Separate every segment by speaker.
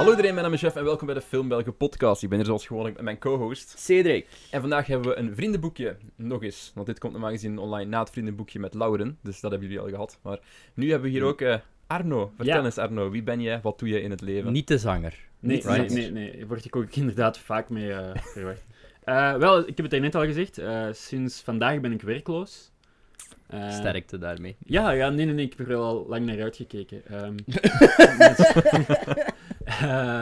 Speaker 1: iedereen, mijn naam is Jeff en welkom bij de Film Belgen podcast. Ik ben hier zoals gewoonlijk met mijn co-host.
Speaker 2: Cedric.
Speaker 1: En vandaag hebben we een vriendenboekje, nog eens. Want dit komt normaal gezien online na het vriendenboekje met Lauren, dus dat hebben jullie al gehad. Maar nu hebben we hier ook eh, Arno. Vertel
Speaker 3: Ja.
Speaker 1: eens Arno, wie ben jij, wat doe je in het leven?
Speaker 2: Niet de zanger.
Speaker 3: Nee,
Speaker 2: Niet
Speaker 3: nee,
Speaker 2: zanger.
Speaker 3: nee, nee. Word ik ook inderdaad vaak mee eh, verwacht. Eh, wel, ik heb het daarnet al gezegd. eh, sinds vandaag ben ik werkloos. Eh,
Speaker 2: Sterkte daarmee.
Speaker 3: Ja, ja, nee, nee, nee. Ik heb er wel al lang naar uitgekeken. Ehm, dus- Eh,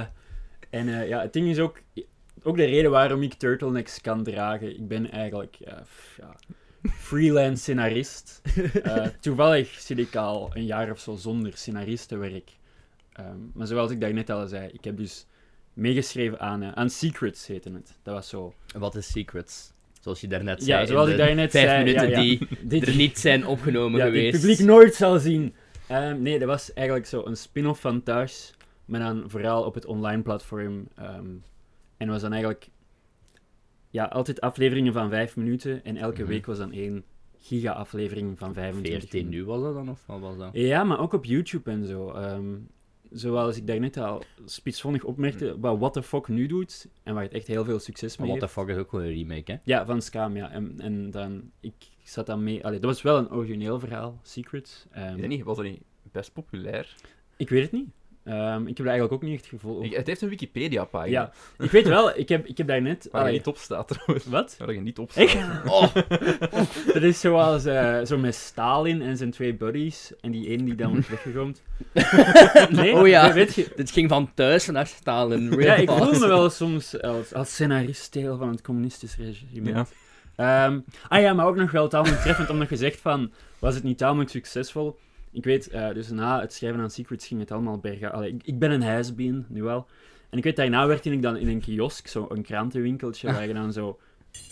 Speaker 3: en eh, ja, het ding is ook... Ook de reden waarom ik turtlenecks kan dragen. Ik ben eigenlijk eh, f- ja, freelance scenarist. Eh, toevallig zit ik al een jaar of zo zonder scenaristenwerk. Ehm, maar zoals ik daarnet al zei, ik heb dus meegeschreven aan, eh, aan Secrets, heette het. Dat was zo.
Speaker 2: En Wat is Secrets? Zoals je daarnet
Speaker 3: Ja,
Speaker 2: zei. in
Speaker 3: zoals
Speaker 2: de
Speaker 3: ik daarnet
Speaker 2: vijf
Speaker 3: zei,
Speaker 2: minuten
Speaker 3: ja, ja.
Speaker 2: die
Speaker 3: Dit
Speaker 2: er niet zijn opgenomen
Speaker 3: ja, die het
Speaker 2: geweest.
Speaker 3: publiek nooit zal zien. Ehm, nee, dat was eigenlijk zo een spin-off van Thuis, maar dan vooral op het online platform. ehm, en was dan eigenlijk ja, altijd afleveringen van vijf minuten en elke
Speaker 2: Mhm.
Speaker 3: week was dan één giga-aflevering van 25
Speaker 2: 14
Speaker 3: minuten.
Speaker 2: nu was dat dan, of wat was dat?
Speaker 3: Ja, maar ook op YouTube en zo. Ehm, zoals ik daarnet al spitsvondig opmerkte, wat What the Fuck nu doet en waar het echt heel veel succes
Speaker 2: Maar
Speaker 3: mee
Speaker 2: Mhm. What the
Speaker 3: heeft.
Speaker 2: fuck is ook gewoon een remake, hè?
Speaker 3: Ja, van Scam, ja. En, en dan, ik zat dan mee... Allee, dat was wel een origineel verhaal, Secret. Ehm,
Speaker 1: Ik weet niet, was dat niet best populair?
Speaker 3: Ik weet het niet. Ehm, ik heb er eigenlijk ook niet echt gevoel over.
Speaker 1: Ik- het heeft een Wikipedia-pagina,
Speaker 3: Oh. Ja, ik weet wel, ik heb, ik heb daarnet...
Speaker 1: waar je
Speaker 3: allee,
Speaker 1: niet op Oh. staat trouwens.
Speaker 3: Wat?
Speaker 1: Waar je niet op staat.
Speaker 3: Echt? Dat is zoals eh, zo met Stalin en zijn twee buddies. En die één die dan wordt weggeroomd. Nee,
Speaker 2: oh ja,
Speaker 3: dat weet je.
Speaker 2: dit ging van thuis naar Stalin. Real
Speaker 3: Ja, ik
Speaker 2: fast.
Speaker 3: voel me wel soms als, als scenarist deel van het communistisch regime.
Speaker 1: Ja.
Speaker 3: Ehm, ah ja, maar ook nog wel tamelijk treffend, omdat je zegt van, was het niet tamelijk succesvol? Ik weet, eh, dus na het schrijven aan Secrets ging het allemaal bergen. Allee, ik, ik ben een huisbeen, nu wel. En ik weet, daarna werkte ik dan in een kiosk, zo'n krantenwinkeltje, waar je dan zo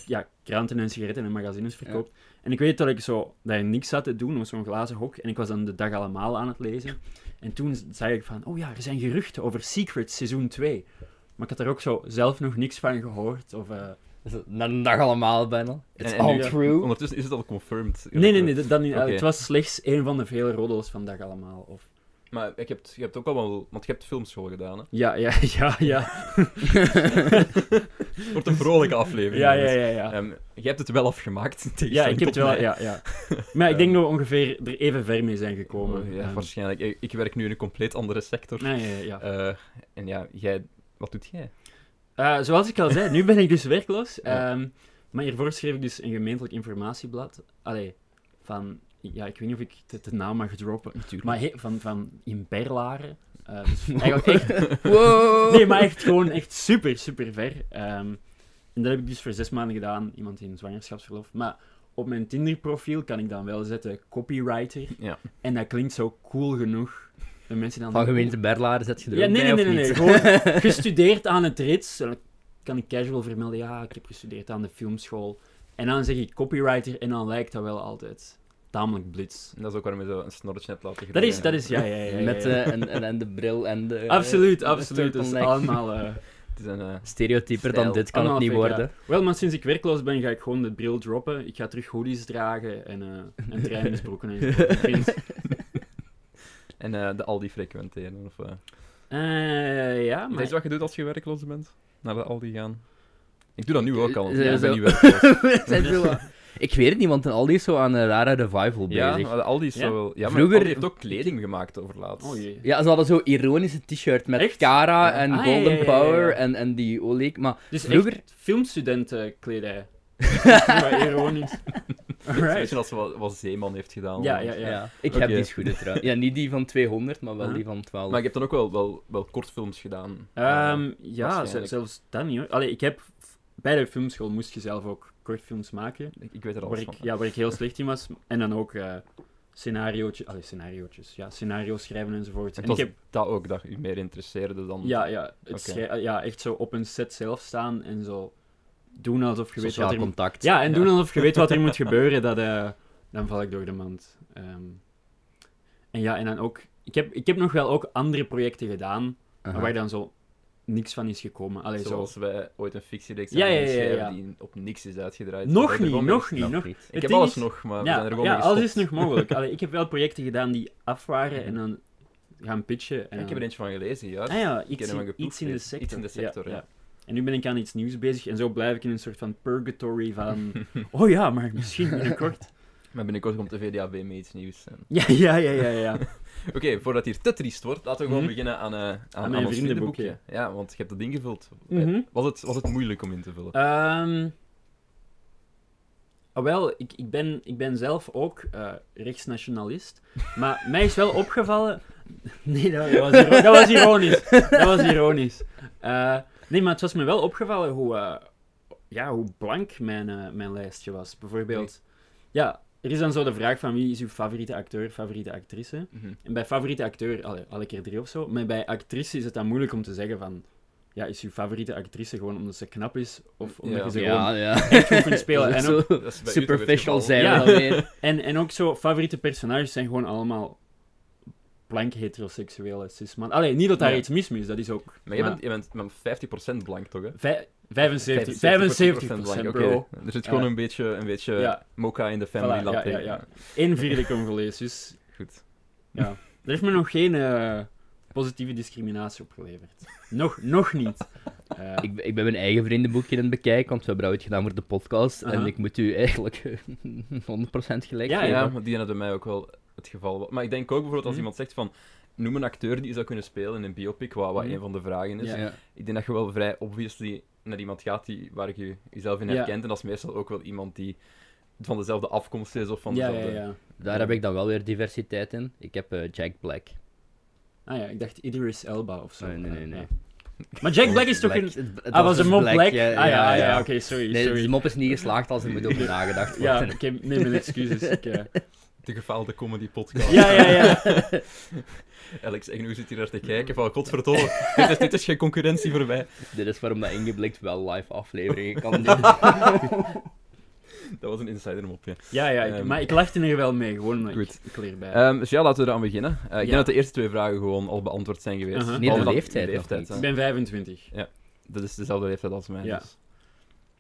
Speaker 3: ja, kranten en sigaretten en magazines verkoopt. En ik weet dat ik zo, dat je niks zat te doen, op zo'n glazen hok, en ik was dan de dag allemaal aan het lezen. En toen zei ik van, oh ja, er zijn geruchten over Secrets seizoen 2. Maar ik had er ook zo zelf nog niks van gehoord, of... eh,
Speaker 2: Na een Dus dag allemaal bijna. It's
Speaker 1: En- en
Speaker 2: all
Speaker 3: nu-
Speaker 2: true.
Speaker 1: Ondertussen is het al confirmed.
Speaker 3: Nee, nee, nee, dat, dat niet. Eh,
Speaker 1: Oké.
Speaker 3: Het was slechts een van de vele roddels vandaag allemaal. Of...
Speaker 1: Maar ik heb, je hebt ook al wel... Want je hebt filmschool gedaan, hè?
Speaker 3: Ja, ja, ja, ja.
Speaker 1: Het wordt een vrolijke aflevering.
Speaker 3: Ja, ja,
Speaker 1: jongens.
Speaker 3: ja, ja.
Speaker 1: Ehm, jij hebt het wel afgemaakt.
Speaker 3: Ah. Ja, ik heb het wel, ja, ja. Maar ik denk
Speaker 1: Ehm.
Speaker 3: dat we ongeveer er even ver mee zijn gekomen.
Speaker 1: ja,
Speaker 3: Ehm,
Speaker 1: waarschijnlijk. Ik, ik werk nu in een compleet andere sector.
Speaker 3: Nee, ja, ja, ja.
Speaker 1: Eh, en ja, jij... Wat doet jij?
Speaker 3: Eh, zoals ik al zei, nu ben ik dus werkloos.
Speaker 1: Ja.
Speaker 3: Ehm, maar hiervoor schreef ik dus een gemeentelijk informatieblad. Allee, van... Ja, ik weet niet of ik de, de naam mag droppen.
Speaker 1: Natuurlijk.
Speaker 3: Maar he- van, van in Berlaren. Eh, dus eigenlijk echt
Speaker 2: Wow.
Speaker 3: Nee, maar echt gewoon echt super, super ver. Ehm, en dat heb ik dus voor zes maanden gedaan, iemand in zwangerschapsverlof. Maar op mijn Tinder-profiel kan ik dan wel zetten copywriter.
Speaker 1: Ja.
Speaker 3: En dat klinkt zo cool genoeg. De mensen dan
Speaker 2: Van gemeente Berlaren zet je er
Speaker 3: Ja,
Speaker 2: ook
Speaker 3: nee, nee,
Speaker 2: bij,
Speaker 3: nee,
Speaker 2: of
Speaker 3: nee, nee.
Speaker 2: niet?
Speaker 3: Gewoon gestudeerd aan het RITS. En dan kan ik casual vermelden, ja, ik heb gestudeerd aan de filmschool. En dan zeg ik copywriter en dan lijkt dat wel altijd tamelijk blits.
Speaker 1: En Dat is ook waarom je zo een snorretje hebt laten
Speaker 3: Dat
Speaker 1: groeien.
Speaker 3: is, dat is, ja, ja, ja. ja, ja.
Speaker 2: Met eh, en, en, en de bril en de... eh,
Speaker 3: absoluut,
Speaker 2: de
Speaker 3: absoluut. Dat is
Speaker 2: turtleneck.
Speaker 3: allemaal... eh,
Speaker 1: Het is een... eh,
Speaker 2: Stereotyper
Speaker 1: Stijl.
Speaker 2: dan dit kan het
Speaker 3: Allemaal
Speaker 2: niet
Speaker 3: fake,
Speaker 2: worden.
Speaker 3: Wel, maar sinds ik werkloos ben, ga ik gewoon de bril droppen. Ik ga terug hoodies dragen en, eh en trainingsbroeken en zo. Ik vind-
Speaker 1: en eh, de Aldi frequenteren. Of, eh.
Speaker 3: Eh, ja,
Speaker 1: Dat is
Speaker 3: Ah, maar...
Speaker 1: wat je doet als je werkloos bent. Naar de Aldi gaan. Ik doe dat nu ook al.
Speaker 2: Eh,
Speaker 1: Ja, ik
Speaker 2: zo.
Speaker 1: ben niet werkloos.
Speaker 2: We zijn zo wat- Ik weet het niet, want een Aldi is zo aan een rare revival
Speaker 1: ja,
Speaker 2: bezig.
Speaker 1: maar de Aldi is
Speaker 3: Ja.
Speaker 1: zo wel... Ja, maar
Speaker 2: Vroeger-
Speaker 1: Aldi heeft ook kleding gemaakt overlaat.
Speaker 3: Oh jee.
Speaker 2: Ja, ze hadden zo'n ironische t-shirt met
Speaker 3: Echt?
Speaker 2: Cara
Speaker 1: Ja.
Speaker 2: en
Speaker 3: Ah, ja,
Speaker 2: Golden
Speaker 3: ja, ja, ja, ja.
Speaker 2: Power En, en die olie. Maar
Speaker 3: Dus
Speaker 2: Vroeger-
Speaker 3: echt filmstudentenkledij. Wat ironisch.
Speaker 1: Een beetje
Speaker 3: Alright.
Speaker 1: als wat, wat Zeeman heeft gedaan.
Speaker 3: Ja, ja, ja.
Speaker 2: ja. ik
Speaker 1: Oké.
Speaker 2: heb die schoenen trouwens. Ja, niet die van 200, maar wel
Speaker 3: Huh?
Speaker 2: die van 12.
Speaker 1: Maar ik heb dan ook wel, wel, wel kortfilms gedaan.
Speaker 3: Ehm, ja, ze-
Speaker 1: waarschijnlijk.
Speaker 3: zelfs dat niet hoor. Allee, ik heb... Bij de filmschool moest je zelf ook kortfilms maken.
Speaker 1: ik, ik weet er
Speaker 3: Waar
Speaker 1: alles
Speaker 3: ik,
Speaker 1: van.
Speaker 3: ja, waar ik heel slecht in was. En dan ook eh scenariootje, allee, scenariootjes. Ja, scenario schrijven enzovoort.
Speaker 1: En
Speaker 3: en ik
Speaker 1: het
Speaker 3: heb
Speaker 1: was dat ook dat u meer interesseerde dan...
Speaker 3: Ja, ja, het
Speaker 1: Oké.
Speaker 3: schrij- ja, echt zo op een set zelf staan en zo doen alsof je weet
Speaker 2: Sociaal
Speaker 3: wat er moet...
Speaker 2: contact.
Speaker 3: Ja, en
Speaker 1: Ja.
Speaker 3: doen alsof je weet wat er moet gebeuren, dat, eh, dan val ik door de mand. Ehm, en ja, en dan ook... Ik heb, ik heb nog wel ook andere projecten gedaan,
Speaker 2: Aha.
Speaker 3: maar waar dan zo niks van is gekomen. Allee, zo...
Speaker 1: Zoals wij ooit een fictiereeks
Speaker 3: Ja,
Speaker 1: hebben
Speaker 3: ja, ja, ja,
Speaker 1: geschreven
Speaker 3: ja.
Speaker 1: die op niks is uitgedraaid. We
Speaker 3: Nog
Speaker 1: zijn er
Speaker 3: niet,
Speaker 1: gewoon mee
Speaker 3: nog niet,
Speaker 1: gestopt.
Speaker 3: nog
Speaker 2: niet.
Speaker 1: Ik
Speaker 3: Het
Speaker 1: heb
Speaker 3: ding
Speaker 1: alles
Speaker 3: is-
Speaker 1: nog, maar we zijn
Speaker 3: Ja,
Speaker 1: er gewoon
Speaker 3: ja
Speaker 1: mee
Speaker 3: alles is
Speaker 1: gestopt.
Speaker 3: nog mogelijk. Allee, ik heb wel projecten gedaan die af waren en dan gaan pitchen. En
Speaker 1: Mhm. ik heb er
Speaker 3: dan-
Speaker 1: eentje van gelezen, juist.
Speaker 3: Ah ja,
Speaker 1: heb
Speaker 3: iets,
Speaker 1: hem
Speaker 3: in,
Speaker 1: geproefd,
Speaker 3: iets in de
Speaker 1: iets-
Speaker 3: sector.
Speaker 1: iets in de sector, ja.
Speaker 3: En nu ben ik aan iets nieuws bezig en zo blijf ik in een soort van purgatory van... oh ja, maar misschien binnenkort.
Speaker 1: Maar binnenkort komt de VDAB mee iets nieuws. En-
Speaker 3: ja, ja, ja, ja, ja.
Speaker 1: Oké, voordat hier te triest wordt, laten we gewoon
Speaker 3: Mhm.
Speaker 1: beginnen aan, eh, aan, aan,
Speaker 3: mijn
Speaker 1: ons
Speaker 3: vriendenboekje.
Speaker 1: vriendenboekje. Ja, want je hebt dat ingevuld.
Speaker 3: Mhm.
Speaker 1: was, het, was het moeilijk om in te vullen?
Speaker 3: Ehm, ah, wel, ik, ik, ben, ik ben zelf ook eh, rechtsnationalist. Maar mij is wel opgevallen. Nee, dat, dat was, iro- dat was ironisch. Dat was ironisch. Eh, nee, maar het was me wel opgevallen hoe, eh, ja, hoe blank mijn, eh, mijn lijstje was. Bijvoorbeeld, ja, er is dan zo de vraag van wie is uw favoriete acteur, favoriete actrice.
Speaker 1: Mhm.
Speaker 3: En bij favoriete acteur, allee, alle keer drie of zo. Maar bij actrice is het dan moeilijk om te zeggen van... Ja, is uw favoriete actrice gewoon omdat ze knap is? Of omdat
Speaker 1: Ja.
Speaker 3: je ze gewoon
Speaker 2: Ja, ja.
Speaker 3: echt goed kunt spelen?
Speaker 2: Dat is
Speaker 3: En ook,
Speaker 2: zo
Speaker 1: Dat is bij u toch het
Speaker 2: Superficial
Speaker 1: geval?
Speaker 2: zijn
Speaker 3: Ja.
Speaker 2: we dan weer.
Speaker 3: en, en ook zo, favoriete personages zijn gewoon allemaal blank heteroseksuele cis-man. Allee, niet dat daar
Speaker 1: Ja.
Speaker 3: iets mis mee is, dat is ook...
Speaker 1: Maar je bent, je bent met 50% blank, toch? Hè?
Speaker 3: vij- 75, 75
Speaker 1: blank,
Speaker 3: bro.
Speaker 1: oké. Er zit gewoon
Speaker 3: Ja.
Speaker 1: een beetje, een beetje
Speaker 3: Ja.
Speaker 1: mocha in de family
Speaker 3: Voilà, ja,
Speaker 1: latte.
Speaker 3: ja, ja. Eén vierde Congolees, dus...
Speaker 1: Goed.
Speaker 3: Ja. Er heeft me nog geen eh, positieve discriminatie opgeleverd. Nog, nog niet. Eh,
Speaker 2: Ik, ik ben mijn eigen vriendenboekje aan het bekijken, want we hebben het gedaan voor de podcast.
Speaker 3: Aha.
Speaker 2: En ik moet u eigenlijk 100% gelijk
Speaker 3: Ja,
Speaker 1: Ja,
Speaker 2: geven.
Speaker 1: maar die hadden bij mij ook wel het geval. was. Maar ik denk ook bijvoorbeeld als
Speaker 3: Mhm.
Speaker 1: iemand zegt van... Noem een acteur die zou kunnen spelen in een biopic, wat, wat
Speaker 3: Mhm.
Speaker 1: een van de vragen is.
Speaker 3: Ja.
Speaker 2: Ja.
Speaker 1: Ik denk dat je wel vrij obviously naar iemand gaat die, waar je jezelf in
Speaker 3: Ja.
Speaker 1: herkent. En dat is meestal ook wel iemand die van dezelfde afkomst is of van
Speaker 3: ja,
Speaker 1: dezelfde...
Speaker 3: ja, ja.
Speaker 2: Daar heb ik dan wel weer diversiteit in. Ik heb eh, Jack Black.
Speaker 3: Ah ja, ik dacht Idris Elba of zo.
Speaker 2: Nee, nee, nee,
Speaker 3: Ah,
Speaker 2: nee.
Speaker 3: ja. Maar Jack Black is toch
Speaker 2: Eh, Black.
Speaker 3: een...
Speaker 2: Het- het
Speaker 3: Ah, was een mop Black?
Speaker 2: Black,
Speaker 3: Ah ja, ah, ja, oké, sorry,
Speaker 2: Nee,
Speaker 3: sorry.
Speaker 2: de mop is niet geslaagd als er moet over nagedacht
Speaker 3: Ja,
Speaker 2: worden.
Speaker 3: ik heb- neem mijn excuses. Ik, eh,
Speaker 1: De gefaalde comedy podcast.
Speaker 3: Ja, ja, ja.
Speaker 1: Alex Agnew zit hier naar te kijken van, godverdomme, dit is, dit is geen concurrentie voor mij.
Speaker 2: Dit is waarom dat ingeblikt wel live afleveringen kan doen.
Speaker 1: Dat was een insider mopje.
Speaker 3: Ja, ja, ik-
Speaker 1: Ehm.
Speaker 3: maar ik lachte er wel mee, gewoon omdat ik,
Speaker 1: Goed.
Speaker 3: ik leer bij.
Speaker 1: Ehm, dus ja, laten we eraan beginnen. Eh, ik denk
Speaker 3: Ja.
Speaker 1: dat de eerste twee vragen gewoon al beantwoord zijn geweest.
Speaker 3: Uh-huh.
Speaker 2: Niet de
Speaker 1: Behalve dat-
Speaker 2: leeftijd nog niet.
Speaker 1: hè.
Speaker 3: ik ben 25.
Speaker 1: Dat is dezelfde leeftijd als mij.
Speaker 3: Ja.
Speaker 1: dus.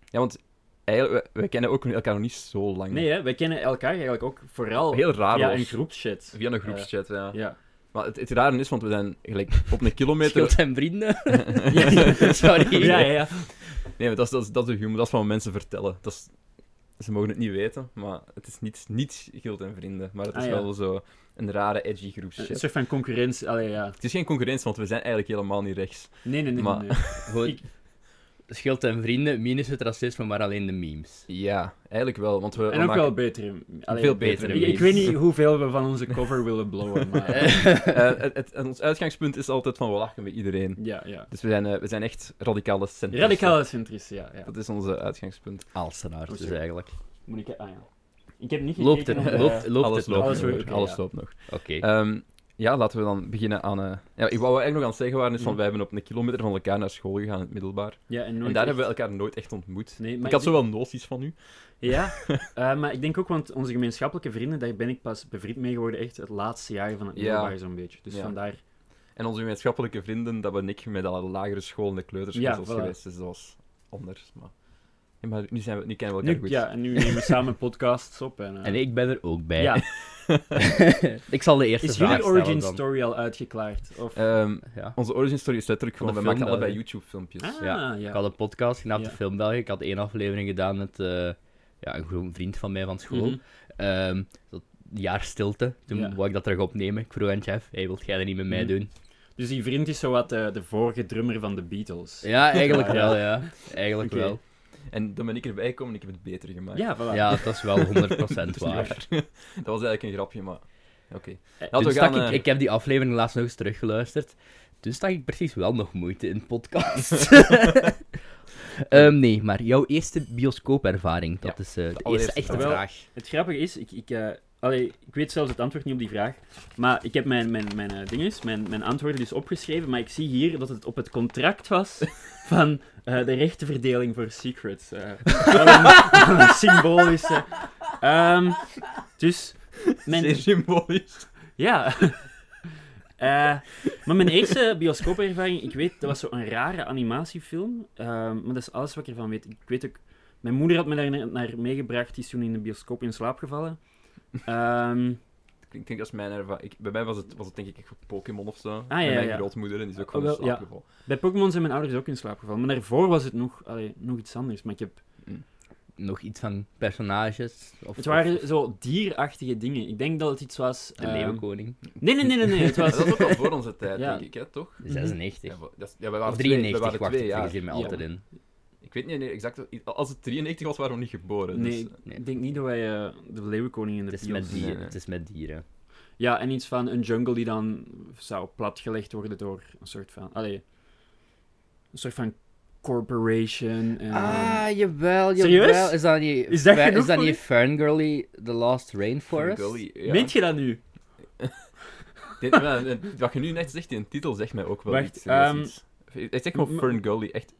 Speaker 1: ja want eigenlijk, we, we kennen ook elkaar nog niet zo lang.
Speaker 3: Nee, hè, wij kennen elkaar eigenlijk ook vooral
Speaker 1: Hm. Heel raar
Speaker 3: via
Speaker 1: was.
Speaker 3: een groepschat.
Speaker 1: Via een groepschat, ja.
Speaker 3: Ja.
Speaker 1: Maar het, het rare is, want we zijn gelijk op een
Speaker 2: Schild
Speaker 1: kilometer...
Speaker 2: en vrienden.
Speaker 3: Ja.
Speaker 2: Sorry.
Speaker 3: Ja, ja, ja.
Speaker 1: Nee, maar dat is, dat, is, dat is de humor, dat is wat mensen vertellen. Dat is, ze mogen het niet weten, maar het is niet, niet Gild en Vrienden. Maar het is
Speaker 3: Ah, ja. Eh,
Speaker 1: wel zo een rare, edgy
Speaker 3: Een
Speaker 1: groepschat.
Speaker 3: soort van concurrentie. Allee, ja.
Speaker 1: Het is geen concurrentie, want we zijn eigenlijk helemaal niet rechts.
Speaker 3: Nee, nee, nee.
Speaker 1: Maar-
Speaker 3: nee, nee.
Speaker 2: Gewoon, schild en vrienden, minus het racisme, maar alleen de memes.
Speaker 1: Ja, eigenlijk wel, want we... we
Speaker 3: En ook
Speaker 1: maken-
Speaker 3: wel beter. Allee,
Speaker 1: Veel betere
Speaker 3: Ik, ik
Speaker 2: memes.
Speaker 3: weet niet hoeveel we van onze cover willen blowen, maar...
Speaker 1: Eh, het, het- en ons uitgangspunt is altijd van, we lachen met iedereen.
Speaker 3: Ja, ja.
Speaker 1: Dus we zijn, eh, we zijn echt radicale centristen.
Speaker 3: Radicale centrist, ja. ja.
Speaker 1: Dat is onze uitgangspunt.
Speaker 2: Alsenaars dus
Speaker 3: Oh, Sorry.
Speaker 2: eigenlijk.
Speaker 3: Moet ik... Ah ja. Ik heb niet gekeken...
Speaker 2: Loopt het,
Speaker 3: of, eh,
Speaker 2: loopt, loopt
Speaker 1: alles
Speaker 2: het
Speaker 1: loopt
Speaker 2: nog?
Speaker 3: Alles
Speaker 1: nog.
Speaker 3: loopt, oké,
Speaker 1: alles
Speaker 3: ja.
Speaker 1: loopt nog.
Speaker 2: Oké.
Speaker 3: Eh,
Speaker 1: Ehm, ja, laten we dan beginnen aan... eh, ja, ik, wat we eigenlijk nog aan het zeggen waren, is van,
Speaker 3: Mhm.
Speaker 1: wij hebben op een kilometer van elkaar naar school gegaan in het middelbaar.
Speaker 3: Ja, en, nooit
Speaker 1: en daar
Speaker 3: echt-
Speaker 1: hebben we elkaar nooit echt ontmoet.
Speaker 3: Nee, maar
Speaker 1: ik had zo wel noties van u.
Speaker 3: Ja, eh, maar ik denk ook, want onze gemeenschappelijke vrienden, daar ben ik pas bevriend mee geworden echt het laatste jaar van het
Speaker 1: Ja.
Speaker 3: middelbaar zo'n beetje. Dus
Speaker 1: Ja.
Speaker 3: vandaar...
Speaker 1: En onze gemeenschappelijke vrienden, dat we en ik met al de lagere school en de kleuterschool
Speaker 3: Ja,
Speaker 1: zelfs
Speaker 3: voilà.
Speaker 1: geweest. Dus dat was anders. Maar, Ja, maar nu, zijn we, nu kennen we elkaar
Speaker 3: Nu,
Speaker 1: goed.
Speaker 3: ja, en nu nemen we samen podcasts op. En, eh,
Speaker 2: En ik ben er ook bij.
Speaker 3: Ja,
Speaker 2: ik zal de eerste
Speaker 3: is
Speaker 2: vraag
Speaker 3: jullie
Speaker 2: stellen
Speaker 3: origin
Speaker 2: dan.
Speaker 3: story al uitgeklaard? Of...
Speaker 1: Ehm,
Speaker 2: Ja.
Speaker 1: onze origin story is letterlijk
Speaker 2: Van
Speaker 1: gewoon,
Speaker 2: de
Speaker 1: we
Speaker 2: film
Speaker 1: maken allebei
Speaker 2: België.
Speaker 1: YouTube-filmpjes.
Speaker 3: ah,
Speaker 2: ja,
Speaker 3: ja.
Speaker 2: Ik had een podcast genaamd
Speaker 3: Ja.
Speaker 2: de Film België. Ik had één aflevering gedaan met eh, ja, een groen vriend van mij van school.
Speaker 3: Mhm.
Speaker 2: Ehm, dat jaar stilte. Toen
Speaker 3: Ja.
Speaker 2: wou ik dat terug opnemen. Ik vroeg aan Jeff, hey, wilt jij dat niet met mij
Speaker 1: Hm.
Speaker 3: Mhm.
Speaker 2: doen?
Speaker 3: Dus die vriend is zo wat eh, de vorige drummer van de Beatles.
Speaker 2: Ja, eigenlijk
Speaker 3: Ja, ja.
Speaker 2: wel, ja. Eigenlijk
Speaker 3: Oké.
Speaker 2: wel.
Speaker 1: En dan ben ik erbij gekomen en ik heb het beter gemaakt.
Speaker 3: Ja, voilà.
Speaker 2: Ja, dat is wel 100%
Speaker 1: Dat is niet
Speaker 2: waar.
Speaker 1: dat was eigenlijk een grapje, maar oké.
Speaker 3: Eh,
Speaker 1: Laten
Speaker 2: Toen
Speaker 1: we
Speaker 2: stak
Speaker 1: gaan,
Speaker 2: ik,
Speaker 1: eh,
Speaker 2: ik heb die aflevering laatst nog eens teruggeluisterd. Toen stak ik precies wel nog moeite in podcast. Ehm, nee, maar jouw eerste bioscoopervaring, dat
Speaker 1: Ja,
Speaker 2: is eh, de eerste
Speaker 1: allereerste.
Speaker 2: echte
Speaker 3: Wel,
Speaker 2: vraag.
Speaker 3: Het grappige is, ik, ik, eh, allee, ik weet zelfs het antwoord niet op die vraag. Maar ik heb mijn, mijn, mijn eh, dinges, mijn, mijn antwoorden dus opgeschreven. Maar ik zie hier dat het op het contract was van eh, de rechtenverdeling voor Secrets. eh. Wat een, wat een symbolische. Ehm, dus,
Speaker 1: Zeer
Speaker 3: mijn,
Speaker 1: symbolisch.
Speaker 3: ja. Eh, maar mijn eerste bioscoopervaring, ik weet, dat was zo'n rare animatiefilm. Ehm, maar dat is alles wat ik ervan weet. Ik weet ook, mijn moeder had me daar naar meegebracht, die is toen in de bioscoop in slaap gevallen. Ehm,
Speaker 1: Ik ik denk dat is mijn ervaring. Bij mij was het, was het denk ik echt Pokémon of zo. Ah,
Speaker 3: ja,
Speaker 1: mijn
Speaker 3: ja.
Speaker 1: grootmoeder, en die is ook gewoon
Speaker 3: Oh,
Speaker 1: in
Speaker 3: wel, ja.
Speaker 1: slaap gevallen.
Speaker 3: Bij Pokémon zijn mijn ouders ook in slaap gevallen. Maar daarvoor was het nog, allee, nog iets anders. Maar ik heb...
Speaker 2: Nog iets van personages? Of,
Speaker 3: Het
Speaker 2: of
Speaker 3: waren zo dierachtige dingen. Ik denk dat het iets was...
Speaker 2: de
Speaker 3: ehm,
Speaker 2: Leeuwenkoning.
Speaker 3: Nee, nee, nee, nee. nee. Het
Speaker 1: Maar
Speaker 3: was...
Speaker 1: Dat is ook al voor onze tijd,
Speaker 3: Ja.
Speaker 1: denk ik, hè, toch?
Speaker 2: 96.
Speaker 1: mhm. Ja, we- dat is- ja, wij waren
Speaker 2: of
Speaker 1: twee, wij
Speaker 2: 93,
Speaker 1: waren
Speaker 2: wacht,
Speaker 1: twee
Speaker 2: ik
Speaker 1: jaar.
Speaker 2: vergeet me
Speaker 3: Ja.
Speaker 2: altijd in.
Speaker 1: Ik weet niet nee, exact, als het 93 was, waren we niet geboren.
Speaker 3: Nee,
Speaker 1: Dus,
Speaker 2: nee.
Speaker 3: ik denk niet dat wij eh, de leeuwenkoning in de
Speaker 2: Het is,
Speaker 3: bios-
Speaker 2: met dieren,
Speaker 1: nee.
Speaker 2: het is met dieren.
Speaker 3: Ja, en iets van een jungle die dan zou platgelegd worden door een soort van... Allee, een soort van corporation. En, ehm,
Speaker 2: Ah, jawel, jawel.
Speaker 3: Serieus?
Speaker 2: Is dat niet,
Speaker 3: Is dat
Speaker 2: fa-
Speaker 3: genoeg
Speaker 2: is dat
Speaker 3: voor
Speaker 2: niet Ferngully, The Last Rainforest?
Speaker 1: Gully, ja.
Speaker 3: Meent je dat nu?
Speaker 1: Dit- wel, eh, wat je nu net zegt, die titel zegt mij ook wel
Speaker 3: Wacht,
Speaker 1: iets. eh, dat
Speaker 3: ehm,
Speaker 1: is iets. Het is echt gewoon
Speaker 3: m-
Speaker 1: Ferngully, echt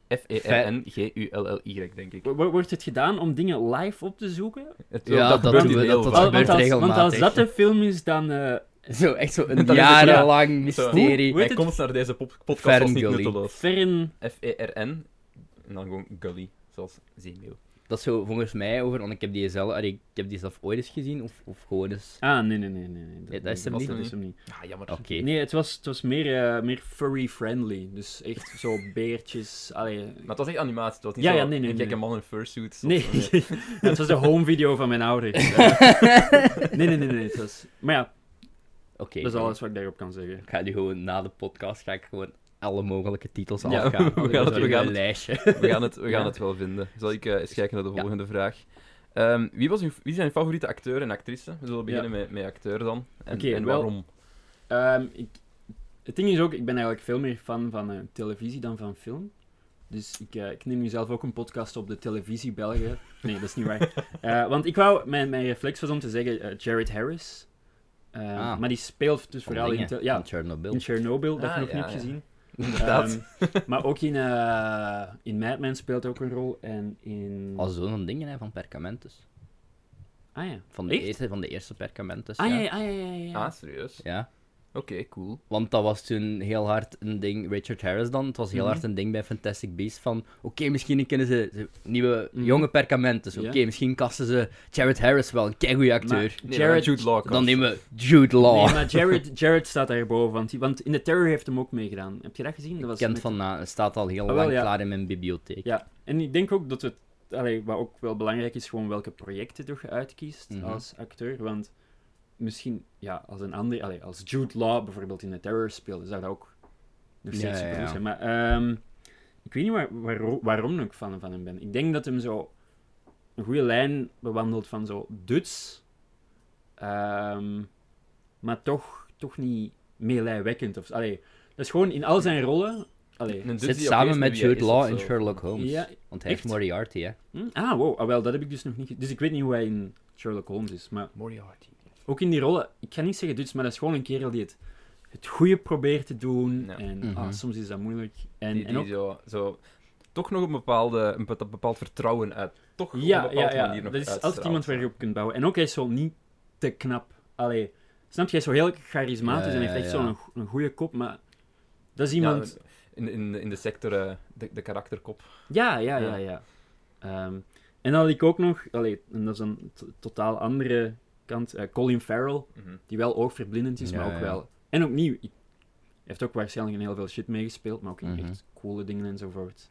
Speaker 1: F-E-R-N-G-U-L-L-Y, denk ik.
Speaker 3: Wo- wo- Wordt het gedaan om dingen live op te zoeken?
Speaker 1: Het,
Speaker 2: Ja, dat,
Speaker 1: gebeurt
Speaker 2: doen
Speaker 1: hier
Speaker 2: we,
Speaker 1: heel
Speaker 2: dat, dat
Speaker 1: vaak.
Speaker 3: Al-
Speaker 2: gebeurt
Speaker 3: want, als, want
Speaker 2: regelmatig.
Speaker 3: als dat de film is, dan... eh,
Speaker 2: Zo, echt zo
Speaker 1: Dat
Speaker 2: een
Speaker 1: is het, ja.
Speaker 2: jarenlang
Speaker 1: Zo.
Speaker 2: mysterie.
Speaker 3: Hoe heet
Speaker 1: Hij
Speaker 3: het?
Speaker 1: komt naar deze pop- podcast als niet
Speaker 2: Ferngully.
Speaker 1: nutteloos.
Speaker 3: Fern...
Speaker 1: F-E-R-N en dan gewoon Gully, zoals zeemeel.
Speaker 2: Dat is zo volgens mij over, want ik heb die zelf, allee, ik heb die zelf ooit eens gezien, of, of gewoon eens...
Speaker 3: Ah, nee, nee, nee. nee, nee.
Speaker 2: Ja, dat is hem
Speaker 1: niet.
Speaker 3: Dat is hem niet.
Speaker 1: Ah, jammer.
Speaker 2: Oké.
Speaker 3: Nee, het was, het was meer, eh, meer furry-friendly. Dus echt zo beertjes. Allee,
Speaker 1: Maar het was echt animatie, het was niet
Speaker 3: Ja,
Speaker 1: zo
Speaker 3: ja, nee, nee,
Speaker 1: een
Speaker 3: nee.
Speaker 1: gekke man in fursuits. of
Speaker 3: Nee,
Speaker 1: zo,
Speaker 3: het was de home video van mijn ouders. nee, nee, nee, nee. Het was... Maar ja,
Speaker 2: Oké.
Speaker 3: dat is alles wat ik daarop kan zeggen.
Speaker 2: Ik ga nu gewoon na de podcast ga ik gewoon alle mogelijke titels
Speaker 1: Ja,
Speaker 2: afgaan.
Speaker 1: we
Speaker 2: Ik
Speaker 1: gaan
Speaker 2: heb
Speaker 1: het- we gaan
Speaker 2: een lijstje.
Speaker 1: We gaan het, we gaan
Speaker 3: Ja.
Speaker 1: het wel vinden. Zal ik eh, eens kijken naar de
Speaker 2: Ja.
Speaker 1: volgende vraag. Ehm, wie, was uw, wie zijn uw favoriete acteur en actrice? We zullen beginnen met, met acteur dan. En,
Speaker 3: Oké,
Speaker 1: en
Speaker 3: wel-
Speaker 1: waarom?
Speaker 3: Ehm, ik, het ding is ook, ik ben eigenlijk veel meer fan van eh, televisie dan van film. Dus ik, eh, ik neem nu zelf ook een podcast op de televisie België. Nee, dat is niet waar. Eh, want ik wou, mijn, mijn reflex was om te zeggen eh, Jared Harris. Eh,
Speaker 2: Ah.
Speaker 3: Maar die speelt dus
Speaker 2: Van
Speaker 3: vooral in,
Speaker 2: dingen,
Speaker 3: te- ja,
Speaker 2: van Chernobyl.
Speaker 3: in Chernobyl, dat
Speaker 1: Ah,
Speaker 3: ik nog
Speaker 1: ja,
Speaker 3: niet
Speaker 1: ja.
Speaker 3: heb gezien.
Speaker 1: Inderdaad.
Speaker 3: Ehm, maar ook in, eh in Mad Men speelt ook een rol. En in...
Speaker 2: Al zo'n dingen hè, van Perkamentus.
Speaker 3: Ah ja.
Speaker 2: Van de,
Speaker 3: Echt?
Speaker 2: eerste, van de eerste Perkamentus.
Speaker 3: Ah ja,
Speaker 2: ja.
Speaker 3: ja, ja, ja, ja.
Speaker 1: Ah, serieus?
Speaker 2: Ja,
Speaker 1: Oké, cool.
Speaker 2: want dat was toen heel hard een ding, Richard Harris dan, het was heel
Speaker 3: Mhm.
Speaker 2: hard een ding bij Fantastic Beasts van, oké, misschien kunnen ze, ze nieuwe,
Speaker 3: Mhm.
Speaker 2: jonge Perkamentus, oké,
Speaker 3: Ja.
Speaker 2: misschien kasten ze Jared Harris wel, een keigoeie acteur.
Speaker 3: Maar
Speaker 1: Nee, Jared...
Speaker 3: Jared-
Speaker 1: Jude Law.
Speaker 2: Dan nemen we Jude Law.
Speaker 3: Nee, maar Jared, Jared staat daarboven, want, die- want in de Terror heeft hem ook meegedaan. Heb je dat gezien? Dat was
Speaker 2: Kent
Speaker 3: met-
Speaker 2: van na, staat al heel
Speaker 3: Ah, wel,
Speaker 2: lang
Speaker 3: ja.
Speaker 2: klaar in mijn bibliotheek.
Speaker 3: Ja, en ik denk ook dat het, allee, wat ook wel belangrijk is, gewoon welke projecten dat je uitkiest
Speaker 2: Mhm.
Speaker 3: als acteur. Want misschien, ja, als een ander, allee, als Jude Law bijvoorbeeld in The Terror speelde, zou dat ook nog
Speaker 2: Ja,
Speaker 3: steeds
Speaker 2: ja,
Speaker 3: supergoed
Speaker 2: ja.
Speaker 3: zijn. Maar ehm, ik weet niet waar, waar- waarom ik fan van hem ben. Ik denk dat hem zo een goede lijn bewandelt van zo Duts, ehm, maar toch, toch niet meelijwekkend. Of, allee, dat is gewoon in al zijn rollen. Allee,
Speaker 2: Zit samen met Jude Law in Sherlock Holmes.
Speaker 3: Ja,
Speaker 2: Want hij heeft
Speaker 3: echt?
Speaker 2: Moriarty, hè.
Speaker 3: Hm? Ah, wow. Ah, wel, dat heb ik dus nog niet... ge- Dus ik weet niet hoe hij in Sherlock Holmes is. Maar
Speaker 1: Moriarty.
Speaker 3: ook in die rollen... Ik ga niet zeggen Duits, maar dat is gewoon een kerel die het, het goede probeert te doen.
Speaker 1: Ja.
Speaker 3: En
Speaker 2: Mhm.
Speaker 3: ah, soms is dat moeilijk. En,
Speaker 1: Die,
Speaker 3: en
Speaker 1: die
Speaker 3: ook...
Speaker 1: zo, zo, toch nog een, bepaalde, een bepa- bepaald vertrouwen uit. Toch op een
Speaker 3: Ja,
Speaker 1: bepaalde
Speaker 3: ja, ja.
Speaker 1: manier nog
Speaker 3: Dat is altijd
Speaker 1: uitstraalt.
Speaker 3: iemand waar je op kunt bouwen. En ook, hij is zo niet te knap. Allee, snap je? Hij is zo heel charismatisch
Speaker 2: Ja,
Speaker 3: en
Speaker 2: ja,
Speaker 3: heeft echt
Speaker 2: ja.
Speaker 3: zo'n go- een goede kop, maar... Dat is
Speaker 1: Ja,
Speaker 3: iemand...
Speaker 1: in, in, in de sector, eh, de, de karakterkop.
Speaker 3: Ja, ja,
Speaker 1: Ja.
Speaker 3: ja, ja. Ehm, en dan had ik ook nog, allee, en dat is een t- totaal andere kant, eh, Colin Farrell,
Speaker 1: Mhm.
Speaker 3: die wel oogverblindend is, maar
Speaker 2: Ja,
Speaker 3: ook
Speaker 2: ja.
Speaker 3: wel... En opnieuw, ik- hij heeft ook waarschijnlijk in heel veel shit meegespeeld, maar ook in
Speaker 2: Mhm.
Speaker 3: echt coole dingen enzovoort.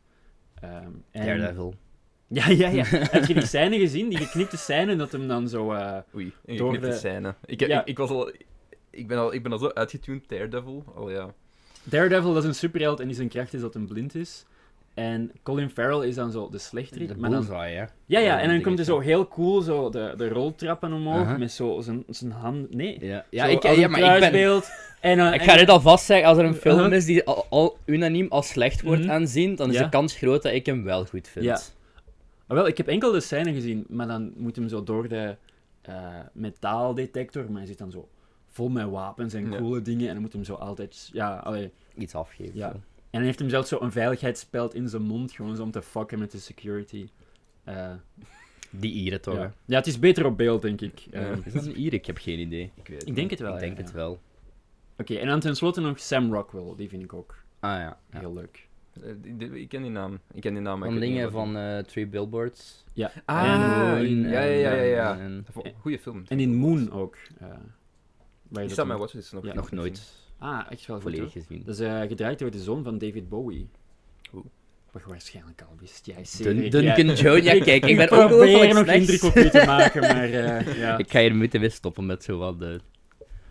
Speaker 3: Ehm, en...
Speaker 2: Daredevil.
Speaker 3: Ja, ja, ja. Heb je die scène gezien? Die geknipte scène dat hem dan zo... eh,
Speaker 1: Oei, een
Speaker 3: Door
Speaker 1: geknipte
Speaker 3: de-
Speaker 1: scène. Ik, heb-
Speaker 3: Ja.
Speaker 1: ik, ik was al... Ik ben, al, ik ben al zo uitgetuned, Daredevil. Al ja.
Speaker 3: Daredevil dat is een superheld en die zijn kracht is dat hem blind is. En Colin Farrell is dan zo de slechterik.
Speaker 2: De
Speaker 3: maar dan,
Speaker 2: bullseye, hè.
Speaker 3: ja,
Speaker 2: Ja,
Speaker 3: ja, en dan
Speaker 2: dingetje.
Speaker 3: komt hij zo heel cool zo de, de roltrappen omhoog
Speaker 2: Aha.
Speaker 3: met zo zijn, zijn hand... Nee.
Speaker 2: Ja, ja,
Speaker 3: Zo
Speaker 2: ik,
Speaker 3: als
Speaker 2: ja
Speaker 3: een
Speaker 2: maar ik ben...
Speaker 3: kruisbeeld. En, dan-
Speaker 2: Ik
Speaker 3: en-
Speaker 2: ga dit alvast zeggen, als er een film
Speaker 3: Uh-huh.
Speaker 2: is die al, al unaniem als slecht wordt
Speaker 3: Mhm.
Speaker 2: aanzien, dan is
Speaker 3: Ja.
Speaker 2: de kans groot dat ik hem wel goed vind.
Speaker 3: Ja. Ah, wel, ik heb enkel de scène gezien, maar dan moet hem zo door de eh, metaaldetector, maar hij zit dan zo vol met wapens en
Speaker 1: Ja.
Speaker 3: coole dingen en dan moet hem zo altijd, ja, allee.
Speaker 2: Iets afgeven.
Speaker 3: Ja. En hij heeft hem zelfs zo een veiligheidsspeld in zijn mond, gewoon zo om te fucken met de security. Eh,
Speaker 2: Die Ieren toch?
Speaker 3: ja. ja, het is beter op beeld, denk ik. Eh,
Speaker 1: Ja.
Speaker 2: Is dat een Ier? Ik heb geen idee.
Speaker 1: Ik weet
Speaker 3: Ik denk het wel,
Speaker 2: ik
Speaker 3: ja,
Speaker 2: denk
Speaker 3: ja.
Speaker 2: het wel.
Speaker 3: Oké, en dan tenslotte nog Sam Rockwell, die vind ik ook
Speaker 2: Ah ja. ja.
Speaker 3: heel leuk.
Speaker 1: Eh, die- die- Ik ken die naam. Ik ken die naam. maar ik
Speaker 2: Van
Speaker 1: weet niet
Speaker 2: dingen
Speaker 1: wat-
Speaker 2: van eh Three Billboards.
Speaker 1: Ah,
Speaker 3: En- eh,
Speaker 1: ja, ja, ja, ja.
Speaker 2: en-
Speaker 1: Goeie film.
Speaker 3: En in Moon ook. eh, waar je
Speaker 1: Die
Speaker 3: dat
Speaker 1: staat mijn
Speaker 3: dan-
Speaker 1: watchlist nog.
Speaker 3: Ja.
Speaker 2: Nog nooit
Speaker 3: Ah, echt wel goed.
Speaker 2: volledig
Speaker 3: hoor.
Speaker 2: gezien.
Speaker 3: Dat is eh, gedraaid door de zoon van David Bowie.
Speaker 1: Oeh.
Speaker 3: Wat je waarschijnlijk al wist. Jij
Speaker 2: Dun-
Speaker 3: zeker.
Speaker 2: Duncan Jones, ja kijk, ik ben ook
Speaker 3: probeer
Speaker 2: wel
Speaker 3: nog indruk op je te maken, maar eh, ja.
Speaker 2: Ik ga hier moeten weer stoppen met zo wat de,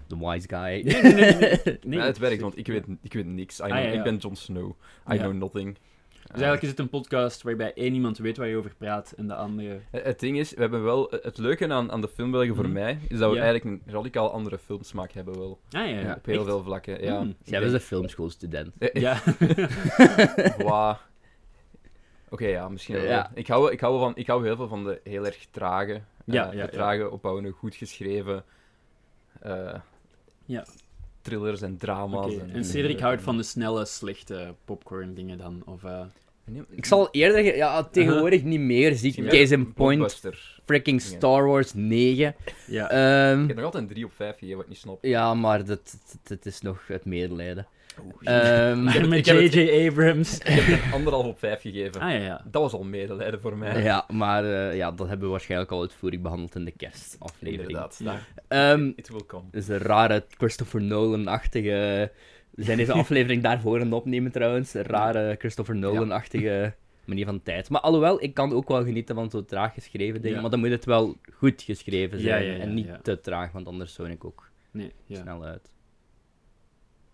Speaker 2: de wise guy.
Speaker 3: Nee, nee, nee, nee, nee.
Speaker 1: Ja,
Speaker 3: Nee,
Speaker 1: nou, het werkt,
Speaker 3: dat
Speaker 1: want
Speaker 3: is-
Speaker 1: ik weet, ik weet niks. I
Speaker 3: ja,
Speaker 1: know-
Speaker 3: ja.
Speaker 1: Ik ben Jon Snow. I
Speaker 3: Ja.
Speaker 1: know nothing.
Speaker 3: Dus eigenlijk is het een podcast waarbij één iemand weet waar je over praat en de andere...
Speaker 1: Eh, Het ding is, we hebben wel... eh, Het leuke aan, aan de filmbelgen voor
Speaker 3: Mhm.
Speaker 1: mij, is dat we
Speaker 3: Ja.
Speaker 1: eigenlijk een radicaal andere filmsmaak hebben wel.
Speaker 3: Ah ja,
Speaker 2: Ja,
Speaker 1: Op heel
Speaker 3: echt?
Speaker 1: veel vlakken, ja.
Speaker 3: Mm.
Speaker 1: Ik
Speaker 2: Jij
Speaker 1: denk-
Speaker 2: was een filmschoolstudent.
Speaker 1: Eh, eh,
Speaker 3: Ja.
Speaker 1: Wow. Oké, ja, misschien wel.
Speaker 2: Ja.
Speaker 1: Ik, hou, ik, hou wel van, ik hou heel veel van de heel erg trage, eh,
Speaker 3: Ja, ja, ja.
Speaker 1: de trage opbouwende, goed geschreven eh,
Speaker 3: Ja.
Speaker 1: thrillers en drama's.
Speaker 3: Oké, En Cedric houdt van de snelle, slechte popcorn dingen dan, of... eh,
Speaker 1: Nee,
Speaker 2: Ik zal eerder... ge- Ja, tegenwoordig niet meer, zie ik
Speaker 1: misschien
Speaker 2: Case
Speaker 1: wel
Speaker 2: in Point,
Speaker 1: Blockbuster.
Speaker 2: freaking
Speaker 1: dingen.
Speaker 2: Star Wars 9.
Speaker 1: Ik
Speaker 3: Ja.
Speaker 2: Ehm,
Speaker 3: Hm.
Speaker 1: heb nog altijd een 3 op 5 gegeven, wat ik niet snap.
Speaker 2: ja, maar dat, dat, dat is nog het medelijden.
Speaker 3: Oh,
Speaker 1: ik
Speaker 2: Ehm,
Speaker 1: heb het-
Speaker 3: met
Speaker 1: ik heb het-
Speaker 3: J.J. Abrams.
Speaker 1: heb er anderhalf op 5 gegeven.
Speaker 3: Ah ja, ja.
Speaker 1: Dat was al medelijden voor mij.
Speaker 2: ja, maar eh, ja, dat hebben we waarschijnlijk al uitvoerig behandeld in de kerstaflevering.
Speaker 1: Inderdaad.
Speaker 3: Ja.
Speaker 1: daar-
Speaker 2: Ehm
Speaker 1: It will come.
Speaker 2: Dus een rare Christopher Nolan-achtige. We zijn deze aflevering daarvoor aan het opnemen trouwens. Een rare Christopher Nolan-achtige manier van tijd. Maar alhoewel, ik kan ook wel genieten van zo traag geschreven dingen.
Speaker 3: Ja.
Speaker 2: Maar dan moet het wel goed geschreven
Speaker 3: Ja,
Speaker 2: zijn.
Speaker 3: ja, ja,
Speaker 2: en niet
Speaker 3: ja.
Speaker 2: te traag, want anders zoon ik ook
Speaker 3: Nee, ja.
Speaker 2: snel uit.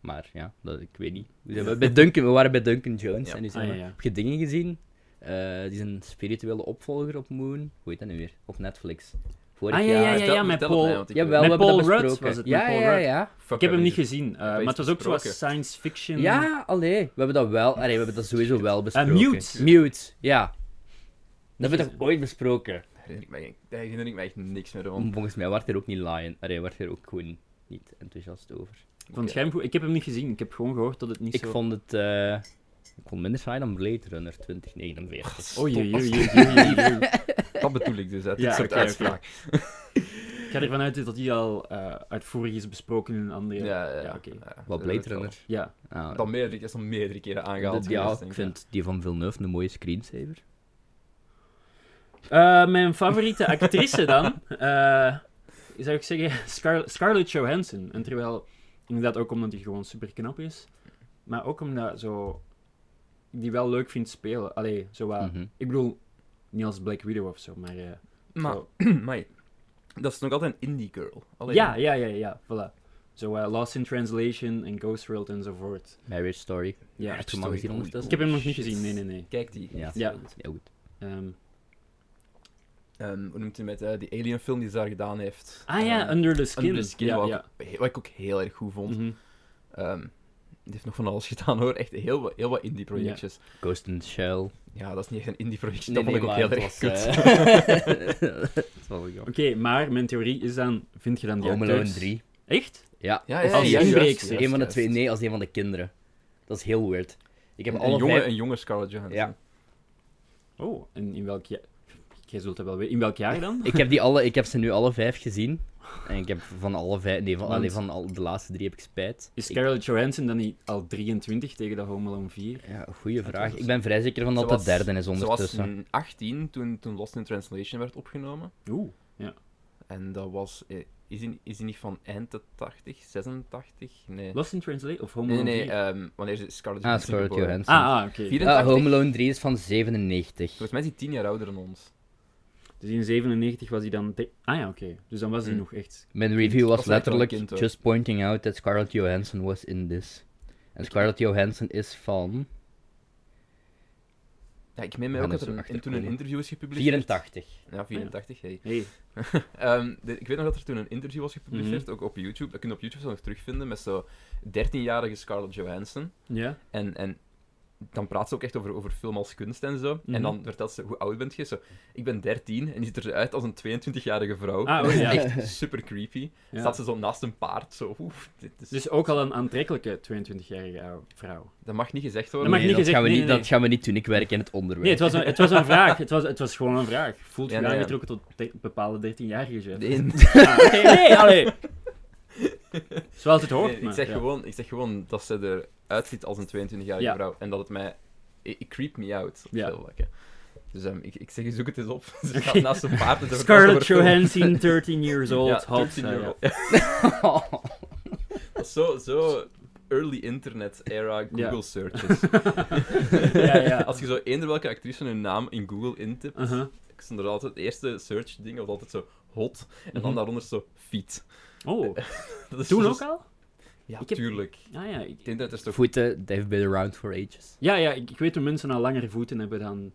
Speaker 2: Maar ja, dat, ik weet niet. We, zijn bij Duncan, we waren bij Duncan Jones
Speaker 1: Ja.
Speaker 2: en nu zijn
Speaker 3: Ah,
Speaker 2: we-
Speaker 3: ja, ja.
Speaker 2: Heb je dingen gezien? Eh, die zijn spirituele opvolger op Moon. Hoe heet dat nu weer? Op Netflix. Vorig
Speaker 3: Ah, ja, ja,
Speaker 2: jaar.
Speaker 3: ja,
Speaker 1: Vertel-
Speaker 3: ja, met
Speaker 1: vertel het
Speaker 3: Paul-
Speaker 1: mij, want ik
Speaker 2: Jawel,
Speaker 1: weet-
Speaker 2: we
Speaker 3: Met
Speaker 2: hebben
Speaker 3: Paul
Speaker 2: dat
Speaker 3: Rudd
Speaker 2: besproken.
Speaker 3: was het, met
Speaker 2: ja,
Speaker 3: Paul
Speaker 2: ja,
Speaker 3: Rudd.
Speaker 2: ja.
Speaker 1: Fuck,
Speaker 3: Ik heb hem
Speaker 1: dat
Speaker 3: niet
Speaker 1: is-
Speaker 3: gezien, eh,
Speaker 1: hebben
Speaker 3: maar
Speaker 1: iets
Speaker 3: het was ook zoals
Speaker 1: besproken.
Speaker 3: science fiction.
Speaker 2: Ja, allee. We hebben dat wel. Allee, we hebben dat sowieso wel besproken.
Speaker 3: Eh, Mute.
Speaker 2: Mute, ja. Dat hebben we toch ooit besproken?
Speaker 1: Herinner ik mij- Daar herinner ik mij echt niks meer
Speaker 3: Mm,
Speaker 1: om.
Speaker 2: Volgens mij werd er ook niet lion. Allee, werd er ook gewoon niet enthousiast over.
Speaker 3: Ik vond het scherm goed. Ik heb hem niet gezien. Ik heb gewoon gehoord dat het niet
Speaker 2: Ik
Speaker 3: zo...
Speaker 2: vond het... eh, ik vond het minder saai dan Blade Runner 2049.
Speaker 3: Oh jee, jee, jee, jee, jee.
Speaker 1: Dat bedoel ik dus, uit
Speaker 3: Ja,
Speaker 1: dit soort
Speaker 3: oké, oké.
Speaker 1: uitspraak.
Speaker 3: Ik ga ervan uit dat die al eh, uitvoerig is besproken in een andere...
Speaker 1: Ja, ja,
Speaker 3: ja, oké.
Speaker 1: ja.
Speaker 2: Wat Blade Runner?
Speaker 3: Ja.
Speaker 2: Ah,
Speaker 1: Dat meerdere, dat is al meerdere keren aangehaald.
Speaker 2: dat- ja,
Speaker 1: geweest, denk
Speaker 2: ik vind die van Villeneuve een mooie screensaver.
Speaker 3: Eh, mijn favoriete actrice dan, eh, zou ik zeggen, Scar- Scarlett Johansson. En terwijl, inderdaad ook omdat die gewoon super knap is, maar ook omdat zo, ik die wel leuk vindt spelen. Allee, zo wat,
Speaker 2: Mhm.
Speaker 3: ik bedoel, niet als Black Widow of zo, maar... eh,
Speaker 1: Maar,
Speaker 3: zo-
Speaker 1: maar dat is nog altijd een indie girl. Alleen,
Speaker 3: ja, ja, ja, ja, voilà. Zo eh, Lost in Translation en Ghost World enzovoort.
Speaker 2: Marriage Story.
Speaker 3: Ja,
Speaker 2: Heb je hem al
Speaker 1: Story,
Speaker 2: gezien
Speaker 1: oei,
Speaker 2: ondertussen?
Speaker 3: ik heb hem nog niet gezien, nee, nee, nee.
Speaker 1: Kijk die.
Speaker 2: Ja.
Speaker 3: Ja.
Speaker 2: Ja, goed.
Speaker 3: Ehm,
Speaker 1: Ehm, hoe noemt hij met eh, die alien film die ze daar gedaan heeft?
Speaker 3: ah ja,
Speaker 1: Ehm,
Speaker 3: Under the Skin.
Speaker 1: Under the Skin,
Speaker 3: ja,
Speaker 1: wat,
Speaker 3: ja.
Speaker 1: Ik, he- wat ik ook heel erg goed vond.
Speaker 3: Mhm.
Speaker 1: Ehm, die heeft nog van alles gedaan hoor. Echt heel, wat- heel wat indie projectjes. Ja.
Speaker 2: Ghost in the Shell.
Speaker 1: dat is niet echt een indie projectje.
Speaker 2: Nee,
Speaker 1: dat vond
Speaker 2: nee,
Speaker 1: ik ook
Speaker 2: maar
Speaker 1: heel erg
Speaker 2: het was,
Speaker 1: kut.
Speaker 2: eh, het was wel jammer.
Speaker 3: Oké, maar mijn theorie is dan, vind je dan die
Speaker 2: Home Alone
Speaker 3: acteurs-
Speaker 2: 3.
Speaker 3: Echt?
Speaker 2: Ja,
Speaker 1: Ja,
Speaker 2: of
Speaker 1: ja,
Speaker 2: als
Speaker 1: ja,
Speaker 2: een-
Speaker 1: juist,
Speaker 3: inbreekster.
Speaker 1: juist,
Speaker 2: een van de
Speaker 1: juist.
Speaker 2: twee, nee, als een van de kinderen. Dat is heel weird. Ik heb
Speaker 1: Een-
Speaker 2: alle
Speaker 1: een, jonge,
Speaker 2: vijf-
Speaker 1: een jonge Scarlett Johansson.
Speaker 2: Ja.
Speaker 3: Oh, en in welk jaar? Jij zult dat wel weten. In welk jaar dan?
Speaker 2: ik, heb die alle, ik heb ze nu alle vijf gezien. En ik heb van alle vijf, nee, van,
Speaker 3: Want-
Speaker 2: allee, van al, de laatste drie heb ik spijt.
Speaker 3: Is
Speaker 2: Ik-
Speaker 3: Scarlett Johansson dan niet al 23 tegen de Home Alone 4?
Speaker 2: ja, goeie
Speaker 3: Dat
Speaker 2: vraag.
Speaker 3: was-
Speaker 2: Ik ben vrij zeker van
Speaker 1: Ze
Speaker 2: dat
Speaker 1: was-
Speaker 2: de derde is
Speaker 1: Ze was
Speaker 2: ondertussen.
Speaker 1: mm, 18 toen, toen Lost in Translation werd opgenomen.
Speaker 3: Oeh.
Speaker 1: En dat was... eh, Is die, is die niet van eind de 80? 86? Nee.
Speaker 3: Lost in Translate of Home
Speaker 1: Nee, nee,
Speaker 3: Alone
Speaker 1: nee,
Speaker 2: eh,
Speaker 3: 4?
Speaker 1: ehm, wanneer ze Scarlett
Speaker 2: ah,
Speaker 1: Johansson
Speaker 2: Scarlett
Speaker 1: geboren.
Speaker 2: Johansson.
Speaker 3: ah, ah, oké.
Speaker 1: Vier-
Speaker 2: Ah,
Speaker 1: 84.
Speaker 2: Home Alone 3 is van 97.
Speaker 1: Volgens mij is hij tien jaar ouder dan ons.
Speaker 3: Dus in 97 was hij dan... de- Ah ja, oké. Dus dan was hij
Speaker 2: Mm.
Speaker 1: Hmm.
Speaker 3: nog echt...
Speaker 2: Mijn review
Speaker 1: was
Speaker 2: was
Speaker 1: echt wel een
Speaker 2: letterlijk
Speaker 1: kind, hoor.
Speaker 2: just pointing out that Scarlett Johansson was in this. En Scarlett Johansson is van
Speaker 1: Ja, ik meen mij
Speaker 2: We
Speaker 1: ook
Speaker 2: gaan
Speaker 1: dat er
Speaker 2: er zo
Speaker 1: een-
Speaker 2: achter
Speaker 1: toen een
Speaker 2: komen.
Speaker 1: interview is gepubliceerd.
Speaker 2: 84.
Speaker 3: Ah,
Speaker 1: Ja, 84, hey.
Speaker 3: Hey.
Speaker 1: Ehm, de- ik weet nog dat er toen een interview was gepubliceerd,
Speaker 3: Mhm.
Speaker 1: ook op YouTube. Dat kun je op YouTube zo nog terugvinden met zo 13-jarige Scarlett Johansson.
Speaker 3: Ja?
Speaker 1: En, en dan praat ze ook echt over, over film als kunst en zo.
Speaker 3: Mhm.
Speaker 1: En dan vertelt ze hoe oud bent je. Zo, ik ben 13 en die ziet eruit als een 22-jarige vrouw.
Speaker 3: Ah,
Speaker 1: En dat
Speaker 3: oh
Speaker 1: is
Speaker 3: ja.
Speaker 1: Echt super creepy.
Speaker 3: ja.
Speaker 1: Staat ze zo naast een paard, zo. Oef, dit is-
Speaker 3: Dus ook al een aantrekkelijke 22-jarige ou- vrouw.
Speaker 1: dat mag niet gezegd
Speaker 3: Dat
Speaker 1: worden.
Speaker 3: mag niet gezegd-
Speaker 2: gaan we
Speaker 3: nee,
Speaker 2: niet,
Speaker 3: nee,
Speaker 2: dat gaan we niet doen. Ik werk in het onderwijs.
Speaker 3: Nee, het was een, het was een vraag. Het was, het was gewoon een vraag. Voelt je
Speaker 1: Ja,
Speaker 3: je
Speaker 1: nee, ja.
Speaker 3: aangetrokken tot de- bepaalde 13-jarige chef?
Speaker 1: Nee, nee,
Speaker 3: Ah, oké, nee, allee. Zoals het hoort,
Speaker 1: nee, ik,
Speaker 3: maar,
Speaker 1: zeg
Speaker 3: ja.
Speaker 1: gewoon, ik zeg gewoon dat ze eruit ziet als een 22-jarige
Speaker 3: Ja.
Speaker 1: vrouw. En dat het mij... Ik, ik creep me out. op
Speaker 3: Ja.
Speaker 1: veel vlakken. Dus ehm, ik, ik zeg, zoek het eens op. Ze
Speaker 3: Oké.
Speaker 1: staat naast een paard. en ze vertelt
Speaker 3: Scarlett
Speaker 1: over film.
Speaker 3: Johansson, 13 years old,
Speaker 1: Ja,
Speaker 3: hot.
Speaker 1: 13
Speaker 3: Ah,
Speaker 1: jaar
Speaker 3: ja.
Speaker 1: old. Ja, Zo, zo early internet era Google
Speaker 3: Ja.
Speaker 1: searches.
Speaker 3: ja, ja.
Speaker 1: Als je zo eender welke actrice hun naam in Google intipt,
Speaker 3: Uh-huh.
Speaker 1: stond er altijd het eerste search ding was altijd zo hot en
Speaker 3: Mhm.
Speaker 1: dan daaronder zo fiet.
Speaker 3: Oh,
Speaker 1: Dat is
Speaker 3: toen
Speaker 1: zo-
Speaker 3: ook al?
Speaker 1: Ja,
Speaker 3: Ik heb-
Speaker 1: tuurlijk.
Speaker 3: Ah, ja, ik,
Speaker 1: Het internet is toch
Speaker 2: Voeten, they've been around for ages.
Speaker 3: ja, ja ik, ik weet hoe mensen al langere voeten hebben dan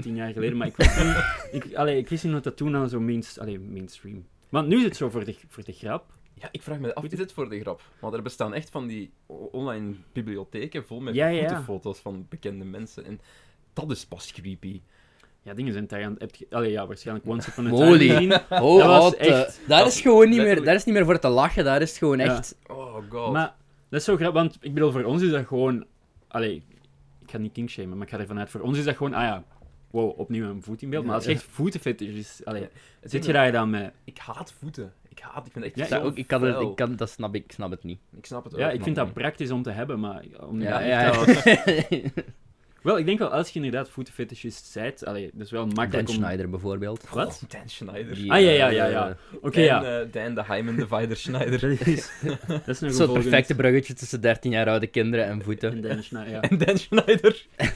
Speaker 3: tien jaar geleden, maar ik wist niet, ik, allee, ik wist niet dat dat toen al zo mainst, allee, mainstream... Want nu is het zo voor de, voor de grap.
Speaker 1: Ja, ik vraag me af, is het voor de grap? Want er bestaan echt van die o- online bibliotheken vol met
Speaker 3: Ja, ja, ja.
Speaker 1: voetenfoto's van bekende mensen. En dat is pas creepy.
Speaker 3: Ja, dingen zijn daar aan... heb je- Allee, ja, waarschijnlijk once upon a time.
Speaker 2: Moly.
Speaker 3: gezien.
Speaker 2: Oh,
Speaker 3: Dat was
Speaker 2: wat, eh,
Speaker 3: echt-
Speaker 2: daar
Speaker 1: dat
Speaker 2: is gewoon niet meer,
Speaker 1: letterlijk-
Speaker 2: daar is niet meer voor te lachen. Daar is het gewoon
Speaker 3: Ja.
Speaker 2: echt. eh,
Speaker 1: Oh god.
Speaker 3: Maar dat is zo grappig, want ik bedoel, voor ons is dat gewoon... Allee, ik ga niet kinkshamen, maar ik ga ervan uit. Voor ons is dat gewoon, ah ja, wow, opnieuw een voet in beeld. Maar als je
Speaker 1: Ja.
Speaker 3: echt voetenfetish is, allee,
Speaker 1: Het
Speaker 3: zit
Speaker 1: is-
Speaker 3: je daar dan mee?
Speaker 1: Ik haat voeten. Ik haat, ik vind het
Speaker 3: Ja,
Speaker 1: echt
Speaker 2: Dat,
Speaker 1: zo
Speaker 2: ook, ik kan het,
Speaker 1: vuil.
Speaker 2: ik kan, dat snap ik, ik snap het niet.
Speaker 1: Ik snap het ook.
Speaker 3: Ja, ik vind
Speaker 1: man.
Speaker 3: dat praktisch om te hebben, maar... Om
Speaker 2: Ja,
Speaker 3: ja,
Speaker 2: ja, ja.
Speaker 3: Wel, ik denk wel, als je inderdaad voetenfetischist bent, allee, dat is wel
Speaker 2: Dan
Speaker 3: makkelijk om...
Speaker 2: Schneider bijvoorbeeld.
Speaker 3: Wat?
Speaker 1: Oh, Dan Schneider.
Speaker 2: Die,
Speaker 3: Ah, ja, ja,
Speaker 2: eh,
Speaker 3: ja, ja. Oké,
Speaker 1: Dan,
Speaker 3: ja.
Speaker 1: eh, Dan de Hyman Divider Schneider.
Speaker 3: Dat is, dat is een
Speaker 2: Zo'n
Speaker 3: gevolg.
Speaker 2: perfecte bruggetje tussen 13 jaar oude kinderen en voeten.
Speaker 3: En Dan Schneider, ja.
Speaker 1: en Dan Schneider.
Speaker 3: eh,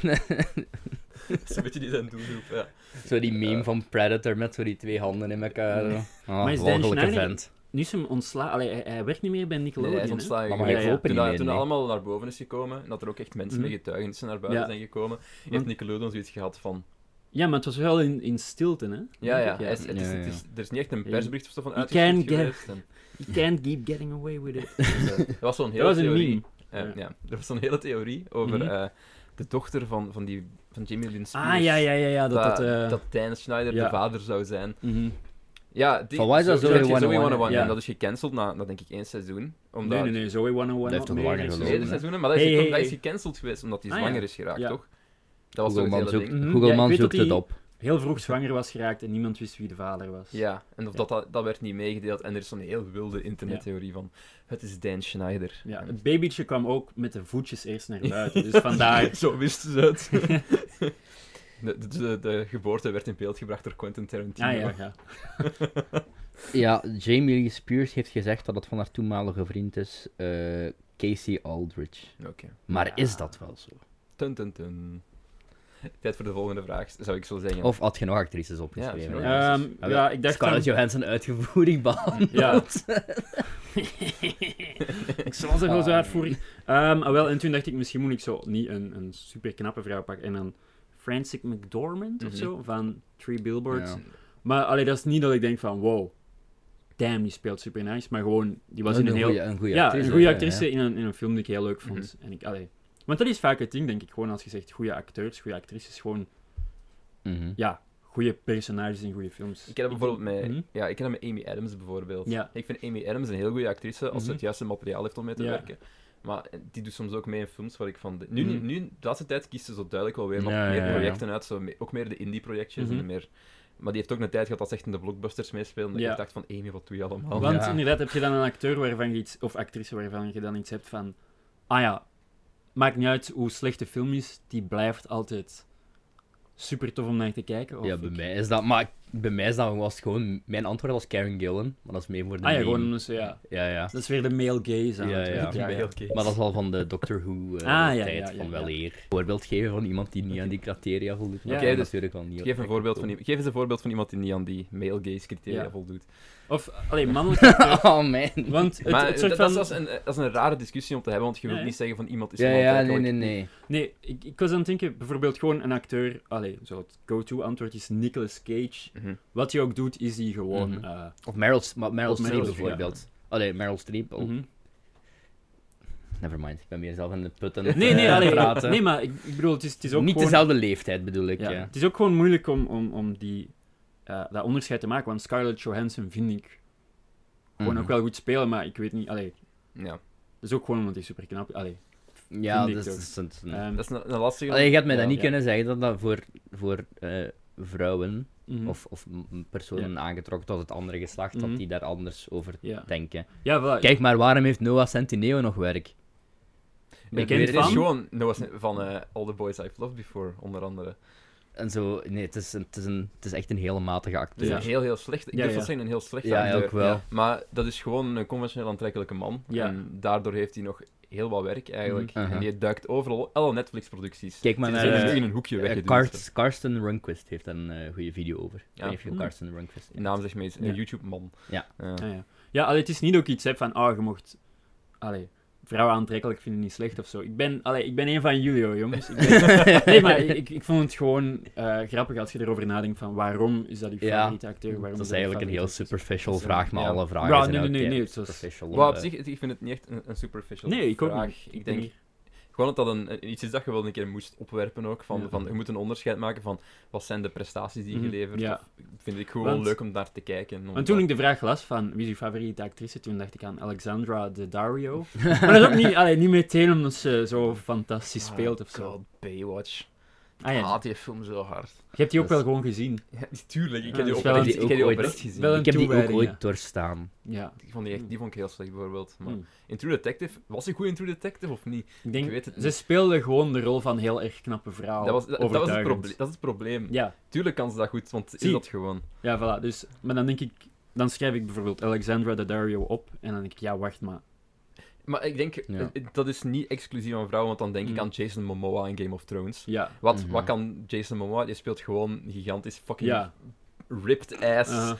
Speaker 1: dat is een beetje die zijn doelgroep, ja.
Speaker 2: Zo die meme van Predator met zo die twee handen in elkaar.
Speaker 3: Nee.
Speaker 2: Oh,
Speaker 3: Maar is Dan
Speaker 2: walgelijke
Speaker 3: Schneider-
Speaker 2: vent.
Speaker 3: Nu is hem ontslagen. Allee, hij, hij werkt niet meer bij
Speaker 1: Nee,
Speaker 3: Nickelodeon,
Speaker 1: hij is
Speaker 3: hè?
Speaker 1: ontslagen.
Speaker 2: Maar
Speaker 3: mag
Speaker 1: geweest.
Speaker 2: hij
Speaker 3: ja.
Speaker 2: open
Speaker 1: Toen,
Speaker 2: niet
Speaker 1: dat,
Speaker 2: meer,
Speaker 1: toen dat
Speaker 2: nee.
Speaker 1: allemaal naar boven is gekomen en dat er ook echt mensen
Speaker 3: Mhm.
Speaker 1: met getuigenissen naar buiten
Speaker 3: Ja. Mhm.
Speaker 1: zijn gekomen, heeft
Speaker 3: Want-
Speaker 1: Nickelodeon zoiets gehad van.
Speaker 3: Ja, maar het was wel in, in stilte, hè?
Speaker 1: Ja,
Speaker 3: Denk
Speaker 1: ja,
Speaker 3: ik,
Speaker 1: hij is- het is-
Speaker 2: Ja, ja.
Speaker 1: het is- er is niet echt een persbericht of zo van
Speaker 3: You
Speaker 1: uitgestuurd
Speaker 3: can get-
Speaker 1: geweest. En,
Speaker 3: You can't keep getting away with it.
Speaker 1: dus, eh, dat was zo'n hele
Speaker 3: Dat was een
Speaker 1: theorie.
Speaker 3: meme.
Speaker 1: Eh,
Speaker 3: Ja.
Speaker 1: ja. Er was zo'n hele theorie over
Speaker 3: Mhm.
Speaker 1: eh, de dochter van, van, die, van Jamie Lynn Spears.
Speaker 3: Ah, ja, ja, ja, ja. Dat,
Speaker 2: Dus
Speaker 3: dat, eh,
Speaker 1: dat Dan Schneider
Speaker 3: ja.
Speaker 1: de vader zou zijn.
Speaker 3: mhm.
Speaker 1: Ja, die,
Speaker 2: Van waar is dat Zoe
Speaker 1: Zoe
Speaker 2: 101,
Speaker 1: 101,
Speaker 3: ja.
Speaker 1: En dat is gecanceld na, na denk ik één seizoen. Omdat
Speaker 3: Nee, nee, nee. Zoe 101.
Speaker 2: Dat heeft toch
Speaker 3: meer
Speaker 2: langer
Speaker 3: is-
Speaker 2: gelopen,
Speaker 1: Meerdere
Speaker 2: hè?
Speaker 1: seizoenen, maar dat is,
Speaker 3: Hey, hey,
Speaker 1: dat is
Speaker 3: hey.
Speaker 1: gecanceld geweest omdat hij
Speaker 3: Ah, ja.
Speaker 1: zwanger is geraakt,
Speaker 3: Ja.
Speaker 1: toch? Dat was toch
Speaker 2: Google
Speaker 1: het
Speaker 2: man
Speaker 1: hele
Speaker 2: zoekt,
Speaker 1: ding.
Speaker 3: ding.
Speaker 2: Google
Speaker 3: Ja, ik
Speaker 2: man
Speaker 3: weet
Speaker 2: zoekt
Speaker 3: dat
Speaker 2: het
Speaker 3: die-
Speaker 2: op.
Speaker 3: Heel vroeg zwanger was geraakt en niemand wist wie de vader was.
Speaker 1: Ja, en of
Speaker 3: Ja.
Speaker 1: Dat, dat, dat werd niet meegedeeld. En er is zo'n heel wilde internettheorie van... Het is Dan Schneider.
Speaker 3: Ja,
Speaker 1: En-
Speaker 3: het babytje kwam ook met de voetjes eerst naar buiten, dus vandaar.
Speaker 1: Zo wisten ze het. De, de, de, de geboorte werd in beeld gebracht door Quentin Tarantino.
Speaker 3: Ah ja, ja.
Speaker 2: Ja, Jamie Lee Spears heeft gezegd dat het van haar toenmalige vriend is, eh, Casey Aldridge.
Speaker 1: Oké.
Speaker 2: Maar
Speaker 3: Ja.
Speaker 2: is dat wel zo?
Speaker 1: Tun, tun, tun. Tijd voor de volgende vraag, zou ik zo zeggen.
Speaker 2: Of had je nog actrices
Speaker 1: Ja,
Speaker 2: opgeschreven?
Speaker 1: misschien wel.
Speaker 3: Ehm,
Speaker 2: Ja,
Speaker 3: ja, ik dacht
Speaker 2: Scarlett
Speaker 3: van...
Speaker 2: Johansson uitgevoerig behandeld.
Speaker 3: ik zal ze wel zo
Speaker 2: Ah,
Speaker 3: uitvoerig. Ehm, ah, wel, en toen dacht ik, misschien moet ik zo niet een, een super knappe vrouw pakken en dan Frances McDormand of
Speaker 1: Mhm.
Speaker 3: zo, van Three Billboards.
Speaker 2: Ja.
Speaker 3: Maar allee, dat is niet dat ik denk van, wow, damn, die speelt super nice. Maar gewoon, die was in
Speaker 2: Een
Speaker 3: een heel...
Speaker 2: goeie- een goede
Speaker 3: ja,
Speaker 2: actrice.
Speaker 3: een goede
Speaker 2: ja, ja. Mhm.
Speaker 3: actrice In, een, in een film die ik heel leuk vond. en ik, allee, want dat is vaak het ding, denk ik. Gewoon als je zegt goede acteurs, goede actrices, gewoon
Speaker 2: Mhm.
Speaker 3: ja, goede personages in goede films.
Speaker 1: Ik ken dat bijvoorbeeld met,
Speaker 3: Mhm.
Speaker 1: ja, ik ken dat met Amy Adams bijvoorbeeld.
Speaker 3: Ja.
Speaker 1: Ik vind Amy Adams een heel goede actrice als ze
Speaker 3: Mhm.
Speaker 1: het juiste materiaal heeft om mee te
Speaker 3: Ja.
Speaker 1: werken. Maar eh, die doet soms ook mee in films waar ik van... de- Nu,
Speaker 3: Mhm.
Speaker 1: nu, de laatste tijd kiest ze zo duidelijk wel weer wat
Speaker 2: Ja, ja,
Speaker 1: meer
Speaker 2: ja.
Speaker 1: projecten uit. Zo, me- ook meer de indie-projectjes.
Speaker 3: Mhm.
Speaker 1: en meer... Maar die heeft ook een tijd gehad dat ze echt in de blockbusters meespeelde.
Speaker 3: Ja.
Speaker 1: En ik dacht van, Amy, wat doe je allemaal?
Speaker 3: Want
Speaker 2: Ja.
Speaker 3: inderdaad heb je dan een acteur waarvan je iets, of actrice waarvan je dan iets hebt van, ah ja, maakt niet uit hoe slecht de film is, die blijft altijd super tof om naar te kijken. Of Ah
Speaker 2: Ja, bij mij is dat... Maar bij mij is dat, was gewoon... Mijn antwoord was Karen Gillan, maar dat is mee voor de
Speaker 3: Ah ja,
Speaker 2: meme.
Speaker 3: gewoon, dus, ja.
Speaker 2: Ja, ja.
Speaker 3: Dat is weer de male gaze aan
Speaker 2: Ja,
Speaker 3: het
Speaker 2: ja.
Speaker 3: werk,
Speaker 1: Die bij elke keer.
Speaker 2: Maar dat is al van de Doctor Who-tijd,
Speaker 3: Ah, ja, ja, ja,
Speaker 2: van
Speaker 3: ja.
Speaker 2: wel eer. Een voorbeeld geven van iemand die niet aan die criteria voldoet. maar
Speaker 3: Ja.
Speaker 2: dat
Speaker 1: Oké, dus
Speaker 2: natuurlijk wel niet.
Speaker 1: Geef, een voorbeeld van, i- geef eens een voorbeeld van iemand die niet aan die male gaze criteria
Speaker 3: Ja.
Speaker 1: voldoet.
Speaker 3: Of, allee, mannelijke acteur.
Speaker 2: Oh man.
Speaker 3: Want het,
Speaker 1: Maar
Speaker 3: het
Speaker 1: dat,
Speaker 3: soort
Speaker 1: dat
Speaker 3: van...
Speaker 1: is een, eh, dat is een rare discussie om te hebben, want je wilt
Speaker 3: Ja,
Speaker 1: niet zeggen van
Speaker 3: Dus
Speaker 1: iemand is
Speaker 2: Ja,
Speaker 1: gewoon
Speaker 2: ja, nee,
Speaker 1: duidelijk
Speaker 2: nee, nee.
Speaker 3: Nee, ik, ik was aan het denken, bijvoorbeeld gewoon een acteur... Allee, zo het go-to-antwoord is Nicolas Cage.
Speaker 1: Mhm.
Speaker 3: Wat hij ook doet, is hij gewoon...
Speaker 2: Mhm.
Speaker 3: eh,
Speaker 2: Of Meryl, S- maar Meryl
Speaker 3: Of Meryl
Speaker 2: Streep
Speaker 3: Streep,
Speaker 2: bijvoorbeeld. Allee, Meryl Streep. oh,
Speaker 3: mhm.
Speaker 2: Never mind, ik ben weer zelf in de put aan het,
Speaker 3: Nee, nee,
Speaker 2: eh,
Speaker 3: allee,
Speaker 2: praten.
Speaker 3: nee, maar ik, ik bedoel, het is, het is ook
Speaker 2: niet
Speaker 3: gewoon...
Speaker 2: dezelfde leeftijd bedoel ik. Ja.
Speaker 3: ja, Het is ook gewoon moeilijk om, om, om die, eh, dat onderscheid te maken, want Scarlett Johansson vind ik gewoon
Speaker 2: Mhm.
Speaker 3: ook wel goed spelen, maar ik weet niet... Allee,
Speaker 1: Ja,
Speaker 3: dat is ook gewoon omdat hij super knap... Allee,
Speaker 2: Ja,
Speaker 3: vind ik
Speaker 2: dus,
Speaker 3: ook.
Speaker 2: dus- dus-
Speaker 3: ehm,
Speaker 1: dat is een, een lastige...
Speaker 2: Allee, je gaat mij
Speaker 1: Ja.
Speaker 2: dat niet
Speaker 3: Ja.
Speaker 2: kunnen zeggen dat dat voor, voor eh, vrouwen
Speaker 3: mhm.
Speaker 2: of, of m- personen aangetrokken tot het andere geslacht,
Speaker 3: Mhm.
Speaker 2: dat die daar anders over
Speaker 3: Ja,
Speaker 2: denken.
Speaker 3: Ah, ja voilà.
Speaker 2: Kijk maar, waarom heeft Noah Centineo nog werk?
Speaker 3: Bekend
Speaker 2: weet
Speaker 1: Dit
Speaker 2: het
Speaker 1: is
Speaker 3: van?
Speaker 1: gewoon Noah Sn- van eh, All the Boys I've Loved Before, onder andere.
Speaker 2: En zo, nee, het is, een, het is, een, het is echt een hele matige
Speaker 1: Dus
Speaker 2: acteur.
Speaker 3: Ja.
Speaker 1: een heel, heel slecht. Ik
Speaker 3: Ja,
Speaker 1: durf
Speaker 3: ja.
Speaker 1: dat zeggen, een heel slecht
Speaker 2: Ja,
Speaker 1: acteur.
Speaker 2: ook wel.
Speaker 1: Ja. Maar dat is gewoon een conventioneel aantrekkelijke man.
Speaker 3: Ja.
Speaker 1: En daardoor heeft hij nog heel wat werk eigenlijk.
Speaker 2: Mhm.
Speaker 1: En die duikt overal alle Netflix-producties.
Speaker 2: Kijk maar
Speaker 1: Die
Speaker 2: naar
Speaker 1: zijn
Speaker 2: eh,
Speaker 1: nu in een hoekje
Speaker 2: eh,
Speaker 1: weggeduwd.
Speaker 2: Karst- Karsten Runquist heeft daar een eh, goede video over. Ik
Speaker 1: Ja.
Speaker 2: weet niet of je
Speaker 3: Hmm.
Speaker 2: Karsten Runquist
Speaker 1: De
Speaker 2: kent.
Speaker 1: naam zegt me iets. Een
Speaker 3: Ja.
Speaker 1: YouTube-man.
Speaker 2: Ja.
Speaker 3: Ja, Ah, ja. ja allee, het is niet ook iets hè, van, ah, je mocht... Allee, vrouwen aantrekkelijk vinden niet slecht of zo. Ik ben, allee, ik ben een van jullie, hoor, jongens. Ik ben- nee, maar ik, ik vond het gewoon eh, grappig als je erover nadenkt van, waarom is dat je
Speaker 2: Ja.
Speaker 3: favoriete acteur? Waarom
Speaker 2: Dat
Speaker 3: dat
Speaker 2: is
Speaker 3: je
Speaker 2: eigenlijk een heel
Speaker 3: favoriete acteur?
Speaker 2: superficial
Speaker 1: Dat is een-
Speaker 2: vraag, maar
Speaker 1: ja.
Speaker 2: alle vragen
Speaker 3: Ja,
Speaker 2: zijn
Speaker 3: nee, nee,
Speaker 2: ook
Speaker 3: nee,
Speaker 2: eh,
Speaker 3: nee, het is-
Speaker 2: superficial.
Speaker 1: Maar op
Speaker 2: eh,
Speaker 1: zich, ik vind het niet echt een, een superficial
Speaker 3: Nee, ik ook
Speaker 1: vraag.
Speaker 3: niet.
Speaker 1: Ik denk gewoon dat dat een, een- iets is dat je wel een keer moest opwerpen ook. Van,
Speaker 3: Ja.
Speaker 1: van, je moet een onderscheid maken van wat zijn de prestaties die je
Speaker 3: Mhm.
Speaker 1: levert.
Speaker 3: Ja.
Speaker 1: Of vind ik gewoon
Speaker 3: Want-
Speaker 1: leuk om naar te kijken.
Speaker 3: Want
Speaker 1: omdat-
Speaker 3: toen ik de vraag las van wie is uw favoriete actrice, toen dacht ik aan Alexandra de Dario. Maar dat is ook niet, allee, niet meteen omdat ze zo fantastisch
Speaker 1: Ah,
Speaker 3: speelt of zo.
Speaker 1: God, Baywatch. Ik
Speaker 3: Ah, ja.
Speaker 1: haat die film zo hard.
Speaker 3: Je hebt die ook
Speaker 2: Dat
Speaker 3: wel
Speaker 2: is-
Speaker 3: gewoon gezien.
Speaker 1: Ja, tuurlijk. Ik
Speaker 3: Ja,
Speaker 1: heb die
Speaker 3: dat is wel
Speaker 1: oprecht,
Speaker 2: een-
Speaker 1: ik heb die
Speaker 2: ooit-
Speaker 1: oprecht gezien.
Speaker 3: wel een-
Speaker 2: ik heb die ook
Speaker 3: toewijding,
Speaker 2: ooit
Speaker 3: ja.
Speaker 2: doorstaan.
Speaker 3: Ja.
Speaker 1: Ik vond die, echt, die vond ik heel slecht, bijvoorbeeld. Maar
Speaker 3: Hmm.
Speaker 1: In True Detective, was ik goed in True Detective of niet?
Speaker 3: Ik denk,
Speaker 1: Ik weet het
Speaker 3: ze
Speaker 1: niet.
Speaker 3: speelde gewoon de rol van heel erg knappe vrouw.
Speaker 1: dat, was, dat, dat was het
Speaker 3: Oh, Overtuigend.
Speaker 1: probleem, dat is het probleem.
Speaker 3: Ja,
Speaker 1: Tuurlijk kan ze dat goed, want ze
Speaker 3: Zie.
Speaker 1: is dat gewoon.
Speaker 3: ja, voilà. Dus, maar dan denk ik, dan schrijf ik bijvoorbeeld Alexandra Daddario op. En dan denk ik, ja, wacht maar.
Speaker 1: Maar ik denk,
Speaker 2: Ja.
Speaker 1: eh, dat is niet exclusief aan vrouwen, want dan denk
Speaker 3: Hmm.
Speaker 1: ik aan Jason Momoa in Game of Thrones.
Speaker 3: Ja.
Speaker 1: Wat,
Speaker 2: Mhm.
Speaker 1: wat kan Jason Momoa? Die speelt gewoon gigantisch fucking
Speaker 3: Ja.
Speaker 1: ripped ass
Speaker 3: Uh-huh.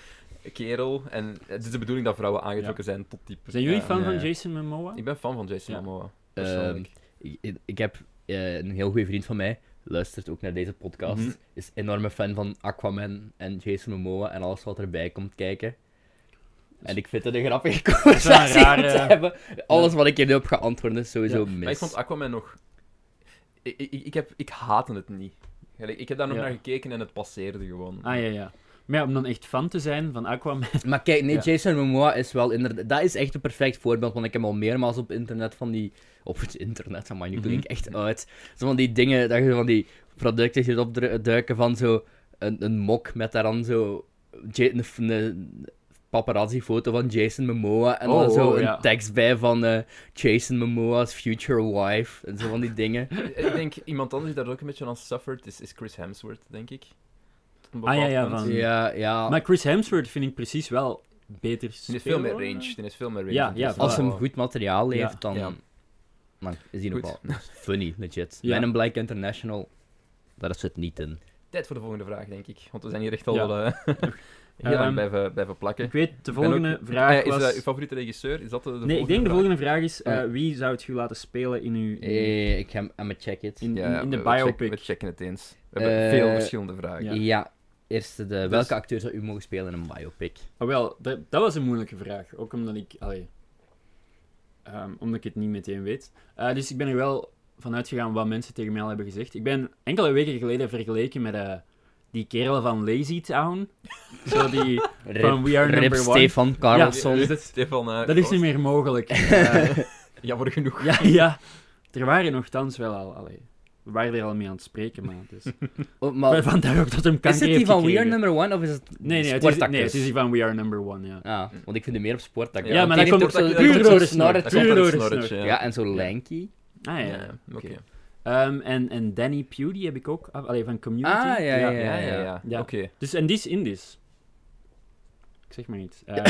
Speaker 1: kerel. En het is de bedoeling dat vrouwen aangetrokken zijn tot die
Speaker 3: Zijn jullie
Speaker 1: Ja.
Speaker 3: fan van
Speaker 2: nee.
Speaker 3: Jason Momoa?
Speaker 1: Ik ben fan van Jason
Speaker 3: Ja.
Speaker 1: Momoa.
Speaker 2: Ehm,
Speaker 1: Persoonlijk.
Speaker 2: ik, ik heb eh, een heel goede vriend van mij, luistert ook naar deze podcast,
Speaker 1: Mhm.
Speaker 2: is enorme fan van Aquaman en Jason Momoa en alles wat erbij komt kijken. En ik vind het een grappige conversatie om
Speaker 3: rare-
Speaker 2: te hebben. Alles wat ik hier nu heb geantwoord is sowieso
Speaker 3: Ja,
Speaker 2: mis.
Speaker 1: Maar ik vond Aquaman nog... Ik, ik, ik, heb, ik haatte het niet. Gelijk, Ik heb daar nog
Speaker 3: Ja.
Speaker 1: naar gekeken en het passeerde gewoon.
Speaker 3: Ah, ja, ja. Maar ja, om dan echt fan te zijn van Aquaman.
Speaker 2: Maar kijk, nee,
Speaker 3: Ja.
Speaker 2: Jason Momoa is wel inderdaad... Dat is echt een perfect voorbeeld, want ik heb al meermaals op internet van die... Op het internet, maar
Speaker 3: Mhm.
Speaker 2: nu klink ik echt uit. Zo van die dingen, dat je van die producten ziet opduiken van zo... Een, een mok met daar dan zo... Ja- Een, een paparazzi-foto van Jason Momoa en dan
Speaker 3: Oh,
Speaker 2: zo
Speaker 3: oh,
Speaker 2: een
Speaker 3: ja.
Speaker 2: tekst bij van eh, Jason Momoa's future wife en zo van die dingen.
Speaker 1: ik denk, iemand anders die daar ook een beetje aan suffert is, is Chris Hemsworth, denk ik. Tot een
Speaker 3: Ah, ja,
Speaker 1: bepaald
Speaker 3: ja,
Speaker 1: punt.
Speaker 3: van-
Speaker 2: Ja, ja.
Speaker 3: Maar Chris Hemsworth vind ik precies wel beter
Speaker 1: Ah. Die
Speaker 3: spelen. eh?
Speaker 1: is veel meer range. Die is veel meer range. Dus
Speaker 3: Ja,
Speaker 1: dan
Speaker 3: ja,
Speaker 1: Jason
Speaker 2: Als hem
Speaker 1: Momoa.
Speaker 2: goed materiaal levert, dan...
Speaker 1: Ja.
Speaker 2: dan is hij nog
Speaker 1: Goed.
Speaker 2: wel funny, legit.
Speaker 3: Ja.
Speaker 2: Men in Black International, daar zit niet in.
Speaker 1: Tijd voor de volgende vraag, denk ik. Want we zijn hier echt al
Speaker 3: Ja.
Speaker 1: wel, eh, heel
Speaker 3: Ehm,
Speaker 1: lang blijven, blijven plakken.
Speaker 3: Ik weet, de
Speaker 1: ben ook-
Speaker 3: volgende vraag
Speaker 1: Ah ja, is
Speaker 3: was...
Speaker 1: dat uw favoriete regisseur? Is dat de, de
Speaker 3: nee, ik denk de
Speaker 1: vraag?
Speaker 3: volgende vraag is, eh,
Speaker 2: Oh.
Speaker 3: wie zou het u laten spelen in uw...
Speaker 2: Eh, ik ga hem check it.
Speaker 3: in, in,
Speaker 1: Ja,
Speaker 3: in de
Speaker 1: we- we check-
Speaker 3: biopic?
Speaker 1: we checken het eens. We hebben
Speaker 2: Eh,
Speaker 1: veel verschillende vragen.
Speaker 2: Ja,
Speaker 3: Ja.
Speaker 2: eerst de,
Speaker 3: Dus-
Speaker 2: welke acteur zou u mogen spelen in een biopic?
Speaker 3: Ah, wel, dat, dat was een moeilijke vraag. Ook omdat ik... Allee, ehm, omdat ik het niet meteen weet. Eh, dus ik ben er wel van uitgegaan wat mensen tegen mij al hebben gezegd. Ik ben enkele weken geleden vergeleken met eh, die kerel van Lazy Town. Zo die van
Speaker 2: Rip,
Speaker 3: We Are
Speaker 2: Rip
Speaker 3: Number One.
Speaker 2: Stefan Carlson.
Speaker 1: Is het Stefan, eh,
Speaker 3: Dat is niet
Speaker 1: Koos?
Speaker 3: meer mogelijk. Eh,
Speaker 1: Jammer genoeg.
Speaker 3: Ja, ja. Er waren nogthans wel al... Allee, we waren er al mee aan het spreken, maar dus...
Speaker 2: Oh, maar,
Speaker 3: Vandaar ook dat hem kanker
Speaker 2: is het die
Speaker 3: heeft
Speaker 2: van We Are
Speaker 3: gekregen.
Speaker 2: Number One of is het
Speaker 3: Nee, nee, het is,
Speaker 2: sportacteurs?
Speaker 3: nee, het is die van We Are Number One, ja.
Speaker 2: Ah, want ik vind hem meer op sportacteurs.
Speaker 1: Ja,
Speaker 2: Want
Speaker 3: maar
Speaker 2: die
Speaker 3: dat
Speaker 2: heeft
Speaker 1: komt
Speaker 2: ook
Speaker 1: ook-
Speaker 2: zo-
Speaker 1: dat
Speaker 2: die
Speaker 1: komt
Speaker 2: heeft
Speaker 3: door de
Speaker 2: zo'n
Speaker 3: snor.
Speaker 2: snor.
Speaker 1: Dat
Speaker 3: Puur
Speaker 1: komt uit
Speaker 3: door
Speaker 1: het
Speaker 3: de
Speaker 1: snorretje,
Speaker 3: snor.
Speaker 2: Ja. en zo lanky.
Speaker 3: Ah, ja.
Speaker 1: Ja, oké.
Speaker 3: Ehm, en, en Danny Pewdy heb ik ook, af- allee, van Community.
Speaker 2: Ah, ja, ja, ja.
Speaker 1: Ja, ja, ja.
Speaker 3: Ja.
Speaker 1: Oké.
Speaker 3: Dus, en die is Indisch. Ik zeg maar niet. Eh,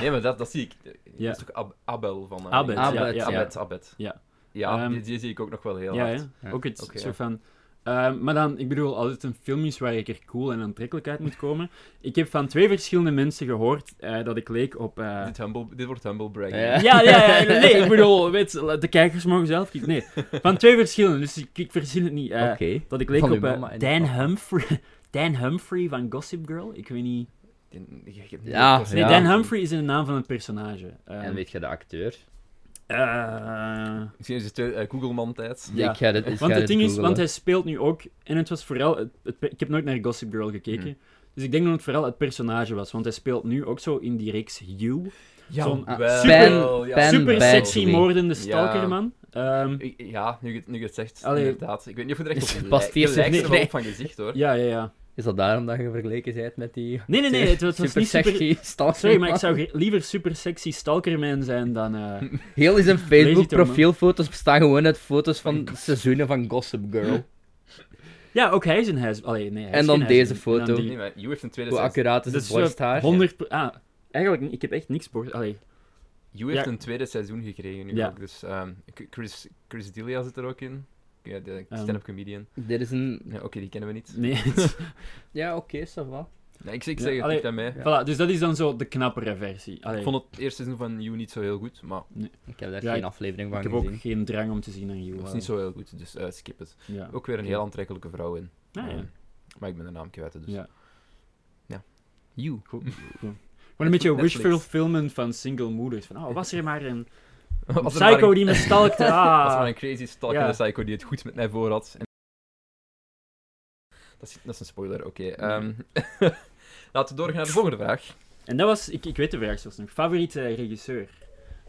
Speaker 1: Nee, maar dat, dat zie ik.
Speaker 3: Ja.
Speaker 1: Dat is toch Ab- Abel van... eh,
Speaker 3: Abed,
Speaker 1: Abed,
Speaker 2: ja, ja.
Speaker 1: Abed, Abed.
Speaker 3: Ja.
Speaker 1: Ja,
Speaker 3: Ehm,
Speaker 1: die, die zie ik ook nog wel heel
Speaker 3: ja,
Speaker 1: hard.
Speaker 3: hè?
Speaker 2: Ja.
Speaker 3: ook het
Speaker 1: Oké,
Speaker 3: soort van... ehm, maar dan, ik bedoel, als het een film is waar ik er cool en aantrekkelijk uit moet komen. Ik heb van twee verschillende mensen gehoord eh, dat ik leek op... eh,
Speaker 1: Dit, humble, dit wordt humble bragging.
Speaker 2: Ja.
Speaker 3: Ja, ja, ja, nee, ik bedoel, weet, je, de kijkers mogen zelf kiezen. Nee, van twee verschillende, dus ik, ik verzin het niet. eh,
Speaker 2: Oké.
Speaker 3: Dat ik leek
Speaker 2: Van
Speaker 3: op
Speaker 2: uw
Speaker 3: eh,
Speaker 2: mama en
Speaker 3: Dan,
Speaker 2: papa.
Speaker 3: Humphrey, Dan Humphrey van Gossip Girl. Ik weet niet.
Speaker 1: Die- die- die- die-
Speaker 2: Ja,
Speaker 1: die-
Speaker 3: Nee,
Speaker 2: ja.
Speaker 3: Dan Humphrey is de naam van het personage. Ehm,
Speaker 2: En weet je de acteur?
Speaker 3: eh,
Speaker 1: Misschien is het eh, Googleman tijd.
Speaker 3: Ja.
Speaker 2: Ik ga dit, ik
Speaker 3: want het
Speaker 2: ga dit
Speaker 3: ding is,
Speaker 2: googlen.
Speaker 3: want hij speelt nu ook, en het was vooral, het, het pe- ik heb nooit naar Gossip Girl gekeken,
Speaker 1: Mhm.
Speaker 3: dus ik denk dat het vooral het personage was, want hij speelt nu ook zo in die reeks You.
Speaker 1: Ja,
Speaker 3: Zo'n-
Speaker 2: Ah,
Speaker 1: wel,
Speaker 2: Stan-
Speaker 1: ja.
Speaker 2: Ben Stan-
Speaker 3: Super sexy
Speaker 2: Badgley.
Speaker 3: moordende stalkerman. Ehm,
Speaker 1: Ik- Ja, nu je het- nu je het zegt,
Speaker 3: Allee.
Speaker 1: inderdaad. Ik weet niet of je er echt op
Speaker 2: Past
Speaker 1: lijkt.
Speaker 2: hier
Speaker 1: Je lijkt
Speaker 2: zich
Speaker 1: er
Speaker 2: niet-
Speaker 1: wel op van gezicht, hoor.
Speaker 3: ja, ja, ja.
Speaker 2: Is dat daarom dat je vergeleken bent met die...
Speaker 3: Nee, nee, nee, het was, was
Speaker 2: super
Speaker 3: niet super...
Speaker 2: sexy stalker
Speaker 3: Sorry, maar ik
Speaker 2: man?
Speaker 3: zou ge- liever super sexy stalkerman zijn dan... eh,
Speaker 2: Heel zijn
Speaker 3: Lazy Town, man.
Speaker 2: Facebook-profielfoto's bestaan gewoon uit foto's van seizoenen van Gossip Girl.
Speaker 3: Ja, ook hij is een huis. Allee, nee, hij is
Speaker 2: En dan
Speaker 3: geen huisbeer.
Speaker 2: deze foto.
Speaker 3: En dan die.
Speaker 1: Nee, maar Hugh heeft een tweede
Speaker 2: Hoe
Speaker 1: seizoen.
Speaker 2: accuraat is
Speaker 3: Dat
Speaker 2: het
Speaker 3: is zo
Speaker 2: borsthaar?
Speaker 3: 100 pro- ah, eigenlijk, niet- ik heb echt niks borst. Allee,
Speaker 1: Hugh heeft
Speaker 3: Ja.
Speaker 1: een tweede seizoen gekregen nu
Speaker 3: Ja.
Speaker 1: ook. Dus ehm, K- Chris, Chris D'Elia zit er ook in. Ja, de
Speaker 3: Ehm.
Speaker 1: stand-up comedian.
Speaker 2: Dit is een...
Speaker 1: Ja, Oké, die kennen we niet.
Speaker 3: nee.
Speaker 2: Ja, oké, ça va.
Speaker 1: Nee, ik, ik
Speaker 3: Ja,
Speaker 1: zeg het,
Speaker 3: allee.
Speaker 1: ik ben mee.
Speaker 3: Voilà, dus dat is dan zo de knappere versie. Allee,
Speaker 1: Ik vond het eerste seizoen van You niet zo heel goed, maar
Speaker 2: Ik heb daar
Speaker 3: Ja,
Speaker 2: geen
Speaker 3: ik-
Speaker 2: aflevering
Speaker 3: ik
Speaker 2: van
Speaker 3: heb
Speaker 2: gezien.
Speaker 3: ook geen drang om te zien aan
Speaker 1: het was
Speaker 3: Johan.
Speaker 1: niet zo heel goed, dus eh, skip het.
Speaker 3: Ja.
Speaker 1: Ook weer een heel aantrekkelijke vrouw in.
Speaker 3: Ah, ja.
Speaker 1: Ehm, maar ik ben de naam kwijt, dus.
Speaker 3: Ja.
Speaker 1: You.
Speaker 3: Gewoon een beetje
Speaker 1: Netflix.
Speaker 3: wishful filmen van single moeders. Van, oh, was er maar een
Speaker 1: Als er maar
Speaker 3: psycho
Speaker 1: een-
Speaker 3: die me stalkte. Ah.
Speaker 1: Dat is maar een crazy stalkende
Speaker 3: Ja.
Speaker 1: psycho die het goed met mij voor had. En... Dat, is, dat is een spoiler, oké. Ehm, Laten we doorgaan naar de volgende vraag.
Speaker 3: En dat was, ik, ik weet de vraag zelfs nog, favoriete regisseur.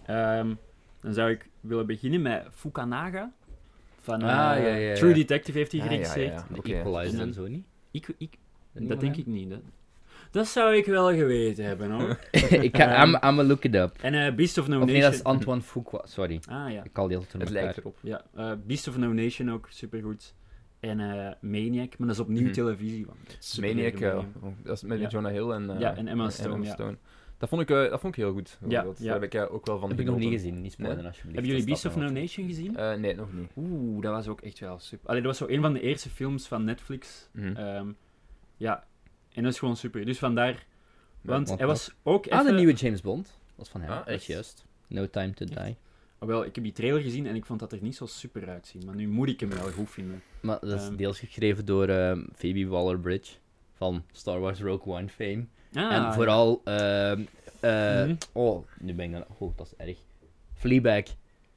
Speaker 3: Ehm, dan zou ik willen beginnen met Fukanaga. Van,
Speaker 2: Ah,
Speaker 3: eh,
Speaker 2: ja, ja, ja.
Speaker 3: True Detective heeft hij
Speaker 1: Ah, ja, ja,
Speaker 3: geregisseerd.
Speaker 1: ja.
Speaker 2: De
Speaker 1: Oké.
Speaker 2: Equalizer
Speaker 3: En
Speaker 2: en
Speaker 3: dus dan-
Speaker 2: zo niet?
Speaker 3: Ik, ik,
Speaker 2: niet
Speaker 3: dat
Speaker 2: van
Speaker 3: denk ik niet. Dat, dat zou ik wel geweten hebben hoor.
Speaker 2: hem? ik ga... I'm, I'm a look it up.
Speaker 3: en eh, Beast of No
Speaker 2: Of nee, dat is
Speaker 3: Nation.
Speaker 2: Antoine Fuqua. Sorry.
Speaker 3: Ah ja,
Speaker 2: Ik al die altijd
Speaker 1: Het
Speaker 2: door
Speaker 1: lijkt
Speaker 2: elkaar.
Speaker 1: erop.
Speaker 3: ja. eh, Beast of No Nation ook supergoed. En eh, Maniac, maar dat is opnieuw
Speaker 1: Mhm.
Speaker 3: televisie. want dat is
Speaker 1: Maniac,
Speaker 3: superleuke
Speaker 1: eh,
Speaker 3: Maniac.
Speaker 1: dat is met
Speaker 3: Ja.
Speaker 1: Jonah Hill en, eh,
Speaker 3: Ja, en Emma Stone, ja.
Speaker 1: Dat, vond ik, eh, dat vond ik heel goed.
Speaker 3: Ja,
Speaker 1: dat,
Speaker 3: ja.
Speaker 1: Daar heb ik eh, ook wel van
Speaker 2: Heb ik nog niet
Speaker 1: genoten.
Speaker 2: gezien. Niet spoileren alsjeblieft.
Speaker 3: Hebben jullie
Speaker 2: dat
Speaker 3: Beast
Speaker 2: staat
Speaker 3: of No
Speaker 2: nog op.
Speaker 3: Nation gezien?
Speaker 1: Eh, nee, nog niet.
Speaker 3: Oeh, dat was ook echt wel super. Allee, dat was zo een van de eerste films van Netflix.
Speaker 1: Mhm.
Speaker 3: Ehm, ja, en dat is gewoon super. Dus vandaar, want
Speaker 2: want
Speaker 3: hij
Speaker 2: dat-
Speaker 3: was ook
Speaker 2: Ah, de
Speaker 3: even-
Speaker 2: nieuwe James Bond. Dat was van hem.
Speaker 1: Ah,
Speaker 2: dat is
Speaker 1: echt?
Speaker 2: juist. No Time to Die.
Speaker 3: Ah, wel, ik heb die trailer gezien en ik vond dat er niet zo super uitzien. Maar nu moet ik hem wel goed vinden.
Speaker 2: Maar dat is
Speaker 3: Ehm.
Speaker 2: deels geschreven door ehm, Phoebe Waller-Bridge. Van Star Wars Rogue One fame.
Speaker 3: Ah,
Speaker 2: en vooral... ehm, eh,
Speaker 3: Mhm.
Speaker 2: Oh, nu ben ik dan... Oh, dat is erg. Fleabag.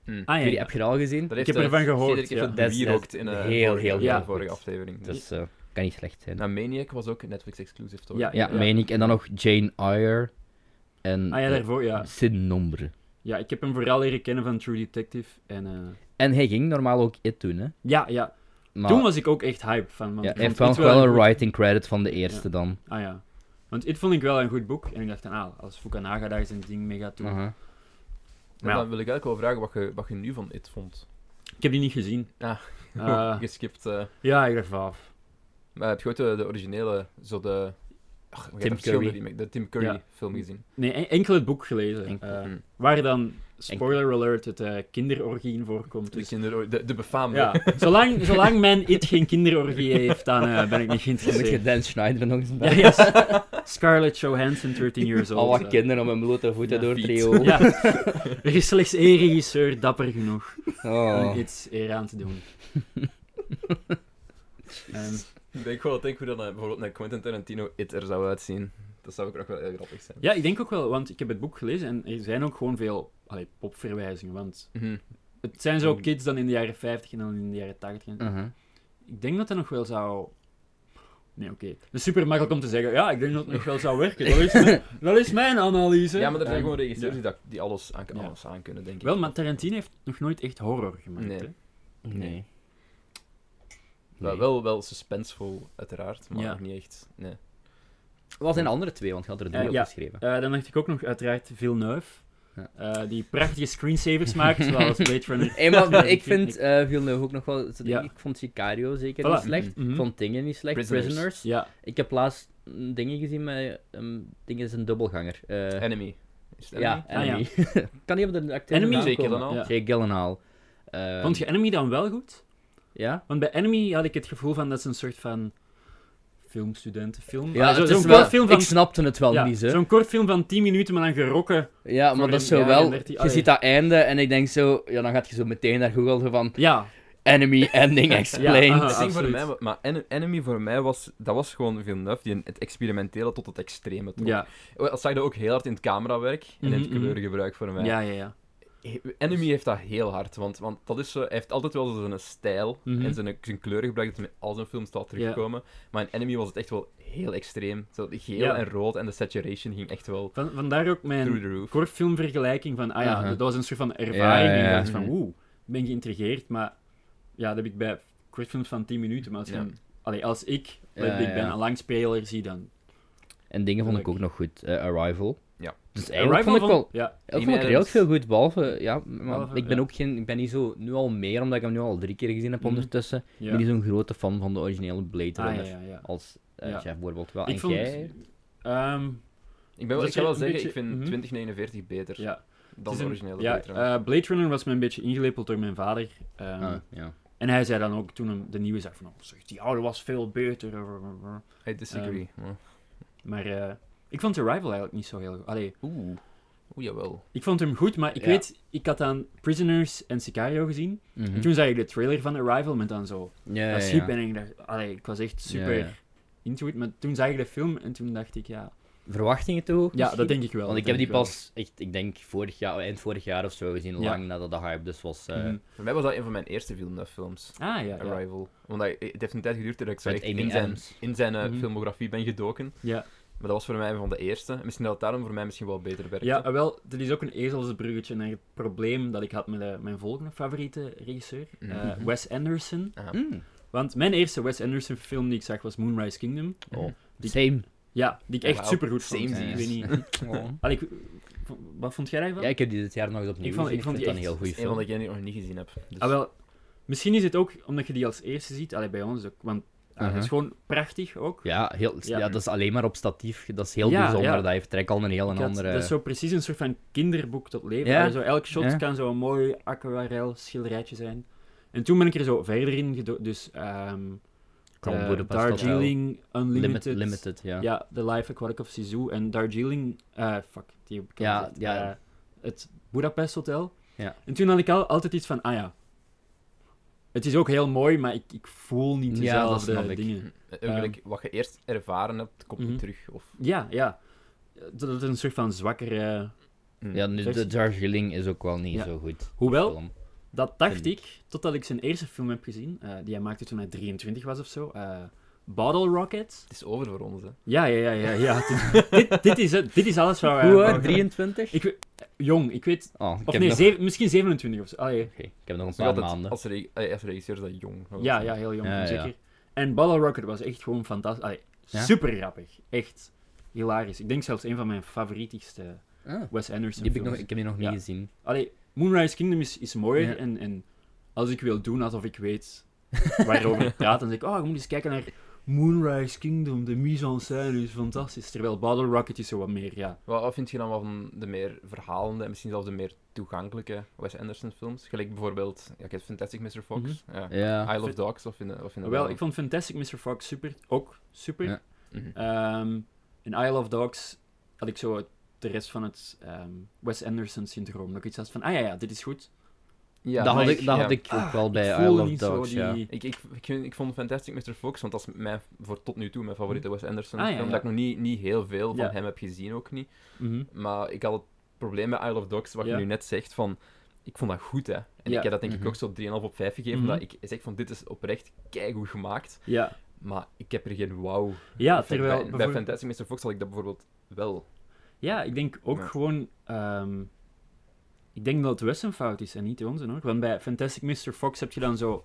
Speaker 1: Hm.
Speaker 3: Ah, ja.
Speaker 2: Jullie, heb je dat al gezien?
Speaker 1: Dat
Speaker 3: Ik
Speaker 1: heeft,
Speaker 3: heb
Speaker 1: eh,
Speaker 3: ervan gehoord,
Speaker 1: Cedric heeft
Speaker 3: ja.
Speaker 1: het
Speaker 2: Dat is-
Speaker 1: bewierookt
Speaker 2: dat is
Speaker 1: in eh,
Speaker 2: heel,
Speaker 1: vorige-
Speaker 2: heel
Speaker 1: ja,
Speaker 3: goed.
Speaker 1: vorige aflevering.
Speaker 2: Dus eh, kan niet slecht zijn.
Speaker 1: Nou, Maniac was ook Netflix exclusief, toch?
Speaker 3: Ja,
Speaker 2: Ja, meen ik. En dan nog Jane Eyre. En eh,
Speaker 3: Ah ja, daarvoor, ja.
Speaker 2: Sin Nombre.
Speaker 3: Ja, ik heb hem vooral leren kennen van True Detective. En, eh,
Speaker 2: En hij ging normaal ook It doen, hè.
Speaker 3: ja, ja.
Speaker 2: Maar
Speaker 3: Toen was ik ook echt hype van. Want
Speaker 2: ja,
Speaker 3: ik
Speaker 2: hij heeft wel
Speaker 3: vond
Speaker 2: nog
Speaker 3: It
Speaker 2: wel een
Speaker 3: goed-
Speaker 2: writing credit van de eerste dan.
Speaker 3: Ah ja. Want dit vond ik wel een goed boek. En ik dacht, dan, ah, als Fukanaga daar zijn ding mee gaat doen.
Speaker 2: Aha.
Speaker 1: En
Speaker 3: Ja.
Speaker 1: dan wil ik eigenlijk wel vragen wat je, wat je nu van It vond.
Speaker 3: Ik heb die niet gezien.
Speaker 1: Ah.
Speaker 3: Eh,
Speaker 1: Geskipt. eh,
Speaker 3: ja, ik dacht van. ah,
Speaker 1: maar heb je ooit de, de originele, zo de... Ach, je
Speaker 2: Tim
Speaker 1: hebt verschillende
Speaker 2: Curry.
Speaker 1: remake- De Tim Curry
Speaker 3: Ja.
Speaker 1: film gezien.
Speaker 3: Nee, en- enkel het boek gelezen.
Speaker 2: Enkel.
Speaker 3: eh,
Speaker 1: Mm.
Speaker 3: waar dan, spoiler alert, het eh kinderorgie in voorkomt.
Speaker 1: De,
Speaker 3: Dus,
Speaker 1: kinder, de, de befaamde.
Speaker 3: ja, zolang, zolang mijn it geen kinderorgie heeft, dan eh, ben ik niet
Speaker 2: Dan moet je
Speaker 3: geïnteresseerd.
Speaker 2: Dan Schneider nog eens
Speaker 3: Ja,
Speaker 2: bij.
Speaker 3: yes. Scarlett Johansson, 13 years old.
Speaker 2: Al wat
Speaker 3: eh.
Speaker 2: kinderen om hun blote voeten
Speaker 1: Ja,
Speaker 2: door
Speaker 1: fiets.
Speaker 2: te riolen.
Speaker 3: Ja, er is slechts één regisseur dapper genoeg om
Speaker 2: Oh.
Speaker 3: iets eer aan te doen. Ehm,
Speaker 1: Ik denk gewoon, denk hoe dat eh, bijvoorbeeld naar Quentin Tarantino It er zou uitzien. Dat zou ook nog wel heel grappig zijn.
Speaker 3: ja, ik denk ook wel, want ik heb het boek gelezen en er zijn ook gewoon veel allee, popverwijzingen. Want
Speaker 1: Mhm.
Speaker 3: het zijn zo kids dan in de jaren 50 en dan in de jaren 80.
Speaker 1: Mm.
Speaker 3: en-
Speaker 2: Uh-huh.
Speaker 3: Ik denk dat dat nog wel zou. Nee, oké. Het is super makkelijk om te zeggen. Ja, ik denk dat het nog wel zou werken. Dat is mijn, dat is mijn analyse.
Speaker 1: Ja, maar er zijn
Speaker 3: Ehm,
Speaker 1: gewoon regisseurs
Speaker 3: ja.
Speaker 1: die, dat, die alles, aan,
Speaker 3: Ja.
Speaker 1: alles aan kunnen, denk ik.
Speaker 3: Wel, maar Tarantino heeft nog nooit echt horror gemaakt.
Speaker 1: Nee.
Speaker 3: hè?
Speaker 2: Nee.
Speaker 1: Wel, wel, wel suspensevol, uiteraard, maar
Speaker 3: Ja.
Speaker 1: niet echt. Nee.
Speaker 2: Wat zijn de andere twee? Want je had er drie
Speaker 3: Eh,
Speaker 2: op
Speaker 3: ja.
Speaker 2: geschreven.
Speaker 3: Eh, dan dacht ik ook nog uiteraard Villeneuve.
Speaker 2: Ja.
Speaker 3: Eh, die prachtige screensavers maakt, zoals Blade Runner.
Speaker 2: Hey, maar ik
Speaker 3: Ik vind-
Speaker 2: vind eh Villeneuve ook nog wel...
Speaker 3: Ja.
Speaker 2: Ik vond Sicario zeker
Speaker 3: Voilà.
Speaker 2: niet slecht.
Speaker 1: Mhm.
Speaker 3: Mhm.
Speaker 2: Ik vond Dingen niet slecht.
Speaker 1: Prisoners.
Speaker 2: Prisoners.
Speaker 3: Ja,
Speaker 2: Ik heb laatst mm, dingen gezien met... ehm dingen is een dubbelganger. Eh,
Speaker 1: Enemy. Ah, Is het
Speaker 2: ja,
Speaker 3: Enemy?
Speaker 2: Enemy. kan niet op de acteur
Speaker 3: Enemy?
Speaker 2: naam
Speaker 1: Jake
Speaker 2: komen.
Speaker 1: Gyllenhaal.
Speaker 3: Ja.
Speaker 2: Jake Gyllenhaal. Ehm,
Speaker 3: vond je Enemy dan wel goed?
Speaker 2: Ja?
Speaker 3: Want bij Enemy had ik het gevoel van dat is een soort van filmstudentenfilm.
Speaker 2: Ja,
Speaker 3: Allee, Ah, zo-
Speaker 2: het
Speaker 3: zo'n
Speaker 2: is wel-
Speaker 3: kort film van,
Speaker 2: ik snapte het wel
Speaker 3: ja,
Speaker 2: niet, hè.
Speaker 3: zo'n kort film van 10 minuten, maar dan gerokken.
Speaker 2: Ja, maar
Speaker 3: voor
Speaker 2: dat is
Speaker 3: een-
Speaker 2: zo
Speaker 3: ja,
Speaker 2: wel...
Speaker 3: 13
Speaker 2: Je
Speaker 3: allee.
Speaker 2: ziet dat einde en ik denk zo... Ja, dan gaat je zo meteen naar Google zo van...
Speaker 3: Ja,
Speaker 2: Enemy ending explained.
Speaker 3: aha.
Speaker 1: Het ding voor
Speaker 3: Ah, absoluut.
Speaker 1: mij, maar En- Enemy voor mij was, dat was gewoon Villeneuve die het experimentele tot het extreme trok.
Speaker 3: ja,
Speaker 1: Dat zag je ook heel hard in het camerawerk en in het
Speaker 3: Mhm, mhm.
Speaker 1: kleurgebruik voor mij. Eh,
Speaker 3: ja, ja. ja.
Speaker 1: Enemy heeft dat heel hard, want, want dat is zo, hij heeft altijd wel zijn stijl
Speaker 3: Mhm.
Speaker 1: en zijn, zijn kleurengebruik dat in al zijn films staat terugkomen. Maar in Enemy was het echt wel heel extreem. Zo, de geel
Speaker 3: Ja.
Speaker 1: en rood en de saturation ging echt wel
Speaker 3: Van, vandaar ook mijn
Speaker 1: through the roof.
Speaker 3: kort filmvergelijking van, ah ja,
Speaker 2: Aha.
Speaker 3: dat was een soort van ervaring.
Speaker 2: Uh-huh. Ja, ja,
Speaker 3: en
Speaker 2: ja.
Speaker 3: dat is van, oeh, ik ben geïntrigeerd, maar ja, dat heb ik bij kortfilms van 10 minuten. Maar als, je
Speaker 1: Ja.
Speaker 3: hem- allee, als ik,
Speaker 2: Ja,
Speaker 3: ik ben
Speaker 2: ja.
Speaker 3: een langspeler, zie dan.
Speaker 2: En dingen vond ik ook nog goed. Eh, Arrival.
Speaker 1: Ja.
Speaker 2: Dus
Speaker 3: Eh,
Speaker 2: eigenlijk vond ik
Speaker 3: Rifleman
Speaker 2: wel...
Speaker 3: Ja,
Speaker 2: Ik vond
Speaker 1: Amy
Speaker 2: ik redelijk
Speaker 1: Adams.
Speaker 2: veel goed, behalve... Ja, maar
Speaker 3: Behalve,
Speaker 2: ik ben
Speaker 3: ja.
Speaker 2: ook geen... Ik ben niet zo... Nu al meer, omdat ik hem nu al drie keer gezien heb
Speaker 3: Mhm.
Speaker 2: ondertussen. Ik
Speaker 3: ja.
Speaker 2: ben niet zo'n grote fan van de originele Blade
Speaker 3: Ah, ja,
Speaker 2: Runner.
Speaker 3: ja, ja.
Speaker 2: Als eh,
Speaker 3: Ja.
Speaker 2: chef bijvoorbeeld wel. en
Speaker 3: Ik vond...
Speaker 2: jij...
Speaker 3: Ehm,
Speaker 1: Ik, ben, wel-
Speaker 3: Dat
Speaker 1: ik zou wel
Speaker 3: je een
Speaker 1: zeggen,
Speaker 3: beetje-
Speaker 1: ik vind
Speaker 3: mhm.
Speaker 1: 2049 beter
Speaker 3: ja. Het
Speaker 1: dan
Speaker 3: is
Speaker 1: de
Speaker 3: een-
Speaker 1: originele
Speaker 3: ja,
Speaker 1: Blade Runner.
Speaker 3: eh, Blade Runner was me een beetje ingelepeld door mijn vader. ehm,
Speaker 2: Ah, ja.
Speaker 3: En hij zei dan ook toen hem de nieuwe zei van, oh, zeg, die oude was veel beter. eh,
Speaker 1: I disagree.
Speaker 3: ehm.
Speaker 1: maar-
Speaker 3: Maar eh, ik vond The Rival eigenlijk niet zo heel goed. Allee,
Speaker 1: Oeh. Oeh, jawel.
Speaker 3: ik vond hem goed, maar ik
Speaker 2: Ja.
Speaker 3: weet, ik had aan Prisoners en Sicario gezien.
Speaker 2: Mhm.
Speaker 3: En toen zag ik de trailer van Arrival met dan zo.
Speaker 2: Ja,
Speaker 3: dat
Speaker 2: ja,
Speaker 3: schiep
Speaker 2: ja.
Speaker 3: en ik dacht, allee, ik was echt super
Speaker 2: Ja, ja.
Speaker 3: into it. Maar toen zag ik de film en toen dacht ik, ja,
Speaker 2: Verwachtingen te hoog
Speaker 3: ja
Speaker 2: misschien?
Speaker 3: dat denk ik wel.
Speaker 2: Want ik
Speaker 3: dat
Speaker 2: heb die
Speaker 3: denk wel.
Speaker 2: pas, echt, ik denk vorig jaar, oh, eind vorig jaar of zo gezien,
Speaker 3: Ja.
Speaker 2: lang nadat de hype dus was. eh
Speaker 3: Mhm.
Speaker 1: Voor mij was dat een van mijn eerste films.
Speaker 3: Ah, ja, ja.
Speaker 1: Arrival. Want hij- het heeft een tijd geduurd dat ik zo
Speaker 2: Met
Speaker 1: echt
Speaker 2: Amy
Speaker 1: in zijn,
Speaker 2: Adams.
Speaker 1: in zijn eh,
Speaker 3: Mhm.
Speaker 1: filmografie ben gedoken.
Speaker 3: Ja,
Speaker 1: Maar dat was voor mij een van de eerste. En Misschien dat het daarom voor mij misschien wel beter werkte.
Speaker 3: ja eh, wel, dit is ook een ezelsbruggetje naar het probleem dat ik had met eh, mijn volgende favoriete regisseur, eh,
Speaker 1: Mhm.
Speaker 3: Wes Anderson.
Speaker 1: Ah.
Speaker 2: Mm.
Speaker 3: Want mijn eerste Wes Anderson film die ik zag was Moonrise Kingdom.
Speaker 2: Oh.
Speaker 3: Die-
Speaker 2: Same.
Speaker 3: Ja, die ik echt
Speaker 1: Wauw,
Speaker 3: super goed vond.
Speaker 1: samesies.
Speaker 3: Ik weet niet. Allee, ik- v- wat vond jij daarvan?
Speaker 2: Ja, ik heb die dit jaar nog eens opnieuw
Speaker 3: Ik vond-
Speaker 2: gezien.
Speaker 3: ik vond die
Speaker 2: dat een
Speaker 3: echt-
Speaker 2: heel
Speaker 1: Dat
Speaker 2: goede
Speaker 1: is een van
Speaker 2: film.
Speaker 1: de die ik nog niet gezien heb. Dus...
Speaker 3: Ah, wel, misschien is het ook omdat je die als eerste ziet. Allee, bij ons ook. Want ah,
Speaker 2: Mhm.
Speaker 3: het is gewoon prachtig ook.
Speaker 2: Ja, heel, ja.
Speaker 3: Ja.
Speaker 2: dat is alleen maar op statief. Dat is heel
Speaker 3: Ja,
Speaker 2: bijzonder.
Speaker 3: ja.
Speaker 2: Dat heeft trek al een heel
Speaker 3: Ik
Speaker 2: een
Speaker 3: had-
Speaker 2: andere...
Speaker 3: Dat is zo precies een soort van kinderboek tot leven.
Speaker 2: Ja.
Speaker 3: Allee, Zo, elk shot
Speaker 2: Ja.
Speaker 3: kan zo'n mooi aquarel schilderijtje zijn. En toen ben ik er zo verder in gedoken. Dus ehm eh,
Speaker 2: Clown Budapest Hotel.
Speaker 3: Darjeeling,
Speaker 2: Limit-
Speaker 3: Unlimited.
Speaker 2: limited, ja.
Speaker 3: Ja, The Life Aquatic of Sisu en Darjeeling, eh fuck, die heb ik al
Speaker 2: Ja,
Speaker 3: gezegd,
Speaker 2: ja.
Speaker 3: eh, het Budapest Hotel.
Speaker 2: Ja.
Speaker 3: En toen had ik al, altijd iets van, ah ja, het is ook heel mooi, maar ik, ik voel niet
Speaker 2: Ja, dat
Speaker 3: dezelfde
Speaker 2: snap ik.
Speaker 3: dingen.
Speaker 1: Eh, ook gelijk,
Speaker 2: Ehm.
Speaker 1: wat je eerst ervaren hebt, komt niet
Speaker 3: Mhm.
Speaker 1: terug. Of...
Speaker 3: Ja, ja. Dat het een soort van zwakkere...
Speaker 1: Mm.
Speaker 2: Ja, nu, de
Speaker 3: Zegt-
Speaker 2: Darjeeling is ook wel niet
Speaker 3: Ja. Oh.
Speaker 2: zo goed.
Speaker 3: Hoewel,
Speaker 2: film.
Speaker 3: dat dacht
Speaker 2: Vind
Speaker 3: ik, totdat ik zijn eerste film heb gezien, eh, die hij maakte toen hij 23 was of zo, eh, Bottle Rocket.
Speaker 1: Het is over voor ons, hè.
Speaker 3: Ja, ja, ja, ja. ja. dit, dit- dit, is, het- dit is alles waar wij...
Speaker 2: Hoe
Speaker 3: aan
Speaker 2: oud?
Speaker 3: bouwen.
Speaker 2: 23?
Speaker 3: Ik, we- eh, jong, ik weet
Speaker 2: Oh, ik
Speaker 3: Of
Speaker 2: heb
Speaker 3: nee,
Speaker 2: nog...
Speaker 3: zeven- misschien 27 of zo. Ah, Allee.
Speaker 2: Oké, ik heb nog een
Speaker 1: Nog
Speaker 2: paar
Speaker 1: altijd
Speaker 2: maanden.
Speaker 1: Als, re- eh, als regisseur is dat jong. nog
Speaker 3: Ja,
Speaker 1: altijd.
Speaker 3: ja, heel jong,
Speaker 2: Oh, Ja, ja.
Speaker 3: zeker. En Bottle Rocket was echt gewoon fantastisch. Allee,
Speaker 2: Ja?
Speaker 3: super grappig. Echt hilarisch. Ik denk zelfs een van mijn favorietigste
Speaker 2: Ah,
Speaker 3: Wes Anderson
Speaker 2: die heb ik,
Speaker 3: films.
Speaker 2: nog, ik heb die nog niet
Speaker 3: Ja.
Speaker 2: gezien.
Speaker 3: Allee, Moonrise Kingdom is, is mooier.
Speaker 2: Ja.
Speaker 3: En, en als ik wil doen alsof ik weet waarover ik praat, dan zeg ik, oh, ik moet eens kijken naar Moonrise Kingdom. De mise-en-scène is fantastisch. Terwijl Bottle Rocket is zo wat meer, ja.
Speaker 1: Wat, wat vind je dan wel van de meer verhalende en misschien zelfs de meer toegankelijke Wes Anderson films? Gelijk bijvoorbeeld, ja, ik heb Fantastic Mr. Fox, ja.
Speaker 2: Mhm. Ja.
Speaker 1: I Love Dogs, of in de, of in de
Speaker 3: Wel, ik vond Fantastic Mr. Fox super, ook super.
Speaker 2: Ja.
Speaker 1: Mhm.
Speaker 3: Ehm in Isle of Dogs had ik zo het- de rest van het ehm, Wes Anderson-syndroom. Dat ik iets had van, ah ja, ja, dit is goed.
Speaker 1: Ja,
Speaker 2: dat had
Speaker 1: maar
Speaker 2: ik, dat had
Speaker 1: ja.
Speaker 2: ik ook wel bij
Speaker 3: Ah, ik
Speaker 2: I
Speaker 3: voelde
Speaker 2: Love
Speaker 3: niet zo
Speaker 2: Dogs, ja.
Speaker 3: die-
Speaker 1: Ik, ik, ik, vind- ik vond Fantastic Mr. Fox, want dat is mijn, voor tot nu toe mijn favoriete Wes Anderson
Speaker 3: Ah, ja,
Speaker 1: film,
Speaker 3: ja.
Speaker 1: dat ik nog niet, niet heel veel van
Speaker 3: Ja.
Speaker 1: hem heb gezien, ook niet.
Speaker 3: Mhm.
Speaker 1: Maar ik had het probleem bij Isle of Dogs, wat
Speaker 3: Ja.
Speaker 1: je nu net zegt, van... Ik vond dat goed, hè. En
Speaker 3: Ja.
Speaker 1: ik heb dat denk
Speaker 2: Mhm.
Speaker 1: ik ook zo 3,5 op 5 gegeven,
Speaker 3: Mhm.
Speaker 1: omdat ik zeg van, dit is oprecht keigoed gemaakt,
Speaker 3: Ja,
Speaker 1: maar ik heb er geen wauw
Speaker 3: ja
Speaker 1: effect
Speaker 3: terwijl...
Speaker 1: bij, bij
Speaker 3: bijvoorbeeld-
Speaker 1: Fantastic Mr. Fox had ik dat bijvoorbeeld wel.
Speaker 3: ja, ik denk ook
Speaker 1: Ja.
Speaker 3: gewoon... ehm, ik denk dat het Wes een fout is en niet de onze, hoor. Want bij Fantastic Mr. Fox heb je dan zo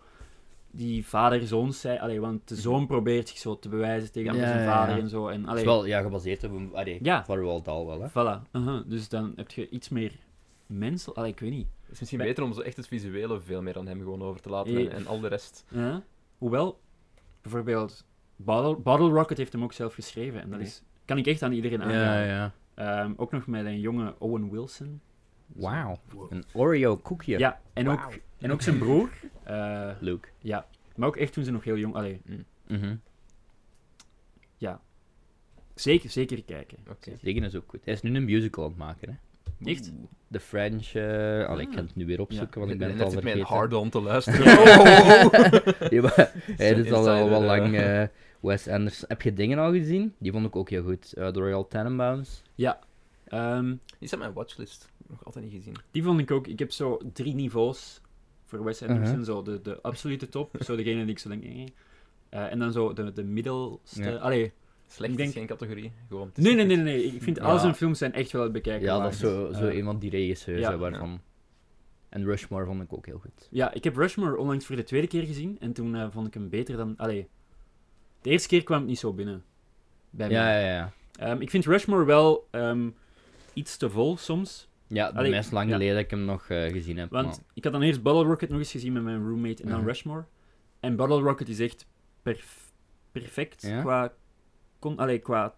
Speaker 3: die vader-zoon... zij- Allee, want de zoon probeert zich zo te bewijzen tegen
Speaker 2: Mhm. Ja,
Speaker 3: zijn
Speaker 2: ja,
Speaker 3: vader
Speaker 2: ja.
Speaker 3: en zo. En,
Speaker 2: Het is
Speaker 3: allee,
Speaker 2: wel ja, gebaseerd op een... Allee,
Speaker 3: Ja.
Speaker 2: voor Roald Dahl wel, hè.
Speaker 3: voilà. aha. Dus dan heb je iets meer mensel... Allee, ik weet niet.
Speaker 1: Het is misschien
Speaker 3: Bij-
Speaker 1: beter om zo echt het visuele veel meer aan hem gewoon over te laten
Speaker 3: Eh.
Speaker 1: en, en al de rest.
Speaker 3: Ja. Hoewel, bijvoorbeeld, Bottle, Bottle Rocket heeft hem ook zelf geschreven. En dat
Speaker 1: Mhm.
Speaker 3: is, kan ik echt aan iedereen
Speaker 2: Ja,
Speaker 3: aanraden.
Speaker 2: ja.
Speaker 3: Ehm, ook nog met een jonge Owen Wilson.
Speaker 2: Wauw. Een Oreo koekje.
Speaker 3: Ja, en,
Speaker 2: Wauw.
Speaker 3: ook, en ook zijn broer. eh,
Speaker 2: Luke.
Speaker 3: maar ook echt toen ze nog heel jong... Allee,
Speaker 2: Mhm.
Speaker 3: zeker, zeker kijken.
Speaker 1: Oké.
Speaker 2: Tegen is ook goed. Hij is nu een musical aan het maken, hè.
Speaker 3: Echt?
Speaker 1: Oeh.
Speaker 2: The French... eh, Allee, ik
Speaker 3: Ah.
Speaker 2: ga het nu weer opzoeken, want ik ben
Speaker 1: En
Speaker 2: het
Speaker 1: net
Speaker 2: al
Speaker 1: zit mij een
Speaker 2: vergeten.
Speaker 1: hard-on te luisteren. Oh,
Speaker 2: Ja, maar hij is al wel,
Speaker 1: insider,
Speaker 2: wel
Speaker 1: eh.
Speaker 2: lang... eh, Wes Anderson. Heb je dingen al gezien? Die vond ik ook heel goed. Eh, The Royal Tenenbaums.
Speaker 3: Ehm,
Speaker 1: Die staat op mijn watchlist. Nog altijd niet gezien.
Speaker 3: die vond ik ook... Ik heb zo drie niveaus voor Wes
Speaker 2: Mhm.
Speaker 3: Anderson. Zo de, de absolute top. zo degene die ik zo denk... eh. Eh, en dan zo de, de middelste...
Speaker 2: Ja.
Speaker 3: Allee,
Speaker 1: Slecht
Speaker 3: Ik
Speaker 1: is
Speaker 3: denk-
Speaker 1: geen categorie. Gewoon, het is
Speaker 3: nee,
Speaker 1: niet
Speaker 3: nee, nee,
Speaker 1: goed.
Speaker 3: nee. Ik vind
Speaker 2: Ja.
Speaker 3: al zijn films zijn echt wel het bekijken
Speaker 2: Ja, dat
Speaker 3: waard.
Speaker 2: is zo, zo
Speaker 3: Eh,
Speaker 2: een van die regisseurs
Speaker 3: ja.
Speaker 2: hè, waarvan... En Rushmore vond ik ook heel goed.
Speaker 3: Ja, ik heb Rushmore onlangs voor de tweede keer gezien en toen eh, vond ik hem beter dan. Allee, de eerste keer kwam het niet zo binnen. Bij
Speaker 2: Ja,
Speaker 3: mij.
Speaker 2: ja, ja.
Speaker 3: Ehm, ik vind Rushmore wel. ehm, iets te vol soms.
Speaker 2: Ja, de
Speaker 3: Allee,
Speaker 2: meest lang
Speaker 3: ja.
Speaker 2: geleden dat ik hem nog eh, gezien heb.
Speaker 3: Want
Speaker 2: maar-
Speaker 3: ik had dan eerst Bottle Rocket nog eens gezien met mijn roommate en dan
Speaker 2: Mhm.
Speaker 3: Rushmore. En Bottle Rocket is echt perf- perfect
Speaker 2: Ja?
Speaker 3: qua, con- allee, qua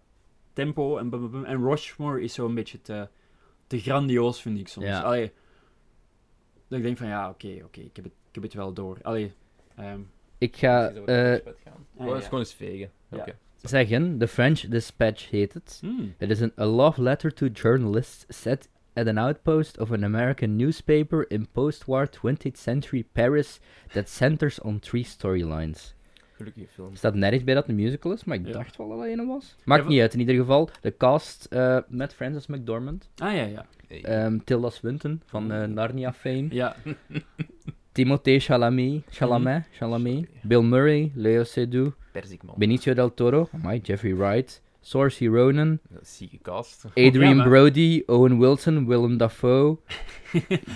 Speaker 3: tempo. En, bum, bum, bum. en Rushmore is zo'n beetje te, te grandioos, vind ik soms.
Speaker 2: Ja.
Speaker 3: Allee, dat ik denk van ja, oké, oké, ik, heb het- ik heb het wel door. Allee, ehm,
Speaker 2: Ik ga
Speaker 1: Is dat wat
Speaker 2: eh,
Speaker 1: dispatch gaan?
Speaker 3: ja,
Speaker 1: Oh, dat
Speaker 3: ja.
Speaker 1: is gewoon eens vegen.
Speaker 3: Ja.
Speaker 1: Oké.
Speaker 2: zeggen, The French Dispatch heet het.
Speaker 3: hmm.
Speaker 2: It is an, a love letter to journalists set at an outpost of an American newspaper in post-war 20th century Paris that centers on three storylines.
Speaker 1: Gelukkige film.
Speaker 2: Er staat nergens bij dat het een musical is, maar ik
Speaker 3: Ja.
Speaker 2: dacht wel dat dat een was. Maakt
Speaker 3: Ja,
Speaker 2: niet uit, in ieder geval. De cast eh, met Frances McDormand,
Speaker 3: Ah ja, ja.
Speaker 1: Hey.
Speaker 2: ehm, Tilda Swinton van
Speaker 3: Mm.
Speaker 2: eh, Narnia fame,
Speaker 3: ja.
Speaker 2: Timothée
Speaker 3: Mm.
Speaker 2: Chalamet, Chalamet, Chalamet, Bill Murray, Leo Seydoux,
Speaker 1: Perzikman.
Speaker 2: Benicio del Toro, amai, Jeffrey Wright, Saoirse Ronan,
Speaker 1: Dat is zieke cast.
Speaker 2: Adrian
Speaker 3: maar-
Speaker 2: Brody, Owen Wilson, Willem Dafoe.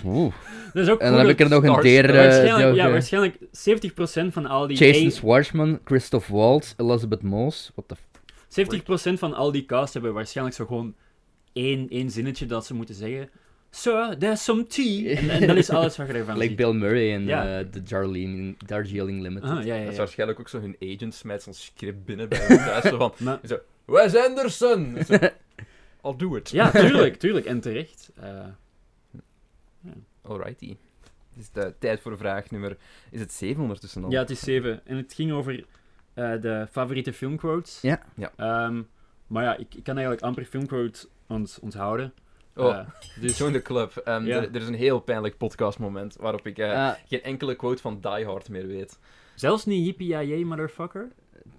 Speaker 2: Oeh.
Speaker 3: Dat is ook
Speaker 2: En dan heb
Speaker 3: goed
Speaker 2: ik er
Speaker 3: dat-
Speaker 2: nog een
Speaker 1: Stars.
Speaker 2: derde. eh,
Speaker 3: waarschijnlijk,
Speaker 2: die
Speaker 3: ja,
Speaker 2: ook, eh,
Speaker 3: waarschijnlijk 70% van al die
Speaker 2: Jason
Speaker 3: A-
Speaker 2: Schwartzman, Christoph Waltz, Elizabeth Moss. What the f-
Speaker 3: 70% van al die cast hebben waarschijnlijk zo gewoon één, één zinnetje dat ze moeten zeggen. Sir, there's some tea. En, en dat is alles wat je ervan
Speaker 2: Like
Speaker 3: ziet.
Speaker 2: Bill Murray en
Speaker 3: Ja.
Speaker 2: eh, de Darlene, Darjeeling Limited.
Speaker 3: Ah, ja, ja,
Speaker 1: Dat is
Speaker 3: ja.
Speaker 1: waarschijnlijk ook zo hun agent smijt zo'n script binnen bij hem thuis. Zo van,
Speaker 3: Maar-
Speaker 1: zo, Wes Anderson! Zo, I'll do it.
Speaker 3: ja, tuurlijk, tuurlijk. En terecht. Eh,
Speaker 1: Alrighty. Het is de tijd voor vraag nummer... Is het 7 ondertussen al?
Speaker 3: ja, het is 7. En het ging over eh, de favoriete filmquotes.
Speaker 2: Ja.
Speaker 1: Ja.
Speaker 3: Ehm, maar ja, ik, ik kan eigenlijk amper filmquotes ont- onthouden.
Speaker 1: Oh,
Speaker 3: Eh,
Speaker 1: dus join the club. Ehm,
Speaker 3: Ja.
Speaker 1: er, er is een heel pijnlijk podcastmoment waarop ik eh,
Speaker 2: Ah,
Speaker 1: geen enkele quote van Die Hard meer weet.
Speaker 3: zelfs niet yippie motherfucker.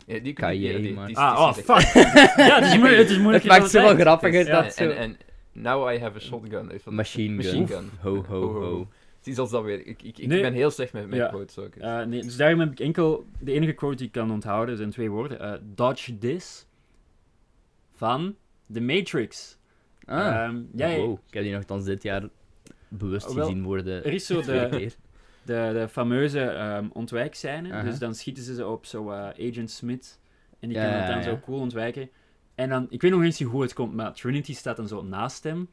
Speaker 1: Eh, die,
Speaker 2: Kan je,
Speaker 1: die- die- die-
Speaker 2: maar-
Speaker 1: die-
Speaker 3: Ah,
Speaker 1: die-
Speaker 3: oh,
Speaker 1: die-
Speaker 3: fuck. ja, het is, moe- het is
Speaker 2: het
Speaker 3: moeilijker
Speaker 2: maakt ze
Speaker 3: dan
Speaker 2: wel
Speaker 3: het lijkt.
Speaker 2: grappiger
Speaker 1: Ja,
Speaker 2: dat
Speaker 1: en,
Speaker 2: zo.
Speaker 1: en- now I have a shotgun. If
Speaker 2: Machine gun.
Speaker 1: machine gun.
Speaker 2: Ho, ho, ho.
Speaker 1: Zie zelfs dat weer. Ik, ik, ik
Speaker 3: Nee.
Speaker 1: ben heel slecht met, met
Speaker 3: Ja.
Speaker 1: quotes ook.
Speaker 3: Eh, nee, dus daarom heb ik enkel de enige quote die ik kan onthouden zijn twee woorden: Eh, Dodge this van The Matrix.
Speaker 2: Ah,
Speaker 3: Ehm, ja, ja,
Speaker 2: wow. Ik heb die nogthans dit jaar bewust
Speaker 3: Oh, wel,
Speaker 2: gezien worden.
Speaker 3: er is zo
Speaker 2: Twee
Speaker 3: de,
Speaker 2: keer.
Speaker 3: de, de fameuze ehm, ontwijkscène.
Speaker 2: Aha.
Speaker 3: Dus dan schieten ze ze op zo eh, Agent Smith en die
Speaker 2: Ja,
Speaker 3: kan dat
Speaker 2: ja,
Speaker 3: dan
Speaker 2: ja.
Speaker 3: zo cool ontwijken. En dan, ik weet nog eens niet hoe het komt, maar Trinity staat dan zo naast hem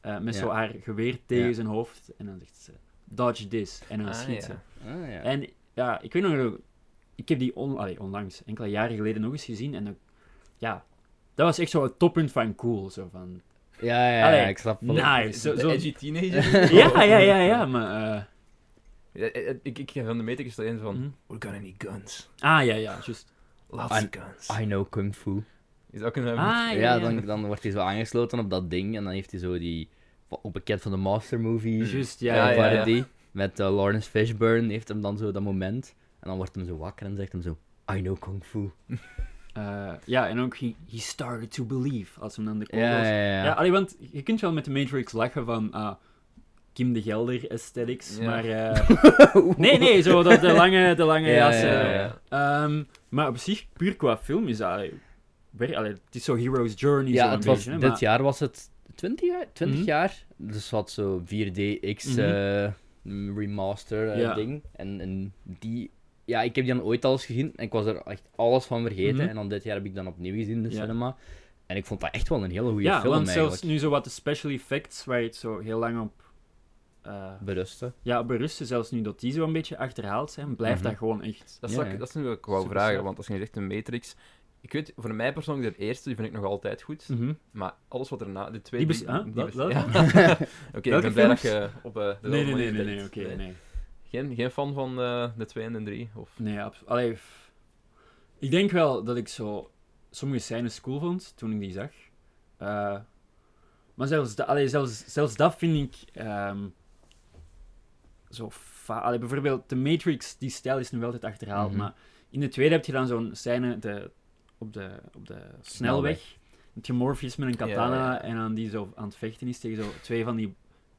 Speaker 3: eh, met
Speaker 2: Ja.
Speaker 3: zo haar geweer tegen
Speaker 2: Ja.
Speaker 3: zijn hoofd en dan zegt ze: Dodge this. En dan
Speaker 1: Ah,
Speaker 3: schiet
Speaker 1: ja.
Speaker 3: ze.
Speaker 2: Ah, ja.
Speaker 3: En ja, ik weet nog, ik heb die on, allee, onlangs, enkele jaren geleden nog eens gezien. En dat- ja, dat was echt zo het toppunt van cool. Zo van,
Speaker 2: ja, ja, ja,
Speaker 3: Allee,
Speaker 2: ik snap wel.
Speaker 3: nice. Zo,
Speaker 1: De
Speaker 3: zo-
Speaker 1: edgy teenager.
Speaker 3: ja, ja, ja, ja, maar... eh,
Speaker 1: Ja, eh, eh, Ik, ik heb van de matrix alleen van...
Speaker 3: mhm.
Speaker 1: We're gonna need guns.
Speaker 3: Ah, ja, ja, juist.
Speaker 1: Lots
Speaker 2: Ah,
Speaker 1: of guns.
Speaker 2: I know kung fu.
Speaker 1: Is dat ook een...
Speaker 3: Ah,
Speaker 1: ehm,
Speaker 3: ja,
Speaker 2: ja,
Speaker 3: ja.
Speaker 2: dan, dan wordt hij zo aangesloten op dat ding en dan heeft hij zo die op een pakket van de Master Movie
Speaker 3: Juist,
Speaker 2: eh,
Speaker 3: ja, ja, ja.
Speaker 2: parody met eh, Lawrence Fishburne heeft hem dan zo dat moment en dan wordt hem zo wakker en zegt hem zo I know kung fu.
Speaker 3: Eh, ja, en ook, he, he started to believe, als hem dan de
Speaker 2: Ja,
Speaker 3: ja,
Speaker 2: ja, ja.
Speaker 3: ja allee, want je kunt wel met de Matrix lachen van ah, Kim de Gelder aesthetics,
Speaker 1: Ja.
Speaker 3: maar... eh, nee, nee, zo dat de lange, de lange
Speaker 2: Ja,
Speaker 3: jassen.
Speaker 2: ja, ja.
Speaker 3: Ehm, maar op zich, puur qua film is dat... allee, wer- allee, het is zo Hero's Journey
Speaker 2: Ja,
Speaker 3: zo een
Speaker 2: het was,
Speaker 3: beetje, hè,
Speaker 2: dit
Speaker 3: maar-
Speaker 2: jaar was het 20 jaar, 20
Speaker 3: Mhm.
Speaker 2: jaar dus wat zo 4DX
Speaker 3: Mhm.
Speaker 2: eh, mm, remaster eh,
Speaker 3: Ja.
Speaker 2: ding en, en die ja, ik heb die dan ooit al eens gezien en ik was er echt alles van vergeten
Speaker 3: Mhm.
Speaker 2: en dan dit jaar heb ik dan opnieuw gezien in de
Speaker 3: Ja.
Speaker 2: cinema en ik vond dat echt wel een hele goede
Speaker 3: Ja,
Speaker 2: film
Speaker 3: want
Speaker 2: eigenlijk.
Speaker 3: zelfs nu zo wat de special effects, waar je het zo heel lang op... eh,
Speaker 2: Berusten.
Speaker 3: ja, op berusten, zelfs nu dat die zo een beetje achterhaald zijn, blijft
Speaker 2: Mhm.
Speaker 3: dat gewoon echt...
Speaker 1: Dat,
Speaker 2: Ja,
Speaker 1: zou ik-
Speaker 2: ja.
Speaker 1: dat is nu wat ik wou
Speaker 3: Super
Speaker 1: vragen,
Speaker 3: straf.
Speaker 1: want als je zegt een Matrix... Ik weet, voor mij persoonlijk, de eerste, die vind ik nog altijd goed.
Speaker 3: Mhm.
Speaker 1: Maar alles wat erna... De
Speaker 3: Die
Speaker 1: tweede...
Speaker 3: bes- huh? Wel-
Speaker 1: bes-
Speaker 3: welke?
Speaker 1: ja. Oké, ik
Speaker 3: Welke
Speaker 1: ben blij dat
Speaker 3: films?
Speaker 1: je op eh, de
Speaker 3: Nee, nee,
Speaker 1: manier
Speaker 3: nee, nee,
Speaker 1: denkt.
Speaker 3: nee, oké, nee.
Speaker 1: Geen, geen fan van eh, de 2 en de 3? Of...
Speaker 3: Nee, abs- allee, f- Ik denk wel dat ik zo sommige scènes cool vond, toen ik die zag. Eh, maar zelfs, da- allee, zelfs, zelfs dat vind ik... ehm, zo fa- allee, bijvoorbeeld de Matrix, die stijl is nu wel altijd achterhaald,
Speaker 2: Mhm.
Speaker 3: maar in de tweede heb je dan zo'n scène de, op, de, op de snelweg. Dat je Morpheus met een
Speaker 1: Ja,
Speaker 3: katana
Speaker 1: ja.
Speaker 3: en aan die zo aan het vechten is tegen zo twee van die...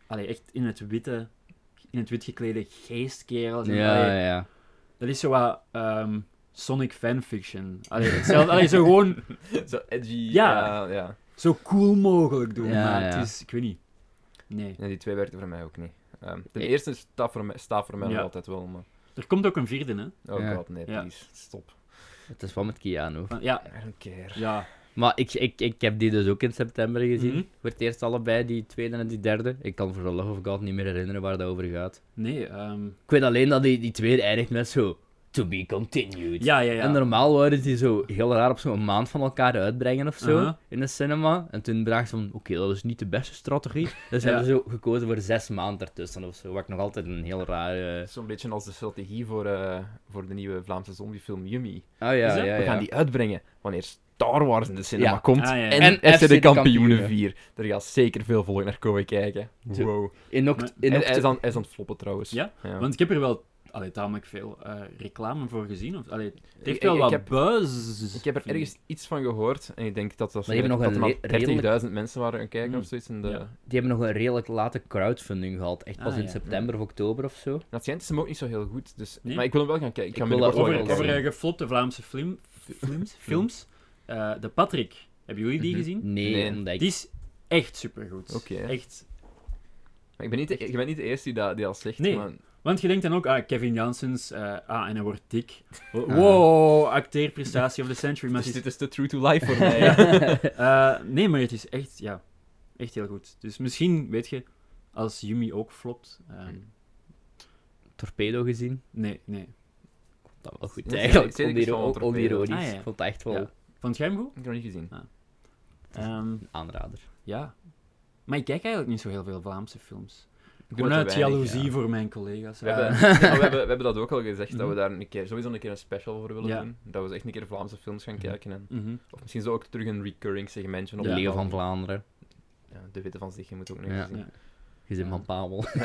Speaker 3: Allee, echt in het witte... In het wit geklede geestkerels. en allee,
Speaker 2: Ja, ja.
Speaker 3: dat is zo wat ehm, Sonic fanfiction. Allee, hetzelfde, allee, zo gewoon
Speaker 1: Zo edgy.
Speaker 3: Ja.
Speaker 1: Ja, ja.
Speaker 3: zo cool mogelijk doen.
Speaker 2: Ja,
Speaker 3: maar
Speaker 2: ja.
Speaker 3: het is, ik weet niet. Nee.
Speaker 1: Ja, die twee werkten voor mij ook niet. Ehm, de
Speaker 2: Ik-
Speaker 1: eerste staat voor mij, staat voor mij nog
Speaker 3: Ja.
Speaker 1: altijd wel, maar...
Speaker 3: Er komt ook een vierde, hè?
Speaker 1: Oh
Speaker 2: Ja.
Speaker 1: god, nee,
Speaker 3: Ja.
Speaker 1: please. Stop.
Speaker 2: Het is wel met Keanu.
Speaker 3: Van- ja,
Speaker 1: I don't care.
Speaker 3: ja.
Speaker 2: Maar ik, ik, ik heb die dus ook in september gezien.
Speaker 3: Mhm.
Speaker 2: Voor het eerst allebei, die tweede en die derde. Ik kan voor de love of God niet meer herinneren waar dat over gaat.
Speaker 3: Nee, ehm,
Speaker 2: Ik weet alleen dat die, die tweede eindigt met zo... To be continued.
Speaker 3: ja, ja, ja.
Speaker 2: En normaal wouden die zo heel raar op zo'n maand van elkaar uitbrengen of zo,
Speaker 3: Aha.
Speaker 2: in de cinema. En toen bracht ze van, oké, dat is niet de beste strategie. Dus
Speaker 3: Ja.
Speaker 2: hebben ze zo gekozen voor zes maanden ertussen of zo, wat ik nog altijd een heel rare...
Speaker 1: Zo'n beetje als de strategie voor, eh, voor de nieuwe Vlaamse zombiefilm Yummy.
Speaker 2: Oh ja, ja,
Speaker 3: dat?
Speaker 2: ja.
Speaker 1: We gaan die uitbrengen wanneer Star Wars in de cinema
Speaker 2: Ja.
Speaker 1: komt.
Speaker 3: Ah, ja, ja.
Speaker 1: En,
Speaker 2: En
Speaker 1: FC de Kampioenen
Speaker 2: Kampioenen.
Speaker 1: 4. Daar gaat zeker veel volk naar komen kijken.
Speaker 2: Zo.
Speaker 1: Wow.
Speaker 2: In oct- in
Speaker 1: En
Speaker 2: oct-
Speaker 1: hij is, aan, hij is aan het floppen trouwens.
Speaker 3: Ja? Want ik heb er wel allee, tamelijk veel eh, reclame voor gezien. Of, allee, het heeft
Speaker 1: Ik-
Speaker 3: wel
Speaker 1: ik-
Speaker 3: wat
Speaker 1: ik heb-
Speaker 3: buzz.
Speaker 1: Ik heb er
Speaker 3: vind
Speaker 1: ergens iets van gehoord. En ik denk dat dat,
Speaker 2: Maar die hebben
Speaker 1: dat
Speaker 2: nog
Speaker 1: er
Speaker 2: een
Speaker 1: maar
Speaker 2: le- redelijk-
Speaker 1: 30.000 mensen waren gaan kijken
Speaker 3: Hmm.
Speaker 1: of zoiets. En de...
Speaker 3: Ja.
Speaker 1: En
Speaker 2: Die hebben nog een redelijk late crowdfunding gehad, echt pas
Speaker 3: Ah,
Speaker 2: in
Speaker 3: ja.
Speaker 2: september of oktober of zo.
Speaker 1: het schijnt is hem ook niet zo heel goed. Dus...
Speaker 3: Nee?
Speaker 1: Maar ik wil hem wel gaan kijken. Ik ga
Speaker 2: Ik
Speaker 1: hem
Speaker 2: wil dat
Speaker 1: binnenkort
Speaker 3: Over,
Speaker 1: wel gaan
Speaker 2: ook wel
Speaker 3: over
Speaker 1: kijken.
Speaker 3: eh, geflopte Vlaamse film, films. films eh, de Patrick. Hebben jullie die
Speaker 1: Mhm.
Speaker 3: gezien?
Speaker 2: Nee,
Speaker 1: Nee.
Speaker 2: omdat ik...
Speaker 3: Die is echt supergoed.
Speaker 1: Oké.
Speaker 3: Echt.
Speaker 1: Maar ik, ben niet de, ik ben niet de eerste die dat, die dat zegt.
Speaker 3: Nee.
Speaker 1: maar-
Speaker 3: Want je denkt dan ook, ah, Kevin Janssens, eh, ah, en hij wordt dik. Wow, acteerprestatie of the century. Maar
Speaker 1: Dus
Speaker 3: het
Speaker 1: dit
Speaker 3: is-
Speaker 1: is te true to life voor mij. hè.
Speaker 3: eh, nee, maar het is echt, ja, echt heel goed. Dus misschien, weet je, als Yumi ook flopt... ehm,
Speaker 1: Hm.
Speaker 2: Torpedo gezien.
Speaker 3: nee, nee.
Speaker 2: Dat was goed
Speaker 1: Ja,
Speaker 2: eigenlijk,
Speaker 1: zeker is wel een
Speaker 2: oniro-
Speaker 1: torpedo.
Speaker 2: onironisch.
Speaker 3: Ah, ja.
Speaker 2: Ik vond het echt wel
Speaker 3: Ja. Vond jij hem goed?
Speaker 1: Ik heb nog niet gezien.
Speaker 3: Ehm,
Speaker 2: een aanrader.
Speaker 3: ja. Maar ik kijk eigenlijk niet zo heel veel Vlaamse films.
Speaker 1: Ik doe
Speaker 3: Gewoon
Speaker 1: te
Speaker 3: uit
Speaker 1: weinig,
Speaker 3: jaloezie
Speaker 1: ja.
Speaker 3: voor mijn collega's.
Speaker 1: We, hebben,
Speaker 3: Eh,
Speaker 1: ja, maar we, hebben, we hebben dat ook al gezegd, dat we
Speaker 3: Mhm.
Speaker 1: daar een keer, sowieso een keer een special voor willen
Speaker 3: Ja.
Speaker 1: doen. Dat we eens echt een keer Vlaamse films gaan kijken. En,
Speaker 3: mhm.
Speaker 1: of misschien zo ook terug een recurring segmentje op
Speaker 2: De
Speaker 1: de
Speaker 2: Leeuw van Vlaanderen,
Speaker 1: Ja, de Witte van Zich, je moet ook nog
Speaker 2: Ja.
Speaker 1: eens zien.
Speaker 3: Ja.
Speaker 2: gezin van Pavel.
Speaker 1: Ik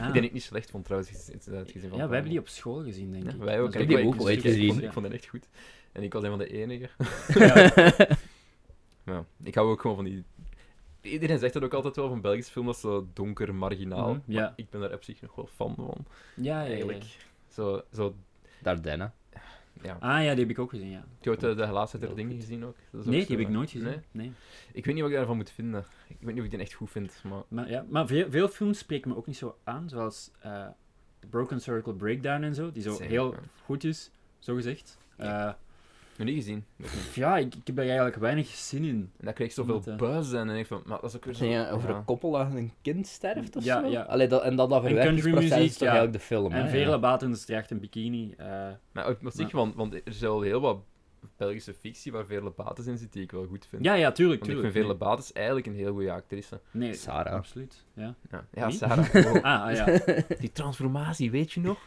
Speaker 3: Ah.
Speaker 1: denk ik niet slecht vond trouwens, het, het, het gezin
Speaker 3: Ja,
Speaker 1: van
Speaker 3: wij hebben die
Speaker 1: Vlaanderen.
Speaker 3: op school gezien, denk
Speaker 1: Ja,
Speaker 3: ik.
Speaker 1: wij ook.
Speaker 3: Dat is
Speaker 2: Ik die
Speaker 1: ik,
Speaker 2: heb ook
Speaker 1: ik-
Speaker 2: ooit
Speaker 1: ik- ik vond-
Speaker 2: gezien.
Speaker 1: Ik vond het echt goed. En ik was een van de enige.
Speaker 3: Ja.
Speaker 1: Ja, ik hou ook gewoon van die... Iedereen zegt dat ook altijd wel, van Belgische film, dat is zo donker, marginaal.
Speaker 3: Mhm, ja.
Speaker 1: Maar ik ben daar op zich nog wel fan van,
Speaker 3: Ja, ja, ja,
Speaker 1: eigenlijk. Zo, zo,
Speaker 2: Dardenne.
Speaker 1: ja.
Speaker 3: Ah ja, die heb ik ook gezien, ja.
Speaker 1: Ik heb ooit de, de laatste der
Speaker 2: Heel
Speaker 1: dingen
Speaker 2: goed.
Speaker 1: gezien ook. Dat is ook
Speaker 3: Nee, die
Speaker 1: zo-
Speaker 3: heb ik nooit gezien.
Speaker 1: Nee?
Speaker 3: Nee?
Speaker 1: Ik weet niet wat ik daarvan moet vinden. Ik weet niet of ik die echt goed vind, maar...
Speaker 3: Maar, ja, maar veel, veel films spreken me ook niet zo aan, zoals eh, The Broken Circle Breakdown en zo, die zo
Speaker 1: Zeker,
Speaker 3: heel
Speaker 1: ja.
Speaker 3: goed is, zo gezegd. Eh,
Speaker 1: Nog niet gezien.
Speaker 3: ja, ik, ik heb daar eigenlijk weinig zin in.
Speaker 1: En dat kreeg zoveel
Speaker 3: Met, eh,
Speaker 1: buzz en, en ik van, maar dat is ook weer zo...
Speaker 2: over
Speaker 1: ja.
Speaker 2: een koppel dat een kind sterft of
Speaker 3: Ja,
Speaker 2: zo?
Speaker 3: ja.
Speaker 2: Allee, dat, en dat dat
Speaker 3: En
Speaker 2: verwerkingsproces
Speaker 3: countrymuziek,
Speaker 2: is toch
Speaker 3: ja.
Speaker 2: eigenlijk de film, hè?
Speaker 3: en
Speaker 2: Ja.
Speaker 3: Vele Baten draagt een bikini. eh,
Speaker 1: Maar op, op zich,
Speaker 3: Ja.
Speaker 1: want, want er is wel heel wat Belgische fictie waar Veerle Bates in zit, die ik wel goed vind.
Speaker 3: ja, ja, tuurlijk,
Speaker 1: want ik
Speaker 3: tuurlijk.
Speaker 1: vind Veerle Bates eigenlijk een heel goede actrice.
Speaker 3: Nee, nee,
Speaker 2: Sarah.
Speaker 3: absoluut. Ja.
Speaker 1: Ja, ja
Speaker 3: Wie?
Speaker 1: Sarah. wow.
Speaker 3: Ah, ah, ja.
Speaker 1: Die transformatie, weet je nog?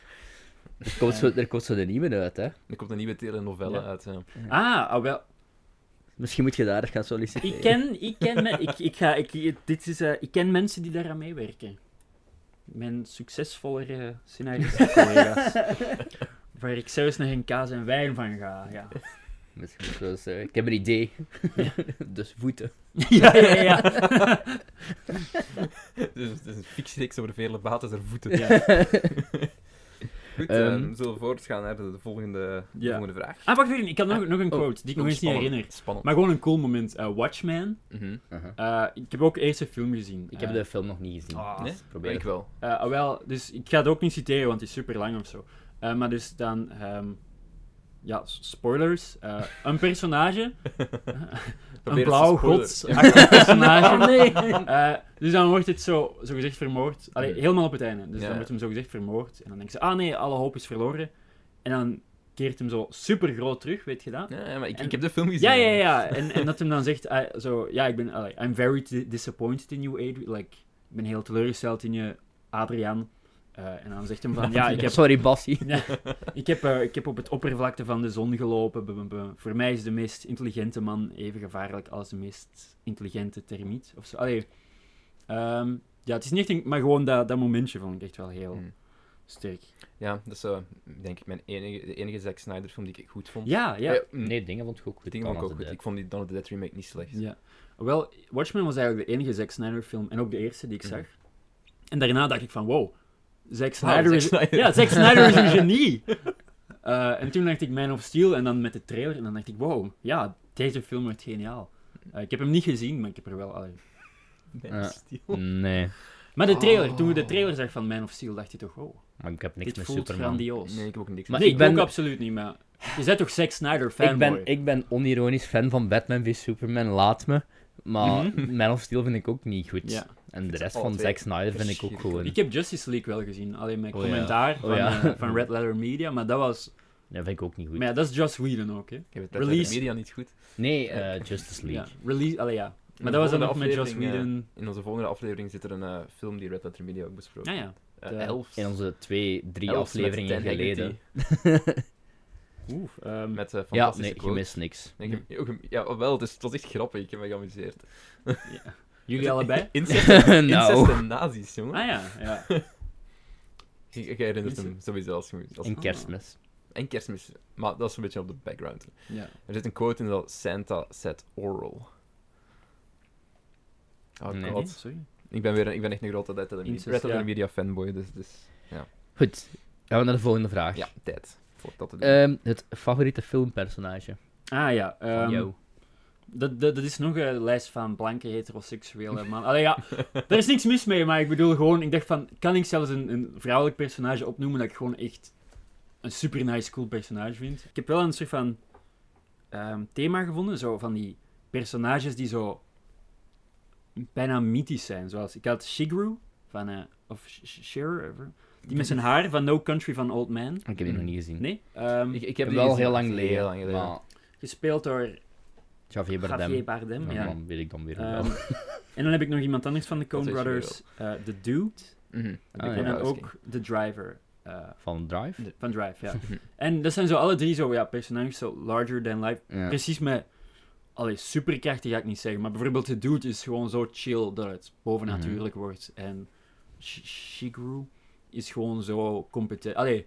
Speaker 2: Er komt, zo, er komt zo de nieuwe uit, hè?
Speaker 1: Er komt een nieuwe telenovelle
Speaker 3: Ja.
Speaker 1: uit. ja.
Speaker 3: ah, ah, wel.
Speaker 2: Misschien moet je daar eens gaan solliciteren.
Speaker 3: Ik ken, ik ken, me- ik, ik ga, ik, dit is, eh, ik ken mensen die daaraan meewerken. Mijn succesvollere scenaristen-collega's. waar ik zelfs nog een kaas en wijn van ga. Ja,
Speaker 2: Misschien moet je wel eens, eh, ik heb een idee. dus voeten.
Speaker 3: ja, ja. ja.
Speaker 1: dus het is een fictietekst over dus Veerle Bates haar voeten.
Speaker 3: Ja.
Speaker 2: Uh-huh.
Speaker 1: Goed,
Speaker 2: Ehm.
Speaker 1: ehm, we zullen voortgaan naar de, de volgende, de
Speaker 3: Ja.
Speaker 1: volgende vraag.
Speaker 3: Ah, wacht even. Ik had nog, nog een
Speaker 2: oh,
Speaker 3: quote die ik nog eens niet
Speaker 1: Spannend,
Speaker 3: herinner.
Speaker 1: Spannend.
Speaker 3: Maar gewoon een cool moment. Eh, Watchmen.
Speaker 1: Mhm.
Speaker 2: Aha.
Speaker 3: Eh, ik heb ook eerst de film gezien.
Speaker 2: Ik heb
Speaker 3: Eh,
Speaker 2: de film nog niet gezien.
Speaker 3: ah,
Speaker 1: Nee?
Speaker 2: probeer
Speaker 1: Ik
Speaker 2: het.
Speaker 1: wel.
Speaker 3: Eh, ah, wel, dus ik ga het ook niet citeren, want het is super lang of zo. Eh, maar dus dan, ehm, ja, s- spoilers. Eh, een personage, een
Speaker 1: Probeer het te
Speaker 3: blauw
Speaker 1: spoileren.
Speaker 3: gods, personage. Eh, dus dan wordt het zo, zo gezegd vermoord. Allee,
Speaker 1: Hmm.
Speaker 3: helemaal op het einde. Dus
Speaker 1: Ja.
Speaker 3: dan wordt hem zo gezegd vermoord. En dan denken ze, ah nee, alle hoop is verloren. En dan keert hem zo super groot terug, weet je dat?
Speaker 1: Ja, ja, maar ik,
Speaker 3: En-
Speaker 1: ik heb de film gezien.
Speaker 3: Ja, ja, ja. En, en dat hem dan zegt, ah, zo, ja, ik ben, allee, I'm very di- disappointed in you, Adrian. Like, ik ben heel teleurgesteld in je, Adriaan. Eh, en dan zegt hem van, ja, ik heb,
Speaker 2: Sorry, Bassie.
Speaker 3: ja, ik, heb, eh, ik heb op het oppervlakte van de zon gelopen. bu- bu- bu. Voor mij is de meest intelligente man even gevaarlijk als de meest intelligente termiet. Of zo. Allee, ehm, ja, het is niet echt een, maar gewoon dat, dat momentje vond ik echt wel heel
Speaker 1: Hmm.
Speaker 3: sterk.
Speaker 1: Ja, dat is eh, denk ik mijn enige, de enige Zack Snyder film die ik echt goed vond.
Speaker 3: Ja, ja.
Speaker 1: Eh, mm,
Speaker 2: Nee, dingen vond ik ook goed.
Speaker 1: dingen vond ik
Speaker 2: Dan
Speaker 1: ook
Speaker 2: als
Speaker 1: goed.
Speaker 2: het
Speaker 1: Ik vond die Dawn of the Dead remake niet slecht.
Speaker 3: Ja. Wel, Watchmen was eigenlijk de enige Zack Snyder film en ook de eerste die ik zag. En daarna dacht ik van, wow, Mhm. Zack Snyder,
Speaker 1: Zack
Speaker 3: is,
Speaker 1: Snyder.
Speaker 3: Ja, Zack Snyder is een genie. Eh, en toen dacht ik Man of Steel en dan met de trailer en dan dacht ik, wow, ja, deze film wordt geniaal. Eh, ik heb hem niet gezien, maar ik heb er wel... allee,
Speaker 1: Nee,
Speaker 2: Ja.
Speaker 1: stil.
Speaker 2: deed. Nee.
Speaker 3: Maar de trailer, toen we de trailer zag van Man of Steel, dacht je toch, oh,
Speaker 2: Maar ik heb niks
Speaker 3: dit
Speaker 2: met
Speaker 3: voelt
Speaker 2: Superman.
Speaker 3: grandioos.
Speaker 1: Nee, ik heb ook niks.
Speaker 2: Maar
Speaker 3: nee,
Speaker 2: ik
Speaker 3: ik
Speaker 2: ben-
Speaker 3: ook absoluut niet, maar je bent toch Zack Snyder fanboy?
Speaker 2: Ik ben, ik ben onironisch fan van Batman v Superman, laat me. Maar Man of Steel vind ik ook niet goed.
Speaker 3: Mhm. Ja.
Speaker 2: En de
Speaker 1: ze
Speaker 2: rest
Speaker 1: alle
Speaker 2: van
Speaker 1: twee
Speaker 2: Zack Snyder vind ik ook gewoon...
Speaker 3: Ik heb Justice League wel gezien, alleen met
Speaker 2: Oh ja.
Speaker 3: commentaar
Speaker 2: Oh
Speaker 3: van,
Speaker 2: ja.
Speaker 3: eh, van Red Letter Media, maar dat was...
Speaker 2: Dat vind ik ook niet goed.
Speaker 3: Maar ja, dat is Joss Whedon ook, hè.
Speaker 1: Ik heb het
Speaker 3: Release.
Speaker 1: release. media niet goed.
Speaker 2: Nee, eh, Justice
Speaker 3: Ja,
Speaker 2: League.
Speaker 3: release, allee, ja.
Speaker 1: In de
Speaker 3: Maar dat was dan
Speaker 1: volgende
Speaker 3: ook met Joss
Speaker 1: aflevering, eh,
Speaker 3: Whedon.
Speaker 1: In onze volgende aflevering zit er een eh, film die Red Letter Media ook besproken.
Speaker 3: Ja, ja.
Speaker 1: Eh,
Speaker 3: de-
Speaker 1: Elf.
Speaker 2: In onze twee, drie
Speaker 1: Elf met
Speaker 2: afleveringen
Speaker 1: Stan Haggerty.
Speaker 2: geleden.
Speaker 3: Oeh, ehm,
Speaker 1: Met eh,
Speaker 2: Ja,
Speaker 1: fantastische
Speaker 2: nee, je mist niks.
Speaker 1: Nee, ik heb- ook een- Ja, oh, wel, het, is, het was echt grappig. Ik heb me geamuseerd.
Speaker 3: ja. Jullie allebei?
Speaker 1: Incest, incest
Speaker 2: nou,
Speaker 1: en nazi's, jongen.
Speaker 3: Ah ja, ja.
Speaker 1: Ik, ik herinner hem
Speaker 3: Incest.
Speaker 1: sowieso als, je- als
Speaker 2: in kerstmis.
Speaker 1: En kerstmis. Maar dat is een beetje op de background.
Speaker 3: ja.
Speaker 1: Er zit een quote in dat Santa said oral. Oh
Speaker 2: Nee.
Speaker 3: Nee,
Speaker 1: god.
Speaker 3: sorry.
Speaker 1: Ik ben, weer, een- ik ben echt een grote Red Letter Media,
Speaker 3: Incest,
Speaker 1: Red Letter
Speaker 3: ja.
Speaker 1: Media fanboy, dus, dus
Speaker 2: Goed, gaan we naar de volgende vraag.
Speaker 1: ja, tijd. Voor dat te doen.
Speaker 2: Ehm, het favoriete filmpersonage
Speaker 3: Ah ja,
Speaker 2: van
Speaker 3: ehm,
Speaker 2: jou?
Speaker 3: dat, dat, dat is nog een lijst van blanke heteroseksuele mannen. Allee ja, er is niks mis mee, maar ik bedoel gewoon, ik dacht van, kan ik zelfs een, een vrouwelijk personage opnoemen dat ik gewoon echt een super nice cool personage vind? Ik heb wel een soort van ehm, thema gevonden, zo van die personages die zo bijna mythisch zijn. Zoals, ik had Shigru van, eh, of Sh- Sh- Shearer, die met zijn haar van No Country van Old Man.
Speaker 2: Ik heb die nog niet gezien.
Speaker 3: Nee, ehm,
Speaker 1: ik, ik
Speaker 2: Hm.
Speaker 1: heb
Speaker 2: Ik heb
Speaker 1: die
Speaker 2: wel
Speaker 1: gezien,
Speaker 2: heel lang
Speaker 1: echt
Speaker 2: geleden.
Speaker 1: Heel lang geleden.
Speaker 2: Maar
Speaker 3: gespeeld door Javier
Speaker 2: Javier Bardem. Oh,
Speaker 3: Bardem.
Speaker 2: Ja,
Speaker 3: ja.
Speaker 2: Dan weet ik dan weer
Speaker 3: Ehm,
Speaker 2: wel.
Speaker 3: en dan heb ik nog iemand anders van de Coen
Speaker 1: Dat is
Speaker 3: Brothers, eh, de Dude,
Speaker 1: Mhm.
Speaker 2: Ah, ja.
Speaker 3: en dan
Speaker 1: Wachowski.
Speaker 3: ook de Driver eh,
Speaker 2: Van Drive?
Speaker 3: de- van Drive, ja. en dat zijn zo alle drie zo, ja, personages zo larger than life.
Speaker 2: Ja.
Speaker 3: Precies met, allee, superkrachten ga ik niet zeggen, maar bijvoorbeeld de Dude is gewoon zo chill dat het bovennatuurlijk wordt. En Sh- Shigru is gewoon zo competent. Allee,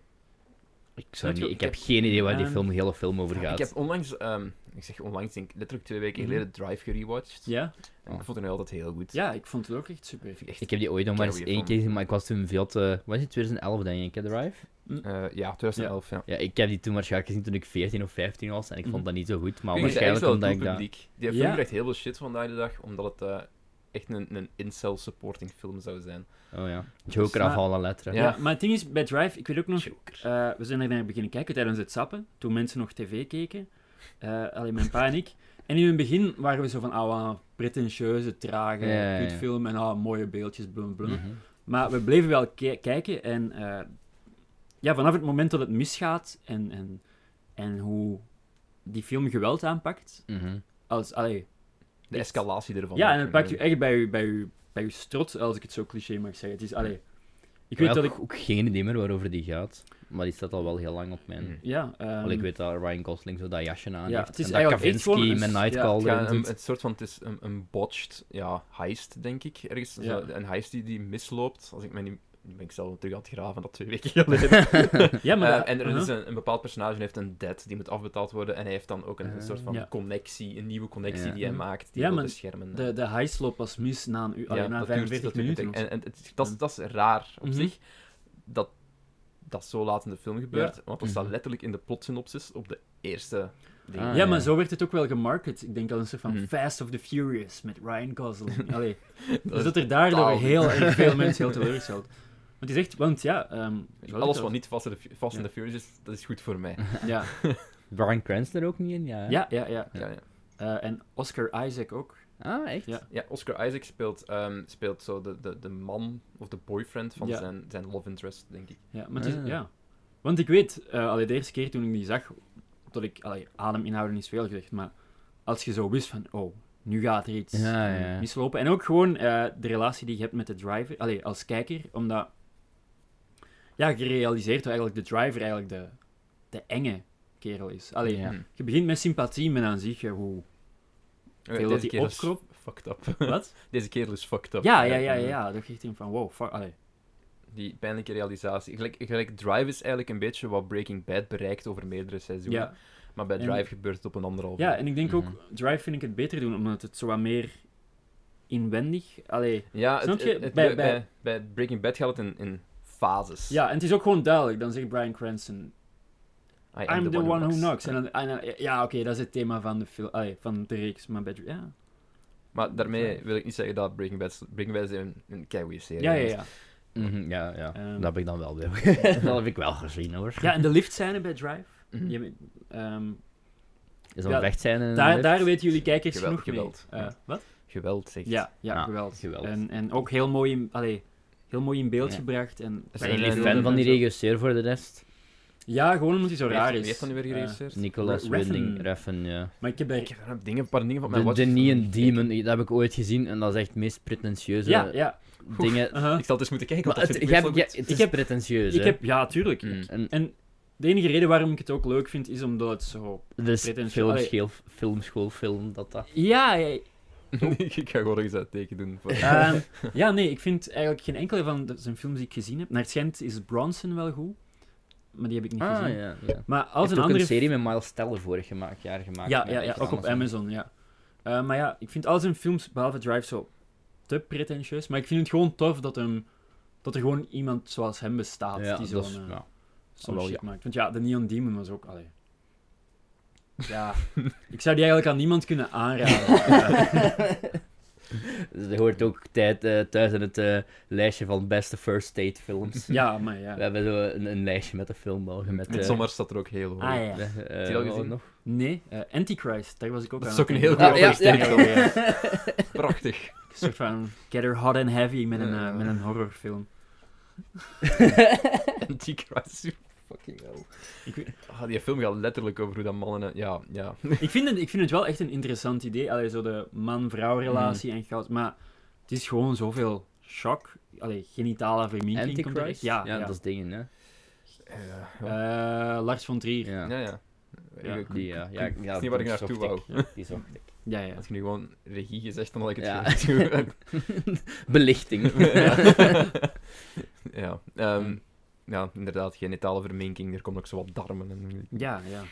Speaker 2: Ik, zou
Speaker 3: Weet je
Speaker 2: niet,
Speaker 3: ook,
Speaker 2: ik heb
Speaker 3: ik
Speaker 2: geen idee waar die
Speaker 3: ehm,
Speaker 2: film, hele film over
Speaker 1: Ik
Speaker 2: gaat.
Speaker 1: heb onlangs, ehm, ik zeg onlangs, denk ik, letterlijk twee weken
Speaker 3: Mhm.
Speaker 1: geleden Drive gerewatcht.
Speaker 3: ja,
Speaker 1: En Ik vond het nog altijd heel goed.
Speaker 3: ja, ik vond het ook echt super.
Speaker 1: Vind ik echt,
Speaker 2: Ik heb die ooit nog maar eens
Speaker 1: Carrie
Speaker 2: één
Speaker 1: van-
Speaker 2: keer gezien, maar ik was toen veel te... Was het 2011 denk ik, hè, Drive?
Speaker 1: eh, ja, 2011, ja.
Speaker 2: Ja, ik heb die toen waarschijnlijk gezien toen ik 14 of 15 was en ik vond
Speaker 3: Mhm.
Speaker 2: dat niet zo goed, maar
Speaker 1: Ik vind het
Speaker 2: waarschijnlijk
Speaker 1: eigenlijk wel
Speaker 2: omdat
Speaker 1: een
Speaker 2: ik
Speaker 1: cool
Speaker 2: dat...
Speaker 1: publiek. Die film
Speaker 3: Ja.
Speaker 1: krijgt heel veel shit vandaag de dag, omdat het eh, echt een, een incel-supporting film zou zijn.
Speaker 2: Oh ja, Joker af
Speaker 3: Maar-
Speaker 2: alle letteren.
Speaker 3: Ja. maar het ding is, bij Drive, ik weet ook nog,
Speaker 1: Joker.
Speaker 3: Eh, we zijn er naar beginnen kijken tijdens het sappen, toen mensen nog tv keken. Eh alleen mijn pa en ik. En in het begin waren we zo van, ah, wat een pretentieuze, trage,
Speaker 2: Ja, ja, ja.
Speaker 3: goed film en ah, mooie beeldjes, blum, blum.
Speaker 2: Mhm.
Speaker 3: Maar we bleven wel ki- kijken en eh, ja, vanaf het moment dat het misgaat en, en, en hoe die film geweld aanpakt,
Speaker 2: Mhm.
Speaker 3: als, allee,
Speaker 1: De escalatie ervan. eh,
Speaker 3: ja, en het pakt je echt bij je, bij, je, bij je strot, als ik het zo cliché mag zeggen. Het is, allee, ik weet
Speaker 2: Ja,
Speaker 3: dat
Speaker 2: heb
Speaker 3: ik...
Speaker 2: ook geen idee meer waarover die gaat, maar die staat al wel heel lang op mijn...
Speaker 1: Mhm.
Speaker 3: Ja, ehm,
Speaker 2: Wel, ik weet dat Ryan Gosling zo dat jasje aan
Speaker 3: Ja,
Speaker 2: heeft.
Speaker 3: het is
Speaker 2: en dat
Speaker 3: eigenlijk echt
Speaker 2: Kavinsky
Speaker 3: gewoon een-
Speaker 2: met
Speaker 3: ja, het
Speaker 2: Nightcall
Speaker 1: Het, gaat
Speaker 2: erin
Speaker 1: een,
Speaker 2: zit.
Speaker 1: het soort van, het is een, een botched ja, heist, denk ik, ergens.
Speaker 3: Ja.
Speaker 1: Zo, Een heist die, die misloopt. Als ik me niet... Nu ben ik zelf terug aan het graven, dat twee weken geleden.
Speaker 3: ja, maar
Speaker 1: Eh,
Speaker 3: dat-
Speaker 1: en er
Speaker 3: uh-huh.
Speaker 1: is een, een bepaald personage heeft een debt, die moet afbetaald worden. En hij heeft dan ook een, een soort van
Speaker 3: Ja.
Speaker 1: connectie, een nieuwe connectie
Speaker 2: Ja.
Speaker 1: die hij
Speaker 3: Mhm.
Speaker 1: maakt, die
Speaker 3: Eh, Ja,
Speaker 1: wil
Speaker 3: maar
Speaker 1: beschermen.
Speaker 3: De, de hijsloop was mis na, een uur, allee, na
Speaker 1: eh, dat
Speaker 3: 45
Speaker 1: duurt- dat duurt
Speaker 3: minuten.
Speaker 1: meteen.
Speaker 3: of zo.
Speaker 1: En, en het is- dat, is- dat is raar op
Speaker 3: Mhm.
Speaker 1: zich, dat dat zo laat in de film gebeurt. Want dat staat
Speaker 2: Mhm.
Speaker 1: letterlijk in de plotsynopsis op de eerste ding.
Speaker 2: Ah,
Speaker 3: ja,
Speaker 2: ja.
Speaker 3: maar zo werd het ook wel gemarket. Ik denk al een soort van
Speaker 1: Mhm.
Speaker 3: Fast of the Furious met Ryan Gosling. Allee,
Speaker 1: Dat
Speaker 3: dus
Speaker 1: is
Speaker 3: dat er daardoor
Speaker 1: totaal
Speaker 3: heel
Speaker 1: niet.
Speaker 3: erg veel mensen heel teleurgesteld. Want die zegt, want ja... ehm, zoals
Speaker 1: Alles wat
Speaker 3: ik al-
Speaker 1: niet Fast and the, Fu- Fast and
Speaker 3: Ja.
Speaker 1: the Furious is, dat is goed voor mij.
Speaker 3: Ja,
Speaker 2: Bryan Cranston er ook niet in? Ja. hè?
Speaker 3: ja, ja. ja.
Speaker 1: Ja, ja.
Speaker 3: Eh, en Oscar Isaac ook.
Speaker 2: Ah, echt?
Speaker 3: Ja.
Speaker 1: ja Oscar Isaac speelt, ehm, speelt zo de, de, de man of de boyfriend van
Speaker 3: Ja.
Speaker 1: zijn, zijn love interest, denk ik.
Speaker 3: Ja, maar het is-
Speaker 2: Ah.
Speaker 3: ja. Want ik weet, eh allee, de eerste keer toen ik die zag, dat ik, allee, ademinhouden is veel gezegd, maar als je zo wist van, oh, nu gaat er iets
Speaker 2: Ja, ja,
Speaker 3: eh,
Speaker 2: ja.
Speaker 3: mislopen. En ook gewoon eh, de relatie die je hebt met de driver, allee, als kijker, omdat, ja, je realiseert dat eigenlijk de driver eigenlijk de, de enge kerel is. Allee,
Speaker 2: Ja.
Speaker 1: Hm.
Speaker 3: je begint met sympathie, maar dan zie je hoe...
Speaker 1: Eh,
Speaker 3: dat
Speaker 1: Deze
Speaker 3: die
Speaker 1: kerel is
Speaker 3: opkropt.
Speaker 1: fucked up.
Speaker 3: Wat?
Speaker 1: Deze kerel is fucked up.
Speaker 3: Ja, ja, ja, ja, ja. Dan geeft hij van, wow, fuck, allee.
Speaker 1: Die pijnlijke realisatie. Gelijk, gelijk Drive is eigenlijk een beetje wat Breaking Bad bereikt over meerdere seizoenen.
Speaker 3: Ja.
Speaker 1: Maar bij
Speaker 3: En-
Speaker 1: Drive gebeurt het op een anderhalf
Speaker 3: ja,
Speaker 1: uur.
Speaker 3: en ik denk
Speaker 2: Mhm.
Speaker 3: ook, Drive vind ik het beter doen, omdat het zo wat meer inwendig, allee...
Speaker 1: Ja,
Speaker 3: Snap
Speaker 1: het,
Speaker 3: je?
Speaker 1: het- het- bij,
Speaker 3: Bij- bij-
Speaker 1: bij, Breaking Bad gaat het in, in fases.
Speaker 3: Ja, en het is ook gewoon duidelijk. Dan zegt Brian Cranston,
Speaker 1: I am
Speaker 3: I'm the one who knocks.
Speaker 1: Ja.
Speaker 3: En dan, en dan- ja, oké, dat is het thema van de, film, allee, van de reeks. Maar bij, ja.
Speaker 1: Maar daarmee wil ik niet zeggen dat Breaking Bad, Breaking Bad is een, een keigoeie serie
Speaker 3: Ja, ja,
Speaker 1: is.
Speaker 3: ja.
Speaker 2: Mhm, ja, ja.
Speaker 3: Ehm.
Speaker 2: dat heb ik dan wel weer. dat heb ik wel gezien hoor.
Speaker 3: Ja, en de liftscène bij Drive.
Speaker 1: Mhm.
Speaker 3: Je weet- ehm,
Speaker 2: Is dat
Speaker 3: Ja,
Speaker 2: een vechtsein in een
Speaker 3: daar,
Speaker 2: lift?
Speaker 3: daar weten jullie kijkers
Speaker 1: Geweld-
Speaker 3: genoeg
Speaker 1: geweld,
Speaker 3: mee. Eh,
Speaker 1: ja.
Speaker 3: Wat?
Speaker 1: Geweld, zegt.
Speaker 3: Ja, ja,
Speaker 2: Ja,
Speaker 3: geweld.
Speaker 2: geweld.
Speaker 3: En, en ook heel mooi in, allee, heel mooi in beeld
Speaker 2: Ja.
Speaker 3: gebracht. En,
Speaker 1: Zijn
Speaker 2: Zijn
Speaker 1: jullie
Speaker 2: jullie
Speaker 1: fan
Speaker 2: fan van die
Speaker 3: regio?
Speaker 2: regisseur voor de rest?
Speaker 3: Ja, gewoon omdat hij zo
Speaker 1: Wie
Speaker 3: raar
Speaker 1: heeft-
Speaker 3: is.
Speaker 1: Wie heeft dat nu weer
Speaker 3: Eh,
Speaker 1: geregisseerd?
Speaker 2: Nicolas
Speaker 3: Re- Refn.
Speaker 2: Winding Refn, ja.
Speaker 3: maar ik heb bij...
Speaker 1: ik heb een, ding, een paar dingen van mijn
Speaker 2: De,
Speaker 1: watch.
Speaker 2: de Neon Demon, dat heb ik ooit gezien en dat is echt het meest pretentieuze
Speaker 3: Ja, ja. uh-huh.
Speaker 2: dingen.
Speaker 3: aha.
Speaker 1: Ik zal dus moeten kijken,
Speaker 2: Maar
Speaker 1: want
Speaker 2: het,
Speaker 1: dat
Speaker 2: ik
Speaker 1: vind ik
Speaker 2: heb,
Speaker 1: best wel
Speaker 2: ja, het
Speaker 1: goed.
Speaker 2: is
Speaker 3: Ik heb-
Speaker 2: pretentieuze.
Speaker 3: Ik heb, ja, tuurlijk.
Speaker 1: Mm.
Speaker 2: En
Speaker 3: En de enige reden waarom ik het ook leuk vind, is omdat het zo...
Speaker 2: dus
Speaker 3: pretentieus-
Speaker 2: filmschool, filmschoolfilm, dat dat.
Speaker 3: Ja, ja,
Speaker 1: ik ga gewoon nog eens dat teken doen. voor-
Speaker 3: Ehm, ja, nee, ik vind eigenlijk geen enkele van de- zijn films die ik gezien heb. Naar het schijnt is Bronson wel goed, maar die heb ik niet
Speaker 2: Ah, ja.
Speaker 3: gezien.
Speaker 2: ja.
Speaker 3: Maar als
Speaker 2: Heeft
Speaker 3: een
Speaker 2: ook
Speaker 3: andere...
Speaker 2: een serie met Miles Teller vorig gemaakt, jaar gemaakt.
Speaker 3: ja,
Speaker 2: met
Speaker 3: ja, ja,
Speaker 2: echt
Speaker 3: ook op Amazon, ja. Eh, maar ja, ik vind al zijn films, behalve Drive, zo te pretentieus. Maar ik vind het gewoon tof dat, hem, dat er gewoon iemand zoals hem bestaat
Speaker 2: Ja,
Speaker 3: die zo'n
Speaker 2: dat is-
Speaker 3: eh,
Speaker 2: ja.
Speaker 3: zo'n
Speaker 2: wel,
Speaker 3: shit
Speaker 2: ja.
Speaker 3: maakt. Want ja, de Neon Demon was ook... Allee. Ja, ik zou die eigenlijk aan niemand kunnen aanraden.
Speaker 2: Dat Dus hoort ook tijd, eh, thuis in het eh, lijstje van beste first date films.
Speaker 3: ja, maar ja.
Speaker 2: We hebben zo een, een lijstje met de filmbogen. Met,
Speaker 1: Met
Speaker 2: eh,
Speaker 1: zomer staat er ook heel hoog.
Speaker 3: Ah, ja.
Speaker 2: eh, eh,
Speaker 1: je al
Speaker 2: wat
Speaker 1: gezien?
Speaker 2: nog?
Speaker 3: Nee, eh, Antichrist, daar was ik ook
Speaker 1: Dat
Speaker 3: aan
Speaker 1: is ook
Speaker 3: het
Speaker 1: een heel
Speaker 3: denken.
Speaker 1: goede
Speaker 2: Ah, ja,
Speaker 1: oversteek.
Speaker 3: ja.
Speaker 1: alweer. Prachtig.
Speaker 3: Een soort van Get Her Hot and Heavy met een, eh,
Speaker 1: Eh.
Speaker 3: met een horrorfilm.
Speaker 1: Antichrist. Fucking hell.
Speaker 3: Ik, weet-
Speaker 1: Ah, die film gaat letterlijk over hoe dat mannen... Ja, ja.
Speaker 3: ik, vind het, ik vind het wel echt een interessant idee. Allee, zo de man-vrouw relatie en goud. Maar het is gewoon zoveel shock. Allee, genitale verminking. komt er echt-
Speaker 2: Antichrist?
Speaker 3: Ja, ja.
Speaker 2: dat is dingen, hè?
Speaker 1: Ja, ja.
Speaker 3: Eh, Lars von Trier. Ja,
Speaker 1: ja,
Speaker 2: Ja.
Speaker 1: ja.
Speaker 3: Ja,
Speaker 1: Ik-
Speaker 2: Die, ja, ja,
Speaker 1: ik-
Speaker 2: ja,
Speaker 1: is niet waar ik
Speaker 2: die
Speaker 1: naartoe
Speaker 2: zocht
Speaker 1: wou.
Speaker 2: ik. Ja, die zocht ik.
Speaker 3: ja.
Speaker 1: Had je nu gewoon regie gezegd, dan had ik het
Speaker 2: Ja.
Speaker 1: gedaan.
Speaker 2: Belichting.
Speaker 1: ja,
Speaker 3: Mm.
Speaker 1: ehm, ja, inderdaad, genitale verminking. Er komt ook zo wat darmen. En...
Speaker 3: Ja, ja.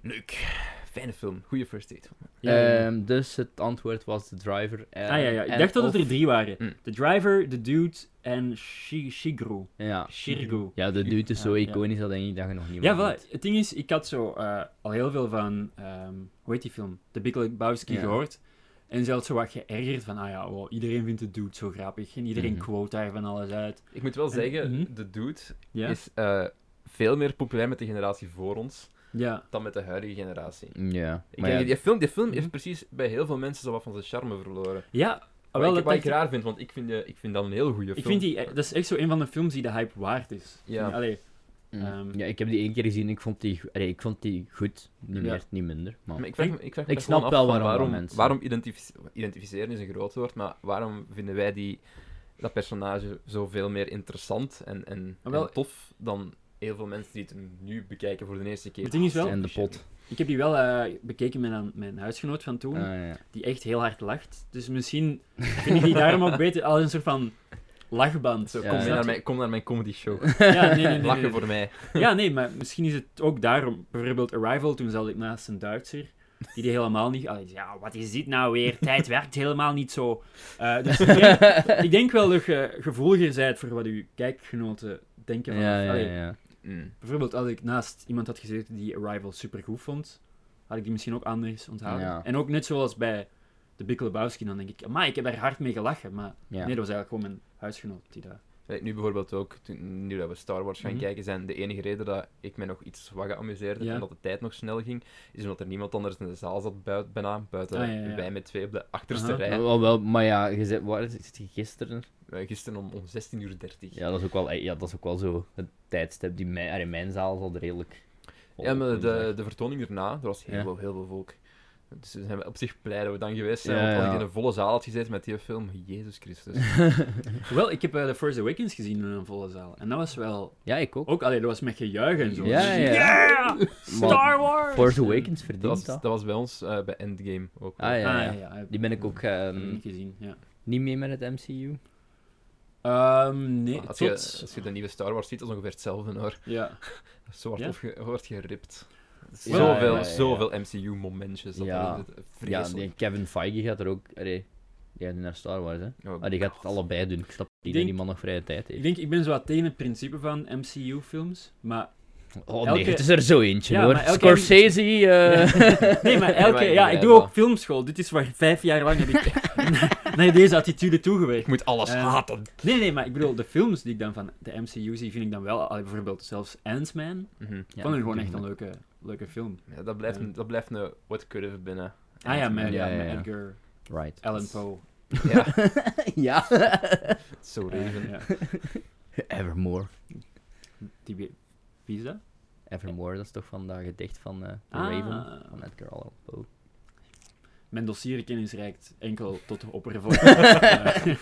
Speaker 1: Leuk. Fijne film. Goeie first date.
Speaker 3: Ja, ja, ja.
Speaker 2: Ehm, dus het antwoord was de driver. eh,
Speaker 3: ah, ja, ja. Ik
Speaker 2: en
Speaker 3: dacht dat
Speaker 2: of- Hmm.
Speaker 3: het er drie waren.
Speaker 1: Mm.
Speaker 3: De driver, de dude en Shi- Shigru.
Speaker 2: Ja.
Speaker 3: Shirgu.
Speaker 2: Ah, ja, de dude is
Speaker 3: Ja,
Speaker 2: zo
Speaker 3: ja.
Speaker 2: iconisch dat denk ik dat je nog niet
Speaker 3: Ja,
Speaker 2: meer
Speaker 3: voilà. Het ding is, ik had zo eh, al heel veel van, ehm, hoe heet die film? The Big Lebowski
Speaker 2: Ja.
Speaker 3: gehoord. En zelfs zo wat geërgerd van, ah ja, wow, iedereen vindt het dude zo grappig. En iedereen
Speaker 2: Mhm.
Speaker 3: quote daar van alles uit.
Speaker 1: Ik moet wel zeggen,
Speaker 3: mhm.
Speaker 1: de dude
Speaker 3: Ja,
Speaker 1: is eh, veel meer populair met de generatie voor ons
Speaker 3: ja.
Speaker 1: dan met de huidige generatie.
Speaker 2: weet. Ja.
Speaker 1: Ik
Speaker 2: Maar
Speaker 1: denk,
Speaker 2: ja,
Speaker 1: die, film, die film
Speaker 3: Mhm.
Speaker 1: heeft precies bij heel veel mensen zo wat van zijn charme verloren.
Speaker 3: ja
Speaker 1: Wat,
Speaker 3: Ah, wel,
Speaker 1: ik,
Speaker 3: dat
Speaker 1: wat ik
Speaker 3: dacht ik,
Speaker 1: raar vind, want ik vind, eh, ik vind dat een heel goede film.
Speaker 3: ik vind die, eh, dat is echt zo een van de films die de hype waard is.
Speaker 1: Ja.
Speaker 3: Vind- Allee,
Speaker 2: mm.
Speaker 3: ehm,
Speaker 2: ja, ik heb die één keer gezien. Ik vond die, go- allee, ik vond die goed. Niet
Speaker 3: Ja.
Speaker 2: meer, niet minder. Maar...
Speaker 1: Maar ik, vraag me- ik, vraag me
Speaker 2: Ik
Speaker 1: daar
Speaker 2: snap
Speaker 1: gewoon af
Speaker 2: wel
Speaker 1: van
Speaker 2: waarom dat
Speaker 1: waarom,
Speaker 2: mensen-
Speaker 1: waarom identifice- identificeren is een groot woord, maar waarom vinden wij die, dat personage zoveel meer interessant en, en,
Speaker 3: Maar Ah, wel-
Speaker 1: en tof dan heel veel mensen die het nu bekijken voor de eerste keer? Ah,
Speaker 3: Het ding is wel-
Speaker 2: En de pot.
Speaker 3: ik heb die wel eh, bekeken met een- mijn huisgenoot van toen,
Speaker 2: Ah, ja.
Speaker 3: die echt heel hard lacht. Dus misschien vind ik die daarom ook beter, al een soort van lachband. Zo,
Speaker 1: Zo,
Speaker 2: Ja,
Speaker 1: kom,
Speaker 2: ja.
Speaker 1: mee Naar
Speaker 3: snap je?
Speaker 1: mijn, kom naar mijn comedy show.
Speaker 3: Ja, nee, nee, nee, nee,
Speaker 1: Lachen
Speaker 3: nee.
Speaker 1: voor mij.
Speaker 3: Ja, nee, maar misschien is het ook daarom. Bijvoorbeeld Arrival, toen zat ik naast een Duitser. Die die helemaal niet... Allee, ja, wat is dit nou weer? Tijd werkt helemaal niet zo. Eh, dus ik denk, ik denk wel dat je gevoeliger bent voor wat uw kijkgenoten denken. Van,
Speaker 2: Ja, ja,
Speaker 3: Allee,
Speaker 2: ja.
Speaker 1: Mm.
Speaker 3: Bijvoorbeeld als ik naast iemand had gezeten die Arrival supergoed vond, had ik die misschien ook anders onthouden.
Speaker 2: Ja.
Speaker 3: En ook net zoals bij de Big Lebowski, dan denk ik... Maar ik heb daar hard mee gelachen, maar...
Speaker 2: Ja.
Speaker 3: Nee, dat was eigenlijk gewoon mijn huisgenoot die dat...
Speaker 1: Kijk, Nu bijvoorbeeld ook, toen, nu dat we Star Wars gaan
Speaker 3: Mhm.
Speaker 1: kijken, zijn de enige reden dat ik mij nog iets wat geamuseerd heb
Speaker 3: Ja.
Speaker 1: en dat de tijd nog snel ging, is omdat er niemand anders in de zaal zat buiten, bijna, buiten
Speaker 3: Ah, ja, ja.
Speaker 1: wij met twee op de achterste
Speaker 3: Aha.
Speaker 1: rij.
Speaker 2: Wel, wel, maar ja, je zit, waar is- zit je gisteren?
Speaker 1: Eh, Gisteren om, om 16.30 uur.
Speaker 2: Ja, dat is ook wel, eh, ja, dat is ook wel zo het tijdstip. Die mij, allee, mijn zaal is al redelijk. vol
Speaker 1: Ja, maar
Speaker 2: op
Speaker 1: de,
Speaker 2: woensdag.
Speaker 1: de vertoning erna, er was heel,
Speaker 2: Ja.
Speaker 1: veel, heel veel volk. Dus we zijn op zich blij dat we dan geweest zijn.
Speaker 2: Ja,
Speaker 1: want als
Speaker 2: ja.
Speaker 1: ik in een volle zaal had gezeten met die film, Jezus Christus.
Speaker 3: Wel, ik heb eh, The Force Awakens gezien in een volle zaal. En dat was wel
Speaker 2: Ja, ik ook.
Speaker 3: Ook, alleen dat was met gejuich en zo.
Speaker 2: Ja,
Speaker 3: Dus ik-
Speaker 2: ja.
Speaker 3: Yeah! Star Wars!
Speaker 2: Force Awakens
Speaker 1: Dat was,
Speaker 2: verdient
Speaker 1: dat
Speaker 2: dat.
Speaker 1: was bij ons eh, bij Endgame ook. wel.
Speaker 2: Ah, ja,
Speaker 3: Ah,
Speaker 2: ja. Die ben ik ook eh,
Speaker 3: heb ik niet gezien, ja.
Speaker 2: niet mee met het MCU.
Speaker 3: Ehm, nee,
Speaker 1: als, je,
Speaker 3: tot...
Speaker 1: als je de nieuwe Star Wars ziet, dat is ongeveer hetzelfde hoor.
Speaker 3: Ja.
Speaker 1: Zo hard
Speaker 3: Ja?
Speaker 1: of ge- wordt geript.
Speaker 2: Ja,
Speaker 1: zoveel,
Speaker 2: ja, ja, ja.
Speaker 1: zoveel MCU-momentjes. Dat dat-
Speaker 2: Ja.
Speaker 1: dat-
Speaker 2: Ja, die
Speaker 1: Vreselijk.
Speaker 2: Kevin Feige gaat er ook. Allee, die gaat nu naar Star Wars, hè?
Speaker 1: Oh,
Speaker 2: Maar die gaat het allebei doen. Ik snap
Speaker 3: denk-
Speaker 2: niet dat die man nog vrije tijd
Speaker 3: Ik
Speaker 2: heeft.
Speaker 3: denk, ik ben zo wat tegen het principe van MCU-films, maar
Speaker 2: Oh nee,
Speaker 3: Elke-
Speaker 2: het is er zo eentje
Speaker 3: Ja,
Speaker 2: hoor.
Speaker 3: maar elke-
Speaker 2: Scorsese. eh,
Speaker 3: Nee, maar elke...
Speaker 2: maar
Speaker 3: Ja,
Speaker 2: ja,
Speaker 3: ik doe ook
Speaker 2: wel.
Speaker 3: filmschool. Dit is waar vijf jaar lang heb ik naar deze attitude toegewerkt.
Speaker 1: Ik moet alles
Speaker 3: Eh,
Speaker 1: haten.
Speaker 3: Nee, nee, maar ik bedoel, de films die ik dan van de MCU zie, vind ik dan wel... allee, bijvoorbeeld zelfs Ant-Man.
Speaker 1: Mhm.
Speaker 2: Ja,
Speaker 3: vond ik gewoon
Speaker 2: die
Speaker 3: echt
Speaker 2: vond
Speaker 3: een
Speaker 2: ik-
Speaker 3: leuke, leuke film.
Speaker 1: Ja, dat, blijft,
Speaker 3: Ja.
Speaker 1: een- dat blijft een what could have binnen.
Speaker 3: Ah ja, met,
Speaker 2: Ja,
Speaker 3: ja,
Speaker 2: ja,
Speaker 3: met
Speaker 2: ja.
Speaker 3: Edgar
Speaker 2: Right.
Speaker 3: Allan Poe.
Speaker 1: Ja,
Speaker 2: ja.
Speaker 1: zo
Speaker 3: Eh,
Speaker 1: regen.
Speaker 3: ja.
Speaker 2: Evermore.
Speaker 3: Die, wie- wie is dat?
Speaker 2: Evermore, dat is toch van dat gedicht van eh, The
Speaker 3: Ah.
Speaker 2: Raven van Edgar Allan Poe.
Speaker 3: Mijn dossierkennis reikt enkel tot de oppervlakte.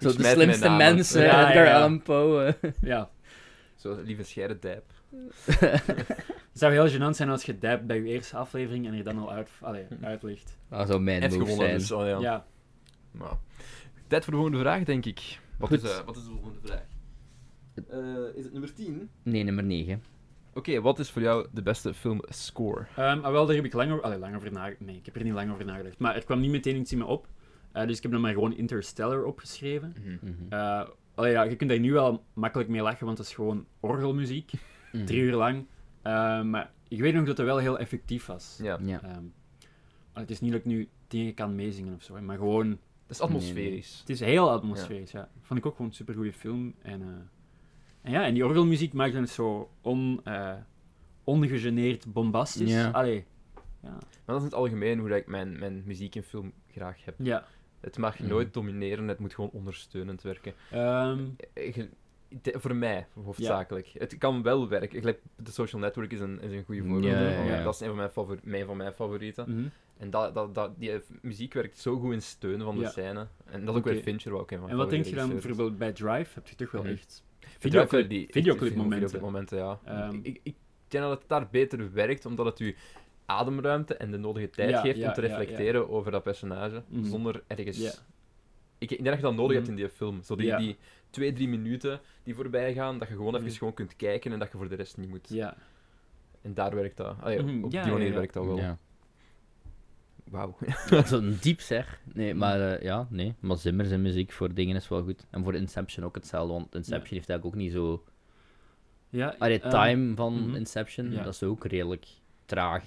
Speaker 2: Zo de
Speaker 1: smijt mijn
Speaker 2: slimste
Speaker 1: naam,
Speaker 2: mens,
Speaker 3: want-
Speaker 2: eh,
Speaker 3: Ja, ja,
Speaker 2: Edgar
Speaker 3: ja.
Speaker 2: Allan Poe. eh.
Speaker 3: ja.
Speaker 1: Zo, lieve scheide dijp.
Speaker 3: Het zou heel gênant zijn als je dijpt bij je eerste aflevering en er dan al uit, allee, uit ligt.
Speaker 1: Ah,
Speaker 2: Dat zou mijn
Speaker 1: Heeft
Speaker 2: move
Speaker 1: gewonnen,
Speaker 2: zijn.
Speaker 1: dus oh ja.
Speaker 3: Ja.
Speaker 1: Nou. Tijd voor de volgende vraag, denk ik. Wat,
Speaker 2: Goed.
Speaker 1: is, eh, wat is de volgende vraag? Eh, is het nummer 10?
Speaker 2: Nee, nummer 9.
Speaker 1: Oké, wat is voor jou de beste filmscore?
Speaker 3: Ehm, ah, wel, daar heb ik lang over, allee, lang over nagedacht. Nee, ik heb er niet lang over nagedacht. Maar er kwam niet meteen iets in me op. Eh, dus ik heb dan maar gewoon Interstellar opgeschreven.
Speaker 2: Mhm.
Speaker 3: Eh, allee, ja, je kunt daar nu wel makkelijk mee lachen, want dat is gewoon orgelmuziek.
Speaker 2: Mhm.
Speaker 3: Drie uur lang. Eh, maar ik weet nog dat dat wel heel effectief was.
Speaker 1: Ja,
Speaker 2: Ja.
Speaker 3: Ehm, allee, het is niet dat ik nu dingen kan meezingen of zo, hè, maar gewoon
Speaker 1: dat is atmosferisch.
Speaker 3: Het is heel atmosferisch, ja. Vond ik ook gewoon een supergoeie film. En, eh, en ja, en die orgelmuziek maakt het zo on, eh, ongegeneerd bombastisch.
Speaker 2: Ja.
Speaker 3: Allee. Ja.
Speaker 1: Maar dat is in het algemeen hoe dat ik mijn, mijn muziek in film graag heb.
Speaker 3: ja.
Speaker 1: Het mag
Speaker 2: Mhm.
Speaker 1: nooit domineren, het moet gewoon ondersteunend werken.
Speaker 3: Ehm,
Speaker 1: Eh, ge- de- voor mij, hoofdzakelijk. Het kan wel werken. Gelijk, The Social Network is een, is een goede voorbeeld.
Speaker 2: Ja,
Speaker 3: ja, ja.
Speaker 1: Dat is een van mijn, favori- mijn, van mijn favorieten.
Speaker 3: mhm.
Speaker 1: En dat, dat, dat, die muziek werkt zo goed in steun van de
Speaker 3: Ja.
Speaker 1: scène. En dat is ook
Speaker 3: Oké.
Speaker 1: weer Fincher, wat ik een van
Speaker 3: En
Speaker 1: mijn
Speaker 3: wat denk je dan
Speaker 1: favoriete regisseurs
Speaker 3: bijvoorbeeld bij Drive? Heb je toch wel
Speaker 1: Mhm.
Speaker 3: echt...
Speaker 1: is.
Speaker 3: videoclip-
Speaker 1: Vooral die-
Speaker 3: videoclipmomenten.
Speaker 1: videoclipmomenten, ja.
Speaker 3: Ehm.
Speaker 1: ik, ik, ik denk dat het daar beter werkt, omdat het u ademruimte en de nodige tijd
Speaker 3: Ja,
Speaker 1: geeft
Speaker 3: ja,
Speaker 1: om te
Speaker 3: ja, ja.
Speaker 1: reflecteren over dat personage,
Speaker 3: Mhm.
Speaker 1: zonder ergens...
Speaker 3: Ja.
Speaker 1: Ik, ik denk dat je dat nodig hebt in
Speaker 3: Mhm.
Speaker 1: die film. Zo die,
Speaker 3: Ja.
Speaker 1: die twee, drie minuten die voorbij gaan, dat je gewoon even
Speaker 3: Mhm.
Speaker 1: gewoon kunt kijken en dat je voor de rest niet moet.
Speaker 3: Ja.
Speaker 1: En daar werkt dat. Allee,
Speaker 3: Mhm,
Speaker 1: Op
Speaker 3: ja,
Speaker 1: die
Speaker 3: ja,
Speaker 1: manier
Speaker 3: ja.
Speaker 1: werkt dat wel.
Speaker 2: Ja.
Speaker 1: Wauw.
Speaker 2: Zo'n diep zeg. Nee, maar eh, ja, nee. Maar Zimmer zijn muziek voor dingen is wel goed. En voor Inception ook hetzelfde, want Inception
Speaker 3: Ja.
Speaker 2: heeft eigenlijk ook niet zo...
Speaker 3: ja
Speaker 2: Allee,
Speaker 3: ehm,
Speaker 2: time van
Speaker 3: mhm.
Speaker 2: Inception,
Speaker 3: Ja.
Speaker 2: dat is ook redelijk traag.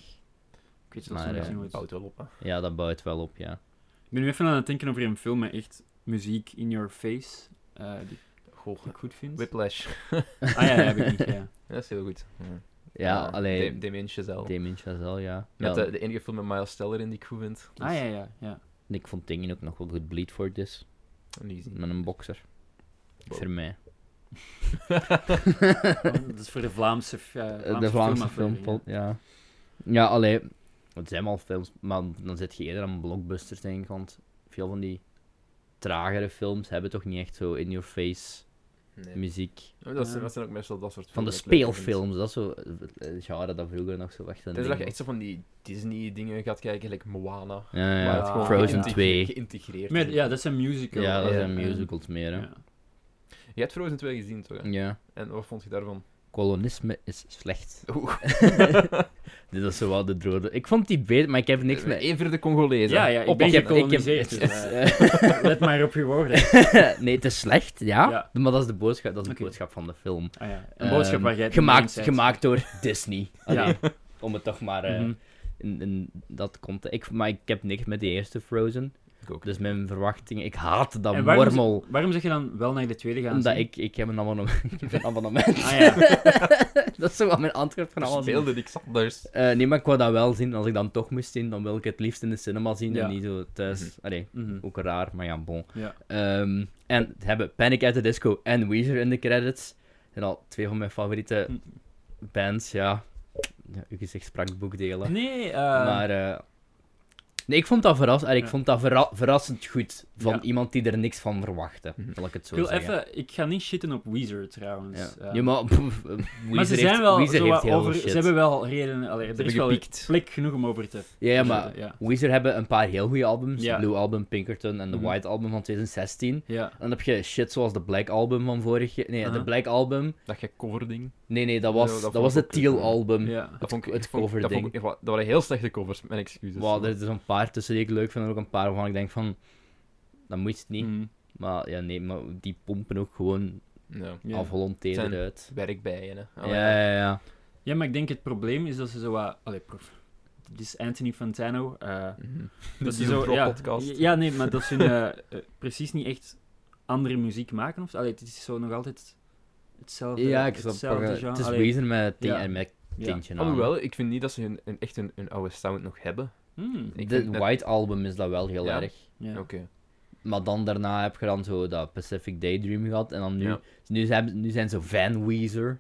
Speaker 3: Ik weet
Speaker 2: Maar,
Speaker 3: zelfs nog
Speaker 2: eh,
Speaker 3: nooit.
Speaker 1: Bouwt wel op, hè.
Speaker 2: Ja, dat bouwt wel op, ja.
Speaker 3: Ik ben nu even aan het denken over een film met echt muziek in your face, eh, die
Speaker 1: Goh,
Speaker 3: ik goed vind.
Speaker 1: Whiplash.
Speaker 3: Ah ja, ja, heb ik niet, ja.
Speaker 1: Ja, Dat is heel goed. Ja,
Speaker 2: Ja,
Speaker 1: Eh,
Speaker 2: alleen
Speaker 1: Dam- Damien Chazelle.
Speaker 2: Damien Chazelle, ja.
Speaker 1: Met
Speaker 2: ja
Speaker 1: de, de enige film met Miles Teller in die ik goed vind. Dus,
Speaker 3: Ah ja, ja, ja.
Speaker 2: en Ik vond dingen ook nog wel goed. Bleed for this,
Speaker 1: niet gezien.
Speaker 2: met een bokser.
Speaker 1: Wow.
Speaker 2: Voor mij.
Speaker 3: Oh, Dat is voor de Vlaamse, eh, Vlaamse
Speaker 2: de Vlaamse
Speaker 3: filmaflevering,
Speaker 2: filmpot, ja. Ja, allee, het zijn wel films, maar dan zit je eerder aan blockbusters, denk ik, want veel van die tragere films hebben toch niet echt zo in-your-face
Speaker 1: Nee.
Speaker 2: muziek.
Speaker 1: Maar Dat,
Speaker 3: Ja.
Speaker 1: zijn, dat zijn ook meestal dat soort
Speaker 2: Van de
Speaker 1: films dat ik leuk vind.
Speaker 2: speelfilms, dat is zo eh, het genre dat vroeger nog zo echt een
Speaker 1: Tenzij dat je
Speaker 2: ding
Speaker 1: echt zo van die Disney-dingen gaat kijken, like Moana.
Speaker 2: was. Ja, ja,
Speaker 1: waar
Speaker 2: ja.
Speaker 1: het gewoon
Speaker 2: Frozen
Speaker 1: geïntegre-
Speaker 2: 2.
Speaker 1: Geïntegreerd
Speaker 3: Maar
Speaker 1: is.
Speaker 3: ja, dat is een musical.
Speaker 2: Ja, dat
Speaker 1: Ja,
Speaker 2: zijn
Speaker 1: ja.
Speaker 2: musicals meer, hè.
Speaker 3: Ja.
Speaker 1: Je hebt Frozen 2 gezien, toch? hè?
Speaker 2: Ja.
Speaker 1: En wat vond je daarvan?
Speaker 2: Kolonisme is slecht.
Speaker 1: Oeh.
Speaker 2: Dit is zo wel de drode. Ik vond die beter, maar ik heb niks met...
Speaker 1: Eén Eh, vierde Congolezen.
Speaker 3: Ja, ja, ik ben
Speaker 2: ik heb-
Speaker 3: gekoloniseerd.
Speaker 2: ik
Speaker 3: Dus,
Speaker 2: heb-
Speaker 3: eh, let maar op je woorden. Ah,
Speaker 2: nee, het is slecht, ja.
Speaker 3: Ja.
Speaker 2: Maar dat is de boodschap, dat is de
Speaker 3: Oké.
Speaker 2: boodschap van de film.
Speaker 3: Ah, ja. Een boodschap
Speaker 2: Ehm,
Speaker 3: waar jij het mee eens
Speaker 2: gemaakt,
Speaker 3: bent.
Speaker 2: gemaakt door Disney. Allee,
Speaker 3: Ja.
Speaker 2: Om het toch maar eh,
Speaker 3: Mhm.
Speaker 2: in, in dat komt. Ik, maar ik heb niks met die eerste Frozen.
Speaker 1: Ik ook.
Speaker 2: Dus mijn verwachtingen... Ik haat dat
Speaker 3: En waarom
Speaker 2: mormel.
Speaker 3: Waarom zeg je dan wel naar de tweede gaan?
Speaker 2: Omdat
Speaker 3: zien?
Speaker 2: ik, ik heb een abonnement. ik heb een abonnement.
Speaker 3: Ah ja,
Speaker 2: dat is zo wat mijn antwoord van
Speaker 1: Er
Speaker 2: alles.
Speaker 1: speelde niks anders.
Speaker 2: Eh, nee, maar ik wou dat wel zien. Als ik dan toch moest zien, dan wil ik het liefst in de cinema zien
Speaker 3: Ja.
Speaker 2: en niet zo thuis. Allee,
Speaker 3: Mhm.
Speaker 2: ook raar, maar ja, bon.
Speaker 3: ja.
Speaker 2: Ehm, en ze hebben Panic at the Disco en Weezer in de credits. Dat zijn al twee van mijn favoriete
Speaker 3: Mhm.
Speaker 2: bands, ja. ja uw gezicht sprak boekdelen.
Speaker 3: Nee, eh,
Speaker 2: Maar eh, nee, ik vond dat, verras en ik
Speaker 3: Ja.
Speaker 2: vond dat verra- verrassend goed. Van
Speaker 3: Ja.
Speaker 2: iemand die er niks van verwachtte,
Speaker 1: Mhm.
Speaker 2: wil ik het zo
Speaker 3: ik wil
Speaker 2: zeggen.
Speaker 3: even... Ik ga niet shitten op Weezer, trouwens.
Speaker 2: Ja.
Speaker 3: Eh,
Speaker 2: Ja, maar, pff, eh,
Speaker 3: maar
Speaker 2: Weezer
Speaker 3: ze zijn
Speaker 2: heeft-
Speaker 3: wel
Speaker 2: Weezer
Speaker 3: zo
Speaker 2: heeft
Speaker 3: wat
Speaker 2: heel
Speaker 3: over...
Speaker 2: veel
Speaker 3: Ze
Speaker 2: shit.
Speaker 3: hebben wel redenen... allee, er is
Speaker 1: hebben
Speaker 3: wel
Speaker 1: gepiekt.
Speaker 3: plek genoeg om over te...
Speaker 2: Ja, ja, maar
Speaker 3: Ja.
Speaker 2: Weezer hebben een paar heel goede albums.
Speaker 3: Ja.
Speaker 2: Blue Album, Pinkerton en de
Speaker 3: Mhm.
Speaker 2: White Album van 2016.
Speaker 3: Ja.
Speaker 2: Dan heb je shit zoals de Black Album van vorig jaar. Nee, de
Speaker 3: Aha.
Speaker 2: Black Album.
Speaker 1: Dat je coverding.
Speaker 2: Nee, nee, dat
Speaker 1: Ja,
Speaker 2: was,
Speaker 1: dat
Speaker 2: dat
Speaker 1: vond
Speaker 2: was
Speaker 1: ik
Speaker 2: het
Speaker 1: ook, eh,
Speaker 2: Teal
Speaker 1: ja.
Speaker 2: Album.
Speaker 3: Ja.
Speaker 1: Dat vond ik,
Speaker 2: het
Speaker 1: ik vond- dat,
Speaker 2: coverding.
Speaker 1: vond ik- dat waren heel slechte covers, mijn excuses.
Speaker 2: Wow, er zijn een paar tussen die ik leuk vind en ook een paar waarvan ik denk van... Dat moet je
Speaker 1: Hm.
Speaker 2: niet.
Speaker 3: Mhm.
Speaker 2: Maar ja, nee, maar die pompen ook gewoon
Speaker 1: Ja.
Speaker 3: Ja.
Speaker 2: afgemonteerd
Speaker 1: Zijn- Ah,
Speaker 2: uit.
Speaker 1: Werk bij je, hè.
Speaker 2: ja, ja, ja.
Speaker 3: Ja, maar ik denk het probleem is dat ze zo wat... Allee, prof. Dit is Anthony Fantano. eh,
Speaker 1: Mhm. Dat
Speaker 3: ze
Speaker 1: is een
Speaker 3: ja,
Speaker 1: podcast.
Speaker 3: Ja, nee, maar dat ze eh, eh, precies niet echt andere muziek maken. Of, allee, het is zo nog altijd hetzelfde
Speaker 2: Ja, ik snap
Speaker 3: hetzelfde
Speaker 2: het.
Speaker 3: genre.
Speaker 2: Het is
Speaker 3: Allee,
Speaker 2: wezen met ting-
Speaker 3: Ja.
Speaker 2: en met
Speaker 3: ja.
Speaker 2: tintje aan.
Speaker 1: Alhoewel, ik vind niet dat ze hun, hun- echt een oude sound nog hebben.
Speaker 3: Hmm,
Speaker 1: ik
Speaker 2: De
Speaker 1: vind dat-
Speaker 2: White Album is dat wel heel
Speaker 1: Ja.
Speaker 2: erg.
Speaker 3: ja.
Speaker 1: Oké.
Speaker 2: Maar dan daarna heb je dan zo dat Pacific Daydream gehad. En dan nu,
Speaker 1: Ja.
Speaker 2: nu, zijn, nu zijn ze Van Weezer.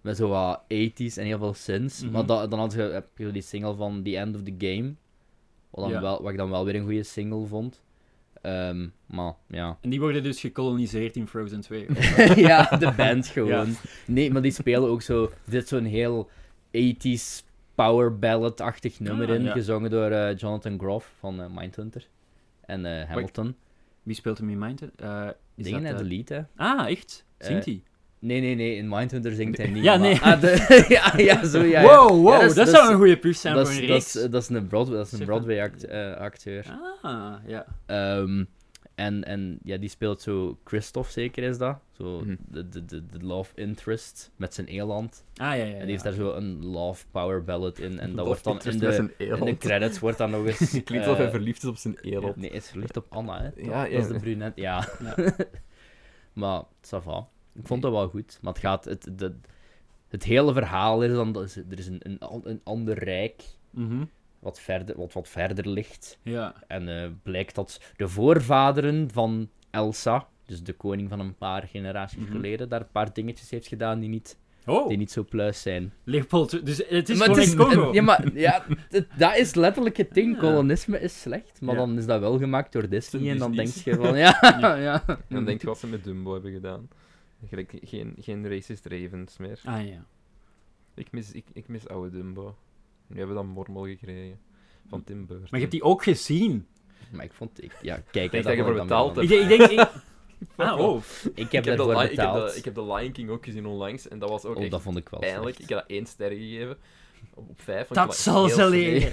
Speaker 2: Met zo wat 80s en heel veel synths.
Speaker 3: Mhm.
Speaker 2: Maar da- dan had je, heb je zo die single van The End of the Game. Wat, dan
Speaker 3: Ja.
Speaker 2: wel, wat ik dan wel weer een goede single vond. Ehm, maar ja.
Speaker 3: En die worden dus gekoloniseerd in Frozen 2.
Speaker 2: ja, de band gewoon.
Speaker 3: Ja.
Speaker 2: Nee, maar die spelen ook zo. Dit zo'n heel 80s power ballad-achtig nummer
Speaker 3: Ah,
Speaker 2: in.
Speaker 3: ja.
Speaker 2: Gezongen door eh, Jonathan Groff van eh, Mindhunter. En eh, Hamilton.
Speaker 3: Wie speelt hem in Mind? Eh, is
Speaker 2: Dingen
Speaker 3: dat,
Speaker 2: uit de
Speaker 3: eh,
Speaker 2: lied, hè?
Speaker 3: Ah, echt? Zingt
Speaker 2: Eh,
Speaker 3: hij?
Speaker 2: Nee, nee, nee, in Mindhunter zingt hij niet.
Speaker 3: Ja,
Speaker 2: maar-
Speaker 3: nee.
Speaker 2: Ah, de- ja, ja, zo, ja. ja.
Speaker 3: Wow, wow,
Speaker 2: Ja,
Speaker 3: dat,
Speaker 2: dat is-
Speaker 3: zou een goede push zijn
Speaker 2: Dat
Speaker 3: voor
Speaker 2: is,
Speaker 3: een
Speaker 2: dat, is, eh,
Speaker 3: reeks.
Speaker 2: dat is een Broadway, dat is een
Speaker 3: Zeg maar.
Speaker 2: Broadway act- eh, acteur.
Speaker 3: Ah, ja.
Speaker 2: Ehm, en, en ja, die speelt zo Christophe, zeker is dat. Zo
Speaker 1: Mhm.
Speaker 2: de, de, de, de love interest met zijn eland.
Speaker 3: Ah, ja, ja. ja.
Speaker 2: En die heeft daar zo een love power ballad in. En dat wordt dan in
Speaker 1: Interest met
Speaker 2: de,
Speaker 1: zijn
Speaker 2: in de
Speaker 1: eland.
Speaker 2: credits wordt dan nog eens...
Speaker 1: Klinkt alsof
Speaker 2: eh,
Speaker 1: hij verliefd is op zijn eland.
Speaker 2: Nee, is verliefd op Anna, hè? toch?
Speaker 1: Ja, ja.
Speaker 2: Dat is de brunet, ja. maar, ça va. Ik vond dat wel goed. Maar het gaat... Het, de, het hele verhaal is dan... dat is- Er is een, een, an- een ander rijk
Speaker 3: Mhm.
Speaker 2: wat verder, wat, wat verder ligt.
Speaker 3: Ja.
Speaker 2: En eh, blijkt dat de voorvaderen van Elsa, dus de koning van een paar generaties
Speaker 3: Mhm.
Speaker 2: geleden, daar een paar dingetjes heeft gedaan die niet,
Speaker 3: Oh,
Speaker 2: die niet zo pluis zijn.
Speaker 3: Leopold. Dus het is
Speaker 2: Maar
Speaker 3: gewoon
Speaker 2: het
Speaker 3: in Congo.
Speaker 2: Ja, maar ja, het- dat is letterlijk het ding.
Speaker 3: Ja.
Speaker 2: Kolonisme is slecht, maar
Speaker 3: Ja.
Speaker 2: dan is dat wel gemaakt door Disney.
Speaker 1: Door
Speaker 2: en dan denk
Speaker 1: Disney's.
Speaker 2: je van, ja, ja.
Speaker 1: En
Speaker 2: Mm-hmm.
Speaker 1: dan denk je wat ze met Dumbo hebben gedaan. Gelijk, geen, geen racist Ravens meer.
Speaker 3: Ah, ja.
Speaker 1: Ik mis, ik, ik mis oude Dumbo. Nu hebben we dan Mormel gekregen. Van Tim Burton.
Speaker 3: Maar je hebt die ook gezien.
Speaker 2: Maar ik vond, ik, ja, kijk,
Speaker 1: denk
Speaker 2: hè,
Speaker 1: dat je
Speaker 2: vond
Speaker 1: voor
Speaker 2: dan wel
Speaker 1: betaald
Speaker 2: een-
Speaker 3: Ik, denk- ik denk... ik- Ah, oh.
Speaker 2: Ik heb
Speaker 1: ik, heb de
Speaker 2: daarvoor
Speaker 1: Li- ik, heb de,
Speaker 2: betaald.
Speaker 1: ik heb de Lion King ook gezien onlangs. En dat was ook
Speaker 2: Oh,
Speaker 1: echt
Speaker 2: dat vond ik wel
Speaker 1: pijnlijk. Ik
Speaker 2: slecht.
Speaker 1: heb dat één ster gegeven. Op, op vijf. want ik
Speaker 3: Dat
Speaker 1: vond
Speaker 3: zal
Speaker 1: heel
Speaker 3: ze
Speaker 1: slecht.
Speaker 3: leren.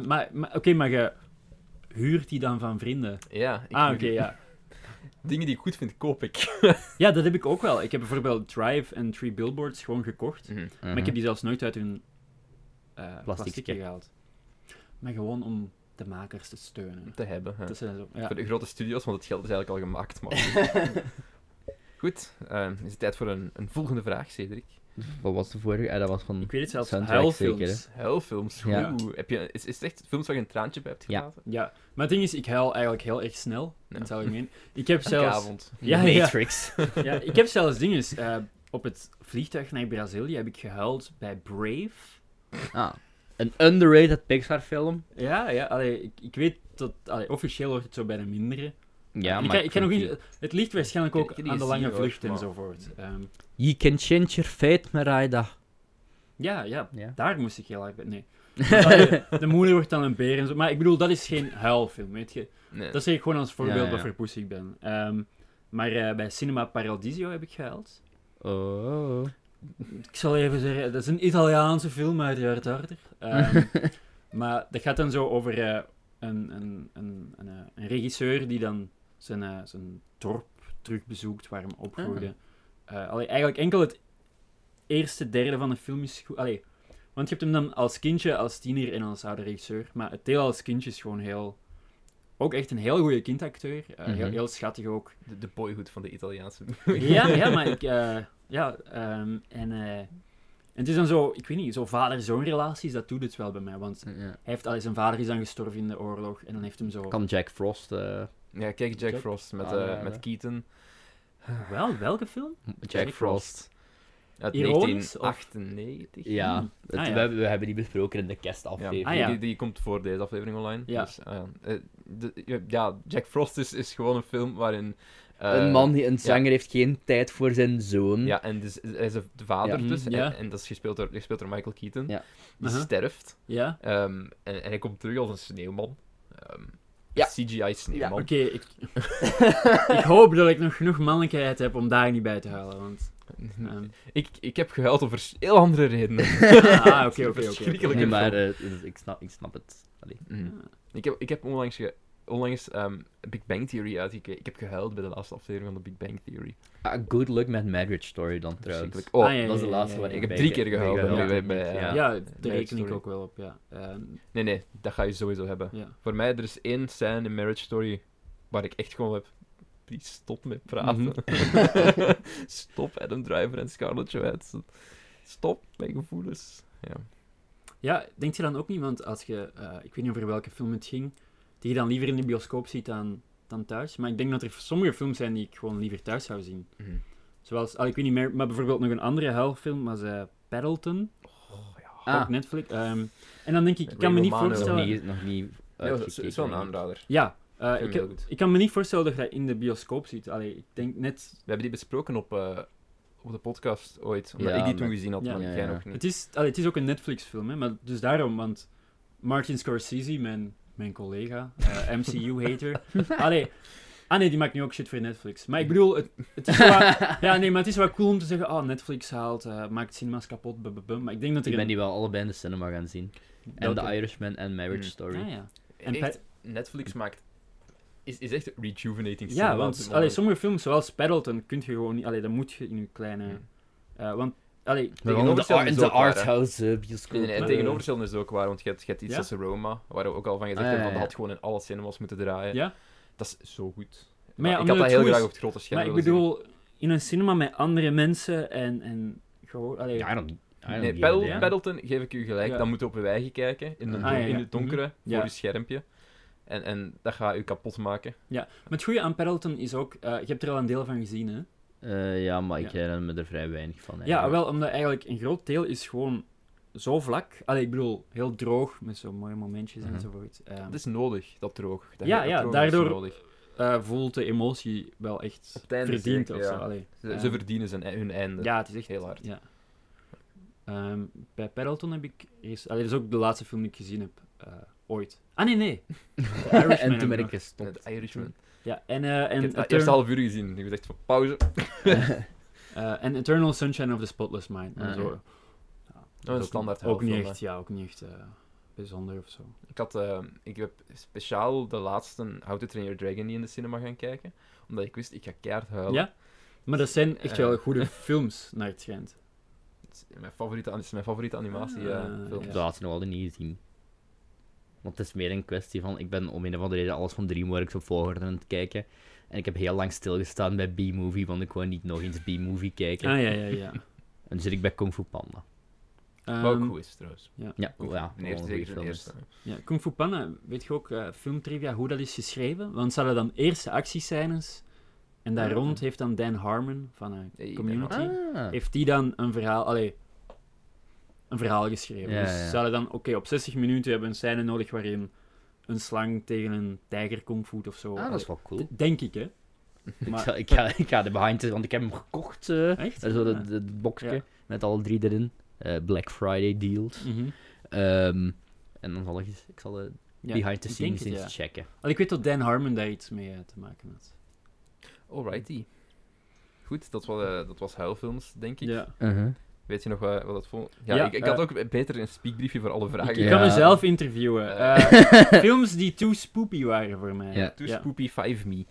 Speaker 3: Eh, maar, maar oké, maar je huurt die dan van vrienden?
Speaker 1: Ja. ik
Speaker 3: ah,
Speaker 1: moet-
Speaker 3: oké, ja.
Speaker 1: Dingen die ik goed vind, koop ik.
Speaker 3: Ja, dat heb ik ook wel. Ik heb bijvoorbeeld Drive en Three Billboards gewoon gekocht.
Speaker 1: Mhm.
Speaker 2: Mhm.
Speaker 3: Maar ik heb die zelfs nooit uit hun eh plasticje
Speaker 2: Plastiekje.
Speaker 3: gehaald. Maar gewoon om de makers te steunen.
Speaker 1: Te hebben. hè.
Speaker 3: Dat zijn zo, ja.
Speaker 1: Voor de grote studios, want het geld is eigenlijk al gemaakt. Maar... Goed, eh, is het tijd voor een, een volgende vraag, Cedric?
Speaker 2: Wat was de vorige? Ah, dat was van...
Speaker 3: Ik weet het zelfs,
Speaker 2: Soundtrack
Speaker 3: huilfilms.
Speaker 2: zeker,
Speaker 1: Huilfilms.
Speaker 2: Ja.
Speaker 1: Oeh, heb je, is, is het echt films waar je een traantje bij hebt
Speaker 2: Ja.
Speaker 1: gelaten?
Speaker 3: Ja, maar het ding is, ik huil eigenlijk heel erg snel.
Speaker 1: Ja.
Speaker 3: In het algemeen. Ik heb
Speaker 1: Elke
Speaker 3: zelfs...
Speaker 1: avond.
Speaker 3: Ja,
Speaker 2: De
Speaker 3: ja,
Speaker 2: Matrix.
Speaker 3: ja, ik heb zelfs dingen. eh, op het vliegtuig naar Brazilië heb ik gehuild bij Brave.
Speaker 2: Ah, een underrated Pixar film.
Speaker 3: Ja, ja, allee, ik, ik weet dat... allee, officieel wordt het zo bij de mindere.
Speaker 2: Ja,
Speaker 3: ik,
Speaker 2: maar
Speaker 3: ga, ik ga nog
Speaker 2: vind
Speaker 3: eens, het ligt waarschijnlijk
Speaker 1: Ik-
Speaker 3: ook
Speaker 1: ik heb die
Speaker 3: aan de
Speaker 1: gezien,
Speaker 3: lange
Speaker 1: hoor,
Speaker 3: vlucht
Speaker 1: maar-
Speaker 3: enzovoort. Ehm,
Speaker 2: die- You can change your fate, Merida.
Speaker 3: ja, ja,
Speaker 2: Ja.
Speaker 3: daar moest ik heel hard bij... Nee. Want, allee, de moeder wordt dan een beer en zo. Maar ik bedoel, dat is geen huilfilm, weet je.
Speaker 1: Nee.
Speaker 3: Dat zeg ik gewoon als voorbeeld
Speaker 2: Ja, ja.
Speaker 3: wat voor poes ik ben. Ehm, maar eh, bij Cinema Paradiso heb ik gehuild.
Speaker 2: Oh.
Speaker 3: Ik zal even zeggen, dat is een Italiaanse film, uiteraard harder. Ehm, maar dat gaat dan zo over eh, een, een, een, een, eh, een regisseur die dan zijn, eh, zijn dorp terugbezoekt waar hem opgroeide. Eh, allee, eigenlijk enkel het eerste derde van de film is goed. Allee, want je hebt hem dan als kindje, als tiener en als oude regisseur. Maar het deel als kindje is gewoon heel... Ook echt een heel goede kindacteur. eh, heel,
Speaker 2: Mhm.
Speaker 3: heel schattig ook.
Speaker 1: De, de boyhood van de Italiaanse.
Speaker 3: Ja, ja, maar ik... eh, ja, ehm, en, eh, en het is dan zo, ik weet niet, zo vader-zoon relaties, dat doet het wel bij mij. Want hij
Speaker 2: Ja.
Speaker 3: heeft, allee, zijn vader is dan gestorven in de oorlog en dan heeft hem zo...
Speaker 2: Kan Jack Frost... eh,
Speaker 1: Ja, kijk, Jack
Speaker 3: Jack-
Speaker 1: Frost met,
Speaker 2: Ah,
Speaker 1: eh,
Speaker 2: ja,
Speaker 1: met
Speaker 2: ja.
Speaker 1: Keaton.
Speaker 3: Ah, Wel, welke film?
Speaker 2: Jack Frost.
Speaker 1: Uit
Speaker 3: Ironisch, of-
Speaker 1: 1998.
Speaker 2: Ja,
Speaker 3: Hmm.
Speaker 2: het-
Speaker 3: Ah, ja.
Speaker 2: We, hebben, we hebben die besproken in de
Speaker 1: Ja,
Speaker 2: kerstaflevering.
Speaker 3: Ah, ja.
Speaker 1: Die, die komt voor deze aflevering online.
Speaker 3: Ja.
Speaker 1: Dus, ah, ja. Eh, de- ja, Jack Frost is, is gewoon een film waarin... eh,
Speaker 2: Een man, die- een zanger, heeft geen tijd voor zijn zoon.
Speaker 1: Ja, en dus, hij is de vader
Speaker 3: Ja.
Speaker 1: dus.
Speaker 3: Mm, ja. Uh-huh.
Speaker 1: En, en dat is gespeeld door, gespeeld door Michael Keaton.
Speaker 2: Ja.
Speaker 1: Die
Speaker 3: Aha.
Speaker 1: sterft.
Speaker 3: Ja?
Speaker 1: Ehm, en, en hij komt terug als een sneeuwman. Ehm,
Speaker 2: Ja.
Speaker 1: CGI
Speaker 3: Oké,
Speaker 1: sneeuwman.
Speaker 3: ik... ik hoop dat ik nog genoeg mannelijkheid heb om daar niet bij te huilen, want... ehm,
Speaker 1: ik, ik heb gehuild over s- heel andere redenen.
Speaker 3: ah, oké, oké, oké.
Speaker 1: Verschrikkelijke
Speaker 3: Hm.
Speaker 2: Nee, maar eh, dus ik, snap, ik snap het. Allee.
Speaker 1: Mm. ik, heb, ik heb onlangs ge- onlangs ehm, Big Bang Theory uitgekeken. Ik heb gehuild bij de laatste aflevering van de Big Bang Theory.
Speaker 2: Ah, Good Luck met Marriage Story dan trouwens.
Speaker 1: Verschrikkelijk. Oh,
Speaker 3: Ah, ja,
Speaker 2: Dat was de
Speaker 3: ja,
Speaker 2: laatste
Speaker 3: ja,
Speaker 2: waar
Speaker 3: ja.
Speaker 2: ik
Speaker 1: Ik heb
Speaker 2: bij
Speaker 1: drie
Speaker 2: ge-
Speaker 1: keer gehuild,
Speaker 2: bij
Speaker 3: ja.
Speaker 2: gehuild
Speaker 1: bij- bij,
Speaker 2: heb.
Speaker 1: eh,
Speaker 3: Ja,
Speaker 2: ja.
Speaker 3: daar
Speaker 1: Marriage
Speaker 3: reken ik
Speaker 1: Story.
Speaker 3: ook wel op, ja. Ehm,
Speaker 1: nee, nee, dat ga je sowieso hebben.
Speaker 3: ja.
Speaker 1: Voor mij, er is één scène in Marriage Story waar ik echt gewoon heb... Please, stop met praten. stop, Adam Driver en Scarlett Johansson. Stop, mijn gevoelens. Ja.
Speaker 3: ja, denk je dan ook niet, want als je, eh, ik weet niet over welke film het ging, die je dan liever in de bioscoop ziet dan, dan thuis. Maar ik denk dat er sommige films zijn die ik gewoon liever thuis zou zien.
Speaker 1: Mhm.
Speaker 3: Zoals, ah, ik weet niet meer, maar bijvoorbeeld nog een andere huilfilm was eh Paddleton, op
Speaker 1: Oh,
Speaker 2: Ah,
Speaker 3: Netflix. Ehm, en dan denk ik, ik kan me
Speaker 1: Ray
Speaker 3: niet
Speaker 1: Romano.
Speaker 2: nog
Speaker 3: voorstellen...
Speaker 2: niet, nog niet
Speaker 1: dat is wel een
Speaker 2: uitgekeken.
Speaker 1: aanrader.
Speaker 3: Ja, eh,
Speaker 1: Vind
Speaker 3: ik,
Speaker 1: hem heel goed.
Speaker 3: ik kan me niet voorstellen dat je dat in de bioscoop ziet. Allee, ik denk net...
Speaker 1: We hebben die besproken op, eh, op de podcast ooit. Omdat
Speaker 2: Ja,
Speaker 1: ik die
Speaker 2: met-
Speaker 1: toen gezien had,
Speaker 3: Ja.
Speaker 1: maar
Speaker 2: Ja,
Speaker 1: jij
Speaker 2: ja.
Speaker 1: nog niet.
Speaker 3: Het is, allee, het is ook een Netflix-film, hè, maar dus daarom, want Martin Scorsese, mijn, mijn collega, eh, MCU-hater... allee, ah nee, die maakt nu ook shit voor Netflix. Maar ik bedoel, het, het is wel wat, ja, nee, maar het is wel cool om te zeggen, oh, Netflix haalt, eh, maakt cinema's kapot, bum, bum, bum. Maar ik denk dat er...
Speaker 2: Ik ben
Speaker 3: een-
Speaker 2: die wel allebei in de cinema gaan zien. En
Speaker 3: dat
Speaker 2: The
Speaker 3: er-
Speaker 2: Irishman en Marriage
Speaker 1: Hmm.
Speaker 2: Story.
Speaker 3: Ah, ja. En
Speaker 1: Echt, Netflix maakt... Is, is echt rejuvenating
Speaker 3: Ja,
Speaker 1: cinema op
Speaker 3: want
Speaker 1: dit
Speaker 3: allee,
Speaker 1: moment.
Speaker 3: sommige films, zoals Paddleton, kun je gewoon niet... Allee, dat moet je in je kleine...
Speaker 1: Hmm.
Speaker 3: eh, want, allee,
Speaker 2: Maar
Speaker 1: Tegenover
Speaker 2: gewoon de, ar-
Speaker 1: is
Speaker 2: de
Speaker 1: ook waar, hè.
Speaker 2: arthouse eh, bioscoop.
Speaker 1: Nee, nee, nee,
Speaker 3: Maar-
Speaker 1: het tegenovergestelde is ook waar, want je hebt, je hebt iets
Speaker 3: Ja?
Speaker 1: als Roma, waar we ook al van gezegd
Speaker 2: Ah, ja,
Speaker 1: hebben, van,
Speaker 2: ja.
Speaker 1: dat had gewoon in alle cinemas moeten draaien.
Speaker 3: ja?
Speaker 1: Dat is zo goed.
Speaker 3: Maar ja,
Speaker 1: ik
Speaker 3: omdat
Speaker 1: had dat
Speaker 3: het
Speaker 1: heel
Speaker 3: goed
Speaker 1: graag
Speaker 3: is.
Speaker 1: op het grote scherm
Speaker 3: Maar ik
Speaker 1: willen zien.
Speaker 3: bedoel, in een cinema met andere mensen en, en gewoon... Allee,
Speaker 2: I don't, I
Speaker 1: Nee,
Speaker 2: don't give
Speaker 1: Paddle-
Speaker 2: a damn.
Speaker 1: Paddleton, geef ik u gelijk,
Speaker 3: Ja.
Speaker 1: dan moet je op een eigen kijken, in, de,
Speaker 2: Ah,
Speaker 1: don-
Speaker 3: ja, ja. Mhm.
Speaker 1: in het donkere,
Speaker 3: Ja.
Speaker 1: voor uw schermpje. En, en dat gaat u kapot maken.
Speaker 3: Maar het goede aan Paddleton is ook... eh, je hebt er al een deel van gezien, hè?
Speaker 2: Eh, ja, maar ik
Speaker 3: Ja.
Speaker 2: herinner me er vrij weinig van.
Speaker 3: Ja,
Speaker 2: eigenlijk.
Speaker 3: wel, omdat eigenlijk een groot deel is gewoon zo vlak. Allee, ik bedoel, heel droog, met zo'n mooie momentjes
Speaker 2: Mhm.
Speaker 3: enzovoort. Ehm,
Speaker 1: Dat is nodig, dat droog. Dat
Speaker 3: Ja,
Speaker 1: dat
Speaker 3: ja,
Speaker 1: droog
Speaker 3: daardoor-
Speaker 1: is nodig.
Speaker 3: eh, voelt de emotie wel echt
Speaker 1: Op het einde
Speaker 3: verdiend
Speaker 1: zeker,
Speaker 3: of zo.
Speaker 1: ja.
Speaker 3: Allee,
Speaker 1: Ze,
Speaker 3: ehm,
Speaker 1: ze verdienen zijn, e- hun einde.
Speaker 3: Ja, het is echt...
Speaker 1: Heel hard.
Speaker 3: Ja. Ehm, bij Paddleton heb ik... eerst- Allee, dat is ook de laatste film die ik gezien heb. eh, ooit. Ah, nee, nee. Irishman
Speaker 2: en toen
Speaker 3: heb
Speaker 2: ben
Speaker 3: ik
Speaker 2: ik gestopt.
Speaker 1: Het Irishman.
Speaker 3: Ja, en... eh, en
Speaker 1: ik heb
Speaker 3: A
Speaker 1: dat
Speaker 3: Term-
Speaker 1: eerste half uur gezien. Ik dacht van pauze.
Speaker 3: Eh, en Eternal Sunshine of the Spotless Mind. maar
Speaker 2: Ah,
Speaker 3: zo.
Speaker 2: ja.
Speaker 1: Dat is een standaard
Speaker 3: Ook niet
Speaker 1: helftfilm,
Speaker 3: echt, ja, ook niet echt eh, bijzonder of zo.
Speaker 1: Ik, had, eh, ik heb speciaal de laatste How to Train Your Dragon niet in de cinema gaan kijken. Omdat ik wist, ik ga keihard huilen.
Speaker 3: Ja? Maar dat zijn echt
Speaker 1: Eh.
Speaker 3: wel goede films naar het schijnt.
Speaker 1: Het is mijn favoriete, het is mijn favoriete
Speaker 3: Ah,
Speaker 1: animatiefilm. Dus
Speaker 3: ja.
Speaker 2: Dat had ze nog altijd niet gezien. Want het is meer een kwestie van, ik ben om een of andere reden alles van DreamWorks op volgorde aan het kijken. En ik heb heel lang stilgestaan bij B-movie, want ik wou niet nog eens B-movie kijken.
Speaker 3: Ah, ja, ja, ja.
Speaker 2: En toen zit ik bij Kung Fu Panda.
Speaker 1: Wat ook
Speaker 3: Ehm,
Speaker 1: goed is trouwens.
Speaker 2: Ja,
Speaker 1: Ook
Speaker 2: ja.
Speaker 1: de eerste,
Speaker 2: gewoon een
Speaker 1: zeker de
Speaker 2: goede
Speaker 1: eerste.
Speaker 2: film
Speaker 3: ja. Kung Fu Panda, weet je ook eh filmtrivia hoe dat is geschreven? Want ze hadden dan eerste actiescènes. En daar
Speaker 1: Ja.
Speaker 3: rond heeft dan Dan Harmon van eh,
Speaker 1: Hey, Dan
Speaker 3: Community...
Speaker 2: is. Ah.
Speaker 3: heeft die dan een verhaal... Allee, een verhaal geschreven.
Speaker 2: Ja,
Speaker 3: dus
Speaker 2: ja.
Speaker 3: ze hadden dan... Oké, op 60 minuten hebben we een scène nodig waarin een slang tegen een tijger kungvoet of zo.
Speaker 2: Ah, dat
Speaker 3: Allee,
Speaker 2: is wel cool.
Speaker 3: D- Denk ik, hè?
Speaker 2: Ik,
Speaker 3: Maar-
Speaker 2: zal- ik, ga, ik ga de behind, want ik heb hem gekocht. eh,
Speaker 3: Echt?
Speaker 2: zo
Speaker 3: Ja.
Speaker 2: dat, dat boxje
Speaker 3: Ja.
Speaker 2: met alle drie erin. Eh, Black Friday deals.
Speaker 3: Mhm.
Speaker 2: Ehm, en dan zal ik, eens- ik zal de
Speaker 3: Ja,
Speaker 2: behind the
Speaker 3: ik
Speaker 2: scenes
Speaker 3: denk
Speaker 2: eens
Speaker 3: het, ja.
Speaker 2: checken.
Speaker 3: Al, ik weet dat Dan Harmon daar iets mee eh, te maken had.
Speaker 1: Alrighty. Goed, dat was, eh, dat was huilfilms, denk ik.
Speaker 3: Ja.
Speaker 2: Uh-huh.
Speaker 1: Weet je nog wat, wat het volgende... Ja,
Speaker 3: Ja,
Speaker 1: ik, ik
Speaker 3: eh,
Speaker 1: had ook beter een speakbriefje voor alle vragen.
Speaker 3: Ik,
Speaker 2: Ja.
Speaker 3: kan mezelf interviewen.
Speaker 1: Eh.
Speaker 3: Eh, films die too spoopy waren voor mij.
Speaker 2: Ja.
Speaker 1: Too spoopy 5 me.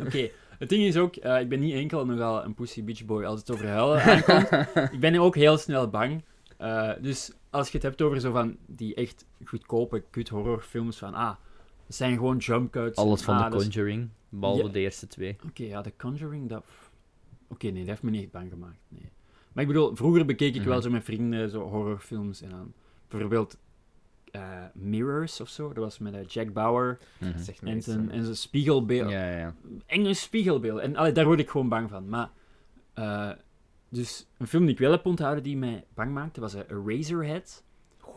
Speaker 3: Oké, het ding is ook, eh, ik ben niet enkel nogal een pussy bitch boy als het over huilen aankomt. ik ben ook heel snel bang. Eh, dus als je het hebt over zo van die echt goedkope kut horrorfilms van, ah, het zijn gewoon jump cuts.
Speaker 2: Alles van
Speaker 3: Ah,
Speaker 2: The
Speaker 3: dat is-
Speaker 2: Conjuring, behalve
Speaker 3: Ja.
Speaker 2: de eerste twee.
Speaker 3: Oké, ja, The Conjuring, dat... pff. Oké, nee, dat heeft me niet echt bang gemaakt, nee. Maar ik bedoel, vroeger bekeek ik wel
Speaker 2: Mhm.
Speaker 3: zo met vrienden zo horrorfilms en dan... Bijvoorbeeld eh, Mirrors of zo, dat was met eh, Jack Bauer
Speaker 1: Dat zegt me
Speaker 3: en
Speaker 1: niks, eh.
Speaker 3: zijn,
Speaker 1: hè.
Speaker 3: en zijn spiegelbeeld.
Speaker 2: Ja, ja, ja.
Speaker 3: Enge spiegelbeeld. En allee, daar word ik gewoon bang van. Maar, eh, dus een film die ik wel heb onthouden die mij bang maakte, was eh, Eraserhead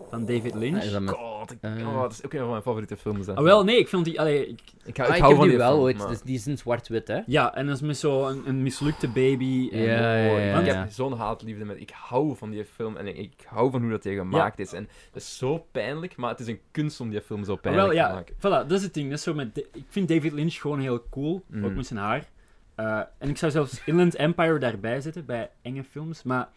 Speaker 3: van David
Speaker 1: Ah,
Speaker 3: Lynch.
Speaker 2: Is dat met-
Speaker 1: God, ik-
Speaker 2: eh.
Speaker 1: oh, dat is ook een van mijn favoriete films. hè.
Speaker 3: Ah, wel, nee, ik vond die... Allee, ik,
Speaker 1: Ik,
Speaker 2: Ah,
Speaker 1: hou-
Speaker 2: ik,
Speaker 1: hou
Speaker 2: heb
Speaker 1: van
Speaker 2: die wel
Speaker 1: film,
Speaker 2: ooit,
Speaker 1: maar-
Speaker 2: dus die is in zwart-wit, hè?
Speaker 3: ja, en dat is met zo'n een mislukte baby. En,
Speaker 2: Ja, ja,
Speaker 1: Mooi.
Speaker 2: ja,
Speaker 1: Ik
Speaker 2: ja.
Speaker 1: heb zo'n haatliefde met. Ik hou van die film en ik hou van hoe dat die gemaakt is. En dat is zo pijnlijk, maar het is een kunst om die film zo
Speaker 3: Ah,
Speaker 1: pijnlijk
Speaker 3: wel, ja,
Speaker 1: te maken.
Speaker 3: Voilà, dat is het ding. Dat is zo met Da- ik vind David Lynch gewoon heel cool,
Speaker 1: Mhm.
Speaker 3: ook met zijn haar. Eh, en ik zou zelfs Inland Empire daarbij zetten, bij enge films. Maar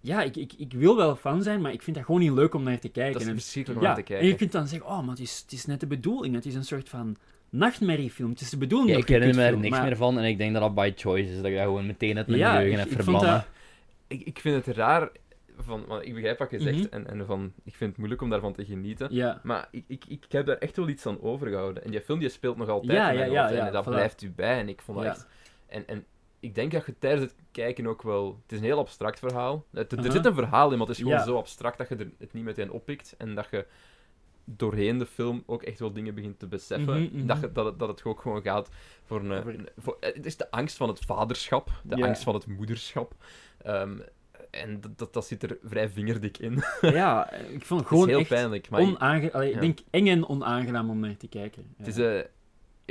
Speaker 3: ja, ik, ik, ik wil wel fan zijn, maar ik vind dat gewoon niet leuk om naar te kijken.
Speaker 1: Dat is
Speaker 3: En-
Speaker 1: verschrikkelijk om
Speaker 3: ja,
Speaker 1: naar te
Speaker 3: en je
Speaker 1: kijken.
Speaker 3: kunt dan zeggen, oh, maar het is, het is net de bedoeling. Het is een soort van nachtmerriefilm. Het is de bedoeling
Speaker 2: Ja,
Speaker 3: dat
Speaker 2: ik
Speaker 3: je
Speaker 2: herinner me er
Speaker 3: kutfilm,
Speaker 2: niks
Speaker 3: maar-
Speaker 2: meer van en ik denk dat dat by choice is. Dat ik dat gewoon meteen uit mijn
Speaker 3: Ja,
Speaker 2: geheugen
Speaker 3: ik-
Speaker 2: heb
Speaker 3: ik vond
Speaker 2: verbannen.
Speaker 3: dat-
Speaker 1: Ik, ik vind het raar, van, want ik begrijp wat je zegt
Speaker 3: Mhm.
Speaker 1: en, en van, ik vind het moeilijk om daarvan te genieten.
Speaker 3: Ja.
Speaker 1: Maar ik, ik, ik heb daar echt wel iets aan overgehouden. En die film die speelt nog altijd
Speaker 3: Ja,
Speaker 1: in mijn
Speaker 3: ja, ja,
Speaker 1: hoofd.
Speaker 3: ja,
Speaker 1: en dat
Speaker 3: voilà.
Speaker 1: blijft u bij. En ik vond dat
Speaker 3: Ja.
Speaker 1: echt... En, en ik denk dat je tijdens het kijken ook wel... Het is een heel abstract verhaal. Het- Er
Speaker 3: Aha.
Speaker 1: zit een verhaal in, maar het is gewoon
Speaker 3: Uh-huh. Ja.
Speaker 1: zo abstract dat je er het niet meteen oppikt. En dat je doorheen de film ook echt wel dingen begint te beseffen.
Speaker 3: Mhm, mhm.
Speaker 1: Dat, je- dat, het, dat het ook gewoon gaat voor een...
Speaker 3: Over-
Speaker 1: een- voor- het is de angst van het vaderschap. De
Speaker 3: Ja.
Speaker 1: angst van het moederschap. Ehm, en dat, dat, dat zit er vrij vingerdik in.
Speaker 3: ja, ik vond het gewoon
Speaker 1: het is heel
Speaker 3: echt
Speaker 1: pijnlijk. Maar
Speaker 3: onaange... Allee,
Speaker 1: Ja.
Speaker 3: ik denk eng en onaangenaam om naar te kijken. Ja.
Speaker 1: Het, is, eh,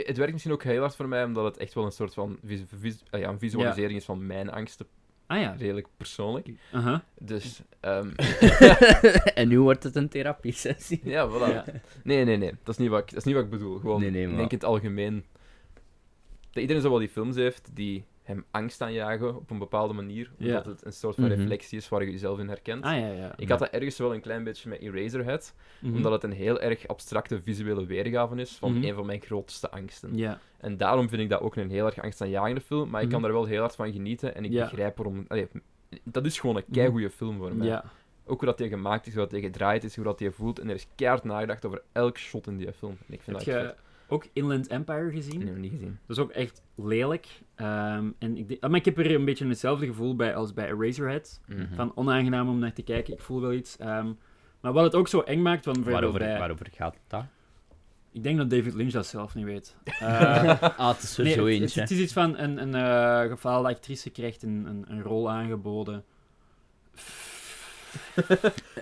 Speaker 1: het werkt misschien ook heel hard voor mij, omdat het echt wel een soort van vis- vis- eh, ja, een visualisering is van mijn angsten,
Speaker 3: Ah ja.
Speaker 1: redelijk persoonlijk.
Speaker 3: Uh-huh.
Speaker 1: Dus, ehm,
Speaker 2: en nu wordt het een therapie-sessie.
Speaker 1: ja, voilà.
Speaker 3: Ja. Ah,
Speaker 1: Nee, nee, nee. Dat is niet wat ik, dat is niet wat ik bedoel. Gewoon,
Speaker 2: Nee, nee,
Speaker 1: ik
Speaker 2: maar-
Speaker 1: denk in het algemeen dat iedereen zo wel die films heeft die hem angst aanjagen op een bepaalde manier,
Speaker 3: Ja.
Speaker 1: omdat het een soort van
Speaker 2: Mhm.
Speaker 1: reflectie is waar je jezelf in herkent.
Speaker 3: Ah ja, ja.
Speaker 1: Ik had dat ergens wel een klein beetje met Eraserhead,
Speaker 3: Mhm.
Speaker 1: omdat het een heel erg abstracte visuele weergave is van
Speaker 3: Mhm.
Speaker 1: een van mijn grootste angsten.
Speaker 3: Ja.
Speaker 1: En daarom vind ik dat ook een heel erg angstaanjagende film. Maar ik kan
Speaker 3: Mhm.
Speaker 1: daar wel heel hard van genieten. En ik
Speaker 3: Ja. Mhm.
Speaker 1: begrijp waarom... allee, dat is gewoon een keigoede film voor mij.
Speaker 3: Ja.
Speaker 1: Ook hoe dat die gemaakt is, hoe dat die gedraaid is, hoe dat die voelt. En er is keihard nagedacht over elk shot in die film. En ik vind
Speaker 3: Heb
Speaker 1: dat echt
Speaker 3: je ook Inland Empire gezien?
Speaker 1: vet. Nee, nog niet gezien.
Speaker 3: Dat is ook echt lelijk. Ehm, en ik, denk- maar ik heb er een beetje hetzelfde gevoel bij als bij Eraserhead.
Speaker 1: Mhm.
Speaker 3: Van onaangenaam om naar te kijken, ik voel wel iets. Ehm, maar wat het ook zo eng maakt, want bijvoorbeeld
Speaker 2: Waarover,
Speaker 3: bij-
Speaker 2: waarover gaat dat?
Speaker 3: ik denk dat David Lynch dat zelf niet weet. Eh,
Speaker 2: ah, het is er
Speaker 3: nee,
Speaker 2: zo
Speaker 3: het-
Speaker 2: eentje.
Speaker 3: Het, is iets van een, een eh, gefaalde actrice krijgt een, een, een rol aangeboden.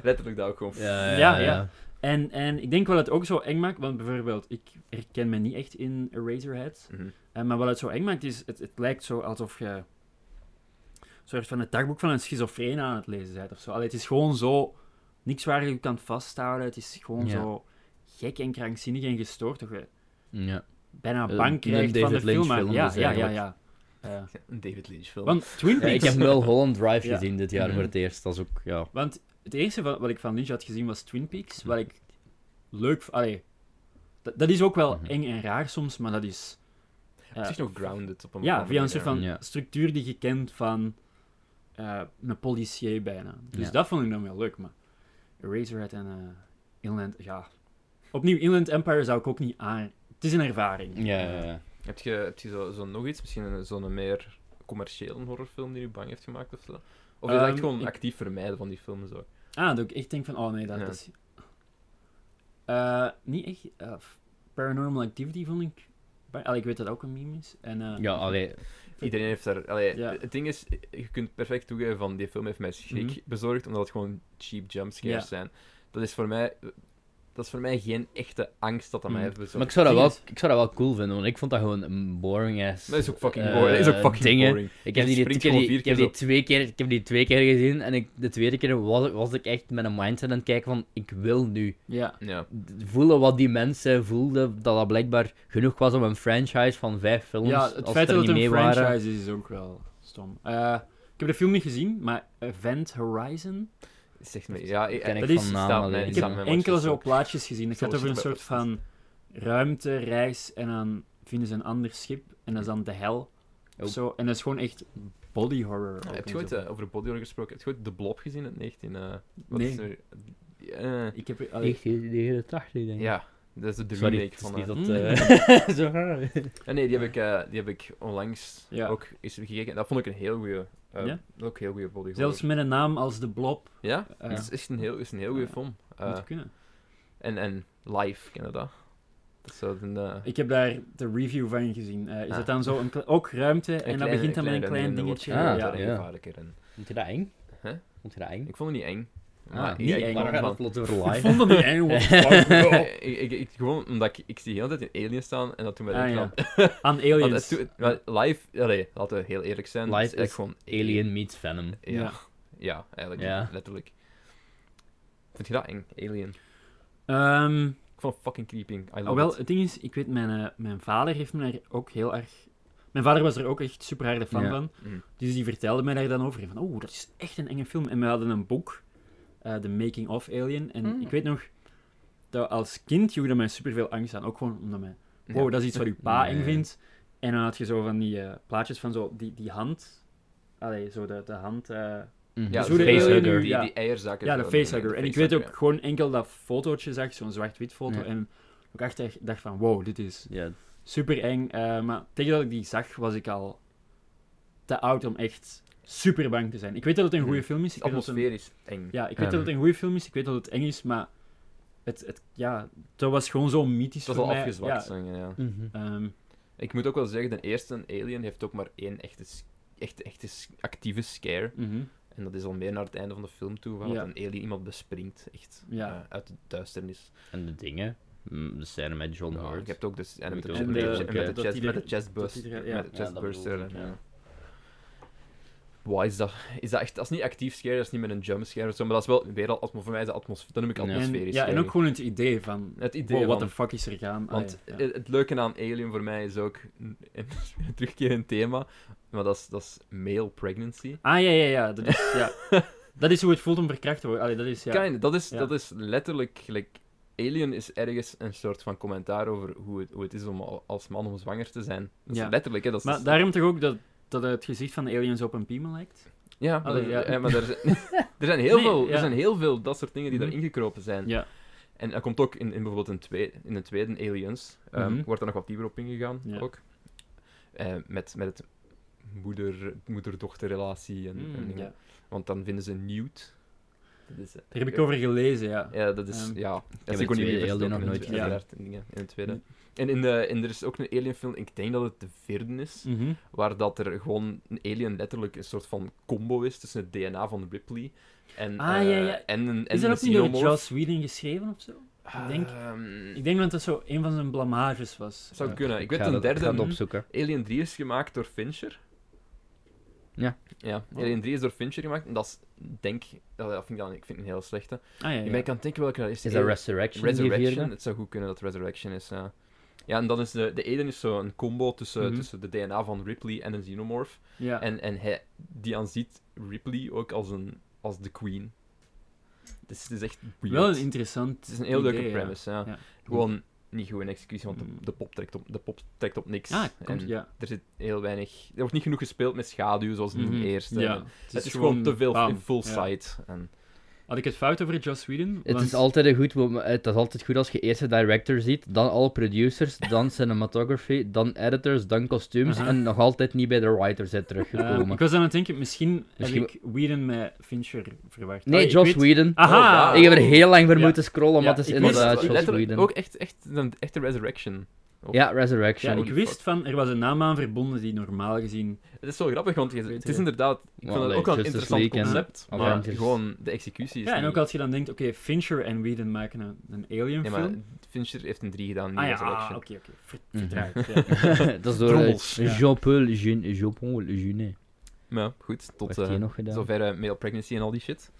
Speaker 1: Letterlijk dat ook gewoon.
Speaker 2: Ja,
Speaker 3: ja, ja. En, en ik denk wel dat het ook zo eng maakt, want bijvoorbeeld, ik herken me niet echt in Eraserhead.
Speaker 1: Mhm.
Speaker 3: Eh, maar wat het zo eng maakt, is het, het lijkt zo alsof je een soort van het dagboek van een schizofreen aan het lezen bent of zo. Allee, het is gewoon zo niks waar je kan vasthouden. Het is gewoon
Speaker 2: Ja.
Speaker 3: zo gek en krankzinnig en gestoord. Dat je
Speaker 2: Ja.
Speaker 3: bijna
Speaker 2: Een-
Speaker 3: bang
Speaker 2: Eh, een
Speaker 3: krijgt van de
Speaker 2: David Lynch
Speaker 3: film.
Speaker 2: film
Speaker 3: Ja,
Speaker 2: dus
Speaker 3: ja, ja,
Speaker 2: eigenlijk.
Speaker 3: ja. Eh,
Speaker 1: Ja, Een David Lynch film.
Speaker 3: want Twin
Speaker 2: Ja, ik
Speaker 3: Peaks...
Speaker 2: heb wel Holland Drive
Speaker 3: Ja.
Speaker 2: gezien dit jaar
Speaker 1: Mhm.
Speaker 2: voor het eerst. Dat is ook, ja.
Speaker 3: Want het eerste wat, wat ik van Lynch had gezien was Twin Peaks. Wat ik leuk... v- Allee, dat, dat is ook wel
Speaker 2: Mhm.
Speaker 3: eng en raar soms, maar dat is... eh,
Speaker 1: het is nog grounded op een bepaalde
Speaker 3: Ja, via een
Speaker 1: manier.
Speaker 3: soort van
Speaker 2: Ja.
Speaker 3: structuur die je kent van eh, een policier bijna. Dus
Speaker 2: Ja.
Speaker 3: dat vond ik dan wel leuk, maar Eraserhead en eh, Inland, ja. Opnieuw, Inland Empire zou ik ook niet aan... Het is een ervaring.
Speaker 2: Ja, ja, ja.
Speaker 1: Heb je, heb je zo, zo nog iets? Misschien een- zo'n meer commerciële horrorfilm die je bang heeft gemaakt of zo? Of is dat echt
Speaker 3: Ehm,
Speaker 1: gewoon
Speaker 3: ik-
Speaker 1: actief vermijden van die films zo?
Speaker 3: Ah, dat ik echt denk van, oh nee, dat
Speaker 1: Ja.
Speaker 3: is... Eh, niet echt... eh, Paranormal Activity vond ik... ba- Allee, ik weet dat ook een meme is. En, eh,
Speaker 2: Ja, allee.
Speaker 1: Iedereen heeft daar. Allee,
Speaker 3: Ja.
Speaker 1: Het ding is, je kunt perfect toegeven van die film heeft mij schrik
Speaker 3: Mhm.
Speaker 1: bezorgd, omdat het gewoon cheap jumpscares
Speaker 3: Ja.
Speaker 1: zijn. Dat is voor mij. Dat is voor mij geen echte angst dat dat mij
Speaker 3: Mhm.
Speaker 1: heeft bezorgd.
Speaker 2: Maar ik zou, dat wel,
Speaker 3: Serieus?
Speaker 2: ik zou dat wel cool vinden, want ik vond dat gewoon een boring ass.
Speaker 1: Dat is ook fucking
Speaker 2: eh,
Speaker 1: boring. Dat is ook fucking
Speaker 2: dingen.
Speaker 1: boring.
Speaker 2: Ik heb,
Speaker 1: Je
Speaker 2: die, ik,
Speaker 1: springt
Speaker 2: heb die,
Speaker 1: gewoon vier
Speaker 2: ik, heb
Speaker 1: keer
Speaker 2: die twee keer, ik heb die twee keer gezien en ik, de tweede keer was, was ik echt met een mindset aan het kijken van ik wil nu
Speaker 3: ja.
Speaker 1: Ja.
Speaker 2: d- voelen wat die mensen voelden, dat dat blijkbaar genoeg was om een franchise van vijf films,
Speaker 3: Ja,
Speaker 2: als
Speaker 3: het
Speaker 2: ze
Speaker 3: feit
Speaker 2: er
Speaker 3: dat het
Speaker 2: niet
Speaker 3: een
Speaker 2: mee
Speaker 3: franchise
Speaker 2: waren.
Speaker 3: is, is ook wel stom. Eh, ik heb de film niet gezien, maar Event Horizon...
Speaker 1: Zeg me, ja, eh, ik,
Speaker 2: ken ik
Speaker 1: dat
Speaker 2: van
Speaker 1: is-
Speaker 2: naam
Speaker 1: staat
Speaker 2: alleen.
Speaker 1: mij-
Speaker 2: Ik
Speaker 3: Ik
Speaker 1: staat
Speaker 3: heb
Speaker 1: mij
Speaker 3: enkele
Speaker 1: watchlist
Speaker 3: zo
Speaker 1: ook.
Speaker 3: plaatjes gezien. Het gaat
Speaker 1: Zoals
Speaker 3: over een
Speaker 1: het
Speaker 3: soort
Speaker 1: wel-
Speaker 3: van ruimte, reis en dan vinden ze een ander schip en dat is dan de hel.
Speaker 2: Oh.
Speaker 3: of Zo, en dat is gewoon echt body horror. ook
Speaker 1: Ja, heb
Speaker 3: en
Speaker 1: je ooit
Speaker 3: zo.
Speaker 1: eh, over Body Horror gesproken? Heb je ooit The Blob gezien in 19... eh wat
Speaker 3: Nee.
Speaker 1: is er? Eh,
Speaker 3: Ik heb... allee,
Speaker 2: Echt, die hele tracht, denk ik.
Speaker 1: ja, dat is de
Speaker 2: Sorry,
Speaker 1: remake
Speaker 2: het is
Speaker 1: van...
Speaker 2: niet
Speaker 1: eh,
Speaker 2: dat...
Speaker 3: Mm.
Speaker 2: eh, zo
Speaker 1: Ah, nee, die heb ik, eh, die heb ik onlangs
Speaker 3: Ja.
Speaker 1: ook eens gekeken. En dat vond ik een heel goede... eh,
Speaker 3: Ja?
Speaker 1: Ook heel goede body horror.
Speaker 3: zelfs met een naam als de Blob
Speaker 1: Ja,
Speaker 3: Ja.
Speaker 1: het is echt een heel, is een heel goede
Speaker 3: Ja.
Speaker 1: film. Eh,
Speaker 3: moet kunnen.
Speaker 1: en, en live, ken je dat? Dat is zo een, eh,
Speaker 3: Ik heb daar de review van gezien. Eh, is
Speaker 1: Ah.
Speaker 3: dat dan zo een kle- ook ruimte en dat
Speaker 1: kleine-
Speaker 3: begint dan met een klein
Speaker 1: en
Speaker 3: dingetje.
Speaker 1: wordt-
Speaker 2: Ah,
Speaker 1: ja,
Speaker 3: ja.
Speaker 2: ja.
Speaker 1: en gevaarlijker. En,
Speaker 2: Vond je dat eng?
Speaker 1: Hè?
Speaker 2: Vond je dat eng?
Speaker 1: ik vond het niet eng.
Speaker 2: Ah,
Speaker 1: maar
Speaker 2: niet
Speaker 1: ik- ik
Speaker 2: eng,
Speaker 1: kwam
Speaker 2: maar we gaan
Speaker 1: van-
Speaker 2: het plots
Speaker 3: Ik
Speaker 2: over live.
Speaker 3: vond dat niet eng, what the fuck?
Speaker 1: Eh, ik, ik, ik- gewoon omdat ik, ik zie heel de tijd een eh, alien staan en dat toen mij
Speaker 3: Ah,
Speaker 1: denkt
Speaker 3: ja. Oh,
Speaker 1: van...
Speaker 3: Aan
Speaker 1: want het
Speaker 3: aliens.
Speaker 1: doet- maar live, allee, laten we heel eerlijk zijn. het
Speaker 2: Live
Speaker 1: echt
Speaker 2: is
Speaker 1: gewoon
Speaker 2: Alien meets Venom.
Speaker 1: Ja, ja.
Speaker 3: Ja.
Speaker 1: eigenlijk.
Speaker 2: Ja.
Speaker 1: Letterlijk. Vind je dat eng? Alien.
Speaker 3: Ehm,
Speaker 1: Ik vond het fucking creepy. I love
Speaker 3: Ah, wel,
Speaker 1: it.
Speaker 3: het ding is, ik weet, mijn, eh, mijn vader heeft me daar ook heel erg... Mijn vader was er ook echt super harde fan
Speaker 2: Ja.
Speaker 3: van.
Speaker 1: Mm.
Speaker 3: Dus die vertelde mij daar dan over. En Van, oh, dat is echt een enge film. En we hadden een boek, eh The Making of Alien. En
Speaker 1: Mm.
Speaker 3: ik weet nog, dat als kind joeg dat mij superveel angst aan. Ook gewoon omdat mij, wow, dat is iets wat uw pa
Speaker 2: Nee.
Speaker 3: eng vindt. En dan had je zo van die eh, plaatjes van zo die, die hand. Allee, zo de, de hand. eh,
Speaker 2: Mhm.
Speaker 1: Ja,
Speaker 3: Dus hoe
Speaker 1: de
Speaker 3: de
Speaker 1: facehugger.
Speaker 3: alien nu-
Speaker 1: Die,
Speaker 3: ja.
Speaker 1: die eierzakken.
Speaker 3: ja, de
Speaker 1: zo,
Speaker 3: facehugger.
Speaker 1: de
Speaker 3: En ik weet ook
Speaker 1: facehugger,
Speaker 3: gewoon enkel dat fotootje zag, zo'n zwart-wit foto.
Speaker 2: Ja.
Speaker 3: En ik echt echt dacht van, wow, dit is
Speaker 2: Ja,
Speaker 3: super eng. eh, maar tegen dat ik die zag, was ik al te oud om echt super bang te zijn. Ik weet dat het een goede
Speaker 1: Hmm.
Speaker 3: film
Speaker 1: ja.
Speaker 3: is. Ik weet dat het een,
Speaker 1: Atmosferisch eng.
Speaker 3: ja, ik weet
Speaker 2: Ehm.
Speaker 3: dat het een goede film is. Ik weet dat het eng is, maar het, het, ja, dat was gewoon zo mythisch
Speaker 1: Het was
Speaker 3: voor
Speaker 1: al
Speaker 3: mij.
Speaker 1: afgezwakt.
Speaker 3: Ja,
Speaker 1: zo, ja.
Speaker 2: Mhm.
Speaker 3: ehm,
Speaker 1: Ik moet ook wel zeggen, de eerste Alien heeft ook maar één echte, s- echt, echte s- actieve scare.
Speaker 3: mhm.
Speaker 1: En dat is al meer naar het einde van de film toe, waar
Speaker 3: Ja.
Speaker 1: een alien iemand bespringt. Echt
Speaker 3: Ja.
Speaker 1: eh, uit de duisternis.
Speaker 2: en de dingen. Mm, De scène met John
Speaker 1: Ja,
Speaker 2: Hurt.
Speaker 1: ik heb het ook dus, en met de,
Speaker 2: Moet
Speaker 1: chest-
Speaker 3: ook
Speaker 1: met de,
Speaker 3: wel
Speaker 1: chest-
Speaker 3: zeggen
Speaker 1: met de
Speaker 3: dat
Speaker 1: chest-
Speaker 3: die
Speaker 1: met
Speaker 3: er-
Speaker 1: de chestburst.
Speaker 3: dat die er- ja.
Speaker 1: Met de
Speaker 2: Ja, dat
Speaker 1: chestburster.
Speaker 2: bedoel ik,
Speaker 1: en,
Speaker 2: ja.
Speaker 1: ja. Wow, is dat, is dat echt... Dat is niet actief scare, dat is niet met een jump scare of zo, maar dat is wel weer al... atmo- Voor mij is dat atmosfeer... Dat noem ik
Speaker 2: Ja.
Speaker 3: En,
Speaker 1: atmosferisch.
Speaker 3: ja, en ook
Speaker 1: eigenlijk.
Speaker 3: gewoon het idee van,
Speaker 1: Het idee
Speaker 3: wow, what
Speaker 1: van-
Speaker 3: the fuck is er gaan? Ah,
Speaker 1: Want
Speaker 3: ja, ja.
Speaker 1: het, het leuke aan Alien voor mij is ook... En, terugkerend thema, maar dat is, dat is male pregnancy.
Speaker 3: Ah, ja, ja, ja. Dat is, ja. dat is hoe het voelt om verkracht te worden. Allee, dat is, ja.
Speaker 1: Kind, dat is,
Speaker 3: Ja.
Speaker 1: dat is letterlijk... gelijk- Alien is ergens een soort van commentaar over hoe het, hoe het is om al- als man om zwanger te zijn. Dat is
Speaker 3: Ja.
Speaker 1: letterlijk, hè. Dat is, dus
Speaker 3: Maar daarom toch ook dat, dat het gezicht van de aliens op een piemel lijkt?
Speaker 1: Ja, maar,
Speaker 3: Allee,
Speaker 1: er,
Speaker 3: ja.
Speaker 1: eh, maar er, zijn, er, zijn heel
Speaker 3: Nee,
Speaker 1: veel, er
Speaker 3: ja.
Speaker 1: zijn heel veel dat soort dingen die
Speaker 3: Mhm.
Speaker 1: daar ingekropen zijn.
Speaker 3: Ja.
Speaker 1: En dat komt ook in, in bijvoorbeeld een tweede, in de tweede Aliens, ehm,
Speaker 3: Mhm.
Speaker 1: wordt er nog wat dieper op ingegaan
Speaker 3: Ja.
Speaker 1: ook. Eh, met, met het moeder, moeder-dochterrelatie en, en dingen.
Speaker 3: Hmm, Mm, ja.
Speaker 1: Want dan vinden ze Newt. Dat is, eh,
Speaker 3: Daar heb ik over gelezen, ja.
Speaker 1: Ja, dat is,
Speaker 3: Ehm,
Speaker 1: ja.
Speaker 2: heb
Speaker 1: Dat
Speaker 2: de
Speaker 1: is ook niet
Speaker 2: tweede
Speaker 1: meer
Speaker 2: Alien nog
Speaker 1: verstoken in
Speaker 2: nooit
Speaker 1: de-
Speaker 3: gezien.
Speaker 1: uiteraard, in dingen, in de tweede. En, in de, en er is ook een alien film, ik denk dat het de vierde is,
Speaker 3: Mhm.
Speaker 1: waar dat er gewoon een alien letterlijk een soort van combo is tussen het DNA van Ripley en,
Speaker 3: Ah,
Speaker 1: eh,
Speaker 3: ja, ja.
Speaker 1: en, een- en
Speaker 3: Is dat
Speaker 1: een
Speaker 3: ook niet door
Speaker 1: xenomorph.
Speaker 3: Joss Whedon geschreven of zo? ik denk-
Speaker 1: Ehm,
Speaker 3: Ik denk dat dat zo een van zijn blamages was.
Speaker 1: zou
Speaker 3: Ja.
Speaker 1: kunnen. Ik weet
Speaker 2: ga
Speaker 1: een
Speaker 2: dat-
Speaker 1: derde. Mm.
Speaker 2: Ik ga het opzoeken.
Speaker 1: Alien 3 is gemaakt door Fincher.
Speaker 2: Ja.
Speaker 1: Ja,
Speaker 3: Oh.
Speaker 1: Alien 3 is door Fincher gemaakt. En dat is, denk dat dat vind ik dan, ik vind het een heel slechte.
Speaker 3: Ah, ja,
Speaker 1: Ik
Speaker 3: ja.
Speaker 1: ben ik aan het denken welke dat is.
Speaker 2: Is dat
Speaker 1: Alien-
Speaker 2: Resurrection? die
Speaker 1: Eh, Resurrection.
Speaker 2: vierde?
Speaker 1: Het zou goed kunnen dat Resurrection is, ja. Ja, en dan is de, de Alien is zo'n combo tussen,
Speaker 3: Mhm.
Speaker 1: tussen de DNA van Ripley en een xenomorph.
Speaker 3: Ja.
Speaker 1: En, en hij, die aanziet Ripley ook als, een, als de queen. Dus het is echt weird.
Speaker 3: Wel een interessant
Speaker 1: het is een heel leuke
Speaker 3: idee, ja.
Speaker 1: premise, ja.
Speaker 3: Ja.
Speaker 1: Gewoon niet goed in executie, want de,
Speaker 3: Mm.
Speaker 1: de, pop trekt op, de pop trekt op niks.
Speaker 3: Ah, komt,
Speaker 1: en
Speaker 3: ja.
Speaker 1: Er zit heel weinig... Er wordt niet genoeg gespeeld met schaduw, zoals in
Speaker 3: Mhm.
Speaker 1: de eerste.
Speaker 3: Ja.
Speaker 1: En Het, is, gewoon, te veel
Speaker 3: bam.
Speaker 1: in full
Speaker 3: Ja.
Speaker 1: sight. En,
Speaker 3: Had ik het fout over Joss Whedon?
Speaker 2: Het
Speaker 3: Want-
Speaker 2: is, altijd een goed, mom- het is altijd goed als je eerst de director ziet, dan alle producers, dan cinematography, dan editors, dan kostuums
Speaker 3: Aha.
Speaker 2: en nog altijd niet bij de writer zijn
Speaker 3: Eh,
Speaker 2: teruggekomen.
Speaker 3: ik was aan het denken, misschien,
Speaker 2: Misschien-
Speaker 3: heb ik Whedon met Fincher verwacht.
Speaker 1: Ah,
Speaker 2: nee,
Speaker 3: Allee, ik
Speaker 2: Joss
Speaker 3: weet-
Speaker 2: Whedon.
Speaker 3: Aha!
Speaker 1: Oh,
Speaker 2: Ik heb er heel lang voor
Speaker 3: Ja.
Speaker 2: moeten scrollen, maar
Speaker 3: Ja,
Speaker 2: het is
Speaker 3: ik wist-
Speaker 2: inderdaad
Speaker 3: ik-
Speaker 2: Joss
Speaker 1: letterlijk
Speaker 2: Whedon.
Speaker 1: Ook echt, echt een echte Resurrection. ook-
Speaker 2: Ja,
Speaker 3: Ja,
Speaker 2: Resurrection.
Speaker 3: ik wist van, er was een naam aan verbonden die normaal gezien...
Speaker 1: Het is zo grappig, want je- het
Speaker 3: Beter.
Speaker 1: is inderdaad... Ik
Speaker 2: Maar
Speaker 1: vond het
Speaker 2: allee,
Speaker 1: ook wel een
Speaker 2: Justice
Speaker 1: interessant
Speaker 2: League en
Speaker 1: concept, maar
Speaker 2: Avengers.
Speaker 1: gewoon de executie is
Speaker 3: Ja, en
Speaker 1: niet-
Speaker 3: ook als je dan denkt, oké, Fincher en Whedon maken een, een alien
Speaker 1: Nee, maar
Speaker 3: film.
Speaker 1: Fincher heeft een 3 gedaan, niet
Speaker 3: Ah ja, ah, oké,
Speaker 1: Resurrection.
Speaker 3: oké. Ver-
Speaker 2: Mhm.
Speaker 3: Vertraagd, ja.
Speaker 2: dat is door eh,
Speaker 1: Drommels.
Speaker 3: Ja.
Speaker 2: Jean-Paul Jeunet. Jean-Paul Jeunet.
Speaker 1: Maar goed,
Speaker 2: Wat
Speaker 1: tot
Speaker 2: heeft hij
Speaker 1: eh
Speaker 2: nog gedaan?
Speaker 1: zover eh, male pregnancy en al die shit.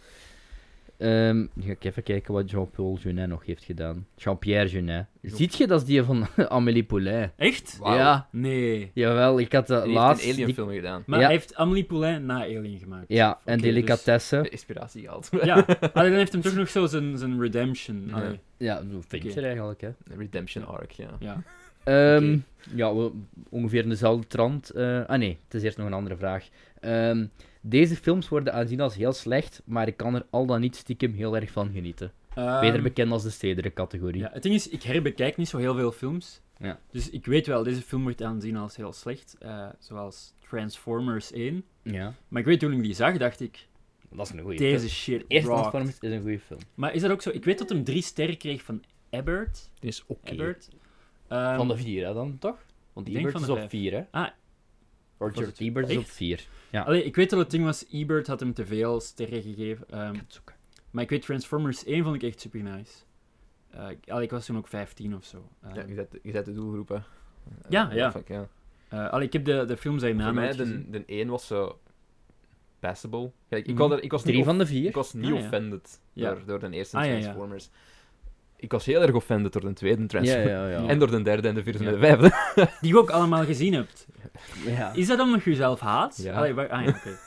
Speaker 2: Ehm, ga ik even kijken wat Jean-Paul Jeunet nog heeft gedaan. Jean-Pierre Jeunet.
Speaker 1: Jean-
Speaker 2: Ziet je, dat is die van Amélie Poulain.
Speaker 3: Echt?
Speaker 1: Wauw.
Speaker 2: Ja,
Speaker 3: Nee.
Speaker 2: jawel. Ik had eh, de
Speaker 1: Die
Speaker 2: laatste...
Speaker 1: heeft een alien film gedaan.
Speaker 3: Maar
Speaker 2: Ja.
Speaker 3: hij heeft Amelie Poulain na Alien gemaakt.
Speaker 2: Ja,
Speaker 3: Oké,
Speaker 2: en
Speaker 3: dus-
Speaker 2: Delicatesse.
Speaker 1: De inspiratie gehaald.
Speaker 3: Ja, alleen dan heeft hem toch nog zo zijn, zijn redemption.
Speaker 1: Ja.
Speaker 3: Allee,
Speaker 2: Ja, vind je
Speaker 3: Oké.
Speaker 2: er eigenlijk, hè.
Speaker 1: Redemption arc, ja.
Speaker 3: ja.
Speaker 2: Ehm, Ja, we- ongeveer in dezelfde trant. eh, ah nee, het is eerst nog een andere vraag. Ehm, deze films worden aanzien als heel slecht, maar ik kan er al dan niet stiekem heel erg van genieten. Beter
Speaker 3: Ehm,
Speaker 2: bekend als de stedelijke categorie.
Speaker 3: ja, Het ding is, ik herbekijk niet zo heel veel films.
Speaker 2: Ja.
Speaker 3: Dus ik weet wel, deze film wordt aanzien als heel slecht. eh, zoals Transformers 1.
Speaker 2: Ja,
Speaker 3: Maar ik weet toen ik die zag, dacht ik,
Speaker 2: dat is een goede film.
Speaker 3: deze shit
Speaker 2: Eerste
Speaker 3: rockt.
Speaker 2: Transformers is een goede film.
Speaker 3: Maar is dat ook zo? Ik weet dat hem drie sterren kreeg van Ebert.
Speaker 1: Die is oké.
Speaker 3: Ebert. Ehm,
Speaker 2: van de vier, hè, dan toch? Want
Speaker 3: Ik
Speaker 2: die
Speaker 3: denk
Speaker 2: Ebert
Speaker 3: van
Speaker 2: is
Speaker 3: de
Speaker 2: op
Speaker 3: vijf.
Speaker 2: vier, hè?
Speaker 3: Ah. Was
Speaker 2: Roger
Speaker 3: het-
Speaker 2: Ebert is op
Speaker 3: Echt?
Speaker 2: vier. Ja.
Speaker 3: Allee, ik weet dat het ding was, Ebert had hem te veel sterren gegeven. ehm,
Speaker 2: het zoeken.
Speaker 3: maar ik weet, Transformers 1 vond ik echt super nice. Eh, ik- allee, ik was toen ook 15 of zo. Ehm,
Speaker 1: Ja, je zet, je zet de doelgroepen.
Speaker 3: Ja,
Speaker 1: Eh,
Speaker 3: ja.
Speaker 1: fuck, ja.
Speaker 3: eh, allee, ik heb de, de films daarna
Speaker 1: Voor mij,
Speaker 3: nooit gezien.
Speaker 1: de, de 1 was zo... Passable. Kijk, ik,
Speaker 3: Mhm.
Speaker 1: had er, ik was niet
Speaker 2: Drie van de vier.
Speaker 1: Ik was niet
Speaker 3: Ah, ja.
Speaker 1: offended
Speaker 3: Ja.
Speaker 1: door, door de eerste
Speaker 3: Ah, ja, ja.
Speaker 1: Transformers. Ik was heel erg offended door de tweede
Speaker 2: Ja,
Speaker 1: Transformers.
Speaker 2: ja, ja.
Speaker 1: En door de derde en de vierde
Speaker 3: Ja.
Speaker 1: en de vijfde.
Speaker 3: Die je ook allemaal gezien hebt.
Speaker 2: Ja.
Speaker 3: Is dat omdat je jezelf haat?
Speaker 1: Ja.
Speaker 3: Allee, waar- ah ja, oké.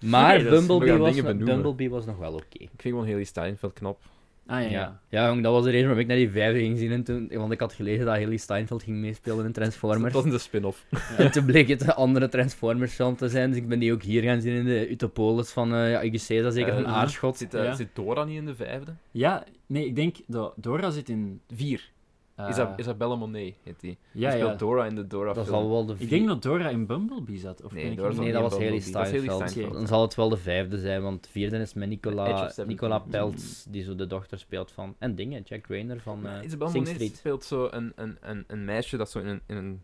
Speaker 2: Maar
Speaker 3: Oké, dus we
Speaker 2: Bumblebee,
Speaker 1: gaan
Speaker 2: was,
Speaker 1: dingen benoemen.
Speaker 2: Bumblebee was nog wel oké.
Speaker 1: Ik vind gewoon Haley Steinfeld knap.
Speaker 3: Ah ja,
Speaker 2: Ja.
Speaker 3: ja.
Speaker 2: ja, jong, dat was de reden waarom ik naar die vijfde ging zien. En toen, want ik had gelezen dat Haley Steinfeld ging meespelen in
Speaker 1: Dat
Speaker 2: Transformers.
Speaker 1: was in de spin-off.
Speaker 2: En toen bleek het een andere Transformers film te zijn. Dus ik ben die ook hier gaan zien in de Utopolis van eh ja, IGC, dat zeker
Speaker 1: Eh,
Speaker 2: van Aarschot.
Speaker 1: Zit, eh,
Speaker 3: Ja.
Speaker 1: zit Dora niet in de vijfde?
Speaker 3: Ja, nee, ik denk dat Dora zit in...
Speaker 1: Vier.
Speaker 3: eh,
Speaker 1: Isab- Isabella Monet heet die.
Speaker 3: ja,
Speaker 1: die speelt
Speaker 3: ja.
Speaker 1: Dora in de Dora
Speaker 2: Dat
Speaker 1: film.
Speaker 2: zal wel de
Speaker 3: Ik
Speaker 2: vier-
Speaker 3: denk dat Dora in Bumblebee zat. Of ben ik
Speaker 1: Dora
Speaker 3: niet-
Speaker 1: zat
Speaker 2: Nee,
Speaker 1: niet
Speaker 2: dat
Speaker 1: in
Speaker 2: was Haley
Speaker 1: Bumblebee. Dat was Haley
Speaker 2: Steinfeld.
Speaker 1: Steinfeld.
Speaker 2: Dan zal het wel de vijfde zijn, want de vierde is met
Speaker 1: Edge of
Speaker 2: Nicola,
Speaker 1: Seventeen.
Speaker 2: Nicola
Speaker 1: Hmm.
Speaker 2: Peltz, die zo de dochter speelt van... En dingen, Jack Rayner van
Speaker 1: Maar
Speaker 2: eh
Speaker 1: Isabel
Speaker 2: Sing
Speaker 1: Monet
Speaker 2: Street.
Speaker 1: speelt zo een, een, een, een meisje dat zo in een, in een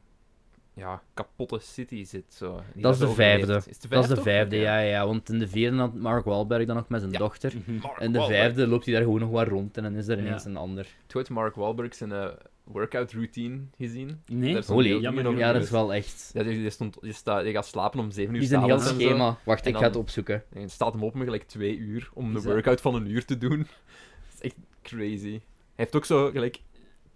Speaker 1: ja, kapotte city zit. Zo. En die
Speaker 2: Dat is de
Speaker 1: overleeft.
Speaker 2: vijfde.
Speaker 1: Is het de
Speaker 2: Dat is de
Speaker 1: ook?
Speaker 2: vijfde, ja, ja, ja. Want in de vierde had Mark Wahlberg dan nog met zijn
Speaker 1: Ja.
Speaker 2: dochter.
Speaker 3: Mhm.
Speaker 1: Mark
Speaker 2: In de
Speaker 1: Wahlberg.
Speaker 2: vijfde loopt hij daar gewoon nog wat rond en dan is er ineens
Speaker 3: Ja.
Speaker 2: een ander.
Speaker 1: Toen had Mark Wahlberg zijn eh, workout routine gezien.
Speaker 3: Nee?
Speaker 1: Daar stond
Speaker 2: Holy,
Speaker 1: hij ook
Speaker 3: jammer
Speaker 1: niet
Speaker 3: genoeg.
Speaker 2: Ja,
Speaker 1: op
Speaker 2: dat is
Speaker 1: de
Speaker 2: wel echt...
Speaker 1: lijst. Ja, die, die stond, die, staat, die gaat slapen om 7 uur
Speaker 2: Die is een heel
Speaker 1: s'avonds en zo.
Speaker 2: schema. Wacht,
Speaker 1: En
Speaker 2: ik ga het
Speaker 1: dan-
Speaker 2: opzoeken.
Speaker 1: En het staat hem open gelijk twee uur om een
Speaker 3: Is dat-
Speaker 1: workout van een uur te doen. Dat is echt crazy. Hij heeft ook zo gelijk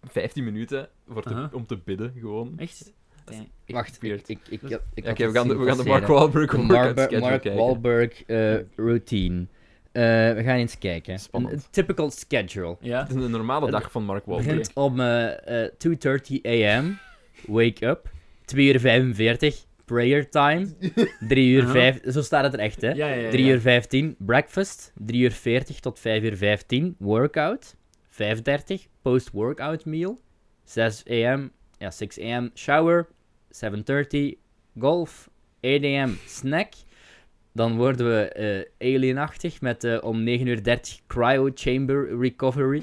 Speaker 1: 15 minuten voor te-
Speaker 3: Aha.
Speaker 1: om te bidden, gewoon.
Speaker 3: Echt?
Speaker 1: Echt
Speaker 2: Wacht,
Speaker 1: weird.
Speaker 2: ik, ik, ik, ik,
Speaker 3: Ja,
Speaker 1: Ja, Oké, we gaan, de, we gaan de Mark Wahlberg
Speaker 2: De
Speaker 1: workout
Speaker 2: Mark,
Speaker 1: schedule
Speaker 2: Mark
Speaker 1: kijken.
Speaker 2: Wahlberg eh, routine. Eh, we gaan eens kijken.
Speaker 1: Spannend.
Speaker 2: Een, een typical schedule.
Speaker 3: Ja.
Speaker 1: Het is een normale dag van Mark Wahlberg.
Speaker 2: Begint om eh, eh, 2.30 am. Wake up. 2 uur 45. Prayer time. 3 uur
Speaker 3: Aha.
Speaker 2: 5. Zo staat het er echt, hè?
Speaker 3: Ja, ja, ja.
Speaker 2: 3
Speaker 3: ja.
Speaker 2: uur 15. Breakfast. 3 uur 40 tot 5 uur 15. Workout. 5.30. Post-workout meal. 6 am. Ja, 6 am. Shower. 7.30. Golf. 8 am. Snack. Dan worden we eh, alienachtig met eh, om 9.30 uur cryo chamber recovery.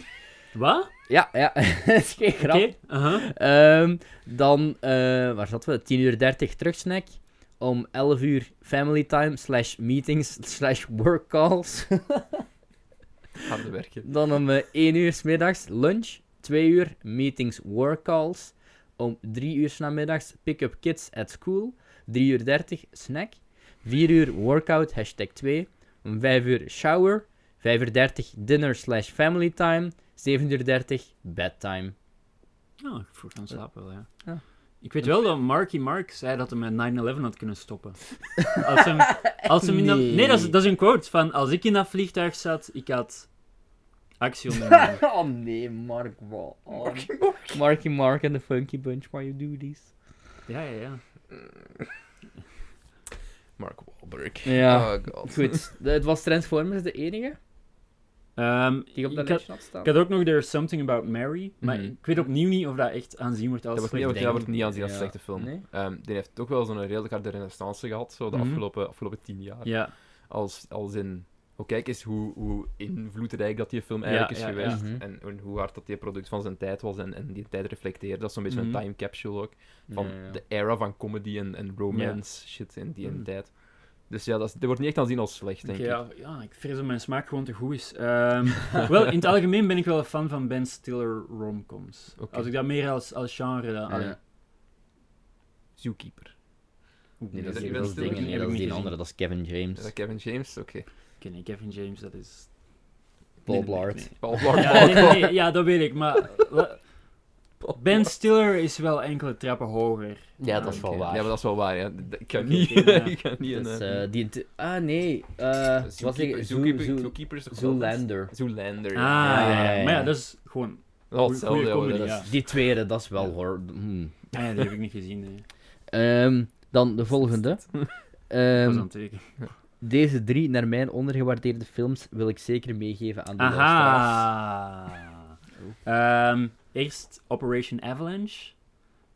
Speaker 3: Wat?
Speaker 2: Ja, ja, dat is geen grap.
Speaker 3: Oké. uh-huh. aha.
Speaker 2: Ehm, dan, eh, waar zaten we? 10 uur 30 terugsnack. Om 11 uur family time slash meetings slash work calls.
Speaker 1: Harde werken.
Speaker 2: Dan om eh, 1 uur 's middags lunch. 2 uur meetings work calls. Om 3 uur 's namiddags pick up kids at school. 3 uur 30 snack. 4 uur workout hashtag 2. Om 5 uur shower. 5 uur 30 dinner slash family time. 7 uur 30 bedtime.
Speaker 3: Ja, Nou, ik vroeg aan slapen wel, ja.
Speaker 2: Ja.
Speaker 3: Ik weet wel dat Marky Mark zei dat hij met 9-11 had kunnen stoppen. Als hem, als hem in dat...
Speaker 2: Nee.
Speaker 3: Nee, dat is, dat is een quote van... Als ik in dat vliegtuig zat, ik had actie ondernomen.
Speaker 2: Oh nee, Mark Oh. Wall. Marky Mark. Marky Mark and the Funky Bunch, why you do this?
Speaker 3: ja, ja, ja.
Speaker 1: Mark Wahlberg.
Speaker 2: Ja.
Speaker 1: Oh god.
Speaker 2: Goed, de- het was Transformers de enige
Speaker 3: Ehm,
Speaker 2: die op dat
Speaker 3: ik, had,
Speaker 2: lijstje had staan.
Speaker 3: ik had ook nog There's Something About Mary, maar
Speaker 1: Mhm.
Speaker 3: ik weet opnieuw niet of dat echt aanzien wordt
Speaker 1: Dat
Speaker 3: als
Speaker 1: wordt
Speaker 3: slecht
Speaker 1: niet, dat
Speaker 2: denk
Speaker 1: wordt niet aanzien als
Speaker 2: ja.
Speaker 1: een slechte film.
Speaker 2: Nee?
Speaker 1: Ehm, die heeft toch wel zo'n redelijk harde renaissance gehad, zo de
Speaker 3: Mhm.
Speaker 1: afgelopen, afgelopen tien jaar.
Speaker 3: Ja,
Speaker 1: Als, als in, oh kijk eens hoe, hoe invloedrijk dat die film eigenlijk
Speaker 3: Ja,
Speaker 1: is
Speaker 3: ja, ja.
Speaker 1: geweest.
Speaker 2: Mhm.
Speaker 1: En, en hoe hard dat die product van zijn tijd was en, en die tijd reflecteerde. Dat is zo'n beetje
Speaker 3: Mhm.
Speaker 1: een time capsule ook. Van
Speaker 2: Ja, ja.
Speaker 1: de era van comedy en, en romance shit in die
Speaker 3: Mhm.
Speaker 1: tijd. Dus ja, dat, is- dat wordt niet echt aanzien als slecht, denk
Speaker 3: Oké,
Speaker 1: ik.
Speaker 3: ja, ja, ik vrees dat mijn smaak gewoon te goed is. Ehm, wel, in het algemeen ben ik wel een fan van Ben Stiller romcoms.
Speaker 1: Oké.
Speaker 3: Als ik dat meer als, als genre dan... allee,
Speaker 2: Ja.
Speaker 1: Zookeeper.
Speaker 3: oeh,
Speaker 2: Nee,
Speaker 1: dat
Speaker 2: dat
Speaker 1: is
Speaker 2: is,
Speaker 1: die
Speaker 2: dat is
Speaker 1: Ben Stiller?
Speaker 2: dingen,
Speaker 1: Die
Speaker 2: nee,
Speaker 1: heb
Speaker 2: dat is die
Speaker 3: gezien.
Speaker 2: andere, dat is Kevin
Speaker 1: Is dat
Speaker 2: James.
Speaker 1: Kevin James? Oké.
Speaker 3: Oké, nee, Kevin James, dat is...
Speaker 2: Paul
Speaker 3: Nee, dat
Speaker 2: Blart.
Speaker 3: weet ik
Speaker 1: Paul
Speaker 3: niet.
Speaker 1: Blart.
Speaker 3: Ja, nee, nee, nee, ja, dat weet ik, maar... wa- Ben Stiller is wel enkele trappen hoger.
Speaker 2: Ja, dat
Speaker 3: dat
Speaker 2: is
Speaker 3: is
Speaker 1: Oké,
Speaker 2: wel waar.
Speaker 1: Ja, maar dat is wel waar. Ja. D- Ik kan
Speaker 3: Oké,
Speaker 1: niet.
Speaker 3: oké, ja.
Speaker 1: ik kan niet.
Speaker 2: Dat is,
Speaker 1: een, eh,
Speaker 2: eh, die int- ah nee, eh wat zeg
Speaker 1: Zookeeper,
Speaker 2: ik?
Speaker 1: Zookeeper,
Speaker 2: Zoo- Zoo-
Speaker 1: Zookeeper is toch wel-
Speaker 2: Zoolander.
Speaker 1: Zoolander.
Speaker 3: Ah,
Speaker 1: ja.
Speaker 3: ja,
Speaker 2: ja, ja, ja.
Speaker 3: Maar ja, dat is gewoon...
Speaker 1: Dat
Speaker 3: Goeie-
Speaker 1: is hetzelfde.
Speaker 3: goeie
Speaker 1: ja,
Speaker 3: comedy,
Speaker 1: dat is-
Speaker 3: ja.
Speaker 2: Die tweede, dat is wel hoor. hmm.
Speaker 3: Ah, ja, die heb ik niet gezien, nee.
Speaker 2: Ehm, dan de volgende.
Speaker 3: Dat
Speaker 2: Ehm,
Speaker 3: was aan het tekenen.
Speaker 2: Deze drie naar mijn ondergewaardeerde films wil ik zeker meegeven aan de luisteraars.
Speaker 3: Aha. Ehm, eerst Operation Avalanche.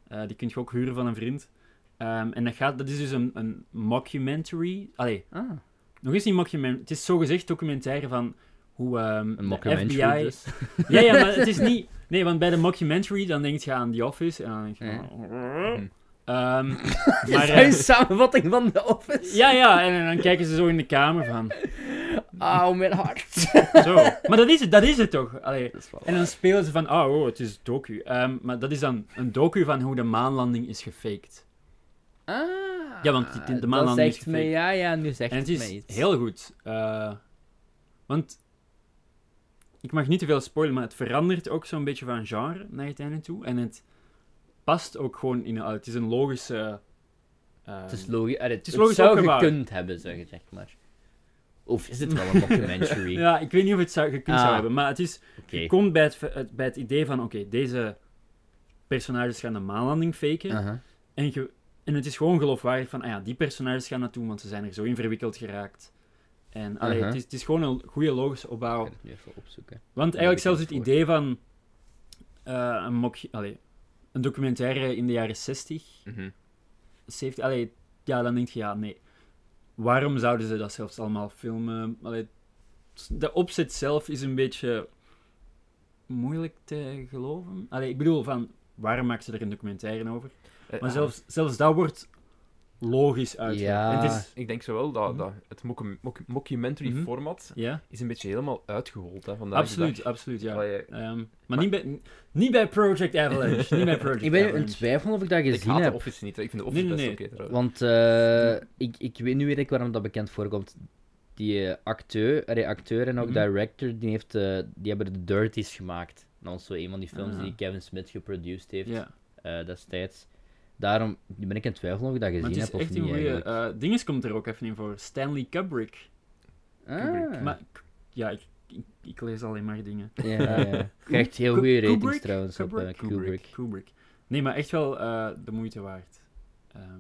Speaker 3: Eh, die kun je ook huren van een vriend. Ehm, en dat, gaat, dat is dus een, een mockumentary. Allee,
Speaker 2: Ah,
Speaker 3: nog eens niet mockumentary. Het is zogezegd documentaire van hoe ehm, de
Speaker 2: een mockumentary
Speaker 3: FBI...
Speaker 2: dus.
Speaker 3: Ja, ja, maar het is niet... Nee, want bij de mockumentary dan denk je aan The Office en dan denk je... oh.
Speaker 2: Ja. Mhm.
Speaker 1: Hm.
Speaker 3: Ehm,
Speaker 2: Maar,
Speaker 3: maar,
Speaker 2: een
Speaker 3: eh,
Speaker 2: samenvatting van de Office.
Speaker 3: ja, ja, en, en dan kijken ze zo in de kamer van...
Speaker 2: Auw, mijn hart.
Speaker 3: Zo. Maar dat is het, dat is het toch? Allee,
Speaker 2: Dat is wel
Speaker 3: En dan spelen ze van, oh, oh, het is docu. Ehm, maar dat is dan een docu van hoe de maanlanding is gefaked.
Speaker 2: Ah,
Speaker 3: Ja, want die- de
Speaker 2: dat
Speaker 3: maanlanding is
Speaker 2: zegt me,
Speaker 3: gefaked.
Speaker 2: ja, ja, nu zegt
Speaker 3: en het
Speaker 2: mij iets.
Speaker 3: is heel goed. Eh, want, ik mag niet te veel spoilen, maar het verandert ook zo'n beetje van genre naar het einde toe. En het past ook gewoon in... ah, het is een logische Ehm,
Speaker 2: Het is logisch. allee,
Speaker 3: is
Speaker 2: het
Speaker 3: logisch
Speaker 2: zou
Speaker 3: opgebouwd.
Speaker 2: gekund hebben, zeg het echt maar. Of is het wel een documentary?
Speaker 3: ja, ik weet niet of het zou, gekund
Speaker 2: Ah.
Speaker 3: zou hebben, maar het is...
Speaker 2: Oké.
Speaker 3: Je komt bij het, fe- het- bij het idee van, oké, deze personages gaan de maanlanding faken.
Speaker 2: Aha.
Speaker 3: En, je- en het is gewoon geloofwaardig van, ah ja, die personages gaan naartoe, want ze zijn er zo in verwikkeld geraakt. En allee,
Speaker 2: Aha.
Speaker 3: het, is, het is gewoon een goede logische
Speaker 2: Uh-huh. Ik
Speaker 3: opbouw.
Speaker 2: ga het nu even opzoeken.
Speaker 3: Want
Speaker 2: Ja, ik
Speaker 3: eigenlijk zelfs
Speaker 2: heb
Speaker 3: het
Speaker 2: het
Speaker 3: idee van eh, een, mok, allee, een documentaire in de jaren 60,
Speaker 1: Mhm.
Speaker 3: 70, allee, ja, dan denk je, ja, nee. Waarom zouden ze dat zelfs allemaal filmen? Allee, de opzet zelf is een beetje moeilijk te geloven. Allee, ik bedoel, van, waarom maken ze er een documentaire over?
Speaker 1: Eh,
Speaker 3: Maar
Speaker 1: ah,
Speaker 3: zelfs, zelfs dat wordt logisch uitgelegd.
Speaker 2: dus- Ja.
Speaker 3: En Het is,
Speaker 1: Eh, Ik denk zowel dat,
Speaker 3: Mhm.
Speaker 1: dat het mocu- mocu- mockumentary
Speaker 3: Mhm.
Speaker 1: format
Speaker 3: ja,
Speaker 1: is een beetje helemaal uitgehold. Hè, vandaag de
Speaker 3: absoluut,
Speaker 1: dag.
Speaker 3: absoluut, ja.
Speaker 1: Waar je-
Speaker 3: Ehm, maar niet, bij, niet bij Project Avalanche. niet bij Project
Speaker 2: Ik ben in
Speaker 3: Avalanche.
Speaker 2: twijfel of ik dat
Speaker 1: Ik
Speaker 2: gezien
Speaker 1: haat de
Speaker 2: heb.
Speaker 1: Office niet. hè. Ik vind de Office
Speaker 3: Nee, nee,
Speaker 1: best
Speaker 3: nee.
Speaker 1: oké trouwens.
Speaker 2: Want eh, ik, ik weet nu weet ik waarom dat bekend voorkomt. Die eh, acteur, allee, acteur en ook
Speaker 3: Mhm.
Speaker 2: director, die, heeft, eh, die hebben de Dirties gemaakt. Dat is zo een van die films
Speaker 3: Ah.
Speaker 2: die Kevin Smith geproduced heeft
Speaker 3: Ja.
Speaker 2: eh, destijds. Daarom ben ik in twijfel of ik dat gezien
Speaker 3: Maar het is
Speaker 2: heb of
Speaker 3: echt
Speaker 2: niet.
Speaker 3: een goede.
Speaker 2: eigenlijk.
Speaker 3: eh dinges komt er ook even in voor. Stanley Kubrick.
Speaker 2: Ah.
Speaker 3: eh, Maar k- ja, ik, ik, ik lees alleen maar dingen.
Speaker 2: Ja, ja. Krijgt heel goede
Speaker 3: Kubrick?
Speaker 2: ratings trouwens op eh, Kubrick.
Speaker 3: Kubrick. Nee, maar echt wel eh, de moeite waard. Ehm,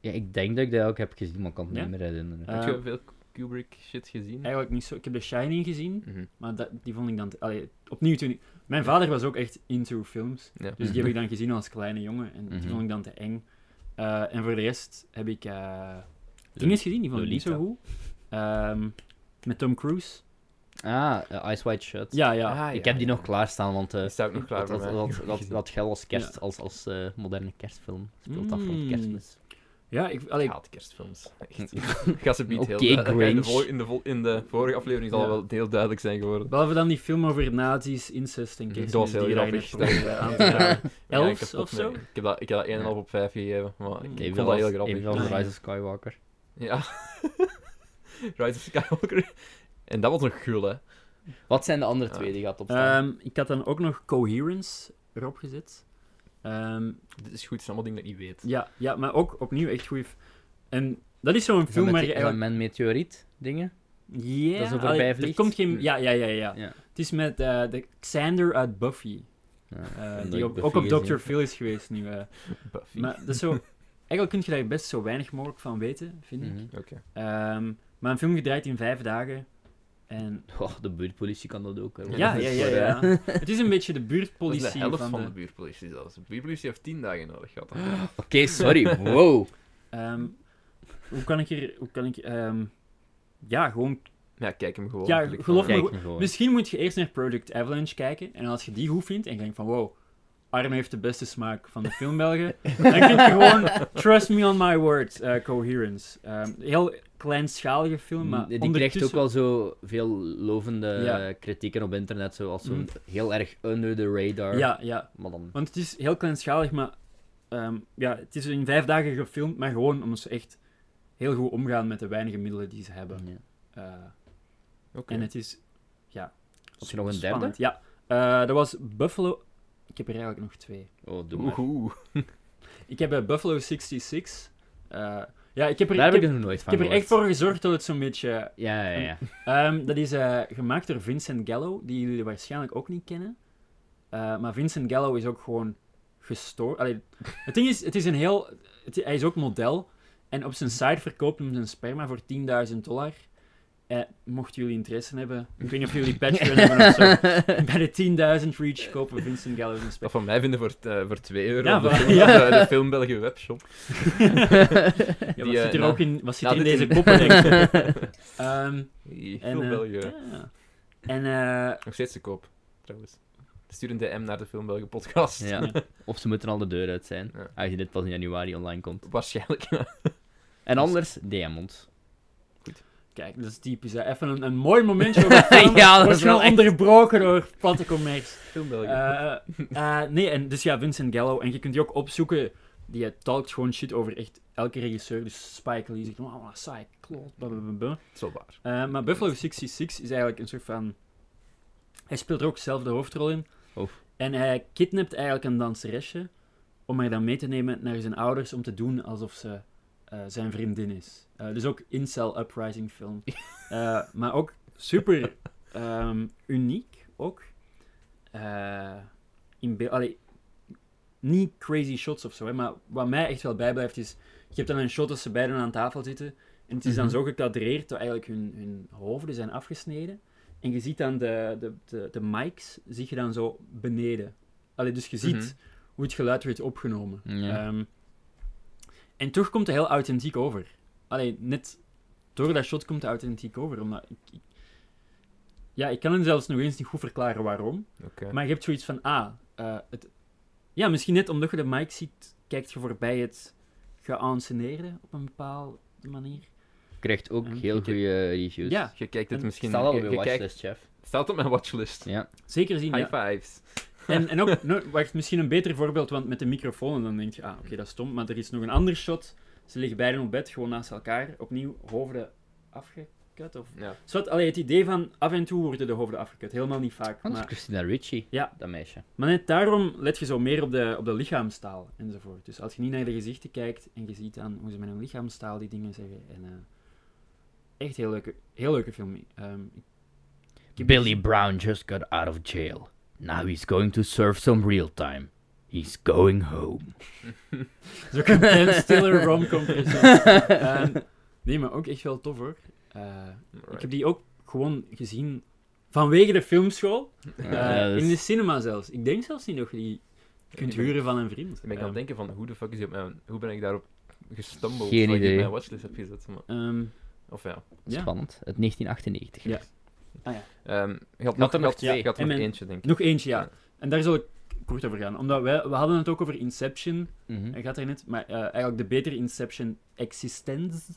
Speaker 2: Ja, ik denk dat ik dat ook heb gezien, maar ik kan het me
Speaker 3: Ja?
Speaker 2: niet meer herinneren.
Speaker 3: eh,
Speaker 1: Heb je veel Kubrick shit gezien?
Speaker 3: eigenlijk niet zo. Ik heb The Shining gezien,
Speaker 1: Mhm.
Speaker 3: maar dat, die vond ik dan. te- allee, opnieuw toen. ik- Mijn vader was ook echt into films.
Speaker 1: Ja. Mhm.
Speaker 3: Dus die heb ik dan gezien als kleine jongen en die
Speaker 2: Mhm.
Speaker 3: vond ik dan te eng. Eh, en voor de rest heb ik eh dinges gezien, die vond ik niet zo goed. Ehm, met Tom Cruise.
Speaker 2: Ah, eh, Ice White Shut.
Speaker 3: Ja, ja.
Speaker 1: Ah,
Speaker 2: ik
Speaker 1: ja,
Speaker 2: heb die
Speaker 1: ja.
Speaker 2: nog klaarstaan, want eh
Speaker 1: Die staat ook nog klaar
Speaker 2: dat,
Speaker 1: voor
Speaker 2: dat,
Speaker 1: mij.
Speaker 2: dat, dat, dat geldt als, kerst,
Speaker 3: Ja.
Speaker 2: als, als eh, moderne kerstfilm. Speelt dat voor
Speaker 3: Mm.
Speaker 2: kerstmis.
Speaker 3: Ja, ik, allee,
Speaker 1: Ik haat kerstfilms. Echt. Gaat ze niet heel
Speaker 2: Oké,
Speaker 1: duidelijk. Ja, In de,
Speaker 2: Grinch.
Speaker 1: vol- in, de vol- in de vorige aflevering zal
Speaker 3: Ja.
Speaker 1: wel heel duidelijk zijn geworden.
Speaker 3: Behalve dan die film over nazi's, incest en kerstmis.
Speaker 1: Dat was heel
Speaker 3: die je daar
Speaker 1: grappig.
Speaker 3: net probeerde aan te raden.
Speaker 1: Maar ja, ik
Speaker 3: Elfs
Speaker 1: heb dat
Speaker 3: of zo?
Speaker 1: mee- Ik heb dat, ik heb dat 1,5 op 5 gegeven, maar ik,
Speaker 3: Mm.
Speaker 1: ik
Speaker 2: Evenals-
Speaker 1: vond dat heel grappig.
Speaker 2: evenals
Speaker 3: Ah, ja.
Speaker 2: Rise of Skywalker.
Speaker 1: Ja. Rise of Skywalker. En dat was een gul, hè.
Speaker 2: Wat zijn de andere
Speaker 1: Ja.
Speaker 2: twee die gaat opstaan?
Speaker 3: Ehm, ik had dan ook nog Coherence erop gezet. Ehm,
Speaker 1: Dit is goed, het zijn allemaal dingen dat ik niet weet.
Speaker 3: ja, ja, maar ook opnieuw echt goed. En dat is zo'n
Speaker 2: Is dat
Speaker 3: film
Speaker 2: met
Speaker 3: waar
Speaker 2: die-
Speaker 3: je
Speaker 2: is dat
Speaker 3: eigenlijk...
Speaker 2: met meteoriet dingen?
Speaker 3: Ja,
Speaker 2: dat zo voorbij
Speaker 3: allee, er
Speaker 2: vliegt?
Speaker 3: komt geen...
Speaker 1: Hm.
Speaker 3: Ja, ja, ja, ja.
Speaker 2: Ja.
Speaker 3: Het is met eh, de Xander uit Buffy. eh,
Speaker 2: omdat
Speaker 3: die
Speaker 2: ik
Speaker 3: ook,
Speaker 2: Buffy
Speaker 3: ook op
Speaker 2: gezien
Speaker 3: Dr.
Speaker 2: heb.
Speaker 3: Phil is geweest nu. eh.
Speaker 1: Buffy.
Speaker 3: Maar dat is zo... Eigenlijk kun je daar best zo weinig mogelijk van weten, vind ik.
Speaker 2: Mhm.
Speaker 3: Ehm, maar een film gedraaid in vijf dagen. En
Speaker 2: Oh, de buurtpolitie kan dat ook. hè,
Speaker 3: Ja,
Speaker 2: want-
Speaker 3: ja, ja,
Speaker 2: voor, eh,
Speaker 3: ja. Het is een beetje de
Speaker 1: dat is
Speaker 3: buurtpolitie
Speaker 1: de helft
Speaker 3: van,
Speaker 1: van,
Speaker 3: de...
Speaker 1: de buurtpolitie zelfs. De buurtpolitie heeft 10 dagen nodig gehad. dan.
Speaker 2: Oké, sorry. Wow.
Speaker 3: Ehm, hoe kan ik hier... Hoe kan ik... ehm, ja, gewoon...
Speaker 1: Ja, kijk hem gewoon.
Speaker 3: Ja,
Speaker 1: Klik
Speaker 3: geloof
Speaker 1: gewoon.
Speaker 3: me-
Speaker 2: Kijk me gewoon.
Speaker 3: Misschien moet je eerst naar Project Avalanche kijken. En als je die goed vindt en je denkt van... Wow, Arno heeft de beste smaak van de filmbelgen. dan kun je gewoon... Trust me on my word, eh, Coherence. Ehm, heel kleinschalige film, maar
Speaker 2: Mm, Die krijgt
Speaker 3: ondertussen...
Speaker 2: ook wel zo veel lovende
Speaker 3: Ja.
Speaker 2: eh, kritieken op internet, zoals zo'n
Speaker 3: Mm.
Speaker 2: heel erg under the radar.
Speaker 3: Ja, ja.
Speaker 2: Maar dan...
Speaker 3: Want het is heel kleinschalig, maar... ehm, ja, het is in vijf dagen gefilmd, maar gewoon omdat ze echt heel goed omgaan met de weinige middelen die ze hebben.
Speaker 2: Ja.
Speaker 3: Eh,
Speaker 1: Oké.
Speaker 3: En het is
Speaker 2: Had je nog een derde?
Speaker 3: spannend. Ja, Eh, dat was Buffalo. Ik heb er eigenlijk nog twee.
Speaker 2: Oh, doe maar.
Speaker 1: Oeh, oeh.
Speaker 3: Ik heb eh, Buffalo 66. Eh, ja, ik heb er,
Speaker 2: Daar
Speaker 3: ik
Speaker 2: heb ik
Speaker 3: heb,
Speaker 2: nog nooit
Speaker 3: ik
Speaker 2: van
Speaker 3: heb er echt
Speaker 2: gehoord.
Speaker 3: voor gezorgd dat het zo'n beetje.
Speaker 2: Ja, ja, ja.
Speaker 3: Ehm, dat is eh, gemaakt door Vincent Gallo, die jullie waarschijnlijk ook niet kennen. Eh, maar Vincent Gallo is ook gewoon gestoord. Allee, het ding is, het is een heel. het- hij is ook model. En op zijn site verkoopt hem zijn sperma voor 10.000 dollar. Eh, mochten jullie interesse hebben, ik weet niet of jullie Patreon hebben of zo. Bij de 10.000 reach kopen Vincent Gallo een
Speaker 1: Dat
Speaker 3: spel.
Speaker 1: van mij vinden voor, eh, voor 2 euro.
Speaker 3: Ja,
Speaker 1: op de,
Speaker 3: voilà.
Speaker 1: film,
Speaker 3: Ja.
Speaker 1: eh, de Film België webshop.
Speaker 3: Ja,
Speaker 1: Die,
Speaker 3: wat zit
Speaker 1: eh,
Speaker 3: er
Speaker 1: nou-
Speaker 3: ook in, wat zit
Speaker 1: nou,
Speaker 3: in
Speaker 1: dit
Speaker 3: deze
Speaker 1: in-
Speaker 3: koppen, denk ik? Ehm,
Speaker 1: Hey,
Speaker 3: en,
Speaker 1: Film
Speaker 3: eh,
Speaker 1: België.
Speaker 3: ja. En, eh,
Speaker 1: Nog steeds te koop, trouwens. Stuur een DM naar de Film België podcast.
Speaker 2: ja. Of ze moeten al de deur uit zijn,
Speaker 1: Ja.
Speaker 2: aangezien dit pas in januari online komt.
Speaker 1: Waarschijnlijk.
Speaker 2: En anders, DM ons.
Speaker 3: kijk, dat is typisch. hè. Even een, een mooi momentje over film.
Speaker 2: Ja, dat
Speaker 3: Wordt
Speaker 2: is wel
Speaker 3: snel
Speaker 2: echt- Oh,
Speaker 3: onderbroken door platte commerce.
Speaker 1: Film België.
Speaker 3: Eh, eh, nee, en dus ja, Vincent Gallo. En je kunt die ook opzoeken. Die eh, talkt gewoon shit over echt elke regisseur. Dus Spike Lee zegt, oh, saai, klopt, blablabla.
Speaker 1: Zo waar.
Speaker 3: Eh, maar Buffalo 66 is eigenlijk een soort van. Hij speelt er ook zelf de hoofdrol in.
Speaker 2: Oef.
Speaker 3: En hij kidnapt eigenlijk een danseresje. om haar dan mee te nemen naar zijn ouders om te doen alsof ze eh, zijn vriendin is. Eh, dus ook incel uprising film. Eh, maar ook super ehm, uniek ook. Eh, in beeld. Allee, niet crazy shots of zo, hè, maar wat mij echt wel bijblijft is. Je hebt dan een shot dat ze beiden aan tafel zitten. En het is dan
Speaker 2: Mhm.
Speaker 3: zo gekadreerd dat eigenlijk hun, hun hoofden zijn afgesneden. En je ziet dan de, de, de, de mics, zie je dan zo beneden. Allee, dus je ziet
Speaker 1: Mhm.
Speaker 3: hoe het geluid werd opgenomen.
Speaker 2: Ja.
Speaker 3: Ehm, en toch komt het heel authentiek over. Allee, net door dat shot komt het authentiek over. Omdat ik, ik- ja, ik kan het zelfs nog eens niet goed verklaren waarom.
Speaker 1: Oké.
Speaker 3: Maar je hebt zoiets van, ah, eh, het... ja, misschien net omdat je de mic ziet, kijkt je voorbij het geanceneerde op een bepaalde manier.
Speaker 2: Krijgt ook
Speaker 3: Ja.
Speaker 2: heel goede reviews.
Speaker 3: Ja,
Speaker 1: Je kijkt het
Speaker 3: En
Speaker 1: misschien... e-
Speaker 2: Staat al op
Speaker 1: je-
Speaker 2: je
Speaker 1: je kijkt-
Speaker 2: watchlist, chef.
Speaker 1: Staat op mijn watchlist.
Speaker 2: Ja.
Speaker 3: zeker zien.
Speaker 1: High
Speaker 3: Ja.
Speaker 1: fives.
Speaker 3: En, en ook, no, wacht, misschien een beter voorbeeld, want met de microfoon, dan denk je, ah, oké, dat is stom. Maar er is nog een ander shot. Ze liggen beiden op bed, gewoon naast elkaar. Opnieuw, hoofden afgekut. Of...
Speaker 1: Ja.
Speaker 3: Zowat, allee, het idee van, af en toe worden de hoofden afgekut. Helemaal niet vaak.
Speaker 2: Want dat is
Speaker 3: Maar,
Speaker 2: Christina Ricci,
Speaker 3: Ja.
Speaker 2: dat meisje.
Speaker 3: maar net daarom let je zo meer op de, op de lichaamstaal enzovoort. Dus als je niet naar de gezichten kijkt en je ziet dan hoe ze met hun lichaamstaal die dingen zeggen. En, eh, echt heel leuke, heel leuke film. Ehm, ik- ik heb- dus-
Speaker 2: Billy Brown just got out of jail. Now he's going to serve some real time. He's going home.
Speaker 3: Zo kan Ben Stiller romcom Ehm Nee, maar ook echt wel tof hoor. Eh, ik heb die ook gewoon gezien vanwege de filmschool. eh,
Speaker 2: Ja, dus dat
Speaker 3: In de
Speaker 2: is-
Speaker 3: cinema zelfs. Ik denk zelfs niet dat je die kunt huren van een vriend.
Speaker 1: Ik ben aan
Speaker 3: Ehm,
Speaker 1: het denken van, hoe de fuck is die op mijn... Hoe ben ik daarop gestumbled?
Speaker 2: Geen
Speaker 1: dat ik die
Speaker 2: idee.
Speaker 1: op mijn watchlist heb gezet. Maar,
Speaker 3: ehm,
Speaker 1: of ja.
Speaker 3: ja.
Speaker 2: Spannend. Het 1998.
Speaker 3: Ja.
Speaker 1: Ehm, je had
Speaker 2: Nog
Speaker 1: nog,
Speaker 2: er nog
Speaker 1: nog,
Speaker 2: twee.
Speaker 1: je had
Speaker 3: En
Speaker 1: nog
Speaker 3: mijn-
Speaker 1: eentje, denk ik.
Speaker 3: Nog eentje, ja.
Speaker 1: Ja.
Speaker 3: En daar zal ik kort over gaan. Omdat wij, we hadden het ook over Inception.
Speaker 2: Mhm.
Speaker 3: Hij gaat er net. Maar eh, eigenlijk de betere Inception Existence.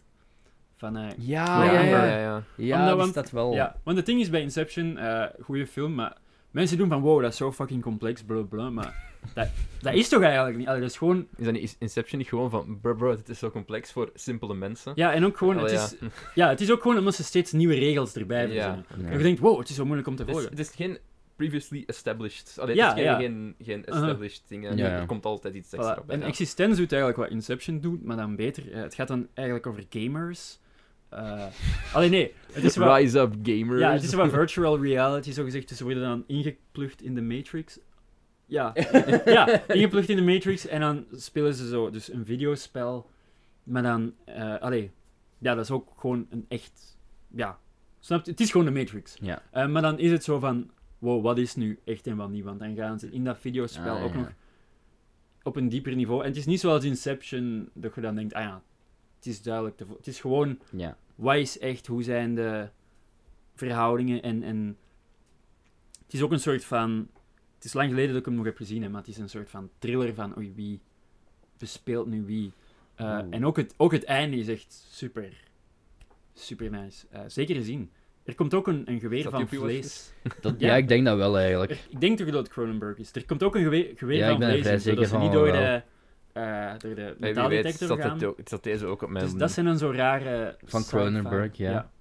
Speaker 3: Van, eh,
Speaker 2: Ja,
Speaker 3: ja,
Speaker 2: ja,
Speaker 3: ja.
Speaker 2: ja. Ja,
Speaker 3: Omdat
Speaker 2: die
Speaker 3: want-
Speaker 2: staat
Speaker 1: Oh.
Speaker 2: wel.
Speaker 3: Ja, want het ding is bij Inception, eh goede film, maar mensen doen van wow, dat is zo fucking complex, bla bla, maar dat, dat is toch eigenlijk niet. Allee, dat is gewoon,
Speaker 1: Is dat niet is Inception niet gewoon van, bro, bro, dit is zo complex voor simpele mensen?
Speaker 3: ja, en ook gewoon, het,
Speaker 1: Wel, Oh, ja.
Speaker 3: Is, ja, het is ook gewoon omdat ze steeds nieuwe regels erbij verzinnen.
Speaker 1: Ja.
Speaker 2: Ja.
Speaker 3: En je denkt, wow, het is zo moeilijk om te
Speaker 1: Het is,
Speaker 3: volgen.
Speaker 1: het is geen previously established. Allee,
Speaker 3: Ja,
Speaker 1: het is geen,
Speaker 3: ja.
Speaker 1: geen, geen
Speaker 3: Uh-huh.
Speaker 1: established dingen.
Speaker 2: Ja.
Speaker 1: Er komt altijd iets extra
Speaker 3: Voilà.
Speaker 1: bij.
Speaker 3: En
Speaker 1: ja.
Speaker 3: Existence doet eigenlijk wat Inception doet, maar dan beter. Eh, het gaat dan eigenlijk over gamers. Eh allee, nee, het is wel...
Speaker 1: Rise up, gamers.
Speaker 3: Ja, het is wat virtual reality, zogezegd. Dus ze worden dan ingeplucht in de Matrix. Ja. ja, ingeplucht in de Matrix. En dan spelen ze zo dus een videospel. Maar dan... eh allee. Ja, dat is ook gewoon een echt... Ja. Snap je? Het is gewoon de Matrix.
Speaker 2: Ja.
Speaker 3: Eh, maar dan is het zo van... Wow, wat is nu echt en wat niet? Want dan gaan ze in dat videospel
Speaker 2: Ah,
Speaker 3: ook
Speaker 2: ja.
Speaker 3: nog op een dieper niveau. En het is niet zoals Inception, dat je dan denkt... Ah ja, het is duidelijk te vo- Het is gewoon
Speaker 2: Ja.
Speaker 3: wat is echt, hoe zijn de verhoudingen en, en het is ook een soort van, het is lang geleden dat ik hem nog heb gezien, hè, maar het is een soort van thriller van oei, wie bespeelt nu wie. Eh,
Speaker 2: Oeh.
Speaker 3: en ook het, ook het einde is echt super, super nice. Eh, zeker gezien. Er komt ook een, een geweer
Speaker 1: Staat die
Speaker 3: van
Speaker 1: op je
Speaker 3: vlees.
Speaker 2: Dat,
Speaker 3: Ja.
Speaker 2: ja. ik denk dat wel eigenlijk.
Speaker 3: Er- ik denk toch dat het Cronenberg is. Er komt ook een geweer, geweer
Speaker 2: Ja, ik
Speaker 3: van
Speaker 2: ben er
Speaker 3: vlees
Speaker 2: vrij
Speaker 3: in, zodat
Speaker 2: zeker
Speaker 3: ze niet
Speaker 2: van
Speaker 3: door
Speaker 2: wel.
Speaker 3: de, eh door de
Speaker 1: Hey, wie weet,
Speaker 3: metaaldetector
Speaker 1: zat,
Speaker 3: gaan.
Speaker 1: het ook, zat deze ook op mijn...
Speaker 3: Dus dat zijn dan zo rare...
Speaker 2: Van
Speaker 3: sci-fi-
Speaker 2: Cronenberg, ja.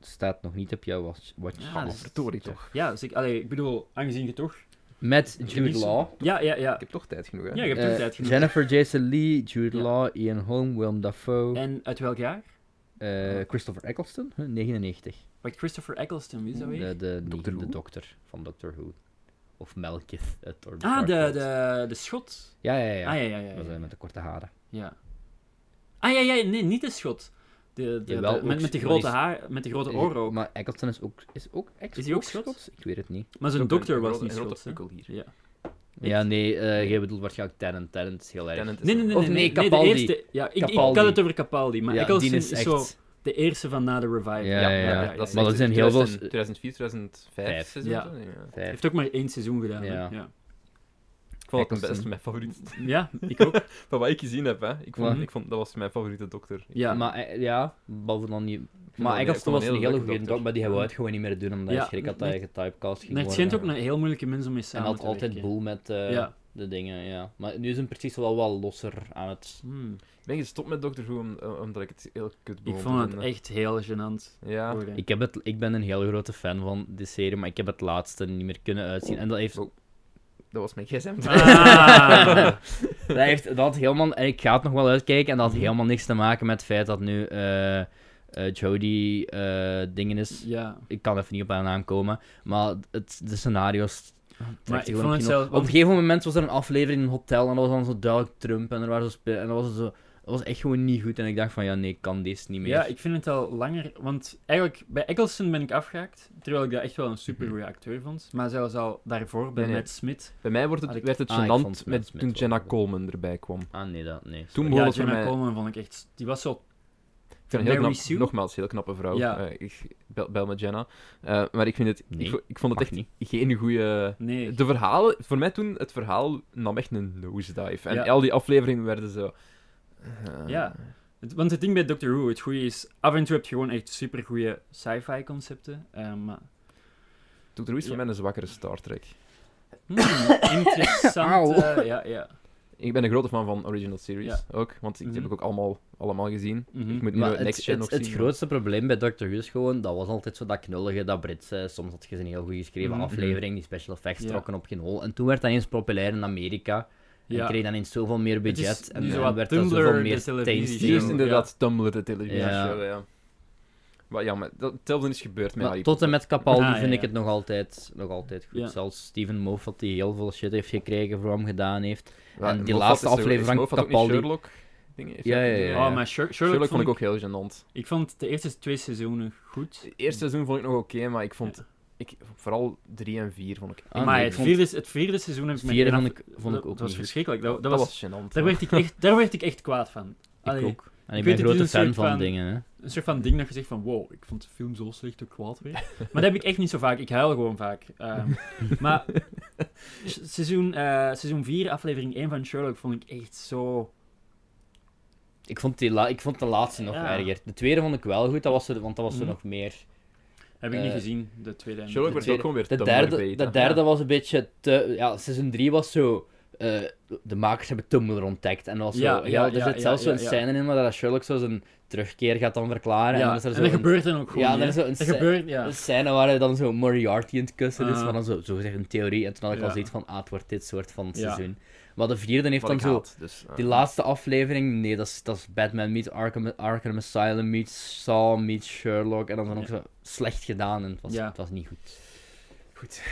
Speaker 2: Staat nog niet op jouw watch. watch
Speaker 3: Ja, Ah, dat is-
Speaker 1: Verdorie toch.
Speaker 3: Ja, dus ik, allee, ik bedoel, aangezien je toch...
Speaker 2: Met
Speaker 1: Ik
Speaker 2: Jude
Speaker 3: mis-
Speaker 2: Law.
Speaker 3: Ja, ja, ja.
Speaker 1: Ik heb toch tijd genoeg, hè?
Speaker 3: Ja, je hebt
Speaker 2: eh,
Speaker 3: ook tijd genoeg.
Speaker 2: Jennifer Jason Lee, Jude
Speaker 3: Ja.
Speaker 2: Law, Ian Holm, Willem Dafoe,
Speaker 3: En uit welk jaar?
Speaker 2: eh, Christopher Eccleston, huh, 99.
Speaker 3: Wacht, Christopher Eccleston, wie is dat
Speaker 2: De,
Speaker 3: weer?
Speaker 2: de,
Speaker 1: Doctor
Speaker 2: de
Speaker 1: Who?
Speaker 2: dokter van Doctor Who. Of Melkith. uit Thor the
Speaker 3: Ah,
Speaker 2: Dark
Speaker 3: de,
Speaker 2: World.
Speaker 3: de, de schot.
Speaker 2: Ja, ja, ja.
Speaker 3: Ah, ja, ja, ja.
Speaker 2: Dat was, eh,
Speaker 3: ja,
Speaker 2: met de korte haren.
Speaker 3: ja. Ah, ja, ja, nee, niet de schot. De, de,
Speaker 2: Jawel,
Speaker 3: de-
Speaker 2: ook
Speaker 3: met, met de
Speaker 2: schot.
Speaker 3: grote haar, met de grote
Speaker 2: Eh,
Speaker 3: oren ook. Maar,
Speaker 2: Maar Eccleston is ook... Is, ook ex-
Speaker 3: Is hij ook Schots?
Speaker 2: Ik weet het niet.
Speaker 3: zijn dokter was niet
Speaker 1: een grote
Speaker 3: schot, hè?
Speaker 1: pukkel hier.
Speaker 3: Ja.
Speaker 2: Ja, nee, eh jij bedoelt waarschijnlijk Tennant. Tennant is heel erg...
Speaker 1: Tennant is
Speaker 3: Nee,
Speaker 1: een-
Speaker 3: nee, nee.
Speaker 2: Of
Speaker 3: nee,
Speaker 2: nee,
Speaker 3: nee, de
Speaker 2: Capaldi.
Speaker 3: eerste- ja, ik, ik
Speaker 2: Capaldi.
Speaker 3: had het over Capaldi, maar
Speaker 2: Ja,
Speaker 3: Eccleston
Speaker 2: die
Speaker 3: is,
Speaker 2: is echt...
Speaker 3: zo de eerste van na de revival.
Speaker 2: Ja, ja, ja.
Speaker 1: dat is
Speaker 2: Maar er
Speaker 1: echt
Speaker 2: zijn heel veel-
Speaker 1: 2000 2004, 2005
Speaker 2: Vijf.
Speaker 1: seizoen.
Speaker 3: Ja.
Speaker 1: toch? Ja.
Speaker 3: Hij
Speaker 2: Vijf.
Speaker 3: heeft ook maar één seizoen gedaan. hè.
Speaker 2: Ja.
Speaker 3: Ja.
Speaker 1: Ik vond dat
Speaker 2: Eccleston.
Speaker 1: het beste, mijn favoriet.
Speaker 3: ja, ik ook.
Speaker 1: Van wat ik gezien heb, hè. Ik vond,
Speaker 3: Mhm.
Speaker 1: ik vond dat was mijn favoriete dokter.
Speaker 3: Ja.
Speaker 2: Maar, eh, ja, behalve dan
Speaker 1: Ik
Speaker 2: niet...
Speaker 1: vond
Speaker 2: Maar
Speaker 1: dat- ik
Speaker 2: Eccleston
Speaker 1: vond
Speaker 2: was
Speaker 1: dat
Speaker 2: een hele goede
Speaker 1: leuke
Speaker 2: dokter, maar die hebben we het gewoon niet meer doen, omdat
Speaker 3: Ja,
Speaker 2: hij schrik had dat hij getypecast ging
Speaker 3: Maar het schijnt ook
Speaker 2: worden.
Speaker 3: een heel moeilijke mens om mee
Speaker 2: En
Speaker 3: samen
Speaker 2: had
Speaker 3: te
Speaker 2: altijd
Speaker 3: werken.
Speaker 2: boel met eh,
Speaker 3: Ja.
Speaker 2: de dingen, ja. Maar nu is hem precies wel wat losser aan het...
Speaker 3: Hmm.
Speaker 1: Ik ben gestopt met Doctor Who om- eh, omdat ik het heel kut
Speaker 3: Ik
Speaker 1: begon te
Speaker 3: vond het
Speaker 1: vinden.
Speaker 3: echt heel gênant.
Speaker 1: Ja.
Speaker 3: worden.
Speaker 2: Ik, heb het, ik ben een heel grote fan van die serie, maar ik heb het laatste niet meer kunnen uitzien. En dat heeft
Speaker 1: Oh. dat was mijn gsm.
Speaker 3: Ah.
Speaker 2: dat, heeft, dat had helemaal, en ik ga het nog wel uitkijken, en dat had helemaal niks te maken met het feit dat nu eh eh, Jodie eh, dingen is.
Speaker 3: Ja.
Speaker 2: Ik kan even niet op haar naam komen, maar het, de scenario's... trekt
Speaker 3: Maar
Speaker 2: zich
Speaker 3: ik
Speaker 2: gewoon
Speaker 3: vond het
Speaker 2: op
Speaker 3: zelf...
Speaker 2: Op een gegeven moment was er een aflevering in een hotel en dat was dan zo duidelijk Trump en er waren zo spe- en dat was zo, dat was echt gewoon niet goed en ik dacht van ja nee ik kan deze niet meer.
Speaker 3: Ja, ik vind het al langer. Want eigenlijk, bij Eccleston ben ik afgehaakt. Terwijl ik dat echt wel een supergoeie acteur vond. Maar zelfs al daarvoor bij
Speaker 1: Nee, nee.
Speaker 3: Matt Smith.
Speaker 1: Bij mij wordt
Speaker 3: Ah,
Speaker 1: het,
Speaker 3: ik-
Speaker 1: werd het
Speaker 2: ah, ik
Speaker 1: gênant
Speaker 2: vond
Speaker 1: met,
Speaker 2: Smith
Speaker 1: toen
Speaker 2: wel
Speaker 1: Jenna
Speaker 2: goed.
Speaker 1: Coleman erbij kwam.
Speaker 2: Ah nee dat nee.
Speaker 1: Toen
Speaker 3: Ja,
Speaker 1: begon het voor
Speaker 3: Jenna
Speaker 1: mij... Ik
Speaker 3: Coleman vond ik echt... Die was zo...
Speaker 1: vind het heel
Speaker 3: Mary
Speaker 1: knap,
Speaker 3: Sue?
Speaker 1: nogmaals, heel knappe vrouw.
Speaker 3: Ja.
Speaker 1: Eh, ik bel, bel met Jenna. Eh, maar ik, vind het,
Speaker 2: Nee,
Speaker 1: ik, vo- ik vond het
Speaker 2: mag
Speaker 1: echt geen goede...
Speaker 3: Nee.
Speaker 1: De verhalen... Voor mij toen, het verhaal nam echt een nosedive. En
Speaker 3: Ja.
Speaker 1: al die afleveringen werden zo... eh,
Speaker 3: Ja. Het- Want het ding bij Doctor Who, het goede is... Af en toe heb je gewoon echt supergoeie sci-fi concepten. eh, maar...
Speaker 1: Doctor Who is voor
Speaker 3: Ja.
Speaker 1: mij een zwakkere Star Trek.
Speaker 3: Hmm, interessant.
Speaker 2: Auw.
Speaker 3: eh, ja, ja.
Speaker 1: Ik ben een grote fan van original series ook, want die
Speaker 3: Mhm.
Speaker 1: heb ik ook allemaal, allemaal gezien.
Speaker 3: Mhm.
Speaker 1: Ik moet nu
Speaker 2: Maar
Speaker 1: het
Speaker 2: het,
Speaker 1: Next Gen
Speaker 2: het,
Speaker 1: nog
Speaker 2: het
Speaker 1: zien.
Speaker 2: grootste probleem bij Doctor Who is gewoon, dat was altijd zo dat knullige, dat Britse. Soms had je een heel goed geschreven
Speaker 3: Mhm.
Speaker 2: aflevering, die special effects
Speaker 3: Ja.
Speaker 2: trokken op geen hol. En toen werd dat eens populair in Amerika. En
Speaker 3: Ja.
Speaker 2: kreeg dan eens zoveel meer
Speaker 3: Het is
Speaker 2: budget. En
Speaker 3: nu
Speaker 2: dan
Speaker 3: zo wat
Speaker 2: werd dat
Speaker 3: Tumblr,
Speaker 2: zoveel
Speaker 3: de
Speaker 2: meer
Speaker 3: televisie.
Speaker 2: tasty.
Speaker 1: Juist
Speaker 3: Ja.
Speaker 1: inderdaad, Tumblr, de televisie.
Speaker 2: Ja.
Speaker 1: Ja. ja. Maar ja, maar dat, hetzelfde is gebeurd met
Speaker 2: Maar
Speaker 1: Harry
Speaker 2: tot
Speaker 1: Potter.
Speaker 2: en met Capaldi
Speaker 3: Ah, ja,
Speaker 2: vind ik
Speaker 3: ja.
Speaker 2: het nog altijd, nog altijd goed.
Speaker 3: Ja.
Speaker 2: Zelfs Steven Moffat, die heel veel shit heeft gekregen voor hem gedaan heeft.
Speaker 1: Ja,
Speaker 2: en die
Speaker 1: Moffat
Speaker 2: laatste
Speaker 1: is er-
Speaker 2: aflevering
Speaker 1: is
Speaker 2: van
Speaker 1: Moffat ook niet
Speaker 2: Capaldi.
Speaker 1: Sherlock dingen? heeft
Speaker 2: Ja,
Speaker 1: hij ook
Speaker 2: ja,
Speaker 1: niet?
Speaker 2: ja,
Speaker 3: Oh, maar Sher- Sherlock,
Speaker 1: Sherlock vond ik ook
Speaker 3: ook...
Speaker 1: heel gênant.
Speaker 3: Ik vond de eerste twee seizoenen goed.
Speaker 2: Hmm.
Speaker 1: Het eerste seizoen vond ik nog oké, maar ik vond... Ik, vooral 3 en 4 vond ik...
Speaker 2: Ah, nee,
Speaker 3: maar
Speaker 2: ik
Speaker 3: het,
Speaker 2: vond-
Speaker 3: vierde, het vierde seizoen heb ik
Speaker 2: Het
Speaker 3: me
Speaker 2: vierde
Speaker 3: echt
Speaker 2: vond
Speaker 3: af-
Speaker 2: ik, vond ik
Speaker 3: dat-
Speaker 2: ook
Speaker 3: Dat was
Speaker 2: niet goed.
Speaker 3: verschrikkelijk. Dat, dat
Speaker 1: Dat
Speaker 3: was,
Speaker 1: was gênant.
Speaker 3: daar, werd ik echt, daar werd ik echt kwaad van. Allee,
Speaker 2: Ik ook. En ik
Speaker 3: weet
Speaker 2: ben
Speaker 3: het,
Speaker 2: een
Speaker 3: het is
Speaker 2: grote
Speaker 3: een
Speaker 2: fan
Speaker 3: soort
Speaker 2: van
Speaker 3: van-
Speaker 2: dingen, hè.
Speaker 3: Een soort van ding dat je zegt van wow, ik vond de film zo slecht ook kwaad weer. Maar dat heb ik echt niet zo vaak. Ik huil gewoon vaak. Ehm, maar s- seizoen, eh, seizoen 4, aflevering 1 van Sherlock vond ik echt zo...
Speaker 2: Ik vond, die la- ik vond de laatste nog
Speaker 3: Ja.
Speaker 2: erger. De tweede vond ik wel goed, dat was er, want dat was er
Speaker 3: Mhm.
Speaker 2: nog meer.
Speaker 3: Heb ik niet
Speaker 2: Eh,
Speaker 3: gezien, de tweede. en-
Speaker 1: Sherlock
Speaker 2: de
Speaker 1: Oh, werd ook gewoon weer
Speaker 2: De
Speaker 1: Tumblr
Speaker 2: derde,
Speaker 1: beta.
Speaker 2: de derde
Speaker 3: Ja.
Speaker 2: was een beetje te... Ja, seizoen 3 was zo... eh, de makers hebben Tumblr ontdekt. En dat was zo,
Speaker 3: Ja,
Speaker 2: ja,
Speaker 3: ja,
Speaker 2: er
Speaker 3: ja,
Speaker 2: zit
Speaker 3: ja,
Speaker 2: zelfs
Speaker 3: ja,
Speaker 2: zo'n
Speaker 3: ja.
Speaker 2: scène in waar dat Sherlock zo zijn terugkeer gaat dan verklaren.
Speaker 3: ja,
Speaker 2: en dan is er zo
Speaker 3: dat
Speaker 2: een-
Speaker 3: gebeurt dan ook gewoon.
Speaker 2: Ja,
Speaker 3: niet,
Speaker 2: er
Speaker 3: hè.
Speaker 2: is zo een
Speaker 3: Dat
Speaker 2: se-
Speaker 3: gebeurt, ja.
Speaker 2: Een scène waar hij dan zo Moriarty in het kussen is,
Speaker 3: Ah.
Speaker 2: maar dan zo, zo gezegd een theorie. En toen had ik
Speaker 3: Ja.
Speaker 2: al zoiets van, ah, het wordt dit soort van
Speaker 3: Ja.
Speaker 2: seizoen. Maar de vierde heeft
Speaker 1: Wat
Speaker 2: dan
Speaker 1: ik
Speaker 2: zo...
Speaker 1: haat, dus, eh.
Speaker 2: Die laatste aflevering, nee, dat is, dat is Batman meets Arkham, Arkham Asylum meets Saw meets Sherlock. En dan was het ook zo slecht gedaan en het was,
Speaker 3: Ja.
Speaker 2: het was niet goed.
Speaker 1: Goed.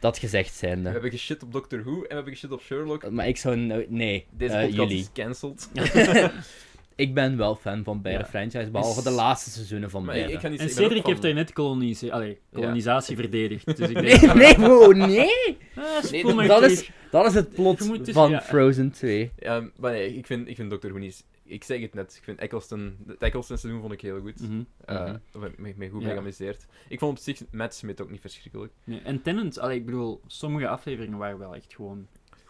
Speaker 2: Dat gezegd
Speaker 1: We
Speaker 2: zijnde.
Speaker 1: hebben geshit op Doctor Who en we hebben geshit op Sherlock.
Speaker 2: Maar ik zou... nooit- Nee,
Speaker 1: Deze
Speaker 2: eh,
Speaker 1: podcast
Speaker 2: jullie.
Speaker 1: is cancelled.
Speaker 2: Ik ben wel fan van beide
Speaker 3: Ja.
Speaker 2: franchises, behalve
Speaker 3: Is-
Speaker 2: de laatste seizoenen van
Speaker 1: Maar ik,
Speaker 2: beide.
Speaker 1: ik ga niet
Speaker 3: En
Speaker 1: zeggen, ik ben
Speaker 3: Cedric
Speaker 1: ook
Speaker 3: heeft
Speaker 1: van-
Speaker 3: daar net kolonise, allee, kolonisatie verdedigd. Dus ik denk,
Speaker 2: Nee, nee, wow, nee!
Speaker 3: ah, spoel
Speaker 1: Nee,
Speaker 3: maar
Speaker 2: dat
Speaker 3: terug.
Speaker 2: is- Dat is het plot
Speaker 3: Je moet dus-
Speaker 2: van
Speaker 3: ja.
Speaker 2: Frozen 2.
Speaker 1: Ja, maar nee, ik vind, ik vind Dr. Who niet... Ik zeg het net, ik vind Eccleston... Het Eccleston seizoen vond ik heel goed.
Speaker 3: Mhm.
Speaker 1: Eh,
Speaker 2: Mhm.
Speaker 1: of heb ik me, me goed
Speaker 3: Ja.
Speaker 1: mee geamuseerd. Ik vond op zich Matt Smith ook niet verschrikkelijk.
Speaker 3: Nee, En Tenant, allee, ik bedoel, sommige afleveringen waren wel echt gewoon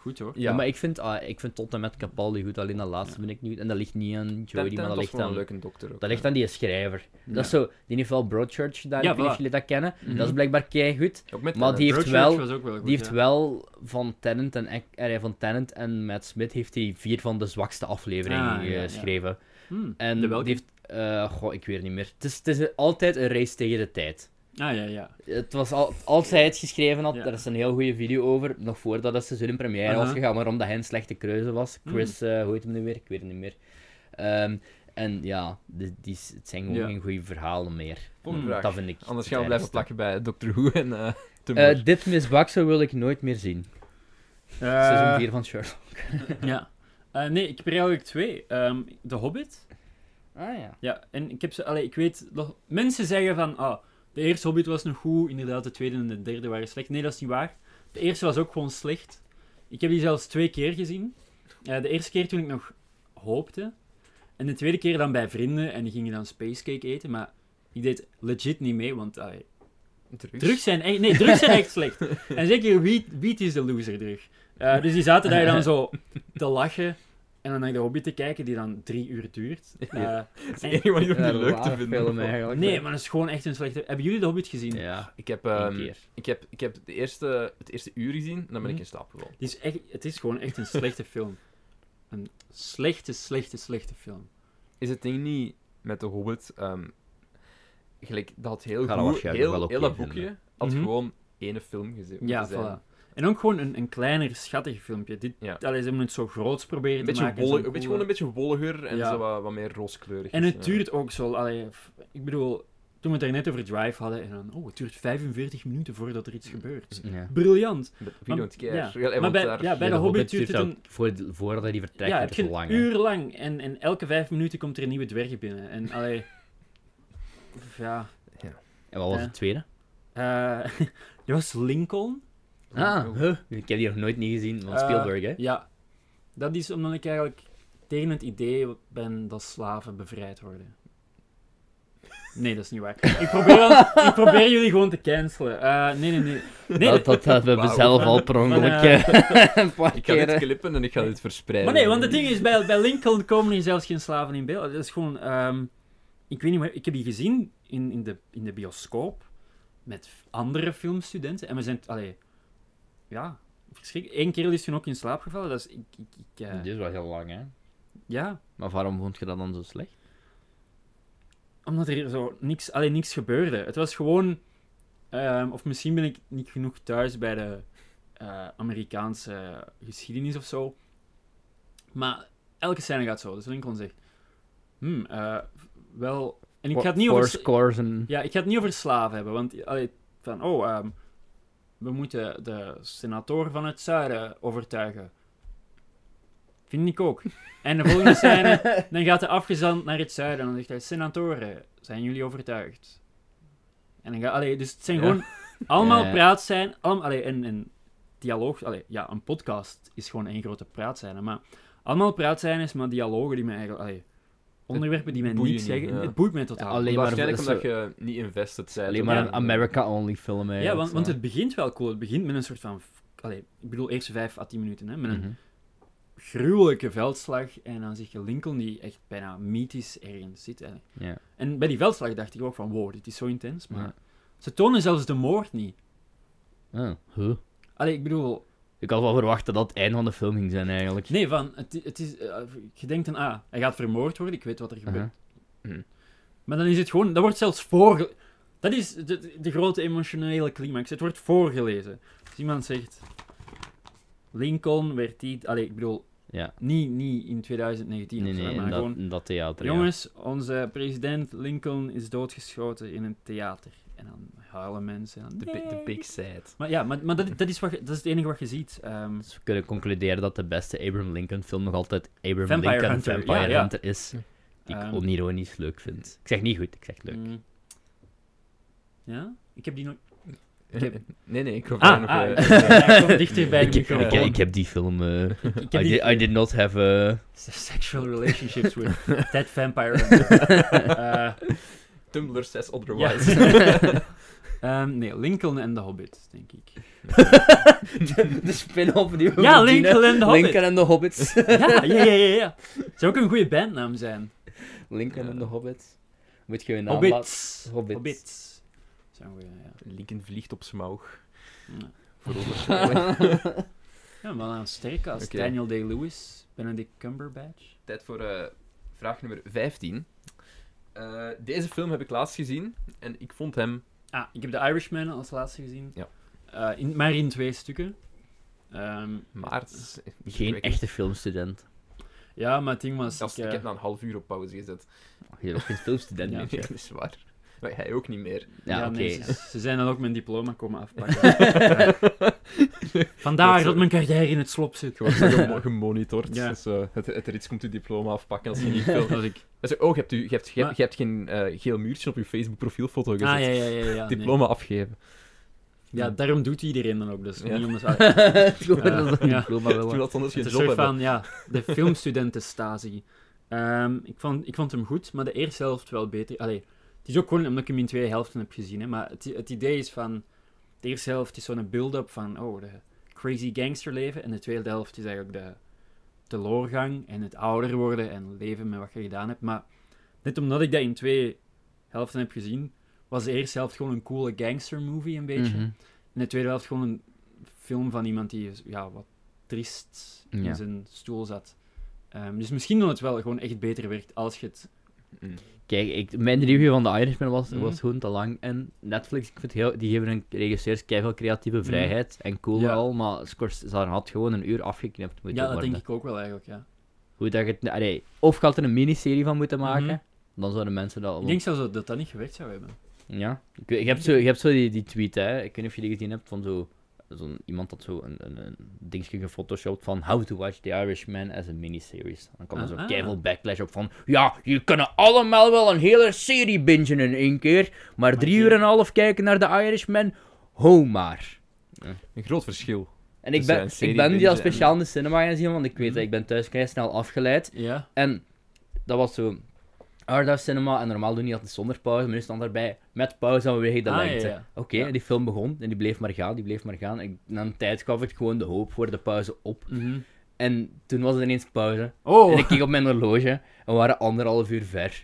Speaker 3: goed hoor.
Speaker 2: Ja. maar ik vind, ah, ik vind tot en met Capaldi goed, alleen dat laatste vind ik niet goed. En dat ligt niet aan Jodie, maar dat ligt
Speaker 1: een
Speaker 2: aan...
Speaker 1: leuke dokter ook. eh.
Speaker 2: Dat ligt aan die schrijver. Dat is
Speaker 3: Ja.
Speaker 2: zo, die heeft wel Broadchurch gedaan,
Speaker 3: Ja,
Speaker 2: ik weet niet
Speaker 3: voilà.
Speaker 2: of jullie dat kennen.
Speaker 3: Mhm.
Speaker 2: Dat is blijkbaar kei goed.
Speaker 1: Ook met eh,
Speaker 2: maar die
Speaker 1: Tennant.
Speaker 2: heeft
Speaker 3: Broadchurch
Speaker 2: wel-
Speaker 3: was ook wel goed,
Speaker 2: Die heeft
Speaker 3: ja.
Speaker 2: wel van Tennant en, Ek- eh, van Tennant en Matt Smith heeft hij vier van de zwakste afleveringen
Speaker 3: Ah, ja, ja.
Speaker 2: geschreven.
Speaker 3: Hmm.
Speaker 2: En
Speaker 3: De
Speaker 2: die
Speaker 3: welke?
Speaker 2: heeft, eh, goh, ik weet niet meer. Het is, het is altijd een race tegen de tijd.
Speaker 3: Ah ja, ja.
Speaker 2: Het was al, als hij het geschreven had,
Speaker 3: Ja.
Speaker 2: daar is een heel goede video over. Nog voordat het seizoen in première was
Speaker 3: Aha.
Speaker 2: gegaan, maar omdat hij een slechte keuze was. Chris, eh, hoe heet hem nu weer? Ik weet het niet meer. Ehm, en ja, die, die, is- het zijn gewoon
Speaker 3: Ja.
Speaker 2: geen goede verhalen meer. Hmm,
Speaker 1: Volgende
Speaker 2: Dat
Speaker 1: vraag.
Speaker 2: vind ik.
Speaker 1: Anders
Speaker 2: het
Speaker 1: gaan we blijven
Speaker 2: ergste.
Speaker 1: plakken bij Dr. Who en eh Tumblr.
Speaker 2: Eh, dit misbak zo wil ik nooit meer zien.
Speaker 3: Eh.
Speaker 2: Seizoen 4 van Sherlock.
Speaker 3: Ja. Eh, nee, ik heb er eigenlijk twee. Ehm, de Hobbit.
Speaker 2: Ah ja.
Speaker 3: Ja, en ik heb ze... Allee, ik weet... nog- mensen zeggen van... Ah, de eerste Hobbit was nog goed. Inderdaad, de tweede en de derde waren slecht. Nee, dat is niet waar. De eerste was ook gewoon slecht. Ik heb die zelfs twee keer gezien. Eh, de eerste keer toen ik nog hoopte. En de tweede keer dan bij vrienden. En die gingen dan spacecake eten. Maar ik deed legit niet mee, want... allee,
Speaker 1: Drugs.
Speaker 3: Drugs zijn echt, nee, drugs zijn echt slecht. En zeker wiet, wiet is de loser drug. Eh, dus die zaten daar dan zo te lachen en dan naar de hobby te kijken, die dan drie uur duurt. Eh,
Speaker 1: Het is de enige manier om die leuk te vinden.
Speaker 2: Film eigenlijk.
Speaker 3: nee, maar dat is gewoon echt een slechte. Hebben jullie de Hobbit gezien?
Speaker 2: Ja,
Speaker 1: Ik heb,
Speaker 2: één
Speaker 1: ehm,
Speaker 2: keer.
Speaker 1: ik heb, ik heb de eerste, het eerste uur gezien en dan ben ik
Speaker 3: Mhm.
Speaker 1: in slaap gevallen.
Speaker 3: Die is echt, het is gewoon echt een slechte film. Een slechte, slechte, slechte film.
Speaker 1: Is het ding niet met de Hobbit... ehm, gelijk, dat had heel
Speaker 2: Ga dat
Speaker 1: goed...
Speaker 2: waarschijnlijk
Speaker 1: Heel,
Speaker 2: wel oké
Speaker 1: heel dat
Speaker 2: vinden.
Speaker 1: boekje had
Speaker 3: Mhm.
Speaker 1: gewoon ene film gezien.
Speaker 3: Ja,
Speaker 1: moeten zijn.
Speaker 3: voilà. En ook gewoon een, een kleiner, schattig filmpje. Dit,
Speaker 1: Ja.
Speaker 3: allee, ze hebben het zo groots proberen
Speaker 1: Een
Speaker 3: te
Speaker 1: beetje,
Speaker 3: maken.
Speaker 1: wollig,
Speaker 3: zo'n
Speaker 1: een beetje gewoon
Speaker 3: coole-
Speaker 1: een beetje wolliger en
Speaker 3: Ja.
Speaker 1: zo wat, wat meer rooskleurig.
Speaker 3: En
Speaker 1: is, eh.
Speaker 3: het
Speaker 1: ja.
Speaker 3: duurt ook zo. Allee, f- ik bedoel, toen we het er net over Drive hadden, en dan, oh, het duurt 45 minuten voordat er iets gebeurt.
Speaker 2: Ja.
Speaker 3: Briljant.
Speaker 1: But We
Speaker 3: Maar-
Speaker 1: Mm. don't care.
Speaker 3: ja.
Speaker 1: Wel, eh,
Speaker 3: Maar
Speaker 1: want
Speaker 3: bij,
Speaker 1: daar-
Speaker 3: ja, bij de Hobbit duurt het een,
Speaker 2: ook voor, voordat hij vertrekt,
Speaker 3: ja,
Speaker 2: ja,
Speaker 3: heb je
Speaker 2: het
Speaker 3: een
Speaker 2: lang.
Speaker 3: uur lang. En, en elke vijf minuten komt er een nieuwe dwerg binnen. En allee, ja.
Speaker 2: En wat was
Speaker 3: Ja.
Speaker 2: het tweede?
Speaker 3: eh dat was Lincoln.
Speaker 2: Ah, huh. ik heb die nog nooit niet gezien van
Speaker 3: Eh,
Speaker 2: Spielberg, hè?
Speaker 3: Ja. Dat is omdat ik eigenlijk tegen het idee ben dat slaven bevrijd worden. Nee, dat is niet waar. Ik probeer, dan- ik probeer jullie gewoon te cancelen. Eh, nee, nee, nee. nee
Speaker 2: dat, dat hebben we
Speaker 1: Wauw.
Speaker 2: zelf al per ongeluk eh, een paar
Speaker 1: Ik ga dit
Speaker 2: keer, eh.
Speaker 1: klippen en ik ga dit verspreiden.
Speaker 3: Maar nee, want
Speaker 1: Ehm.
Speaker 3: het ding is, bij, bij Lincoln komen hier zelfs geen slaven in beeld. Dat is gewoon... ehm, ik weet niet meer... Ik heb die gezien in, in, de, in de bioscoop met andere filmstudenten. En we zijn... Allee... Ja, verschrikkelijk. Eén kerel is toen ook in slaap gevallen. Dat is... Ik, ik, ik, eh,
Speaker 2: Dit was heel lang, hè?
Speaker 3: ja,
Speaker 2: Maar waarom vond je dat dan zo slecht?
Speaker 3: omdat er hier zo niks... Allee, niks gebeurde. Het was gewoon... ehm, of misschien ben ik niet genoeg thuis bij de eh, Amerikaanse geschiedenis of zo. Maar elke scène gaat zo. Dus Lincoln zegt... Hmm, eh, wel... En ik ga het niet
Speaker 2: Four
Speaker 3: over...
Speaker 2: scores en...
Speaker 1: Ehm,
Speaker 3: Ja, ik ga het niet over slaven hebben, want allee, van, oh, ehm, we moeten de senator van het zuiden overtuigen. Vind ik ook. En de volgende scène, dan gaat de afgezant naar het zuiden en dan zegt hij, senatoren, zijn jullie overtuigd? En dan gaat, allee, dus het zijn
Speaker 1: Ja.
Speaker 3: gewoon allemaal
Speaker 2: Ja.
Speaker 3: praat zijn, allemaal, allee, en, en dialoog, allee, ja, een podcast is gewoon één grote praat zijn, maar allemaal praat zijn is maar dialogen die mij eigenlijk, allee, onderwerpen die mij
Speaker 1: boeien
Speaker 3: niks
Speaker 1: niet,
Speaker 3: zeggen,
Speaker 1: ja.
Speaker 3: het boeit mij totaal.
Speaker 2: alleen maar-
Speaker 1: Waarschijnlijk
Speaker 2: dat is
Speaker 1: omdat je niet invested bent.
Speaker 2: Alleen
Speaker 1: op-
Speaker 2: maar
Speaker 3: Ja.
Speaker 2: een America-only film, hè?
Speaker 3: Ja,
Speaker 2: of
Speaker 3: want,
Speaker 2: zo.
Speaker 3: want het begint wel cool. Het begint met een soort van... Allee, ik bedoel, eerst 5 à 10 minuten, hè, met een
Speaker 2: Mhm.
Speaker 3: gruwelijke veldslag. En dan zie je Lincoln die echt bijna mythisch ergens zit. Hè.
Speaker 2: Ja.
Speaker 3: En bij die veldslag dacht ik ook van, wow, dit is zo intens. Maar
Speaker 2: Ja.
Speaker 3: ze tonen zelfs de moord niet.
Speaker 2: Ah, huh.
Speaker 3: Allee, ik bedoel...
Speaker 2: Ik had wel verwacht dat dat het einde van de film ging zijn, eigenlijk.
Speaker 3: Nee, van, het, i- het is... eh, je denkt dan, ah, hij gaat vermoord worden, ik weet wat er gebeurt. Hm.
Speaker 2: Aha.
Speaker 3: Maar dan is het gewoon... Dat wordt zelfs voorge... Dat is de, de grote emotionele climax. Het wordt voorgelezen. Als iemand zegt... Lincoln werd die... Allee, ik bedoel,
Speaker 2: Ja.
Speaker 3: Niet, niet in 2019
Speaker 2: Nee,
Speaker 3: of zo,
Speaker 2: nee,
Speaker 3: maar
Speaker 2: in dat,
Speaker 3: gewoon...
Speaker 2: in dat theater, ja.
Speaker 3: Jongens, onze president Lincoln is doodgeschoten in een theater. En dan huilen mensen. en dan,
Speaker 1: De, bi- de
Speaker 3: "Nee."
Speaker 1: big side.
Speaker 3: Maar ja, maar, maar dat, dat, is wat, je- dat is het enige wat je ziet. Ehm,
Speaker 2: Dus we kunnen concluderen dat de beste Abraham Lincoln film nog altijd Abraham
Speaker 3: Vampire
Speaker 2: Lincoln
Speaker 3: Hunter, ja,
Speaker 2: Vampire
Speaker 3: ja.
Speaker 2: Hunter is. Die ik
Speaker 3: Ehm.
Speaker 2: onironisch leuk vind. Ik zeg niet goed, ik zeg leuk.
Speaker 3: mm. ja? Ik heb die nog... Ik heb-
Speaker 1: nee, nee, ik hoop
Speaker 3: Ah,
Speaker 1: daar nog...
Speaker 3: ah,
Speaker 1: eh,
Speaker 3: ik- ja, ik kom dichter bij
Speaker 2: Ik,
Speaker 3: de
Speaker 2: ik, ik,
Speaker 3: microfoon.
Speaker 2: ik heb die film... eh,
Speaker 3: Ik- ik
Speaker 2: I,
Speaker 1: Ah,
Speaker 3: heb die-
Speaker 2: did, I did not have a...
Speaker 3: Sexual relationships with that vampire. Eh,
Speaker 1: Tumblr says
Speaker 3: ja.
Speaker 1: otherwise.
Speaker 3: Ehm, nee, Lincoln en de Hobbit, denk ik.
Speaker 2: de, de spin-off die we
Speaker 3: Ja,
Speaker 2: verdienen.
Speaker 3: Lincoln en de Hobbit.
Speaker 2: Lincoln en de Hobbits.
Speaker 3: Ja, ja, ja, ja. ja. Zou ook een goede bandnaam zijn.
Speaker 2: Lincoln en de Hobbits. Moet je een naam laten-
Speaker 3: Hobbits.
Speaker 2: Nou, Hobbits.
Speaker 3: Hobbits. Zijn we, ja.
Speaker 1: Lincoln vliegt op smaug.
Speaker 3: Ja.
Speaker 1: Voor overschrijving.
Speaker 3: Ja, maar dan sterk als
Speaker 1: Oké.
Speaker 3: Daniel Day-Lewis, Benedict Cumberbatch.
Speaker 1: Tijd voor eh, vraag nummer 15. Eh, deze film heb ik laatst gezien en ik vond hem...
Speaker 3: Ah, ik heb The Irishman als laatste gezien.
Speaker 1: Ja.
Speaker 3: Eh, in, maar in twee stukken. Ehm,
Speaker 1: Maar het is-
Speaker 2: Geen echte filmstudent.
Speaker 3: ja, maar het ding was...
Speaker 1: Gast,
Speaker 3: ik,
Speaker 1: ik
Speaker 3: eh,
Speaker 1: heb na een half uur op pauze gezet.
Speaker 2: Ach, Je bent ook geen filmstudent
Speaker 3: Ja.
Speaker 2: meer.
Speaker 1: Ja, dat is waar. Maar hij ook niet meer.
Speaker 2: Ja, oké.
Speaker 3: nee, ze, ze zijn dan ook mijn diploma komen afpakken. Ja. Vandaar
Speaker 1: Dat,
Speaker 3: dat,
Speaker 1: eh,
Speaker 3: mijn carrière in het slop zit.
Speaker 1: Gewoon zo gemo- gemonitord.
Speaker 3: Ja.
Speaker 1: Dus, eh, het, het Rits komt uw diploma afpakken als je niet wilt.
Speaker 3: Als ik...
Speaker 1: Hij zei, oh, je hebt, u, je hebt, je hebt,
Speaker 3: Maar-
Speaker 1: je hebt geen eh, geel muurtje op je Facebook profielfoto
Speaker 3: Ah,
Speaker 1: gezet.
Speaker 3: ja, ja, ja. ja, ja, nee.
Speaker 1: Diploma afgeven.
Speaker 3: Ja, daarom doet iedereen dan ook. Dus
Speaker 1: Ja.
Speaker 3: niet omdat...
Speaker 2: Het is gewoon
Speaker 3: Ja.
Speaker 2: dat ze een
Speaker 3: Ja.
Speaker 2: diploma willen.
Speaker 1: Toen dat anders geen
Speaker 3: Het is
Speaker 1: job
Speaker 3: een soort
Speaker 1: hebben.
Speaker 3: van, ja, de filmstudentenstasi. Ehm ik, vond, ik vond hem goed, maar de eerste helft wel beter. Allee, het is ook gewoon omdat ik hem in twee helften heb gezien, hè, maar het, het idee is van... De eerste helft is zo'n build-up van, oh, de crazy gangsterleven. En de tweede helft is eigenlijk de, de loorgang en het ouder worden en leven met wat je gedaan hebt. Maar net omdat ik dat in twee helften heb gezien, was de eerste helft gewoon een coole gangstermovie een beetje.
Speaker 2: Mhm.
Speaker 3: In de tweede helft gewoon een film van iemand die ja, wat triest in
Speaker 2: Ja.
Speaker 3: zijn stoel zat. Ehm, dus misschien dat het wel gewoon echt beter werkt als je het
Speaker 1: Mm.
Speaker 2: Kijk, ik, mijn review van The Irishman was,
Speaker 3: Mhm.
Speaker 2: was gewoon te lang. En Netflix, ik vind heel, die geven hun regisseurs keihard creatieve vrijheid. En cool
Speaker 3: Mhm. Ja.
Speaker 2: al, maar Scorsese had gewoon een uur afgeknipt moeten
Speaker 3: Ja, dat
Speaker 2: worden.
Speaker 3: denk ik ook wel eigenlijk, ja.
Speaker 2: Hoe dat je het, allee, of gaat er een miniserie van moeten maken,
Speaker 3: Mhm.
Speaker 2: dan zouden mensen dat
Speaker 3: Ik denk zelfs dat dat dat niet gewerkt zou hebben.
Speaker 2: Ja, ik, weet- je, hebt zo, je hebt zo die, die tweet, hè. Ik weet niet of je die gezien hebt van zo... Zo'n, iemand had zo een, een, een dingetje gefotoshopt van How to watch The Irishman as a miniseries. Dan kwam er zo'n
Speaker 3: Ah, ah.
Speaker 2: keiveel backlash op van Ja, je kunnen allemaal wel een hele serie bingen in één keer, maar,
Speaker 3: Maar
Speaker 2: drie
Speaker 3: je-
Speaker 2: uur en een half kijken naar The Irishman, ho maar.
Speaker 1: Een groot verschil.
Speaker 2: En ik
Speaker 1: Dus, eh,
Speaker 2: ben,
Speaker 1: een serie
Speaker 2: ik ben die al
Speaker 1: bingen en-
Speaker 2: speciaal in de cinema gaan zien, want ik weet dat ik ben thuis vrij snel afgeleid.
Speaker 3: Ja.
Speaker 2: En dat was zo. Arthouse Cinema, en normaal doen die altijd zonder pauze, maar nu stond daarbij met pauze en we wegen de
Speaker 3: Ah, ja,
Speaker 2: lengte.
Speaker 3: ja.
Speaker 2: Oké,
Speaker 3: Ja.
Speaker 2: en die film begon en die bleef maar gaan, die bleef maar gaan. En na een tijd gaf ik gewoon de hoop voor de pauze op.
Speaker 3: Mhm.
Speaker 2: En toen was het ineens pauze. En
Speaker 3: Oh!
Speaker 2: ik keek op mijn horloge en we waren anderhalf uur ver.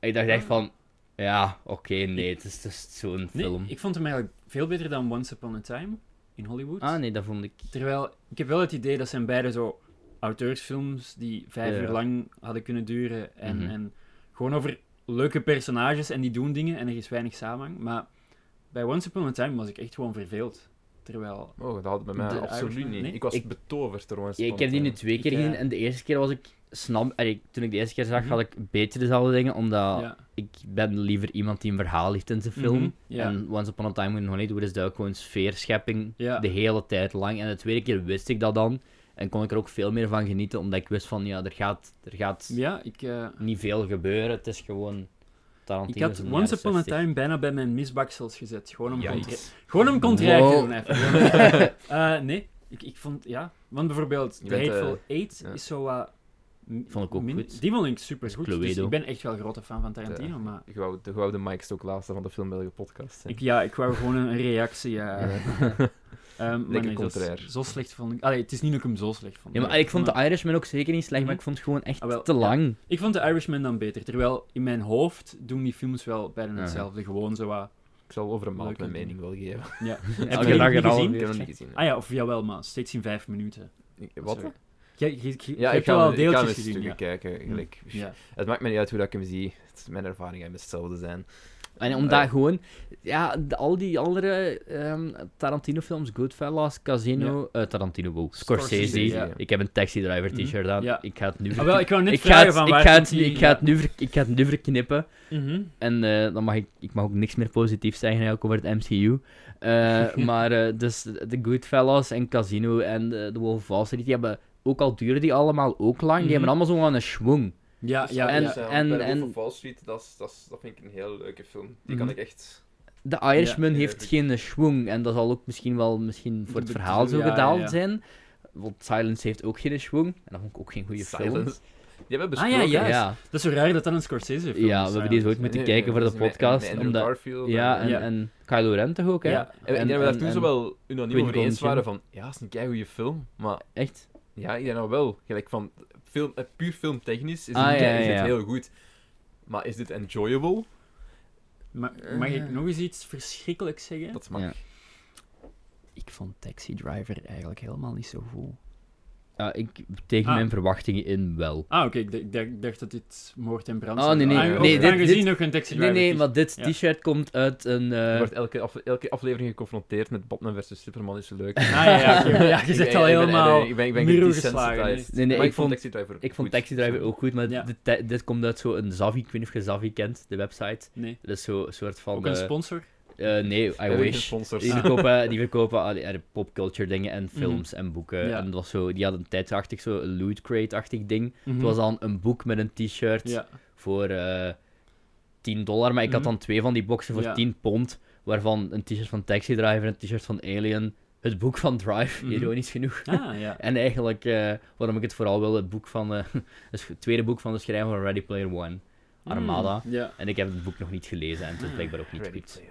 Speaker 2: En ik dacht echt van, ja, oké, nee, het is dus zo'n
Speaker 3: Nee,
Speaker 2: film.
Speaker 3: ik vond hem eigenlijk veel beter dan Once Upon a Time in Hollywood.
Speaker 2: Ah nee, dat vond ik...
Speaker 3: Terwijl, ik heb wel het idee dat zijn beide zo auteursfilms die vijf
Speaker 2: Ja.
Speaker 3: uur lang hadden kunnen duren. En,
Speaker 2: Mhm.
Speaker 3: en gewoon over leuke personages en die doen dingen en er is weinig samenhang. Maar bij Once Upon a Time was ik echt gewoon verveeld. Terwijl,
Speaker 1: Oh, dat had bij mij
Speaker 3: De
Speaker 1: absoluut
Speaker 3: Irishman,
Speaker 1: niet.
Speaker 3: nee?
Speaker 1: Ik was
Speaker 2: Ik-
Speaker 1: betoverd door Once
Speaker 2: Ja, ik
Speaker 1: Upon a
Speaker 2: heb die nu
Speaker 1: Time.
Speaker 2: twee keer
Speaker 3: Ik, eh,
Speaker 2: gezien en de eerste keer was ik... Snap, allee, toen ik de eerste keer zag,
Speaker 3: Mhm.
Speaker 2: had ik beter dezelfde dingen, omdat...
Speaker 3: ja.
Speaker 2: ik ben liever iemand die een verhaal heeft in zijn film.
Speaker 3: Mhm, ja.
Speaker 2: En Once Upon a Time in Hollywood is dat ook gewoon sfeerschepping
Speaker 3: Ja.
Speaker 2: de hele tijd lang. En de tweede keer wist ik dat dan. En kon ik er ook veel meer van genieten, omdat ik wist van, ja, er gaat, er gaat
Speaker 3: Ja, ik, eh,
Speaker 2: niet veel gebeuren. Het is gewoon
Speaker 3: ik
Speaker 2: Tarantino.
Speaker 3: had Once Upon a Time bijna bij mijn misbaksels gezet. Gewoon om, contra-
Speaker 1: Yikes.
Speaker 3: gewoon om contraire te
Speaker 2: Wow.
Speaker 3: doen, even. Gewoon- Eh, nee, ik, ik vond, ja. Want bijvoorbeeld,
Speaker 1: Je
Speaker 3: The
Speaker 1: bent, eh,
Speaker 3: Hateful Eight
Speaker 1: ja.
Speaker 3: is zo wat... m-
Speaker 2: Vond ik ook
Speaker 3: min-
Speaker 2: goed.
Speaker 3: Die vond ik super goed. Dus
Speaker 2: Cluedo.
Speaker 3: ik ben echt wel een grote fan van Tarantino,
Speaker 1: Ja.
Speaker 3: maar...
Speaker 1: Ik wou- De gouden Mike is ook laatste van de filmbelge podcast.
Speaker 3: Ik, ja, ik wou gewoon een reactie. eh, ehm, maar
Speaker 1: Lekker
Speaker 3: nee, dat
Speaker 1: contrair.
Speaker 3: is- zo slecht vond ik. Allee, het is niet dat ik hem zo slecht vond.
Speaker 2: Ja, maar
Speaker 3: Nee,
Speaker 2: ik vond
Speaker 3: maar-
Speaker 2: de Irishman ook zeker niet slecht, maar
Speaker 3: Mhm.
Speaker 2: ik vond het gewoon echt
Speaker 3: Ah, wel,
Speaker 2: te
Speaker 3: ja.
Speaker 2: lang.
Speaker 3: ik vond de Irishman dan beter. Terwijl in mijn hoofd doen die films wel bijna
Speaker 2: Ja.
Speaker 3: hetzelfde. Gewoon zo wat.
Speaker 1: Ik zal over een maand
Speaker 3: Leuk
Speaker 1: mijn
Speaker 3: om te
Speaker 1: mening wel geven.
Speaker 3: Ja.
Speaker 2: Elke
Speaker 3: die
Speaker 2: dag
Speaker 3: niet
Speaker 2: een half
Speaker 3: gezien?
Speaker 1: Ik heb hem
Speaker 2: uur.
Speaker 1: niet gezien.
Speaker 3: Ah ja, of jawel, maar steeds in vijf minuten.
Speaker 1: Ik- Wat?
Speaker 3: Sorry. Jij- jij- jij-
Speaker 1: Ja,
Speaker 3: je
Speaker 1: ik
Speaker 3: hebt
Speaker 1: ga
Speaker 3: wel
Speaker 1: hem- ik ga hem
Speaker 3: deeltjes
Speaker 1: eens
Speaker 3: gezien. Ja. Hm.
Speaker 1: terug kijken. gelijk.
Speaker 3: Ja.
Speaker 1: Het maakt me niet uit hoe dat ik hem zie. Het is mijn ervaring gaat hetzelfde zijn.
Speaker 2: En
Speaker 3: Ah,
Speaker 2: omdat gewoon, ja, de- al die andere ehm, Tarantino-films, Goodfellas, Casino, eh, Tarantino, wow, Scorsese.
Speaker 3: Scorsese,
Speaker 1: ja.
Speaker 2: Ik heb een taxi driver
Speaker 3: Mhm.
Speaker 2: t-shirt aan.
Speaker 3: Ja.
Speaker 2: Ik ga het nu
Speaker 3: Ah, wel, ik wou net
Speaker 2: ik ga
Speaker 3: vragen
Speaker 2: het-
Speaker 3: van
Speaker 2: ik
Speaker 3: waar
Speaker 2: ga
Speaker 3: komt
Speaker 2: het-
Speaker 3: die-
Speaker 2: ik ga het nu ver- ik ga het nu verknippen.
Speaker 3: Mhm.
Speaker 2: En eh, dan mag ik, ik mag ook niks meer positief zeggen eigenlijk over het MCU. Eh, maar eh, dus de Goodfellas en Casino en eh, de The Wolf of Wall Street, die hebben ook al duren die allemaal ook lang.
Speaker 3: Mhm.
Speaker 2: Die hebben allemaal zo'n een schwung.
Speaker 3: Ja,
Speaker 1: Dus
Speaker 3: ja,
Speaker 2: en-
Speaker 3: ja.
Speaker 2: en- Bij de Wolf en- of
Speaker 1: Wall Street, dat, vind ik een heel leuke film. Die
Speaker 3: kan Mhm.
Speaker 1: ik echt...
Speaker 2: De Irishman
Speaker 1: Ja,
Speaker 2: heeft
Speaker 1: ja,
Speaker 2: geen schwung en dat zal ook misschien wel misschien voor het
Speaker 3: bedoel-
Speaker 2: verhaal zo
Speaker 3: ja, ja,
Speaker 2: gedaald
Speaker 3: ja.
Speaker 2: zijn. Want Silence heeft ook geen schwung en dat vond ik ook geen goede film.
Speaker 1: Die hebben
Speaker 3: Ah,
Speaker 1: besproken.
Speaker 3: ja, ja. Yes.
Speaker 2: Ja,
Speaker 3: Dat is zo raar dat dat een Scorsese film is.
Speaker 2: ja, we hebben die
Speaker 3: eigenlijk.
Speaker 2: zo ooit moeten
Speaker 1: Nee,
Speaker 2: kijken voor
Speaker 1: dat
Speaker 2: de
Speaker 1: is met-
Speaker 2: podcast.
Speaker 1: met Andrew
Speaker 2: omdat,
Speaker 1: Garfield
Speaker 2: ja,
Speaker 1: en-
Speaker 2: en,
Speaker 3: Ja.
Speaker 2: en Kylo Ren toch ook, hè?
Speaker 3: Ja.
Speaker 1: En, ik denk dat we daar toen zo wel unaniem
Speaker 2: Quentin
Speaker 1: over eens waren
Speaker 2: Tarantino.
Speaker 1: van, ja, het is een keigoede film, maar
Speaker 2: Echt?
Speaker 1: ja, ik denk nou wel, gelijk van, film, eh, puur filmtechnisch is,
Speaker 2: Ah,
Speaker 1: het-
Speaker 2: ja, ja,
Speaker 1: is het
Speaker 2: ja.
Speaker 1: heel goed, maar is dit enjoyable?
Speaker 3: Ma- Mag ik nog eens iets verschrikkelijks zeggen?
Speaker 1: Dat mag.
Speaker 2: Ja.
Speaker 3: Ik vond Taxi Driver eigenlijk helemaal niet zo goed.
Speaker 2: Ja, ik, tegen
Speaker 3: Ah.
Speaker 2: mijn verwachtingen in wel.
Speaker 3: Ah, oké, ik dacht- ik dacht, dacht dat dit moord en brand
Speaker 2: Oh,
Speaker 3: zou
Speaker 2: nee, nee,
Speaker 3: zijn.
Speaker 1: nee,
Speaker 3: Aange-
Speaker 1: dit-
Speaker 3: aangezien
Speaker 2: dit-
Speaker 3: nog een taxi
Speaker 2: Nee,
Speaker 3: driver
Speaker 2: nee,
Speaker 3: is.
Speaker 2: maar dit
Speaker 3: Ja.
Speaker 2: t-shirt komt uit een... eh,
Speaker 1: Je wordt elke, af- elke aflevering geconfronteerd met Batman versus Superman is zo leuk.
Speaker 3: Ah, ja, ja, oké, ja, je
Speaker 1: Ik
Speaker 3: zegt
Speaker 1: ben-
Speaker 3: al
Speaker 1: ik ben-
Speaker 3: helemaal...
Speaker 1: Ik ben, ik ben,
Speaker 3: muren
Speaker 1: gedesensitized.
Speaker 3: geslagen, nee.
Speaker 2: Nee, nee,
Speaker 1: Maar
Speaker 2: ik
Speaker 1: ik vond
Speaker 2: vond-
Speaker 1: Taxi Driver
Speaker 2: ik vond
Speaker 1: goed.
Speaker 2: Taxi Driver ook goed, maar
Speaker 3: Ja.
Speaker 2: dit- dit, dit komt uit zo'n Zavi, ik weet niet of je Zavi kent, de website.
Speaker 3: Nee.
Speaker 2: Dat is zo'n soort van...
Speaker 3: Ook een
Speaker 2: eh,
Speaker 3: sponsor?
Speaker 2: eh, nee,
Speaker 1: We
Speaker 2: I
Speaker 1: hebben geen
Speaker 2: wish.
Speaker 1: sponsors.
Speaker 2: Die verkopen, die verkopen allee, er popculture dingen en films en boeken.
Speaker 3: Mhm. Ja.
Speaker 2: En dat was zo, die hadden tijdachtig zo een loot crate-achtig ding. Het was dan een boek met een t-shirt
Speaker 3: Mhm. Ja.
Speaker 2: voor eh 10 dollar, maar ik had
Speaker 3: Mhm.
Speaker 2: dan twee van die boxen voor
Speaker 3: Ja.
Speaker 2: 10 pond, waarvan een t-shirt van Taxi Driver, een t-shirt van Alien, het boek van Drive,
Speaker 3: Mhm.
Speaker 2: ironisch genoeg.
Speaker 3: Ah, ja.
Speaker 2: En eigenlijk, eh, waarom ik het vooral wil, het, boek van, eh, het sch- tweede boek van de schrijver van Ready Player One, Armada.
Speaker 3: Mm, Ja.
Speaker 2: En ik heb het boek nog niet gelezen en het is
Speaker 3: Ah,
Speaker 2: blijkbaar ook niet
Speaker 1: Ready
Speaker 2: goed.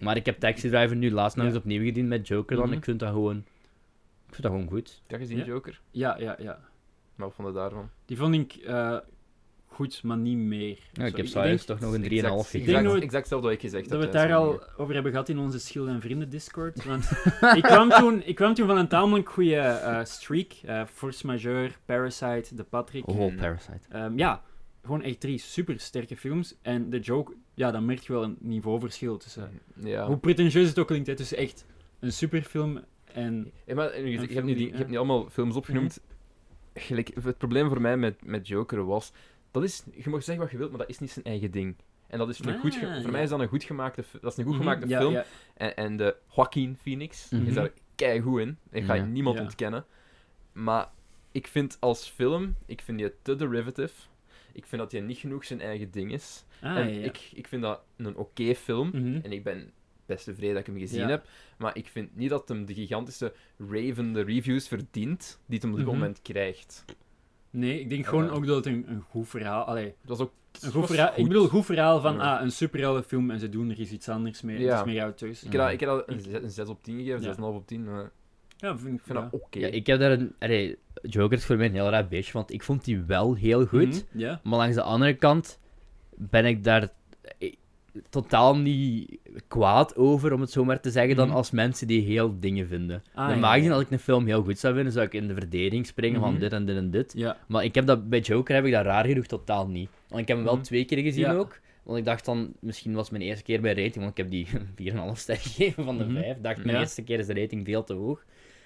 Speaker 2: Maar ik heb Taxi Driver nu laatst nog
Speaker 3: Ja.
Speaker 2: eens opnieuw gezien met Joker dan.
Speaker 3: Mhm.
Speaker 2: Ik vind dat gewoon... Ik vind dat gewoon goed.
Speaker 1: Dat gezien,
Speaker 3: Ja.
Speaker 1: Joker?
Speaker 3: Ja, ja, ja.
Speaker 1: Maar wat vond je daarvan?
Speaker 3: Die vond ik eh, goed, maar niet meer.
Speaker 2: Ja,
Speaker 3: Zo,
Speaker 2: ik heb
Speaker 3: denk
Speaker 2: Cyrus toch nog een 3,5
Speaker 1: Exact-
Speaker 2: gegeven.
Speaker 1: exact-
Speaker 3: Ik denk
Speaker 1: Exact hetzelfde wat ik gezegd
Speaker 3: dat we
Speaker 1: heb.
Speaker 3: het daar
Speaker 1: thuis.
Speaker 3: al over hebben gehad in onze Schilden en Vrienden Discord. Want ik, kwam toen, ik kwam toen van een tamelijk goede
Speaker 1: Oh.
Speaker 3: eh, streak. eh Force Majeure, Parasite, De Patrick.
Speaker 2: Oh, Parasite.
Speaker 3: Ehm, ja, gewoon echt drie supersterke films. En de joke, ja, dan merk je wel een niveauverschil tussen.
Speaker 1: Ja.
Speaker 3: Hoe pretentieus het ook klinkt, het is echt een superfilm. En
Speaker 1: Ja, maar je, je
Speaker 3: film
Speaker 1: hebt nu die,
Speaker 3: die-
Speaker 1: je hebt niet allemaal films opgenoemd. Gelijk, het probleem voor mij met, met Joker was... Dat is, je mag zeggen wat je wilt, maar dat is niet zijn eigen ding. En dat is een
Speaker 3: Ah,
Speaker 1: goed... ge-
Speaker 3: ja.
Speaker 1: Voor mij is dat een goed gemaakte, fi- dat is een goed
Speaker 3: Mhm,
Speaker 1: gemaakte
Speaker 3: ja,
Speaker 1: film.
Speaker 3: ja.
Speaker 1: En, en de Joaquin Phoenix
Speaker 2: Mhm.
Speaker 1: is daar keigoed in. Ik ga
Speaker 2: Ja.
Speaker 1: niemand
Speaker 3: Ja.
Speaker 1: ontkennen. Maar ik vind als film, ik vind die te derivative. Ik vind dat hij niet genoeg zijn eigen ding is.
Speaker 3: Ah,
Speaker 1: en
Speaker 3: ja, ja.
Speaker 1: Ik, ik vind dat een oké film.
Speaker 3: Mhm.
Speaker 1: En ik ben best tevreden dat ik hem gezien
Speaker 3: Ja.
Speaker 1: heb. Maar ik vind niet dat hem de gigantische ravende reviews verdient die het hem op dit
Speaker 3: Mhm.
Speaker 1: moment krijgt.
Speaker 3: Nee, ik denk gewoon
Speaker 1: Ja.
Speaker 3: ook dat het een, een goed verhaal... Allee,
Speaker 1: Het was ook...
Speaker 3: een
Speaker 1: het
Speaker 3: goed
Speaker 1: was
Speaker 3: verhaal Ik bedoel, goed verhaal van
Speaker 1: Ja.
Speaker 3: ah, een superheldenfilm en ze doen er eens iets anders mee.
Speaker 1: Ja.
Speaker 3: Het is meer auteurs.
Speaker 1: Ik heb dat, ik heb dat een, zes- een 6 op 10 gegeven,
Speaker 3: Mhm. Ja.
Speaker 1: 6,5 op 10. maar
Speaker 3: Ja, vind ik,
Speaker 1: ik vind
Speaker 3: ja.
Speaker 1: dat oké.
Speaker 2: Ja, ik heb daar een... Allee, Joker is voor mij een heel raar beestje, want ik vond die wel heel goed.
Speaker 3: Mhm, Ja.
Speaker 2: Maar langs de andere kant ben ik daar eh, totaal niet kwaad over, om het zo maar te zeggen, dan
Speaker 3: Mhm.
Speaker 2: als mensen die heel dingen vinden.
Speaker 3: Ah,
Speaker 2: Normaal
Speaker 3: ja, ja.
Speaker 2: gezien, als ik een film heel goed zou vinden, zou ik in de verdediging springen
Speaker 3: Mhm.
Speaker 2: van dit en dit en dit.
Speaker 3: Ja.
Speaker 2: Maar ik heb dat, bij Joker heb ik dat raar genoeg totaal niet. Want ik heb hem wel
Speaker 1: Mhm.
Speaker 2: twee keer gezien
Speaker 3: Ja.
Speaker 2: ook. Want ik dacht dan, misschien was het mijn eerste keer bij rating, want ik heb die 4,5 ster gegeven van de
Speaker 3: Mhm.
Speaker 2: 5. Ik dacht, mijn
Speaker 3: Ja.
Speaker 2: eerste keer is de rating veel te hoog.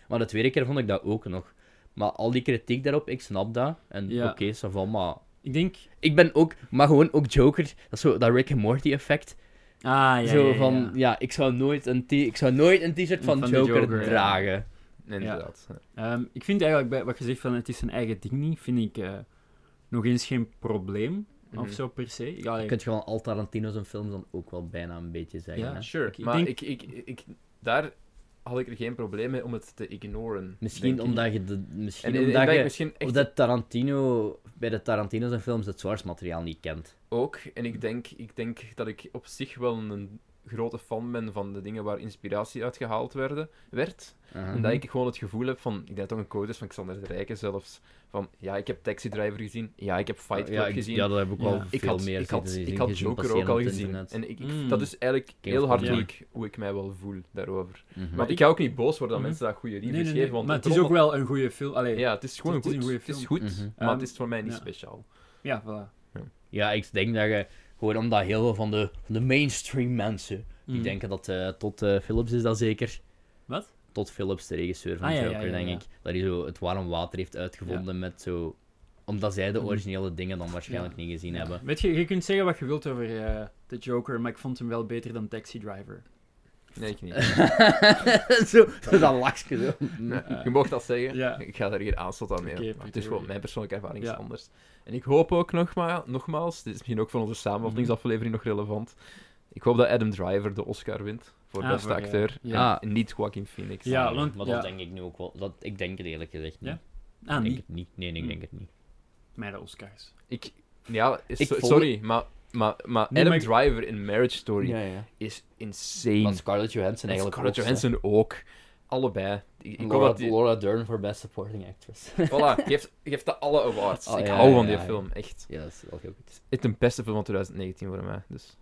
Speaker 2: Maar de tweede keer vond ik dat ook nog. Maar al die kritiek daarop, ik snap dat. En
Speaker 3: Ja.
Speaker 2: oké, ça va, maar...
Speaker 3: Ik denk...
Speaker 2: Ik ben ook, maar gewoon ook Joker, dat is zo dat Rick and Morty effect.
Speaker 3: Ah, ja, ja,
Speaker 2: zo
Speaker 3: ja,
Speaker 2: van,
Speaker 3: ja.
Speaker 2: ja, ik zou nooit een, t- ik zou nooit een t-shirt van,
Speaker 3: Van de
Speaker 2: Joker,
Speaker 3: Joker, ja.
Speaker 2: dragen.
Speaker 1: Nee, inderdaad. Ja.
Speaker 3: Ehm, ik vind eigenlijk, bij wat je zegt van het is zijn eigen ding niet, vind ik eh, nog eens geen probleem
Speaker 1: Mhm.
Speaker 3: of zo per se. Ik, allee,
Speaker 2: Je kunt gewoon al Tarantino's en films dan ook wel bijna een beetje zeggen.
Speaker 3: Ja.
Speaker 2: hè.
Speaker 1: Sure,
Speaker 3: Ik
Speaker 1: maar
Speaker 3: denk-
Speaker 1: ik, ik, ik, daar had ik er geen probleem mee om het te ignoren.
Speaker 2: Misschien
Speaker 1: denk ik.
Speaker 2: omdat je, de,
Speaker 1: En,
Speaker 2: misschien
Speaker 1: en, en
Speaker 2: omdat
Speaker 1: dat ik
Speaker 2: je
Speaker 1: misschien echt
Speaker 2: of dat Tarantino, bij de Tarantino's en films het source materiaal niet kent.
Speaker 1: ook, en ik denk, ik denk dat ik op zich wel een grote fan ben van de dingen waar inspiratie uit gehaald werden, werd.
Speaker 2: Uh-huh.
Speaker 1: En dat ik gewoon het gevoel heb van, ik denk dat het ook een quote is van Xander de Rijken zelfs, van ja, ik heb Taxi Driver gezien, ja, ik heb Fight Club
Speaker 2: ja, ik-
Speaker 1: gezien.
Speaker 2: Ja, dat heb ik
Speaker 3: Ja.
Speaker 2: wel
Speaker 1: ik
Speaker 2: veel
Speaker 1: had,
Speaker 2: meer
Speaker 1: ik had,
Speaker 2: gezien,
Speaker 1: ik had
Speaker 2: gezien
Speaker 1: Joker
Speaker 2: passeren
Speaker 1: ook al
Speaker 2: op het
Speaker 1: gezien.
Speaker 2: internet.
Speaker 1: En ik, ik-
Speaker 3: Mm.
Speaker 1: dat is eigenlijk
Speaker 2: King
Speaker 1: heel
Speaker 2: of
Speaker 1: hard
Speaker 3: Comedy.
Speaker 1: hoe, ik, hoe ik mij wel voel daarover.
Speaker 2: Mhm.
Speaker 1: Maar ik ga ook niet boos worden dat
Speaker 3: Mhm.
Speaker 1: mensen daar goede reviews
Speaker 3: nee, nee, nee,
Speaker 1: geven, want
Speaker 3: maar het
Speaker 1: het
Speaker 3: is ook wel een goede film. Allee, ja.
Speaker 1: Ja, het is gewoon
Speaker 3: Het is een
Speaker 1: goed.
Speaker 3: goede
Speaker 1: Het is
Speaker 3: film.
Speaker 1: goed,
Speaker 2: Mhm.
Speaker 1: maar het
Speaker 3: Ehm,
Speaker 1: is voor mij niet
Speaker 3: ja.
Speaker 1: speciaal.
Speaker 3: voilà.
Speaker 2: Ja, ik denk dat je, gewoon omdat heel veel van de, van de mainstream mensen
Speaker 3: Mhm.
Speaker 2: Die denken dat eh tot eh, Philips is dat zeker.
Speaker 3: Wat?
Speaker 2: Tot Philips, de regisseur van
Speaker 3: Ah, ja, ja,
Speaker 2: Joker,
Speaker 3: ja,
Speaker 2: denk
Speaker 3: ja.
Speaker 2: ik. Dat hij zo het warm water heeft uitgevonden met zo... Omdat zij de
Speaker 3: Mhm.
Speaker 2: originele dingen dan waarschijnlijk niet gezien hebben.
Speaker 3: Weet je, je kunt zeggen wat je wilt over eh, de Joker, maar ik vond hem wel beter dan Taxi Driver.
Speaker 1: Nee, ik niet.
Speaker 2: zo, zo dat lachje zo.
Speaker 3: Eh,
Speaker 1: Je mag dat zeggen.
Speaker 3: Ja.
Speaker 1: Ik ga daar hier aanstoot aan mee.
Speaker 3: Oké,
Speaker 1: maar het is gewoon
Speaker 3: Victoria.
Speaker 1: mijn persoonlijke ervaring is
Speaker 3: Ja.
Speaker 1: anders. En ik hoop ook nogma nogmaals, dit is misschien ook voor onze samenvattingsaflevering nog relevant. Ik hoop dat Adam Driver de Oscar wint voor
Speaker 3: Ah,
Speaker 1: beste
Speaker 3: voor, ja.
Speaker 1: acteur.
Speaker 3: Ja.
Speaker 1: En niet Joaquin Phoenix.
Speaker 3: Ja. want-
Speaker 2: Maar dat
Speaker 3: ja.
Speaker 2: denk ik nu ook wel. Dat, ik denk het eerlijk gezegd niet.
Speaker 3: Ja?
Speaker 2: Ik
Speaker 3: Ah,
Speaker 2: denk
Speaker 3: niet
Speaker 2: het niet. Nee, nee, ik
Speaker 3: Hm.
Speaker 2: denk het niet.
Speaker 3: mij de Oscars.
Speaker 1: Ik, ja, is-
Speaker 2: Ik
Speaker 1: so-
Speaker 2: vond-
Speaker 1: sorry, maar, maar, maar
Speaker 3: Nee,
Speaker 1: Adam
Speaker 3: maar ik-
Speaker 1: Driver in Marriage Story
Speaker 2: ja.
Speaker 1: is insane.
Speaker 2: Want Scarlett Johansson
Speaker 1: en
Speaker 2: eigenlijk
Speaker 1: Scarlett
Speaker 2: ook, hè.
Speaker 1: Johansson ook. Allebei. Ik,
Speaker 2: En
Speaker 1: ik hoop
Speaker 2: Laura,
Speaker 1: dat die,
Speaker 2: Laura Dern voor Best Supporting Actress.
Speaker 1: voilà, geeft, geeft dat alle awards.
Speaker 2: Oh,
Speaker 1: ik
Speaker 2: ja,
Speaker 1: hou
Speaker 2: ja,
Speaker 1: van die
Speaker 2: ja, ja.
Speaker 1: film, echt.
Speaker 2: ja, dat is wel heel goed.
Speaker 1: Het is de beste film van 2019 voor mij. Dus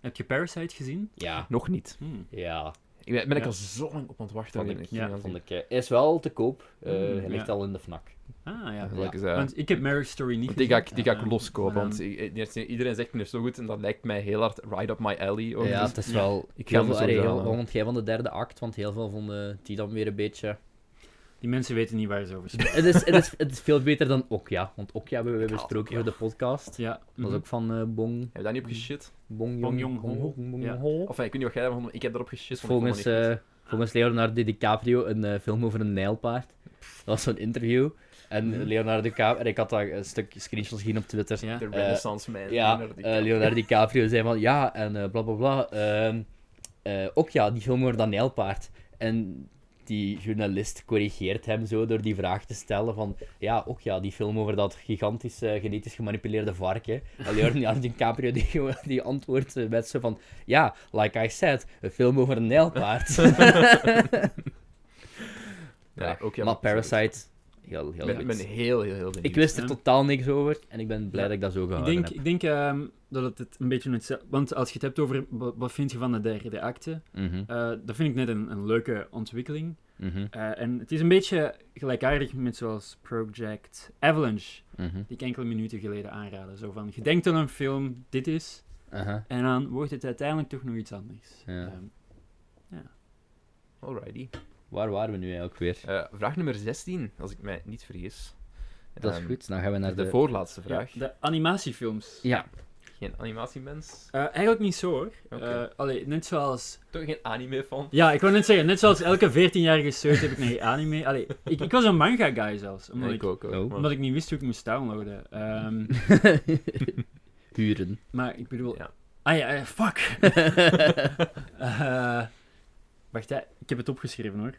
Speaker 3: Heb je Parasite gezien?
Speaker 2: Ja.
Speaker 1: nog niet.
Speaker 3: Hmm.
Speaker 2: Ja.
Speaker 1: Ik ben, ben ik
Speaker 3: Ja.
Speaker 1: al zo lang op aan het wachten.
Speaker 2: Vond
Speaker 1: dat
Speaker 2: ik-
Speaker 1: niet
Speaker 3: ja,
Speaker 1: aan het
Speaker 2: Vond
Speaker 1: zien.
Speaker 2: ik, eh, is wel te koop. Eh,
Speaker 3: Mm,
Speaker 2: hij ligt
Speaker 3: ja.
Speaker 2: al in de FNAC.
Speaker 3: Ah, ja.
Speaker 1: Gelijk
Speaker 2: Ja.
Speaker 1: is, eh,
Speaker 3: Want ik heb Marriage Story niet Eh,
Speaker 1: want die ga ik, die ga ik
Speaker 3: Ja.
Speaker 1: loskopen,
Speaker 3: Ja.
Speaker 1: want ik- ik- eerst- iedereen zegt me is zo goed en dat lijkt mij heel hard right up my alley. Ook,
Speaker 2: Ja,
Speaker 1: dus-
Speaker 2: het is
Speaker 3: ja.
Speaker 2: wel.
Speaker 1: Ik
Speaker 2: Ik
Speaker 1: ga
Speaker 2: heel
Speaker 1: hem
Speaker 2: veel, allee,
Speaker 1: sowieso
Speaker 2: heel,
Speaker 1: halen.
Speaker 2: wat vond jij van de derde act? Want heel veel vonden die dan weer een beetje.
Speaker 3: Die mensen weten niet waar ze over spreken.
Speaker 2: het, is, het, is, het is veel beter dan Okja. Want Okja hebben we
Speaker 1: haat
Speaker 2: besproken voor de podcast.
Speaker 3: ja. mhm.
Speaker 2: Dat was ook van eh, Bong.
Speaker 1: Heb je daar niet op geshit?
Speaker 2: Bong
Speaker 3: Bong
Speaker 2: Jong
Speaker 3: Jong-ho.
Speaker 2: Bong- Bong
Speaker 3: Ja.
Speaker 2: Jong-ho.
Speaker 1: Of eh, ik weet niet wat jij ervan vond, ik heb erop geshit. want ik vond
Speaker 2: Volgens,
Speaker 1: dat niet
Speaker 2: eh, volgens Leonardo DiCaprio een eh, film over een nijlpaard. Dat was zo'n interview. En
Speaker 3: Mhm.
Speaker 2: Leonardo DiCaprio. en Ik had daar een stuk screenshots gezien op Twitter.
Speaker 3: Ja.
Speaker 1: goed. De Renaissance Man.
Speaker 2: Ja,
Speaker 1: Leonardo
Speaker 2: eh,
Speaker 1: DiCaprio.
Speaker 2: Leonardo DiCaprio zei van ja, en eh bla bla bla. ehm, eh, ook ja, die film over dat nijlpaard. En die journalist corrigeert hem zo door die vraag te stellen van ja, ook ja, die film over dat gigantisch eh, genetisch gemanipuleerde varken. En Leonardo DiCaprio die, gewoon- die antwoordt eh, met zo van ja, like I said, een film over een nijlpaard.
Speaker 1: Ja, ook
Speaker 2: maar Parasite, heel, heel
Speaker 1: Ik ben,
Speaker 2: goed.
Speaker 1: ben heel, heel, heel benieuwd.
Speaker 2: Ik wist er
Speaker 3: Ja.
Speaker 2: totaal niks over en ik ben blij
Speaker 3: Ja.
Speaker 2: dat ik dat zo
Speaker 3: Ik
Speaker 2: gehouden
Speaker 3: denk,
Speaker 2: heb.
Speaker 3: ik denk ehm, dat het het een beetje hetzelfde... Want als je het hebt over wa- wat vind je van de derde acte,
Speaker 2: Mhm,
Speaker 3: eh, dat vind ik net een, een leuke ontwikkeling.
Speaker 2: mhm,
Speaker 3: Eh, en het is een beetje gelijkaardig met zoals Project Avalanche,
Speaker 2: mhm.
Speaker 3: die ik enkele minuten geleden aanraadde. Zo van, je denkt aan een film, dit is,
Speaker 2: Aha.
Speaker 3: en dan wordt het uiteindelijk toch nog iets anders.
Speaker 2: Ja.
Speaker 3: Ehm,
Speaker 1: Alrighty.
Speaker 2: Waar waren we nu eigenlijk weer?
Speaker 1: Eh, vraag nummer 16, als ik mij niet vergis.
Speaker 2: Dat is
Speaker 1: Ehm,
Speaker 2: goed, dan gaan we naar
Speaker 1: De,
Speaker 2: de...
Speaker 1: voorlaatste vraag.
Speaker 3: ja, de animatiefilms.
Speaker 2: Ja.
Speaker 1: Geen animatiemens.
Speaker 3: Eh, eigenlijk niet zo hoor.
Speaker 1: Oké.
Speaker 3: Eh, allee, net zoals.
Speaker 1: Toch geen anime van.
Speaker 3: Ja, ik wou net zeggen, net zoals elke 14-jarige seut heb ik naar anime. Allee, ik, ik was een manga-guy zelfs. Omdat, ik,
Speaker 1: ook.
Speaker 2: Oh.
Speaker 1: maar-
Speaker 3: omdat ik niet wist hoe ik moest downloaden. Ehm,
Speaker 2: Huren.
Speaker 3: maar ik bedoel.
Speaker 1: Ja.
Speaker 3: Ah ja, eh, fuck! Eh, wacht, hè, ik heb het opgeschreven hoor.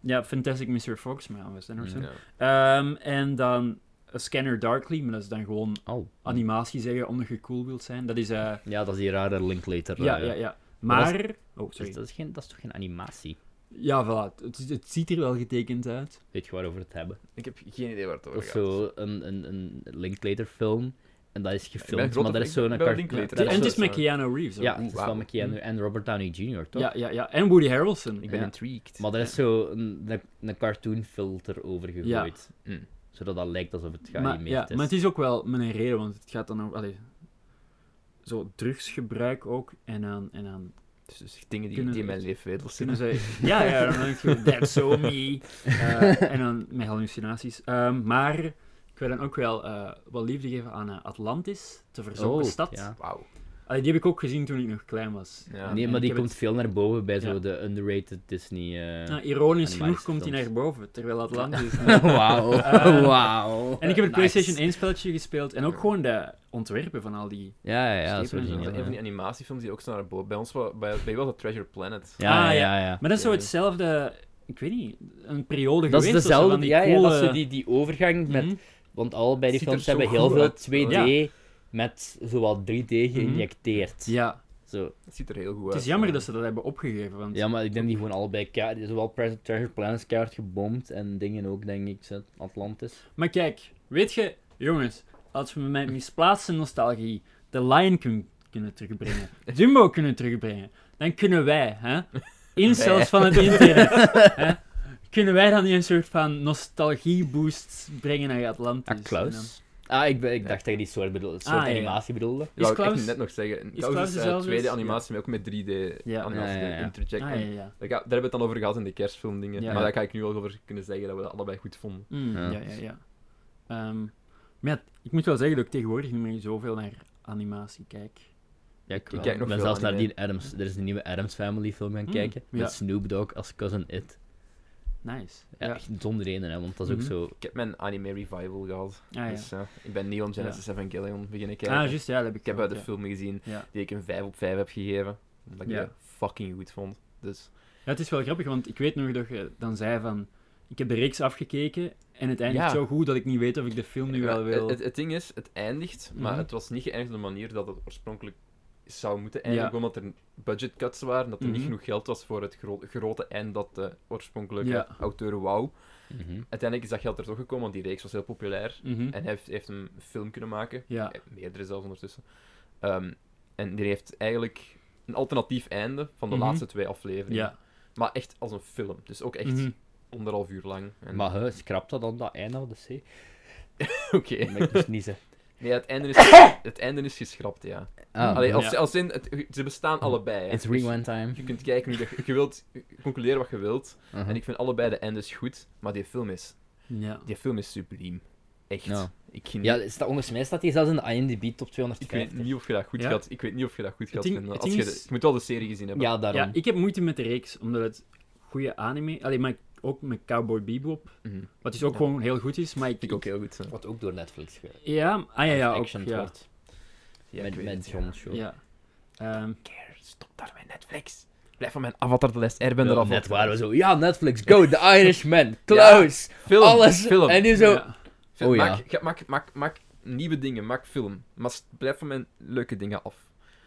Speaker 3: Ja, Fantastic Mr. Fox, maar was dat nog zo?
Speaker 2: Mm.
Speaker 1: Ja.
Speaker 3: Ehm, en dan A Scanner Darkly, maar dat is dan gewoon
Speaker 2: Oh.
Speaker 3: animatie zeggen omdat je cool wilt zijn. Dat is. eh,
Speaker 2: Ja, dat is die rare Linklater.
Speaker 3: ja,
Speaker 2: eh,
Speaker 3: ja, ja.
Speaker 2: Maar
Speaker 3: Maar. Oh,
Speaker 2: Dus
Speaker 3: sorry.
Speaker 2: dat, is geen, dat is toch geen animatie?
Speaker 3: Ja, voilà. Het, is- het ziet er wel getekend uit.
Speaker 2: Weet je waarover we het hebben?
Speaker 1: Ik heb geen idee waar het over
Speaker 2: Of
Speaker 1: gaat.
Speaker 2: zo, een, een, een Linklater film. En dat is
Speaker 1: Ik ben een
Speaker 2: gefilmd,
Speaker 1: grote
Speaker 2: maar dat is
Speaker 1: fan-
Speaker 2: zo'n...
Speaker 1: ik ben
Speaker 2: car-
Speaker 1: Linklater.
Speaker 2: dat
Speaker 3: en het
Speaker 2: zo-
Speaker 3: is met Keanu Reeves. hoor.
Speaker 2: Ja, het is wel
Speaker 1: Wauw. Hm.
Speaker 2: met Keanu en Robert Downey Jr., toch?
Speaker 3: ja, ja, ja. En Woody Harrelson.
Speaker 1: Ik ben
Speaker 2: Ja.
Speaker 1: intrigued.
Speaker 2: Maar er is zo een, een, een cartoonfilter over gegooid.
Speaker 1: Mm.
Speaker 2: Zodat dat lijkt alsof het
Speaker 3: maar,
Speaker 2: geanimeerd
Speaker 3: ja,
Speaker 2: is.
Speaker 3: maar het is ook wel met een reden, want het gaat dan over... Allee, zo drugsgebruik ook. En dan... En dan
Speaker 1: Dus, dus dingen die,
Speaker 3: Kunnen-
Speaker 1: die in mijn leven wedels
Speaker 3: kunnen
Speaker 1: zijn.
Speaker 3: ze... ja, ja, dan denk je, that's so me. Eh, en dan met hallucinaties. Ehm, maar ik wil dan ook wel eh, wat liefde geven aan eh, Atlantis, de verzonken
Speaker 2: Oh,
Speaker 3: stad.
Speaker 2: ja.
Speaker 1: Wauw.
Speaker 3: Allee, die heb ik ook gezien toen ik nog klein was.
Speaker 1: Ja.
Speaker 3: En-
Speaker 2: Nee,
Speaker 3: en
Speaker 2: maar
Speaker 3: ik
Speaker 2: die
Speaker 3: heb
Speaker 2: komt
Speaker 3: het-
Speaker 2: veel naar boven bij
Speaker 3: Ja.
Speaker 2: zo de underrated Disney... eh,
Speaker 3: nou, ironisch genoeg
Speaker 2: animatische
Speaker 3: komt hij
Speaker 2: films.
Speaker 3: naar boven, terwijl Atlantis...
Speaker 2: Wauw,
Speaker 3: Eh,
Speaker 2: wauw.
Speaker 3: En ik heb het
Speaker 2: Eh, Nice.
Speaker 3: PlayStation 1 spelletje gespeeld en ook gewoon de ontwerpen van al die.
Speaker 2: Ja, ja, ja,
Speaker 1: Ja,
Speaker 2: dat is
Speaker 1: een
Speaker 2: origineel.
Speaker 1: van die
Speaker 2: Ja,
Speaker 1: animatiefilms die ook zo naar boven. Bij ons wa- bij, bij was dat Treasure Planet.
Speaker 2: ja,
Speaker 3: Ah,
Speaker 2: ja.
Speaker 3: ja.
Speaker 2: ja.
Speaker 3: Maar dat is zo
Speaker 1: Ja.
Speaker 3: hetzelfde, ik weet niet, een periode
Speaker 2: Dat is
Speaker 3: geweest. of zo, van
Speaker 2: dezelfde,
Speaker 3: die
Speaker 2: ja, ja,
Speaker 3: coole...
Speaker 2: dat is zo die, die overgang met...
Speaker 3: Mhm.
Speaker 2: Want allebei die
Speaker 1: Ziet er
Speaker 2: films
Speaker 1: zo
Speaker 2: hebben heel
Speaker 1: goed
Speaker 2: veel
Speaker 1: uit.
Speaker 2: 2D
Speaker 3: Ja.
Speaker 2: met zowel 3D geïnjecteerd.
Speaker 3: Ja,
Speaker 2: Zo.
Speaker 1: Dat ziet er heel goed uit.
Speaker 3: het is jammer dat ze dat hebben opgegeven. Want...
Speaker 2: Ja, maar ik denk die gewoon allebei keihard- Zowel Pres- Treasure Planet is keihard gebomd en dingen ook, denk ik, zo, Atlantis.
Speaker 3: Maar kijk, weet je, jongens, als we met mijn misplaatste nostalgie de Lion kun- kunnen terugbrengen, Jumbo kunnen terugbrengen, dan kunnen wij, hè, incels van het internet, hè, kunnen wij dan niet een soort van nostalgieboost brengen naar Atlantis.
Speaker 2: Ah,
Speaker 3: En dan-
Speaker 2: Klaus. Ah, ik, be- ik
Speaker 1: Ja.
Speaker 2: dacht dat je die soort, bedoelde, soort
Speaker 3: Ah, ja, ja.
Speaker 2: animatie bedoelde.
Speaker 1: Dat
Speaker 3: Is
Speaker 1: wou ik
Speaker 3: Klaus-
Speaker 1: echt net nog zeggen.
Speaker 3: is
Speaker 1: Klaus
Speaker 3: Klaus
Speaker 1: is eh,
Speaker 3: dezelfde?
Speaker 1: tweede
Speaker 3: Ja.
Speaker 1: animatie, maar ook met 3D
Speaker 3: Ja.
Speaker 1: animatie.
Speaker 2: Ja, ja, ja.
Speaker 1: Interject.
Speaker 3: Ah,
Speaker 1: En
Speaker 3: ja, ja.
Speaker 1: daar ga- daar hebben we het dan over gehad in de kerstfilmdingen.
Speaker 3: Ja.
Speaker 1: Maar daar ga ik nu al over kunnen zeggen dat we dat allebei goed vonden.
Speaker 3: Mm,
Speaker 2: Ja.
Speaker 3: ja, ja, ja. Ehm, maar ja, ik moet wel zeggen dat ik tegenwoordig niet meer zoveel naar animatie kijk.
Speaker 2: Ja, ik,
Speaker 1: Ik
Speaker 2: kijk
Speaker 1: kijk nog
Speaker 2: nog ben
Speaker 1: veel
Speaker 2: zelfs naar
Speaker 1: anime.
Speaker 2: die Adams. Er is een nieuwe Adams Family film
Speaker 1: Hmm,
Speaker 2: gaan
Speaker 3: Mm,
Speaker 2: kijken.
Speaker 3: ja.
Speaker 2: Met Snoop Dogg als Cousin It.
Speaker 3: Nice.
Speaker 2: Ja,
Speaker 3: Ja.
Speaker 2: echt zonder reden, hè, want dat is
Speaker 3: Mhm.
Speaker 2: ook zo.
Speaker 1: Ik heb mijn anime revival gehad.
Speaker 3: Ah, ja.
Speaker 1: Dus eh, ik ben Neon Genesis Evangelion beginnen kijken.
Speaker 3: Ah, juist, ja, dat heb ik
Speaker 1: Ik heb
Speaker 3: ook,
Speaker 1: uit de
Speaker 3: ja.
Speaker 1: film gezien
Speaker 3: Ja.
Speaker 1: die ik een 5 op 5 heb gegeven. Omdat ik
Speaker 3: Ja.
Speaker 1: die fucking goed vond. Dus
Speaker 3: Ja, het is wel grappig, want ik weet nog dat je dan zei van... Ik heb de reeks afgekeken en het eindigt
Speaker 1: Ja.
Speaker 3: zo goed dat ik niet weet of ik de film nu wel
Speaker 1: Ja,
Speaker 3: wil...
Speaker 1: Het, het ding is, het eindigt, maar
Speaker 3: Mhm.
Speaker 1: het was niet geëindigd op de manier dat het oorspronkelijk zou moeten eindigen,
Speaker 3: Ja.
Speaker 1: omdat er budget cuts waren, dat er
Speaker 3: Mhm.
Speaker 1: niet genoeg geld was voor het gro- grote eind dat de oorspronkelijke
Speaker 3: Ja.
Speaker 1: auteur wou.
Speaker 2: Mhm.
Speaker 1: Uiteindelijk is dat geld er toch gekomen, want die reeks was heel populair.
Speaker 3: Mhm.
Speaker 1: En hij heeft, heeft een film kunnen maken,
Speaker 3: Ja.
Speaker 1: Eh, meerdere zelfs ondertussen. Ehm, en die heeft eigenlijk een alternatief einde van de
Speaker 3: Mhm.
Speaker 1: laatste twee afleveringen.
Speaker 3: Ja.
Speaker 1: Maar echt als een film, dus ook echt
Speaker 3: Mhm.
Speaker 1: anderhalf uur lang. En-
Speaker 2: Maar hè, scrap dat dan, dat einde van de C?
Speaker 1: Oké.
Speaker 2: Dat mag ik dus niet zeggen.
Speaker 1: Nee, het einde is, het einde is geschrapt, ja.
Speaker 2: Ah,
Speaker 1: Allee, als,
Speaker 3: Ja. Mhm.
Speaker 1: als in, het- ze bestaan allebei. Hè.
Speaker 2: It's
Speaker 1: Dus
Speaker 2: rewind time. Mhm.
Speaker 1: je kunt kijken, hoe je, je wilt concluderen wat je wilt.
Speaker 3: Mhm.
Speaker 2: Aha.
Speaker 1: En ik vind allebei de eindes goed, maar die film is,
Speaker 3: Ja.
Speaker 1: die film is subliem. Echt.
Speaker 2: Ja.
Speaker 1: Ik, geniet-
Speaker 2: Ja, staat, volgens mij staat hij zelfs in de IMDb top
Speaker 1: ik weet
Speaker 2: 250.
Speaker 1: niet of je dat goed
Speaker 3: Ja?
Speaker 1: gaat, ik weet niet of je dat goed gaat
Speaker 3: ding-
Speaker 1: vinden.
Speaker 3: het
Speaker 1: Als je,
Speaker 3: ding
Speaker 1: de-
Speaker 3: is-
Speaker 1: je moet wel de serie gezien hebben.
Speaker 2: Ja, daarom.
Speaker 3: ja, ik heb moeite met de reeks, omdat het goede anime... Allee, maar ook met Cowboy Bebop,
Speaker 1: Mhm.
Speaker 3: wat dus ook
Speaker 1: Ja.
Speaker 3: gewoon heel goed is, maar ik...
Speaker 1: Vind ik ook heel goed. hè.
Speaker 2: Wat ook door Netflix ge-
Speaker 3: Ja, ah ja, ja, ook,
Speaker 2: action
Speaker 3: ja.
Speaker 2: wordt.
Speaker 1: Ja, ik
Speaker 2: met
Speaker 1: weet
Speaker 2: met
Speaker 1: het,
Speaker 2: John
Speaker 1: ja.
Speaker 2: Show.
Speaker 3: ja. Ehm,
Speaker 1: Care, Stop daar met Netflix. Blijf van mijn avatar de les Airbender
Speaker 2: Wel,
Speaker 1: af.
Speaker 2: net waren we zo, ja, Netflix, go, The Irishman, Klaus,
Speaker 1: Film,
Speaker 2: alles.
Speaker 1: film.
Speaker 2: En nu zo,
Speaker 3: ja.
Speaker 1: Film.
Speaker 2: Oh, ja.
Speaker 1: maak, ga- maak, maak, maak nieuwe dingen, maak film. Maar s- blijf van mijn leuke dingen af.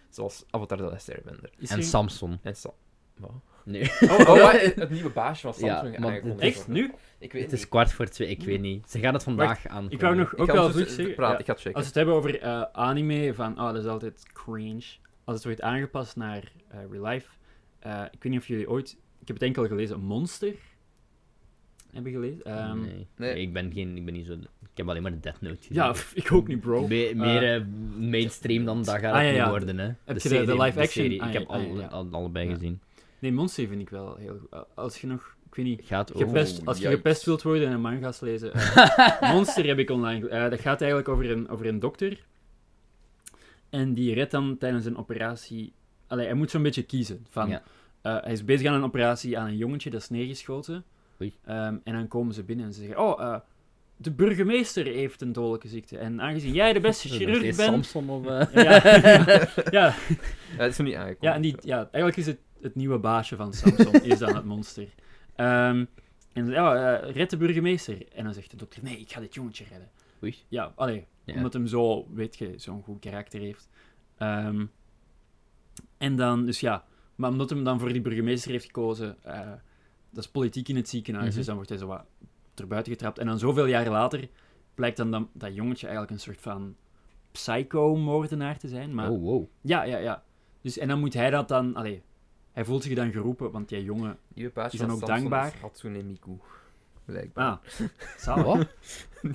Speaker 1: Zoals Avatar de les Airbender.
Speaker 3: Is
Speaker 2: En
Speaker 3: er-
Speaker 2: Samson.
Speaker 1: En Sam. Wat?
Speaker 2: Nee.
Speaker 1: Oh, oh, maar het nieuwe baasje van
Speaker 2: Ja,
Speaker 1: Samsung
Speaker 2: maar
Speaker 1: aangekondigd.
Speaker 2: het-
Speaker 3: Echt? Nu?
Speaker 1: Ik weet
Speaker 2: Het is kwart voor twee, ik weet niet. Ze gaan het vandaag aan.
Speaker 3: Hmm. Ik wou nog
Speaker 1: Ik
Speaker 3: ook
Speaker 1: ga
Speaker 3: wel
Speaker 1: ondertussen
Speaker 3: zoiets zeggen.
Speaker 1: praten,
Speaker 3: Ja.
Speaker 1: ik ga het checken.
Speaker 3: Als we het hebben over eh, anime, van oh, dat is altijd cringe. Als het wordt aangepast naar eh, real life. eh, ik weet niet of jullie ooit. Ik heb het enkel gelezen. Monster. Hebben gelezen? Ehm,
Speaker 2: nee.
Speaker 1: nee.
Speaker 2: Nee, ik ben, geen, ik ben niet zo... Ik heb alleen maar de Death Note gezien.
Speaker 3: Ja, pff, ik ook niet, bro.
Speaker 2: Me- meer eh, mainstream dan dat gaat
Speaker 3: Ah,
Speaker 2: het
Speaker 3: ja,
Speaker 2: niet
Speaker 3: ja.
Speaker 2: worden, hè.
Speaker 3: je de- de live action?
Speaker 2: serie.
Speaker 3: Ah,
Speaker 2: ik
Speaker 3: ja,
Speaker 2: heb
Speaker 3: ah, ja,
Speaker 2: alle-
Speaker 3: ja.
Speaker 2: al- allebei
Speaker 3: Ja.
Speaker 2: gezien.
Speaker 3: Nee, Monster vind ik wel heel goed. Eh, Als je nog. Ik weet niet.
Speaker 2: Gaat over...
Speaker 3: Gepest, als je
Speaker 1: yikes.
Speaker 3: gepest wilt worden en een manga's lezen. eh, Monster heb ik online. ge- eh, dat gaat eigenlijk over een, over een dokter. En die redt dan tijdens een operatie. Allee, hij moet zo'n beetje kiezen. Van,
Speaker 2: Ja.
Speaker 3: eh, hij is bezig aan een operatie aan een jongetje dat is neergeschoten.
Speaker 2: Oei.
Speaker 3: Ehm, en dan komen ze binnen en ze zeggen: Oh, eh, de burgemeester heeft een dodelijke ziekte. En aangezien jij de beste
Speaker 2: Is dat nog
Speaker 3: chirurg
Speaker 2: steeds
Speaker 3: bent.
Speaker 2: Samson of... eh?
Speaker 3: Ja, ja, ja,
Speaker 1: Ja, het is nog niet aangekondigd.
Speaker 3: ja, en die, ja, eigenlijk is het het nieuwe baasje van Samsung, is dan het monster. Ehm, en dan, ja, eh, red de burgemeester. En dan zegt de dokter, nee, ik ga dit jongetje redden.
Speaker 2: Oei.
Speaker 3: Ja, allee,
Speaker 2: Ja.
Speaker 3: omdat hem zo, weet je, zo'n goed karakter heeft. Ehm, en dan, dus ja, maar omdat hem dan voor die burgemeester heeft gekozen, eh, dat is politiek in het ziekenhuis,
Speaker 2: Mhm.
Speaker 3: dus dan wordt hij zo wat erbuiten getrapt. En dan zoveel jaar later blijkt dan dat, dat jongetje eigenlijk een soort van psycho-moordenaar te zijn. Maar
Speaker 2: Oh, wow.
Speaker 3: ja, ja, ja. Dus, en dan moet hij dat dan... Allee, hij voelt zich dan geroepen, want jij jongen...
Speaker 1: Nieuwe baasje
Speaker 3: die zijn
Speaker 1: van
Speaker 3: ook
Speaker 1: Samsung
Speaker 3: dankbaar.
Speaker 1: is Hatsune Miku. Blijkbaar.
Speaker 3: Ah, zalig.
Speaker 2: Wat?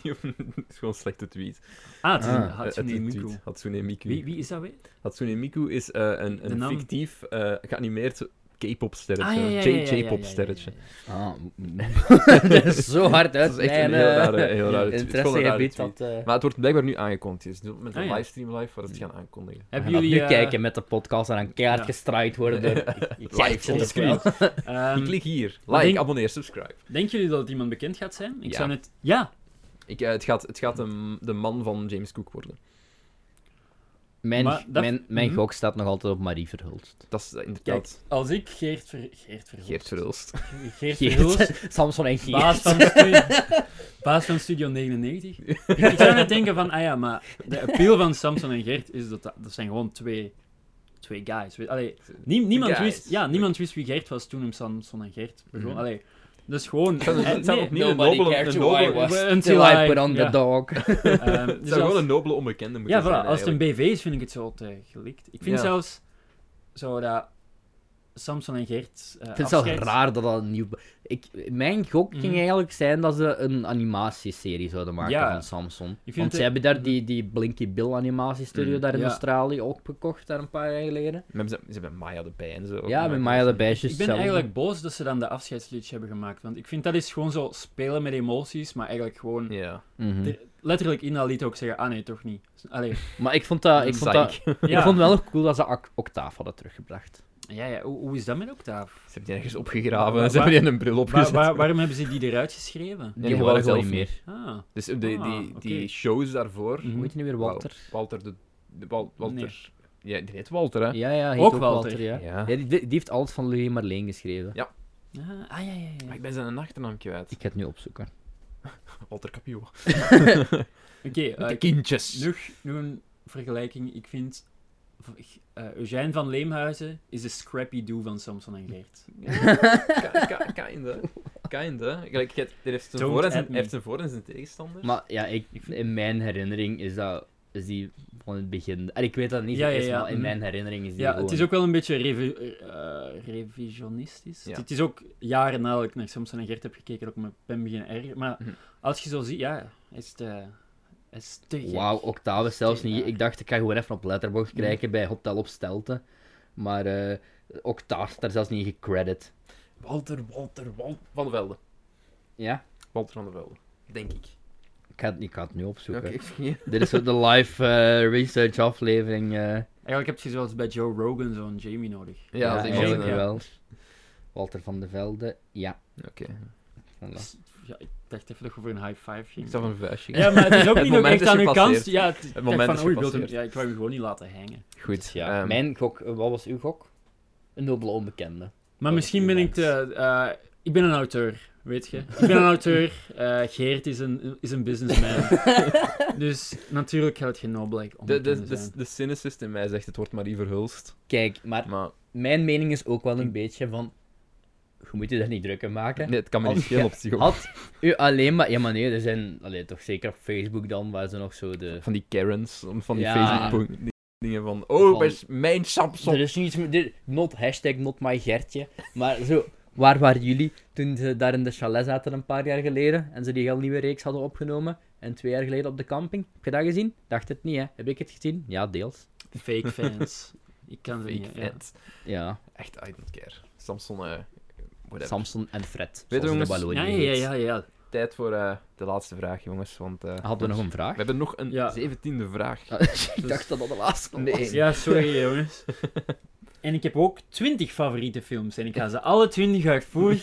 Speaker 1: Nieuw- het is gewoon een slechte tweet.
Speaker 3: Ah, het is
Speaker 2: Ah,
Speaker 3: een
Speaker 1: Het
Speaker 3: Hatsune Miku.
Speaker 1: Hatsune Miku.
Speaker 3: Wie, wie is dat weer?
Speaker 1: Hatsune Miku is eh, een,
Speaker 3: De
Speaker 1: een
Speaker 3: naam?
Speaker 1: fictief eh, geanimeerd K-pop sterretje.
Speaker 3: Ah, ja, ja, ja, ja, ja, ja, ja,
Speaker 1: J-pop
Speaker 3: ja,
Speaker 1: sterretje.
Speaker 3: ja, ja.
Speaker 2: Ah, m- dat is zo hard uit.
Speaker 1: Dat is echt
Speaker 2: mijn,
Speaker 1: een heel
Speaker 2: eh,
Speaker 1: rare, heel rare tweet. Het is gewoon een rare
Speaker 2: Interessegebied
Speaker 1: tweet.
Speaker 2: dat... eh,
Speaker 1: Maar het wordt blijkbaar nu aangekondigd. Het is nu met een
Speaker 3: Ah, ja.
Speaker 1: livestream live waar ze het gaan aankondigen.
Speaker 2: We
Speaker 3: Hebben
Speaker 2: gaan dat
Speaker 3: jullie...
Speaker 2: nu
Speaker 3: eh,
Speaker 2: kijken met de podcast en dan keihard
Speaker 3: ja.
Speaker 2: gestraaid worden door... Ik- ik
Speaker 1: Live
Speaker 2: zeg
Speaker 1: on
Speaker 2: het
Speaker 1: screen.
Speaker 2: wel.
Speaker 3: ehm,
Speaker 1: Ik klik hier.
Speaker 3: wat
Speaker 1: Like,
Speaker 3: denk-
Speaker 1: abonneer, subscribe.
Speaker 3: denken jullie dat het iemand bekend gaat zijn? Ik
Speaker 1: Ja.
Speaker 3: zou net... Ja!
Speaker 1: Ik, eh, het gaat, het gaat de, de man van James Cook worden.
Speaker 2: Mijn,
Speaker 3: Maar dat-
Speaker 2: mijn, mijn
Speaker 3: Mhm.
Speaker 2: gok staat nog altijd op Marie Verhulst.
Speaker 1: Dat is eh,
Speaker 3: Kijk,
Speaker 1: inderdaad
Speaker 3: als ik Geert Ver... Geert Verhulst.
Speaker 1: Geert Verhulst.
Speaker 3: Geert Verhulst,
Speaker 2: Geert. Samson en Geert.
Speaker 3: baas van, Stu- baas van Studio 99. ik zou net denken van, ah ja, maar de appeal van Samson en Geert is dat dat, dat zijn gewoon twee, twee guys. Weet- Allee, nie- niemand,
Speaker 1: Guys.
Speaker 3: wist, ja, niemand wist wie Geert was toen hem Samson en Geert begon.
Speaker 1: Mhm.
Speaker 3: Allee, dat is gewoon...
Speaker 1: Het zijn,
Speaker 3: eh,
Speaker 1: het zijn
Speaker 3: nee,
Speaker 1: opnieuw een nobele, een nobele,
Speaker 3: was.
Speaker 2: Until,
Speaker 3: Until
Speaker 2: I
Speaker 3: I-
Speaker 2: put on
Speaker 3: ja.
Speaker 2: the dog.
Speaker 3: ehm, dus
Speaker 1: het zou
Speaker 3: als-
Speaker 1: gewoon een nobele onbekende moeten
Speaker 3: ja, voilà,
Speaker 1: zijn.
Speaker 3: als het een
Speaker 1: eigenlijk.
Speaker 3: BV is, vind ik het zo te gelikt. Ik vind
Speaker 1: Ja.
Speaker 3: zelfs zo dat Samson en Geert eh
Speaker 2: Ik vind het wel
Speaker 3: afscheid-
Speaker 2: raar dat dat een nieuw... Ik, mijn gok ging
Speaker 3: Mhm.
Speaker 2: eigenlijk zijn dat ze een animatieserie zouden maken
Speaker 3: Ja.
Speaker 2: van Samsung.
Speaker 3: vind
Speaker 2: Want
Speaker 3: het-
Speaker 2: ze hebben daar die, die Blinky Bill animatiestudio
Speaker 1: Mhm.
Speaker 2: daar in
Speaker 3: Ja.
Speaker 2: Australië ook gekocht, daar een paar jaar geleden.
Speaker 1: Maar Ze, ze hebben Maya erbij en zo.
Speaker 2: ja, met Maya de Bijsjes
Speaker 3: Ik ben eigenlijk boos dat ze dan de afscheidsliedje hebben gemaakt. Want ik vind dat is gewoon zo spelen met emoties, maar eigenlijk gewoon...
Speaker 1: Ja.
Speaker 2: Mhm.
Speaker 3: Er- Letterlijk in dat lied ook zeggen, ah nee, toch niet. Allee,
Speaker 2: Maar ik vond dat... Ik vond, dat
Speaker 1: Psych.
Speaker 3: ja.
Speaker 2: ik vond wel nog cool dat ze Ac- Octaaf hadden teruggebracht.
Speaker 3: ja, ja, hoe, hoe is dat met Octaaf?
Speaker 1: Ze hebben die ergens opgegraven en
Speaker 3: Waar-
Speaker 1: ze hebben die een bril
Speaker 3: Waar,
Speaker 1: opgezet.
Speaker 3: waar- waarom hebben ze die eruit geschreven?
Speaker 1: Nee,
Speaker 2: Die
Speaker 1: die
Speaker 2: horen
Speaker 1: waren
Speaker 2: gewoon
Speaker 1: zelf
Speaker 2: niet meer.
Speaker 3: Ah,
Speaker 1: Dus de, die,
Speaker 3: Ah,
Speaker 1: die,
Speaker 3: oké.
Speaker 1: die shows daarvoor...
Speaker 3: mhm.
Speaker 2: Hoe heet hij nu weer,
Speaker 1: Wou-
Speaker 2: Walter?
Speaker 1: Walter de... de Wal- Walter. Ja, die heet Walter, hè?
Speaker 2: Ja, ja, hij
Speaker 3: Ook
Speaker 2: heet ook Walter.
Speaker 3: Walter,
Speaker 2: ja.
Speaker 1: Ja.
Speaker 2: Ja, die, die heeft alles van Louis Marleen geschreven.
Speaker 3: Ah, ah, ja, ja, ja,
Speaker 1: Maar
Speaker 3: ja.
Speaker 1: ik ben zijn achternaam kwijt.
Speaker 2: Ik ga het nu opzoeken.
Speaker 1: Walter Capio.
Speaker 3: Oké, eh,
Speaker 1: de kindjes.
Speaker 3: nog, nog een vergelijking. Ik vind... v- eh Eugène van Leemhuizen is de Scrappy Doo van Samson en Geert.
Speaker 1: Ka- ka- Kinda. Kinda. Gelijk, je hebt- er heeft zijn
Speaker 3: Don't
Speaker 1: voor en
Speaker 3: at
Speaker 1: zijn,
Speaker 3: me.
Speaker 1: hij heeft zijn voor en zijn
Speaker 3: Dus-
Speaker 1: tegenstander.
Speaker 2: Maar ja, ik, in mijn herinnering is dat is die van het begin. En ik weet dat het niet zo
Speaker 3: Ja, ja,
Speaker 2: is,
Speaker 3: ja,
Speaker 2: maar in
Speaker 3: mhm.
Speaker 2: mijn herinnering is die
Speaker 3: Ja,
Speaker 2: gewoon...
Speaker 3: het is ook wel een beetje revi- eh, revisionistisch.
Speaker 1: Ja.
Speaker 3: Het is ook jaren nadat ik naar Samson en Gert heb gekeken, ook mijn pen beginnen erger. Maar
Speaker 1: Mhm.
Speaker 3: als je zo ziet, ja, is te, hij is te gek.
Speaker 2: Wauw, Octave zelfs niet.
Speaker 3: Ja.
Speaker 2: Ik dacht, ik ga gewoon even op letterbox
Speaker 3: Mhm.
Speaker 2: kijken bij Hotel op Stelten. Maar eh Octave staat daar zelfs niet in gecredit.
Speaker 1: Walter, Walter, Walter. Van de Velde.
Speaker 2: Ja?
Speaker 1: Walter van de Velde. Denk ik.
Speaker 2: Ik ga het, ik ga het nu opzoeken.
Speaker 1: Oké.
Speaker 2: Dit is zo de live eh, research aflevering. eh.
Speaker 3: Eigenlijk heb je zoals bij Joe Rogan zo'n Jamie nodig.
Speaker 1: Ja, dat is
Speaker 3: eigenlijk
Speaker 1: iemand.
Speaker 2: eigenlijk
Speaker 1: eh,
Speaker 2: wel. Walter van de Velde, ja.
Speaker 1: Oké.
Speaker 2: Voilà.
Speaker 3: Dus, ja, ik dacht even dat je voor een high five
Speaker 1: Ik
Speaker 3: ging.
Speaker 1: zag een vuistje.
Speaker 3: Ja, maar het is ook
Speaker 1: Het
Speaker 3: niet nog
Speaker 1: moment
Speaker 3: echt
Speaker 1: is
Speaker 3: aan uw kans.
Speaker 1: gepasseerd.
Speaker 3: Ja, het, het
Speaker 1: moment
Speaker 3: van,
Speaker 1: is
Speaker 3: oh, je wilt hem-
Speaker 1: gepasseerd.
Speaker 3: ja, ik wou je gewoon niet laten hangen.
Speaker 1: Goed.
Speaker 2: Ja,
Speaker 1: ehm,
Speaker 2: mijn gok, eh, wat was uw gok? Een nobele onbekende.
Speaker 3: Maar
Speaker 2: Oh,
Speaker 3: misschien ben ik te... eh, ik ben een auteur, weet je. Ik ben een auteur. eh, Geert is een, is een businessman. dus natuurlijk gaat het geen no-black
Speaker 1: De, de,
Speaker 3: onbekende
Speaker 1: de,
Speaker 3: zijn.
Speaker 1: de cynicist in mij zegt het wordt Marie Verhulst.
Speaker 2: Kijk, maar
Speaker 1: Maar
Speaker 2: mijn mening is ook wel een beetje van. Je moet je daar niet drukker maken.
Speaker 1: Hm. Nee, het kan me niet
Speaker 2: Had-
Speaker 1: schelen op zich. ook.
Speaker 2: Had u alleen maar. Ja, maar nee, er zijn. Allee, toch zeker op Facebook dan, waar ze nog zo de.
Speaker 1: Van die Karens, van die
Speaker 2: Ja.
Speaker 1: Facebook-dingen van... Oh,
Speaker 2: Van-
Speaker 1: waar is mijn Samsung?
Speaker 2: Er is niets meer. dit- Not hashtag, not my Gertje. Maar zo. Waar waren jullie toen ze daar in de chalet zaten een paar jaar geleden en ze die heel nieuwe reeks hadden opgenomen? En twee jaar geleden op de camping? Heb je dat gezien? Dacht het niet, hè? Heb ik het gezien? Ja, deels.
Speaker 3: Fake fans. Ik kan het
Speaker 1: Fake
Speaker 3: niet. ja.
Speaker 1: fans.
Speaker 2: Ja,
Speaker 1: Echt, I don't care. Samsung, eh whatever.
Speaker 2: Samson en Fred.
Speaker 1: Weet je,
Speaker 2: zoals de
Speaker 1: jongens-
Speaker 2: Wallonie
Speaker 3: Ja, ja,
Speaker 2: heet.
Speaker 3: ja, ja. ja.
Speaker 1: Tijd voor eh, de laatste vraag, jongens. Want, eh,
Speaker 2: Hadden we nog
Speaker 1: We
Speaker 2: een vraag?
Speaker 1: hebben nog een
Speaker 3: Ja.
Speaker 1: zeventiende vraag.
Speaker 2: Ah, ik dacht dat dat de laatste was.
Speaker 1: Nee.
Speaker 3: Ja, sorry jongens. En ik heb ook 20 favoriete films en ik ga ze alle 20 uitvoerig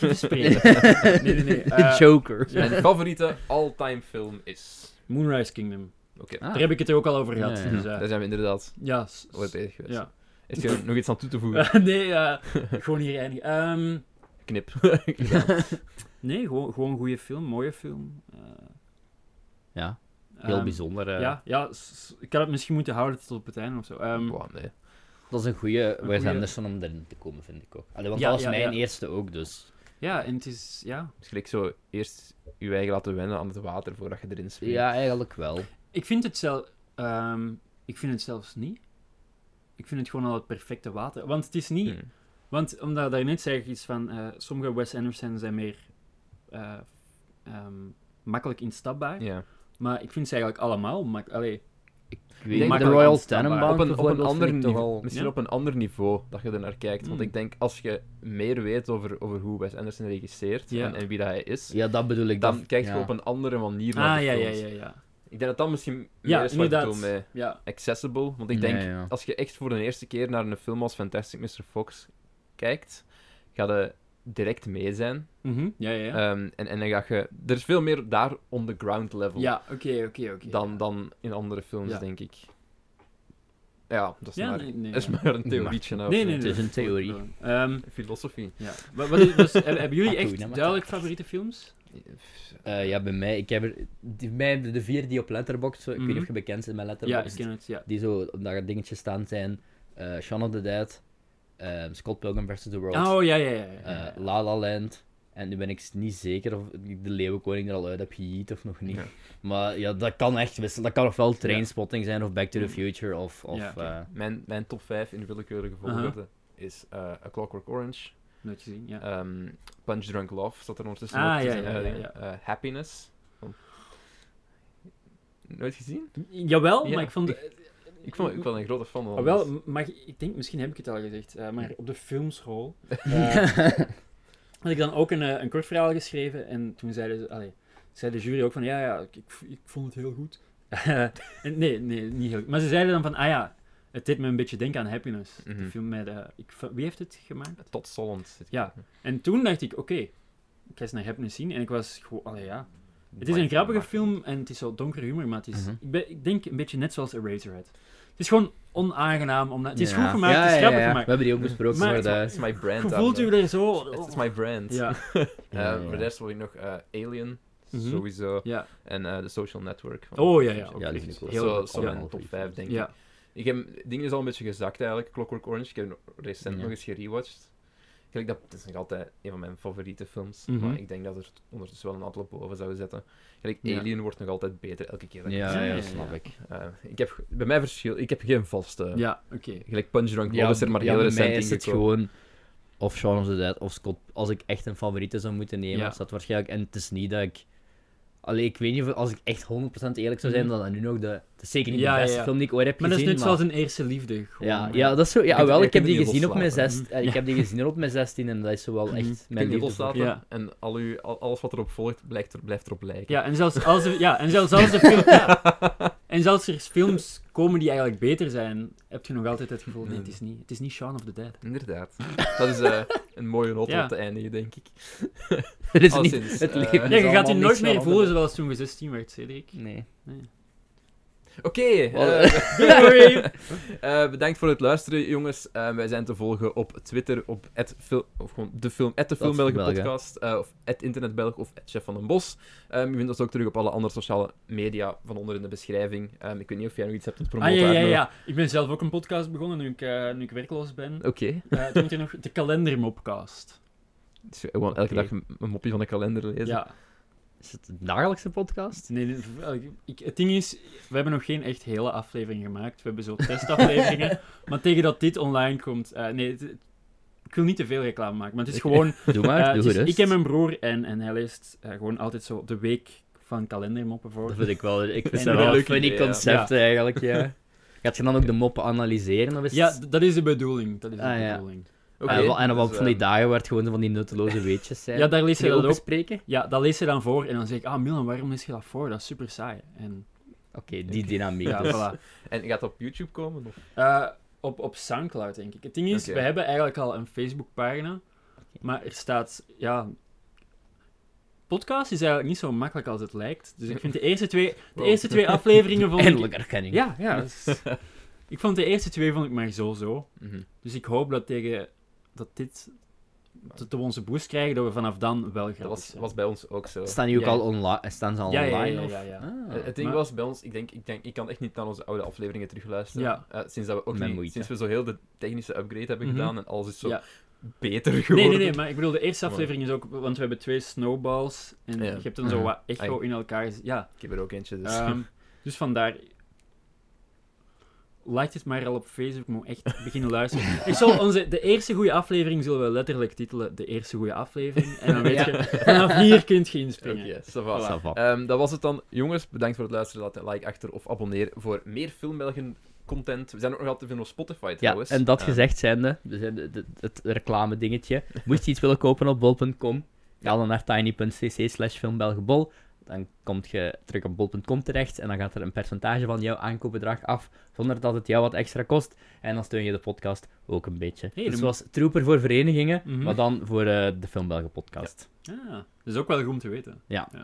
Speaker 3: bespreken. Nee, nee, nee. eh,
Speaker 2: Joker.
Speaker 1: Mijn favoriete all-time film is...
Speaker 3: Moonrise Kingdom.
Speaker 1: Oké,
Speaker 2: Ah.
Speaker 3: Daar heb ik het er ook al over gehad.
Speaker 2: Ja, ja,
Speaker 3: Dus, eh,
Speaker 1: daar zijn we inderdaad
Speaker 3: ja, s- s-
Speaker 1: ooit bezig geweest.
Speaker 3: ja.
Speaker 1: Is er nog iets aan toe te voegen?
Speaker 3: nee, eh, gewoon hier eindigen. Ehm,
Speaker 1: Knip.
Speaker 3: nee, gewoon, gewoon een goede film, mooie film. Eh,
Speaker 2: Ja, heel
Speaker 3: ehm,
Speaker 2: bijzonder. eh.
Speaker 3: Ja, ja s- s- ik had het misschien moeten houden tot op het einde of zo. Ehm,
Speaker 1: Wow, nee.
Speaker 2: Dat is een goede
Speaker 3: Een
Speaker 2: Wes
Speaker 3: goeie-
Speaker 2: Anderson om erin te komen, vind ik ook. Allee, want
Speaker 3: Ja,
Speaker 2: dat was
Speaker 3: ja,
Speaker 2: mijn
Speaker 3: ja.
Speaker 2: eerste ook, dus...
Speaker 3: Ja, en het is. Ja.
Speaker 1: Het is gelijk zo eerst je eigen laten wennen aan het water voordat je erin springt.
Speaker 2: Ja, eigenlijk wel.
Speaker 3: Ik vind het zelf. ehm, ik vind het zelfs niet. Ik vind het gewoon al het perfecte water. Want het is niet.
Speaker 1: Hmm.
Speaker 3: Want omdat daarnet zei ik iets van. eh, sommige Wes Anderson zijn meer. eh, ehm, makkelijk instapbaar.
Speaker 1: Ja.
Speaker 3: Maar ik vind ze eigenlijk allemaal. mak- Allee,
Speaker 2: Ik
Speaker 1: denk
Speaker 2: weet, niet, de
Speaker 3: makkelijk
Speaker 2: Royal
Speaker 3: ontstelbaar.
Speaker 2: Tenenbaum
Speaker 1: Op een, op een
Speaker 2: bijvoorbeeld
Speaker 1: ander
Speaker 2: vind ik toch
Speaker 1: niveau,
Speaker 2: al-
Speaker 1: misschien
Speaker 3: Ja.
Speaker 1: op een ander niveau dat je er naar kijkt. Want
Speaker 3: Mm.
Speaker 1: ik denk als je meer weet over, over hoe Wes Anderson regisseert
Speaker 3: Ja.
Speaker 1: en, en wie dat hij is,
Speaker 2: Ja, dat bedoel ik.
Speaker 1: dan
Speaker 2: dat-
Speaker 1: kijk je
Speaker 2: ja.
Speaker 1: op een andere manier naar
Speaker 3: ah
Speaker 1: de
Speaker 3: ja, ja,
Speaker 1: films.
Speaker 3: ja, ja.
Speaker 1: Ik denk dat dat misschien
Speaker 3: Ja,
Speaker 1: meer is wat ik
Speaker 3: inderdaad.
Speaker 1: bedoel met
Speaker 3: Ja,
Speaker 1: accessible. Want ik
Speaker 2: Ja,
Speaker 1: denk,
Speaker 2: ja.
Speaker 1: als je echt voor de eerste keer naar een film als Fantastic Mr. Fox kijkt, ga je direct mee zijn.
Speaker 3: Mhm, ja, ja. Ja,
Speaker 1: Ehm, en, en dan ga je... Er is veel meer daar on the ground level
Speaker 3: Ja, oké, oké, oké.
Speaker 1: dan, dan in andere films,
Speaker 3: Ja.
Speaker 1: denk ik. Ja, dat is,
Speaker 3: Ja,
Speaker 1: maar,
Speaker 3: nee, nee.
Speaker 1: dat is
Speaker 3: ja.
Speaker 1: maar een theorietje. nou,
Speaker 3: Nee,
Speaker 1: of
Speaker 3: nee,
Speaker 1: zo.
Speaker 2: Het is
Speaker 3: nee.
Speaker 2: een theorie.
Speaker 3: Ehm,
Speaker 1: Filosofie.
Speaker 3: ja. Wat, wat is, dus, hebben hebben jullie
Speaker 2: Wat doe je nou
Speaker 3: echt
Speaker 2: met
Speaker 3: duidelijk favoriete films?
Speaker 2: Eh, ja, bij mij, ik heb er, die, mij, de, de vier die op Letterboxd, ik weet
Speaker 3: Mhm.
Speaker 2: niet of je bekend bent met
Speaker 3: Ja,
Speaker 2: Letterboxd,
Speaker 3: ik ken het, ja.
Speaker 2: die zo op dat dingetje staan zijn, eh Shaun of the Dead, eh, Scott Pilgrim vs. The World,
Speaker 3: Oh, ja, ja, ja. ja,
Speaker 2: eh,
Speaker 3: ja.
Speaker 2: La La Land, en nu ben ik s- niet zeker of ik de Leeuwenkoning er al uit heb geëat of nog niet.
Speaker 1: Ja.
Speaker 2: Maar ja, dat kan echt wisselen. Dat kan ofwel Trainspotting zijn, of Back to the Future, of... of
Speaker 3: Mm. Ja.
Speaker 2: eh,
Speaker 1: Mijn, mijn top 5 in willekeurige volgorde is eh, A Clockwork Orange,
Speaker 3: Nooit gezien, ja.
Speaker 1: ehm, Punch Drunk Love, zat er ondertussen
Speaker 3: Ah,
Speaker 1: op.
Speaker 3: ja,
Speaker 1: tussen,
Speaker 3: ja,
Speaker 1: eh,
Speaker 3: ja,
Speaker 1: dingen. Eh, happiness. Oh. Nooit gezien?
Speaker 3: Jawel,
Speaker 1: Ja,
Speaker 3: maar ik vond...
Speaker 1: Ik, vond, ik ben een grote fan van.
Speaker 3: Ah, wel,
Speaker 1: dus-
Speaker 3: m- maar ik denk, misschien heb ik het al gezegd, eh, maar op de filmschool eh, had ik dan ook een, eh, een kort verhaal geschreven en toen zeiden ze, allee, zei de jury ook van, ja, ja, ik, ik, ik vond het heel goed. En nee, nee, niet heel goed. Maar ze zeiden dan van, ah ja, het deed me een beetje denken aan Happiness.
Speaker 1: Mhm.
Speaker 3: De film met, eh, ik, v- wie heeft het gemaakt?
Speaker 1: Tot Solent. zit ik-
Speaker 3: Ja. En toen dacht ik, oké, ik ga eens naar Happiness zien en ik was gewoon, allee, ja. Het is een
Speaker 1: Mind-
Speaker 3: grappige
Speaker 1: mind-
Speaker 3: film en het is zo donker humor, maar het is,
Speaker 2: Mhm.
Speaker 3: ik, ben, ik denk een beetje net zoals Eraserhead. Het is gewoon onaangenaam om na- Het is goed
Speaker 2: ja.
Speaker 3: gemaakt,
Speaker 2: Ja,
Speaker 3: het is
Speaker 2: ja,
Speaker 3: grappig
Speaker 2: ja.
Speaker 3: gemaakt.
Speaker 2: We hebben die ook besproken
Speaker 3: Maar
Speaker 2: voor
Speaker 3: het-
Speaker 1: Dat
Speaker 2: de...
Speaker 1: is my brand.
Speaker 3: Hoe voelt u
Speaker 1: daarom.
Speaker 3: er zo?
Speaker 1: Het is my brand.
Speaker 3: Ja,
Speaker 1: Eh,
Speaker 2: Ja, ja.
Speaker 1: Voor de rest wil ik nog eh, Alien,
Speaker 3: Mhm.
Speaker 1: sowieso.
Speaker 3: ja.
Speaker 1: En eh The Social Network. van-
Speaker 3: Oh, ja, ja,
Speaker 1: ook
Speaker 3: ook
Speaker 2: Ja, die
Speaker 1: echt
Speaker 2: vind ik ook
Speaker 1: Heel
Speaker 2: wel
Speaker 1: zo,
Speaker 2: leuk.
Speaker 1: zo
Speaker 3: Ja.
Speaker 1: mijn top 5, denk ik.
Speaker 3: ja.
Speaker 1: Ik heb, het ding is al een beetje gezakt eigenlijk, Clockwork Orange. Ik heb hem recent
Speaker 2: Ja.
Speaker 1: nog eens gerewatched. Gelijk dat, dat is nog altijd een van mijn favoriete films,
Speaker 3: Mhm.
Speaker 1: maar ik denk dat er ondertussen wel een aantal boven zouden zetten. Gelijk
Speaker 3: Ja.
Speaker 1: Alien wordt nog altijd beter elke keer. Dat ik-
Speaker 2: Ja,
Speaker 3: Ja, ja,
Speaker 2: ja,
Speaker 3: ja.
Speaker 2: snap ik.
Speaker 1: Eh, ik heb, bij mij verschil, ik heb geen
Speaker 2: eh.
Speaker 1: vaste.
Speaker 3: Ja, oké.
Speaker 1: Gelijk Punch Drunk Love is er maar
Speaker 2: ja,
Speaker 1: heel
Speaker 2: bij mij
Speaker 1: recent
Speaker 2: is het
Speaker 1: ingekomen.
Speaker 2: gewoon of Shaun of the Dead of Scott. Als ik echt een favoriete zou moeten nemen,
Speaker 3: Ja.
Speaker 2: is dat waarschijnlijk. En het is niet dat ik. Allee, ik weet niet of als ik echt 100% eerlijk zou zijn,
Speaker 3: Mhm.
Speaker 2: dan dat nu nog de. Het is zeker niet
Speaker 3: Ja,
Speaker 2: de
Speaker 3: ja,
Speaker 2: beste
Speaker 3: ja.
Speaker 2: film die ik ooit heb
Speaker 3: Maar dat is
Speaker 2: gezien.
Speaker 3: net zoals een eerste liefde. gewoon.
Speaker 2: Ja, ja, dat is zo. Ja,
Speaker 1: kunt-
Speaker 2: wel,
Speaker 1: je
Speaker 2: ik
Speaker 1: kunt
Speaker 2: heb
Speaker 1: er
Speaker 2: die
Speaker 1: niet
Speaker 2: gezien op mijn
Speaker 1: loslaten.
Speaker 2: zest, eh, Ik
Speaker 3: Ja.
Speaker 2: heb die gezien op mijn 16 en dat is zo wel echt
Speaker 1: Ik heb
Speaker 2: mijn
Speaker 1: die
Speaker 2: liefde. voor-
Speaker 1: loslaten
Speaker 3: Ja.
Speaker 1: en al, uw, al, alles wat erop volgt blijft, er, blijft erop lijken.
Speaker 3: Ja, en zelfs als er, ja, en zelfs als er, film, ja. en zelfs er films komen die eigenlijk beter zijn, heb je nog altijd het gevoel, nee, het is niet, het is niet Shaun of the Dead.
Speaker 1: Inderdaad. Dat is eh, een mooie noot
Speaker 3: Ja.
Speaker 1: om te eindigen, denk ik.
Speaker 2: Het is
Speaker 1: Al
Speaker 2: niet.
Speaker 1: sinds,
Speaker 2: Het
Speaker 1: eh,
Speaker 2: leven.
Speaker 3: Ja,
Speaker 2: is
Speaker 3: je gaat
Speaker 2: allemaal
Speaker 3: je
Speaker 2: niet
Speaker 3: nooit
Speaker 2: Shaun
Speaker 3: meer
Speaker 2: of the
Speaker 3: voelen
Speaker 2: Dead.
Speaker 3: zoals toen je 16 werd, Cedric.
Speaker 2: Nee.
Speaker 3: Nee.
Speaker 1: Oké.
Speaker 2: Wel,
Speaker 1: eh,
Speaker 3: Doei!
Speaker 1: eh, bedankt voor het luisteren, jongens. Eh, wij zijn te volgen op Twitter, op het film, of gewoon de film, at de
Speaker 2: Dat is
Speaker 1: filmbelgen
Speaker 2: Belgen.
Speaker 1: podcast, eh, of at internetbelg of at chef van den bos. Ehm je vindt ons ook terug op alle andere sociale media van onder in de beschrijving. Ehm, ik weet niet of jij nog iets hebt te
Speaker 3: Ah
Speaker 1: promoten.
Speaker 3: ja, ja,
Speaker 1: Arno.
Speaker 3: ja. Ik ben zelf ook een podcast begonnen nu ik, eh, nu ik werkloos ben.
Speaker 1: Oké.
Speaker 3: Eh toen moet je nog de kalendermopcast.
Speaker 1: Dus gewoon elke
Speaker 2: Oké.
Speaker 1: dag een een mopje van de kalender lezen.
Speaker 3: Ja.
Speaker 2: Is het de dagelijkse podcast?
Speaker 3: Nee, dit- wel, ik- ik, het ding is, we hebben nog geen echt hele aflevering gemaakt. We hebben zo testafleveringen. maar tegen dat dit online komt... eh, nee, het- ik wil niet te veel reclame maken, maar het is
Speaker 2: Oké.
Speaker 3: gewoon...
Speaker 2: Doe maar,
Speaker 3: eh,
Speaker 2: doe
Speaker 3: het is
Speaker 2: gerust.
Speaker 3: ik en mijn broer en, en hij leest eh, gewoon altijd zo de week van kalendermoppen voor.
Speaker 2: Dat vind ik wel, ik
Speaker 3: En
Speaker 2: vind dat
Speaker 3: een
Speaker 2: wel een
Speaker 1: leuk
Speaker 2: funny
Speaker 1: idee, ja.
Speaker 2: concept eigenlijk, ja. Gaat je dan ook de moppen analyseren? Of is
Speaker 3: Ja,
Speaker 2: het-
Speaker 3: d- dat is de bedoeling. Dat is de
Speaker 2: Ah, ja.
Speaker 3: bedoeling.
Speaker 1: Oké,
Speaker 2: en, wa- en
Speaker 1: dus,
Speaker 2: op van die
Speaker 1: ehm,
Speaker 2: dagen waar het gewoon zo van die nutteloze weetjes zijn.
Speaker 3: Ja, daar lees
Speaker 2: Kun
Speaker 3: je
Speaker 2: je ook
Speaker 3: dat ook.
Speaker 2: bespreken?
Speaker 3: Ja, dat lees je dan voor en dan zeg ik, ah Milan, waarom lees je dat voor? Dat is super saai. En,
Speaker 2: Oké, die dynamiek
Speaker 3: ja,
Speaker 2: dus.
Speaker 3: voilà.
Speaker 1: En gaat het op YouTube komen? Of?
Speaker 3: Eh, op, op Soundcloud, denk ik. Het ding is,
Speaker 1: Oké.
Speaker 3: we hebben eigenlijk al een Facebookpagina, maar er staat, ja... Podcast is eigenlijk niet zo makkelijk als het lijkt. Dus ik vind de eerste twee, de
Speaker 1: Wow.
Speaker 3: eerste twee afleveringen vond
Speaker 2: Eindelijk
Speaker 3: ik...
Speaker 2: erkenning.
Speaker 3: Ja, ja. dat is- ik vond de eerste twee vond ik maar zo-zo.
Speaker 1: Mhm.
Speaker 3: Dus ik hoop dat tegen... Dat dit... Dat we onze boost krijgen, dat we vanaf dan wel
Speaker 1: Dat
Speaker 3: grappig
Speaker 1: was,
Speaker 3: zijn.
Speaker 1: was bij ons ook zo.
Speaker 2: Staan, die ook
Speaker 3: Ja.
Speaker 2: al online, staan ze al
Speaker 3: ja, ja,
Speaker 2: online?
Speaker 3: ja,
Speaker 2: of-
Speaker 3: ja, ja.
Speaker 2: Ah.
Speaker 1: Eh, Het ding
Speaker 3: maar-
Speaker 1: was bij ons, ik denk, ik denk, ik kan echt niet naar onze oude afleveringen terugluisteren.
Speaker 3: Ja.
Speaker 1: Eh, sinds dat we ook
Speaker 2: Met
Speaker 1: niet-
Speaker 2: moeite.
Speaker 1: sinds we zo heel de technische upgrade hebben
Speaker 3: Mhm.
Speaker 1: gedaan en alles is zo
Speaker 3: Ja.
Speaker 1: beter
Speaker 3: Nee,
Speaker 1: geworden.
Speaker 3: nee, nee, maar ik bedoel, de eerste
Speaker 1: Maar-
Speaker 3: aflevering is ook... Want we hebben twee snowballs en
Speaker 1: Ja. Ah,
Speaker 3: je hebt dan zo
Speaker 2: Mhm.
Speaker 3: wat echo
Speaker 1: Ai.
Speaker 3: in elkaar. z- Ja,
Speaker 1: Ik heb er ook eentje, dus.
Speaker 3: Ehm, dus vandaar. Like het maar al op Facebook, ik moet echt beginnen luisteren. Ik zal onze, de eerste goede aflevering zullen we letterlijk titelen: De eerste goede aflevering. En dan weet
Speaker 2: Ja.
Speaker 3: je, vanaf hier kunt je inspringen.
Speaker 1: Oké, ça va.
Speaker 2: Ça va.
Speaker 1: Ehm, dat was het dan. Jongens, bedankt voor het luisteren. Laat een like achter of abonneer voor meer filmbelgen content. We zijn ook nog altijd te vinden op Spotify
Speaker 2: Ja,
Speaker 1: trouwens.
Speaker 2: en dat
Speaker 1: Ehm,
Speaker 2: gezegd zijnde, dus eh, de- de- het reclame dingetje. Moest je iets willen kopen op bol.com, ga dan naar tiny.cc slash filmbelgebol. Dan kom je terug op bol.com terecht en dan gaat er een percentage van jouw aankoopbedrag af, zonder dat het jou wat extra kost. En dan steun je de podcast ook een beetje.
Speaker 3: Hey,
Speaker 2: dus
Speaker 3: dan-
Speaker 2: zoals Trooper voor verenigingen,
Speaker 3: Mhm.
Speaker 2: maar dan voor eh, de Filmbelgen podcast.
Speaker 3: Ah, dat is ook wel goed om te weten.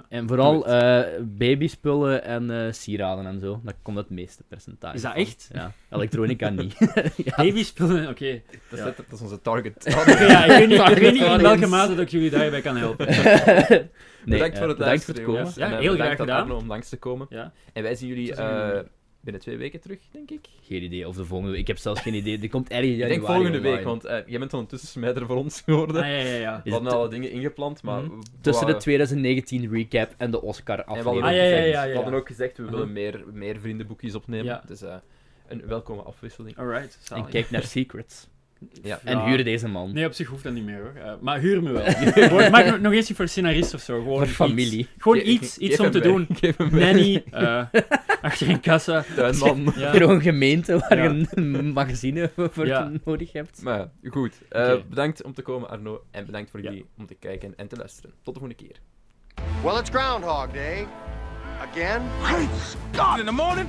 Speaker 2: En vooral eh, babyspullen en eh, sieraden en zo, daar komt het meeste percentage
Speaker 3: Is dat
Speaker 2: van.
Speaker 3: echt?
Speaker 2: Ja, elektronica niet.
Speaker 3: Baby spullen, oké.
Speaker 1: Dat, is,
Speaker 3: Ja.
Speaker 1: net- dat is onze target.
Speaker 3: Oké, ja, ik weet niet, ik weet niet in
Speaker 2: Audience.
Speaker 3: welke mate dat ik jullie daarbij kan helpen.
Speaker 2: Nee,
Speaker 1: bedankt
Speaker 2: eh,
Speaker 1: voor het
Speaker 2: bedankt voor
Speaker 1: luisteren,
Speaker 2: het komen.
Speaker 1: jongens.
Speaker 3: Ja,
Speaker 1: En, eh,
Speaker 3: heel
Speaker 1: bedankt
Speaker 3: graag
Speaker 1: aan
Speaker 3: gedaan.
Speaker 1: Arno om langs te komen.
Speaker 3: Ja.
Speaker 1: En wij zien jullie
Speaker 3: Tot ziens,
Speaker 1: eh,
Speaker 3: jongen.
Speaker 1: binnen twee weken terug, denk ik.
Speaker 2: Geen idee. Of de volgende week. Ik heb zelfs geen idee. Die komt ergens in
Speaker 1: Ik
Speaker 2: januari
Speaker 1: denk volgende
Speaker 2: online.
Speaker 1: week, want eh, jij bent ondertussen smijter voor ons geworden.
Speaker 3: Ah, ja, ja, ja.
Speaker 1: We
Speaker 2: Is
Speaker 1: hadden
Speaker 2: het-
Speaker 1: alle dingen ingepland, maar...
Speaker 3: Mhm.
Speaker 1: we-
Speaker 2: Tussen de
Speaker 1: we-
Speaker 2: 2019 recap en de Oscar
Speaker 1: En we hadden,
Speaker 2: aflevering.
Speaker 1: ook
Speaker 3: Ah, ja, ja,
Speaker 1: gezegd-
Speaker 3: ja, ja,
Speaker 1: we hadden
Speaker 3: ja.
Speaker 1: ook gezegd, we
Speaker 3: Mhm.
Speaker 1: willen meer, meer vriendenboekjes opnemen.
Speaker 3: Ja.
Speaker 1: Dus eh, een welkome afwisseling.
Speaker 3: Alright, zalig.
Speaker 2: En kijk naar Secrets.
Speaker 1: Ja.
Speaker 2: En huur deze man.
Speaker 3: Nee, op zich hoeft dat niet meer hoor. Eh, maar huur me wel. Word- Maak nog- nog eens niet voor scenarist of zo. Gewoon
Speaker 2: Voor
Speaker 3: iets.
Speaker 2: familie.
Speaker 3: Gewoon
Speaker 1: Ge- ge-
Speaker 3: iets, iets
Speaker 1: geef
Speaker 3: om
Speaker 1: hem
Speaker 3: te
Speaker 1: weg.
Speaker 3: doen.
Speaker 1: Geef hem weg.
Speaker 3: Nanny, eh, achter een kassa.
Speaker 1: Tuinman.
Speaker 3: Ja.
Speaker 2: Gewoon gemeente waar
Speaker 3: Ja.
Speaker 2: je een magazine voor
Speaker 3: Ja.
Speaker 2: nodig hebt.
Speaker 1: Maar ja, goed. Eh,
Speaker 3: Oké.
Speaker 1: Bedankt om te komen, Arno. En bedankt voor
Speaker 3: Ja.
Speaker 1: jullie om te kijken en te luisteren. Tot de volgende keer.
Speaker 4: Well, it's Groundhog Day. Again?
Speaker 5: Great Scott! In the morning,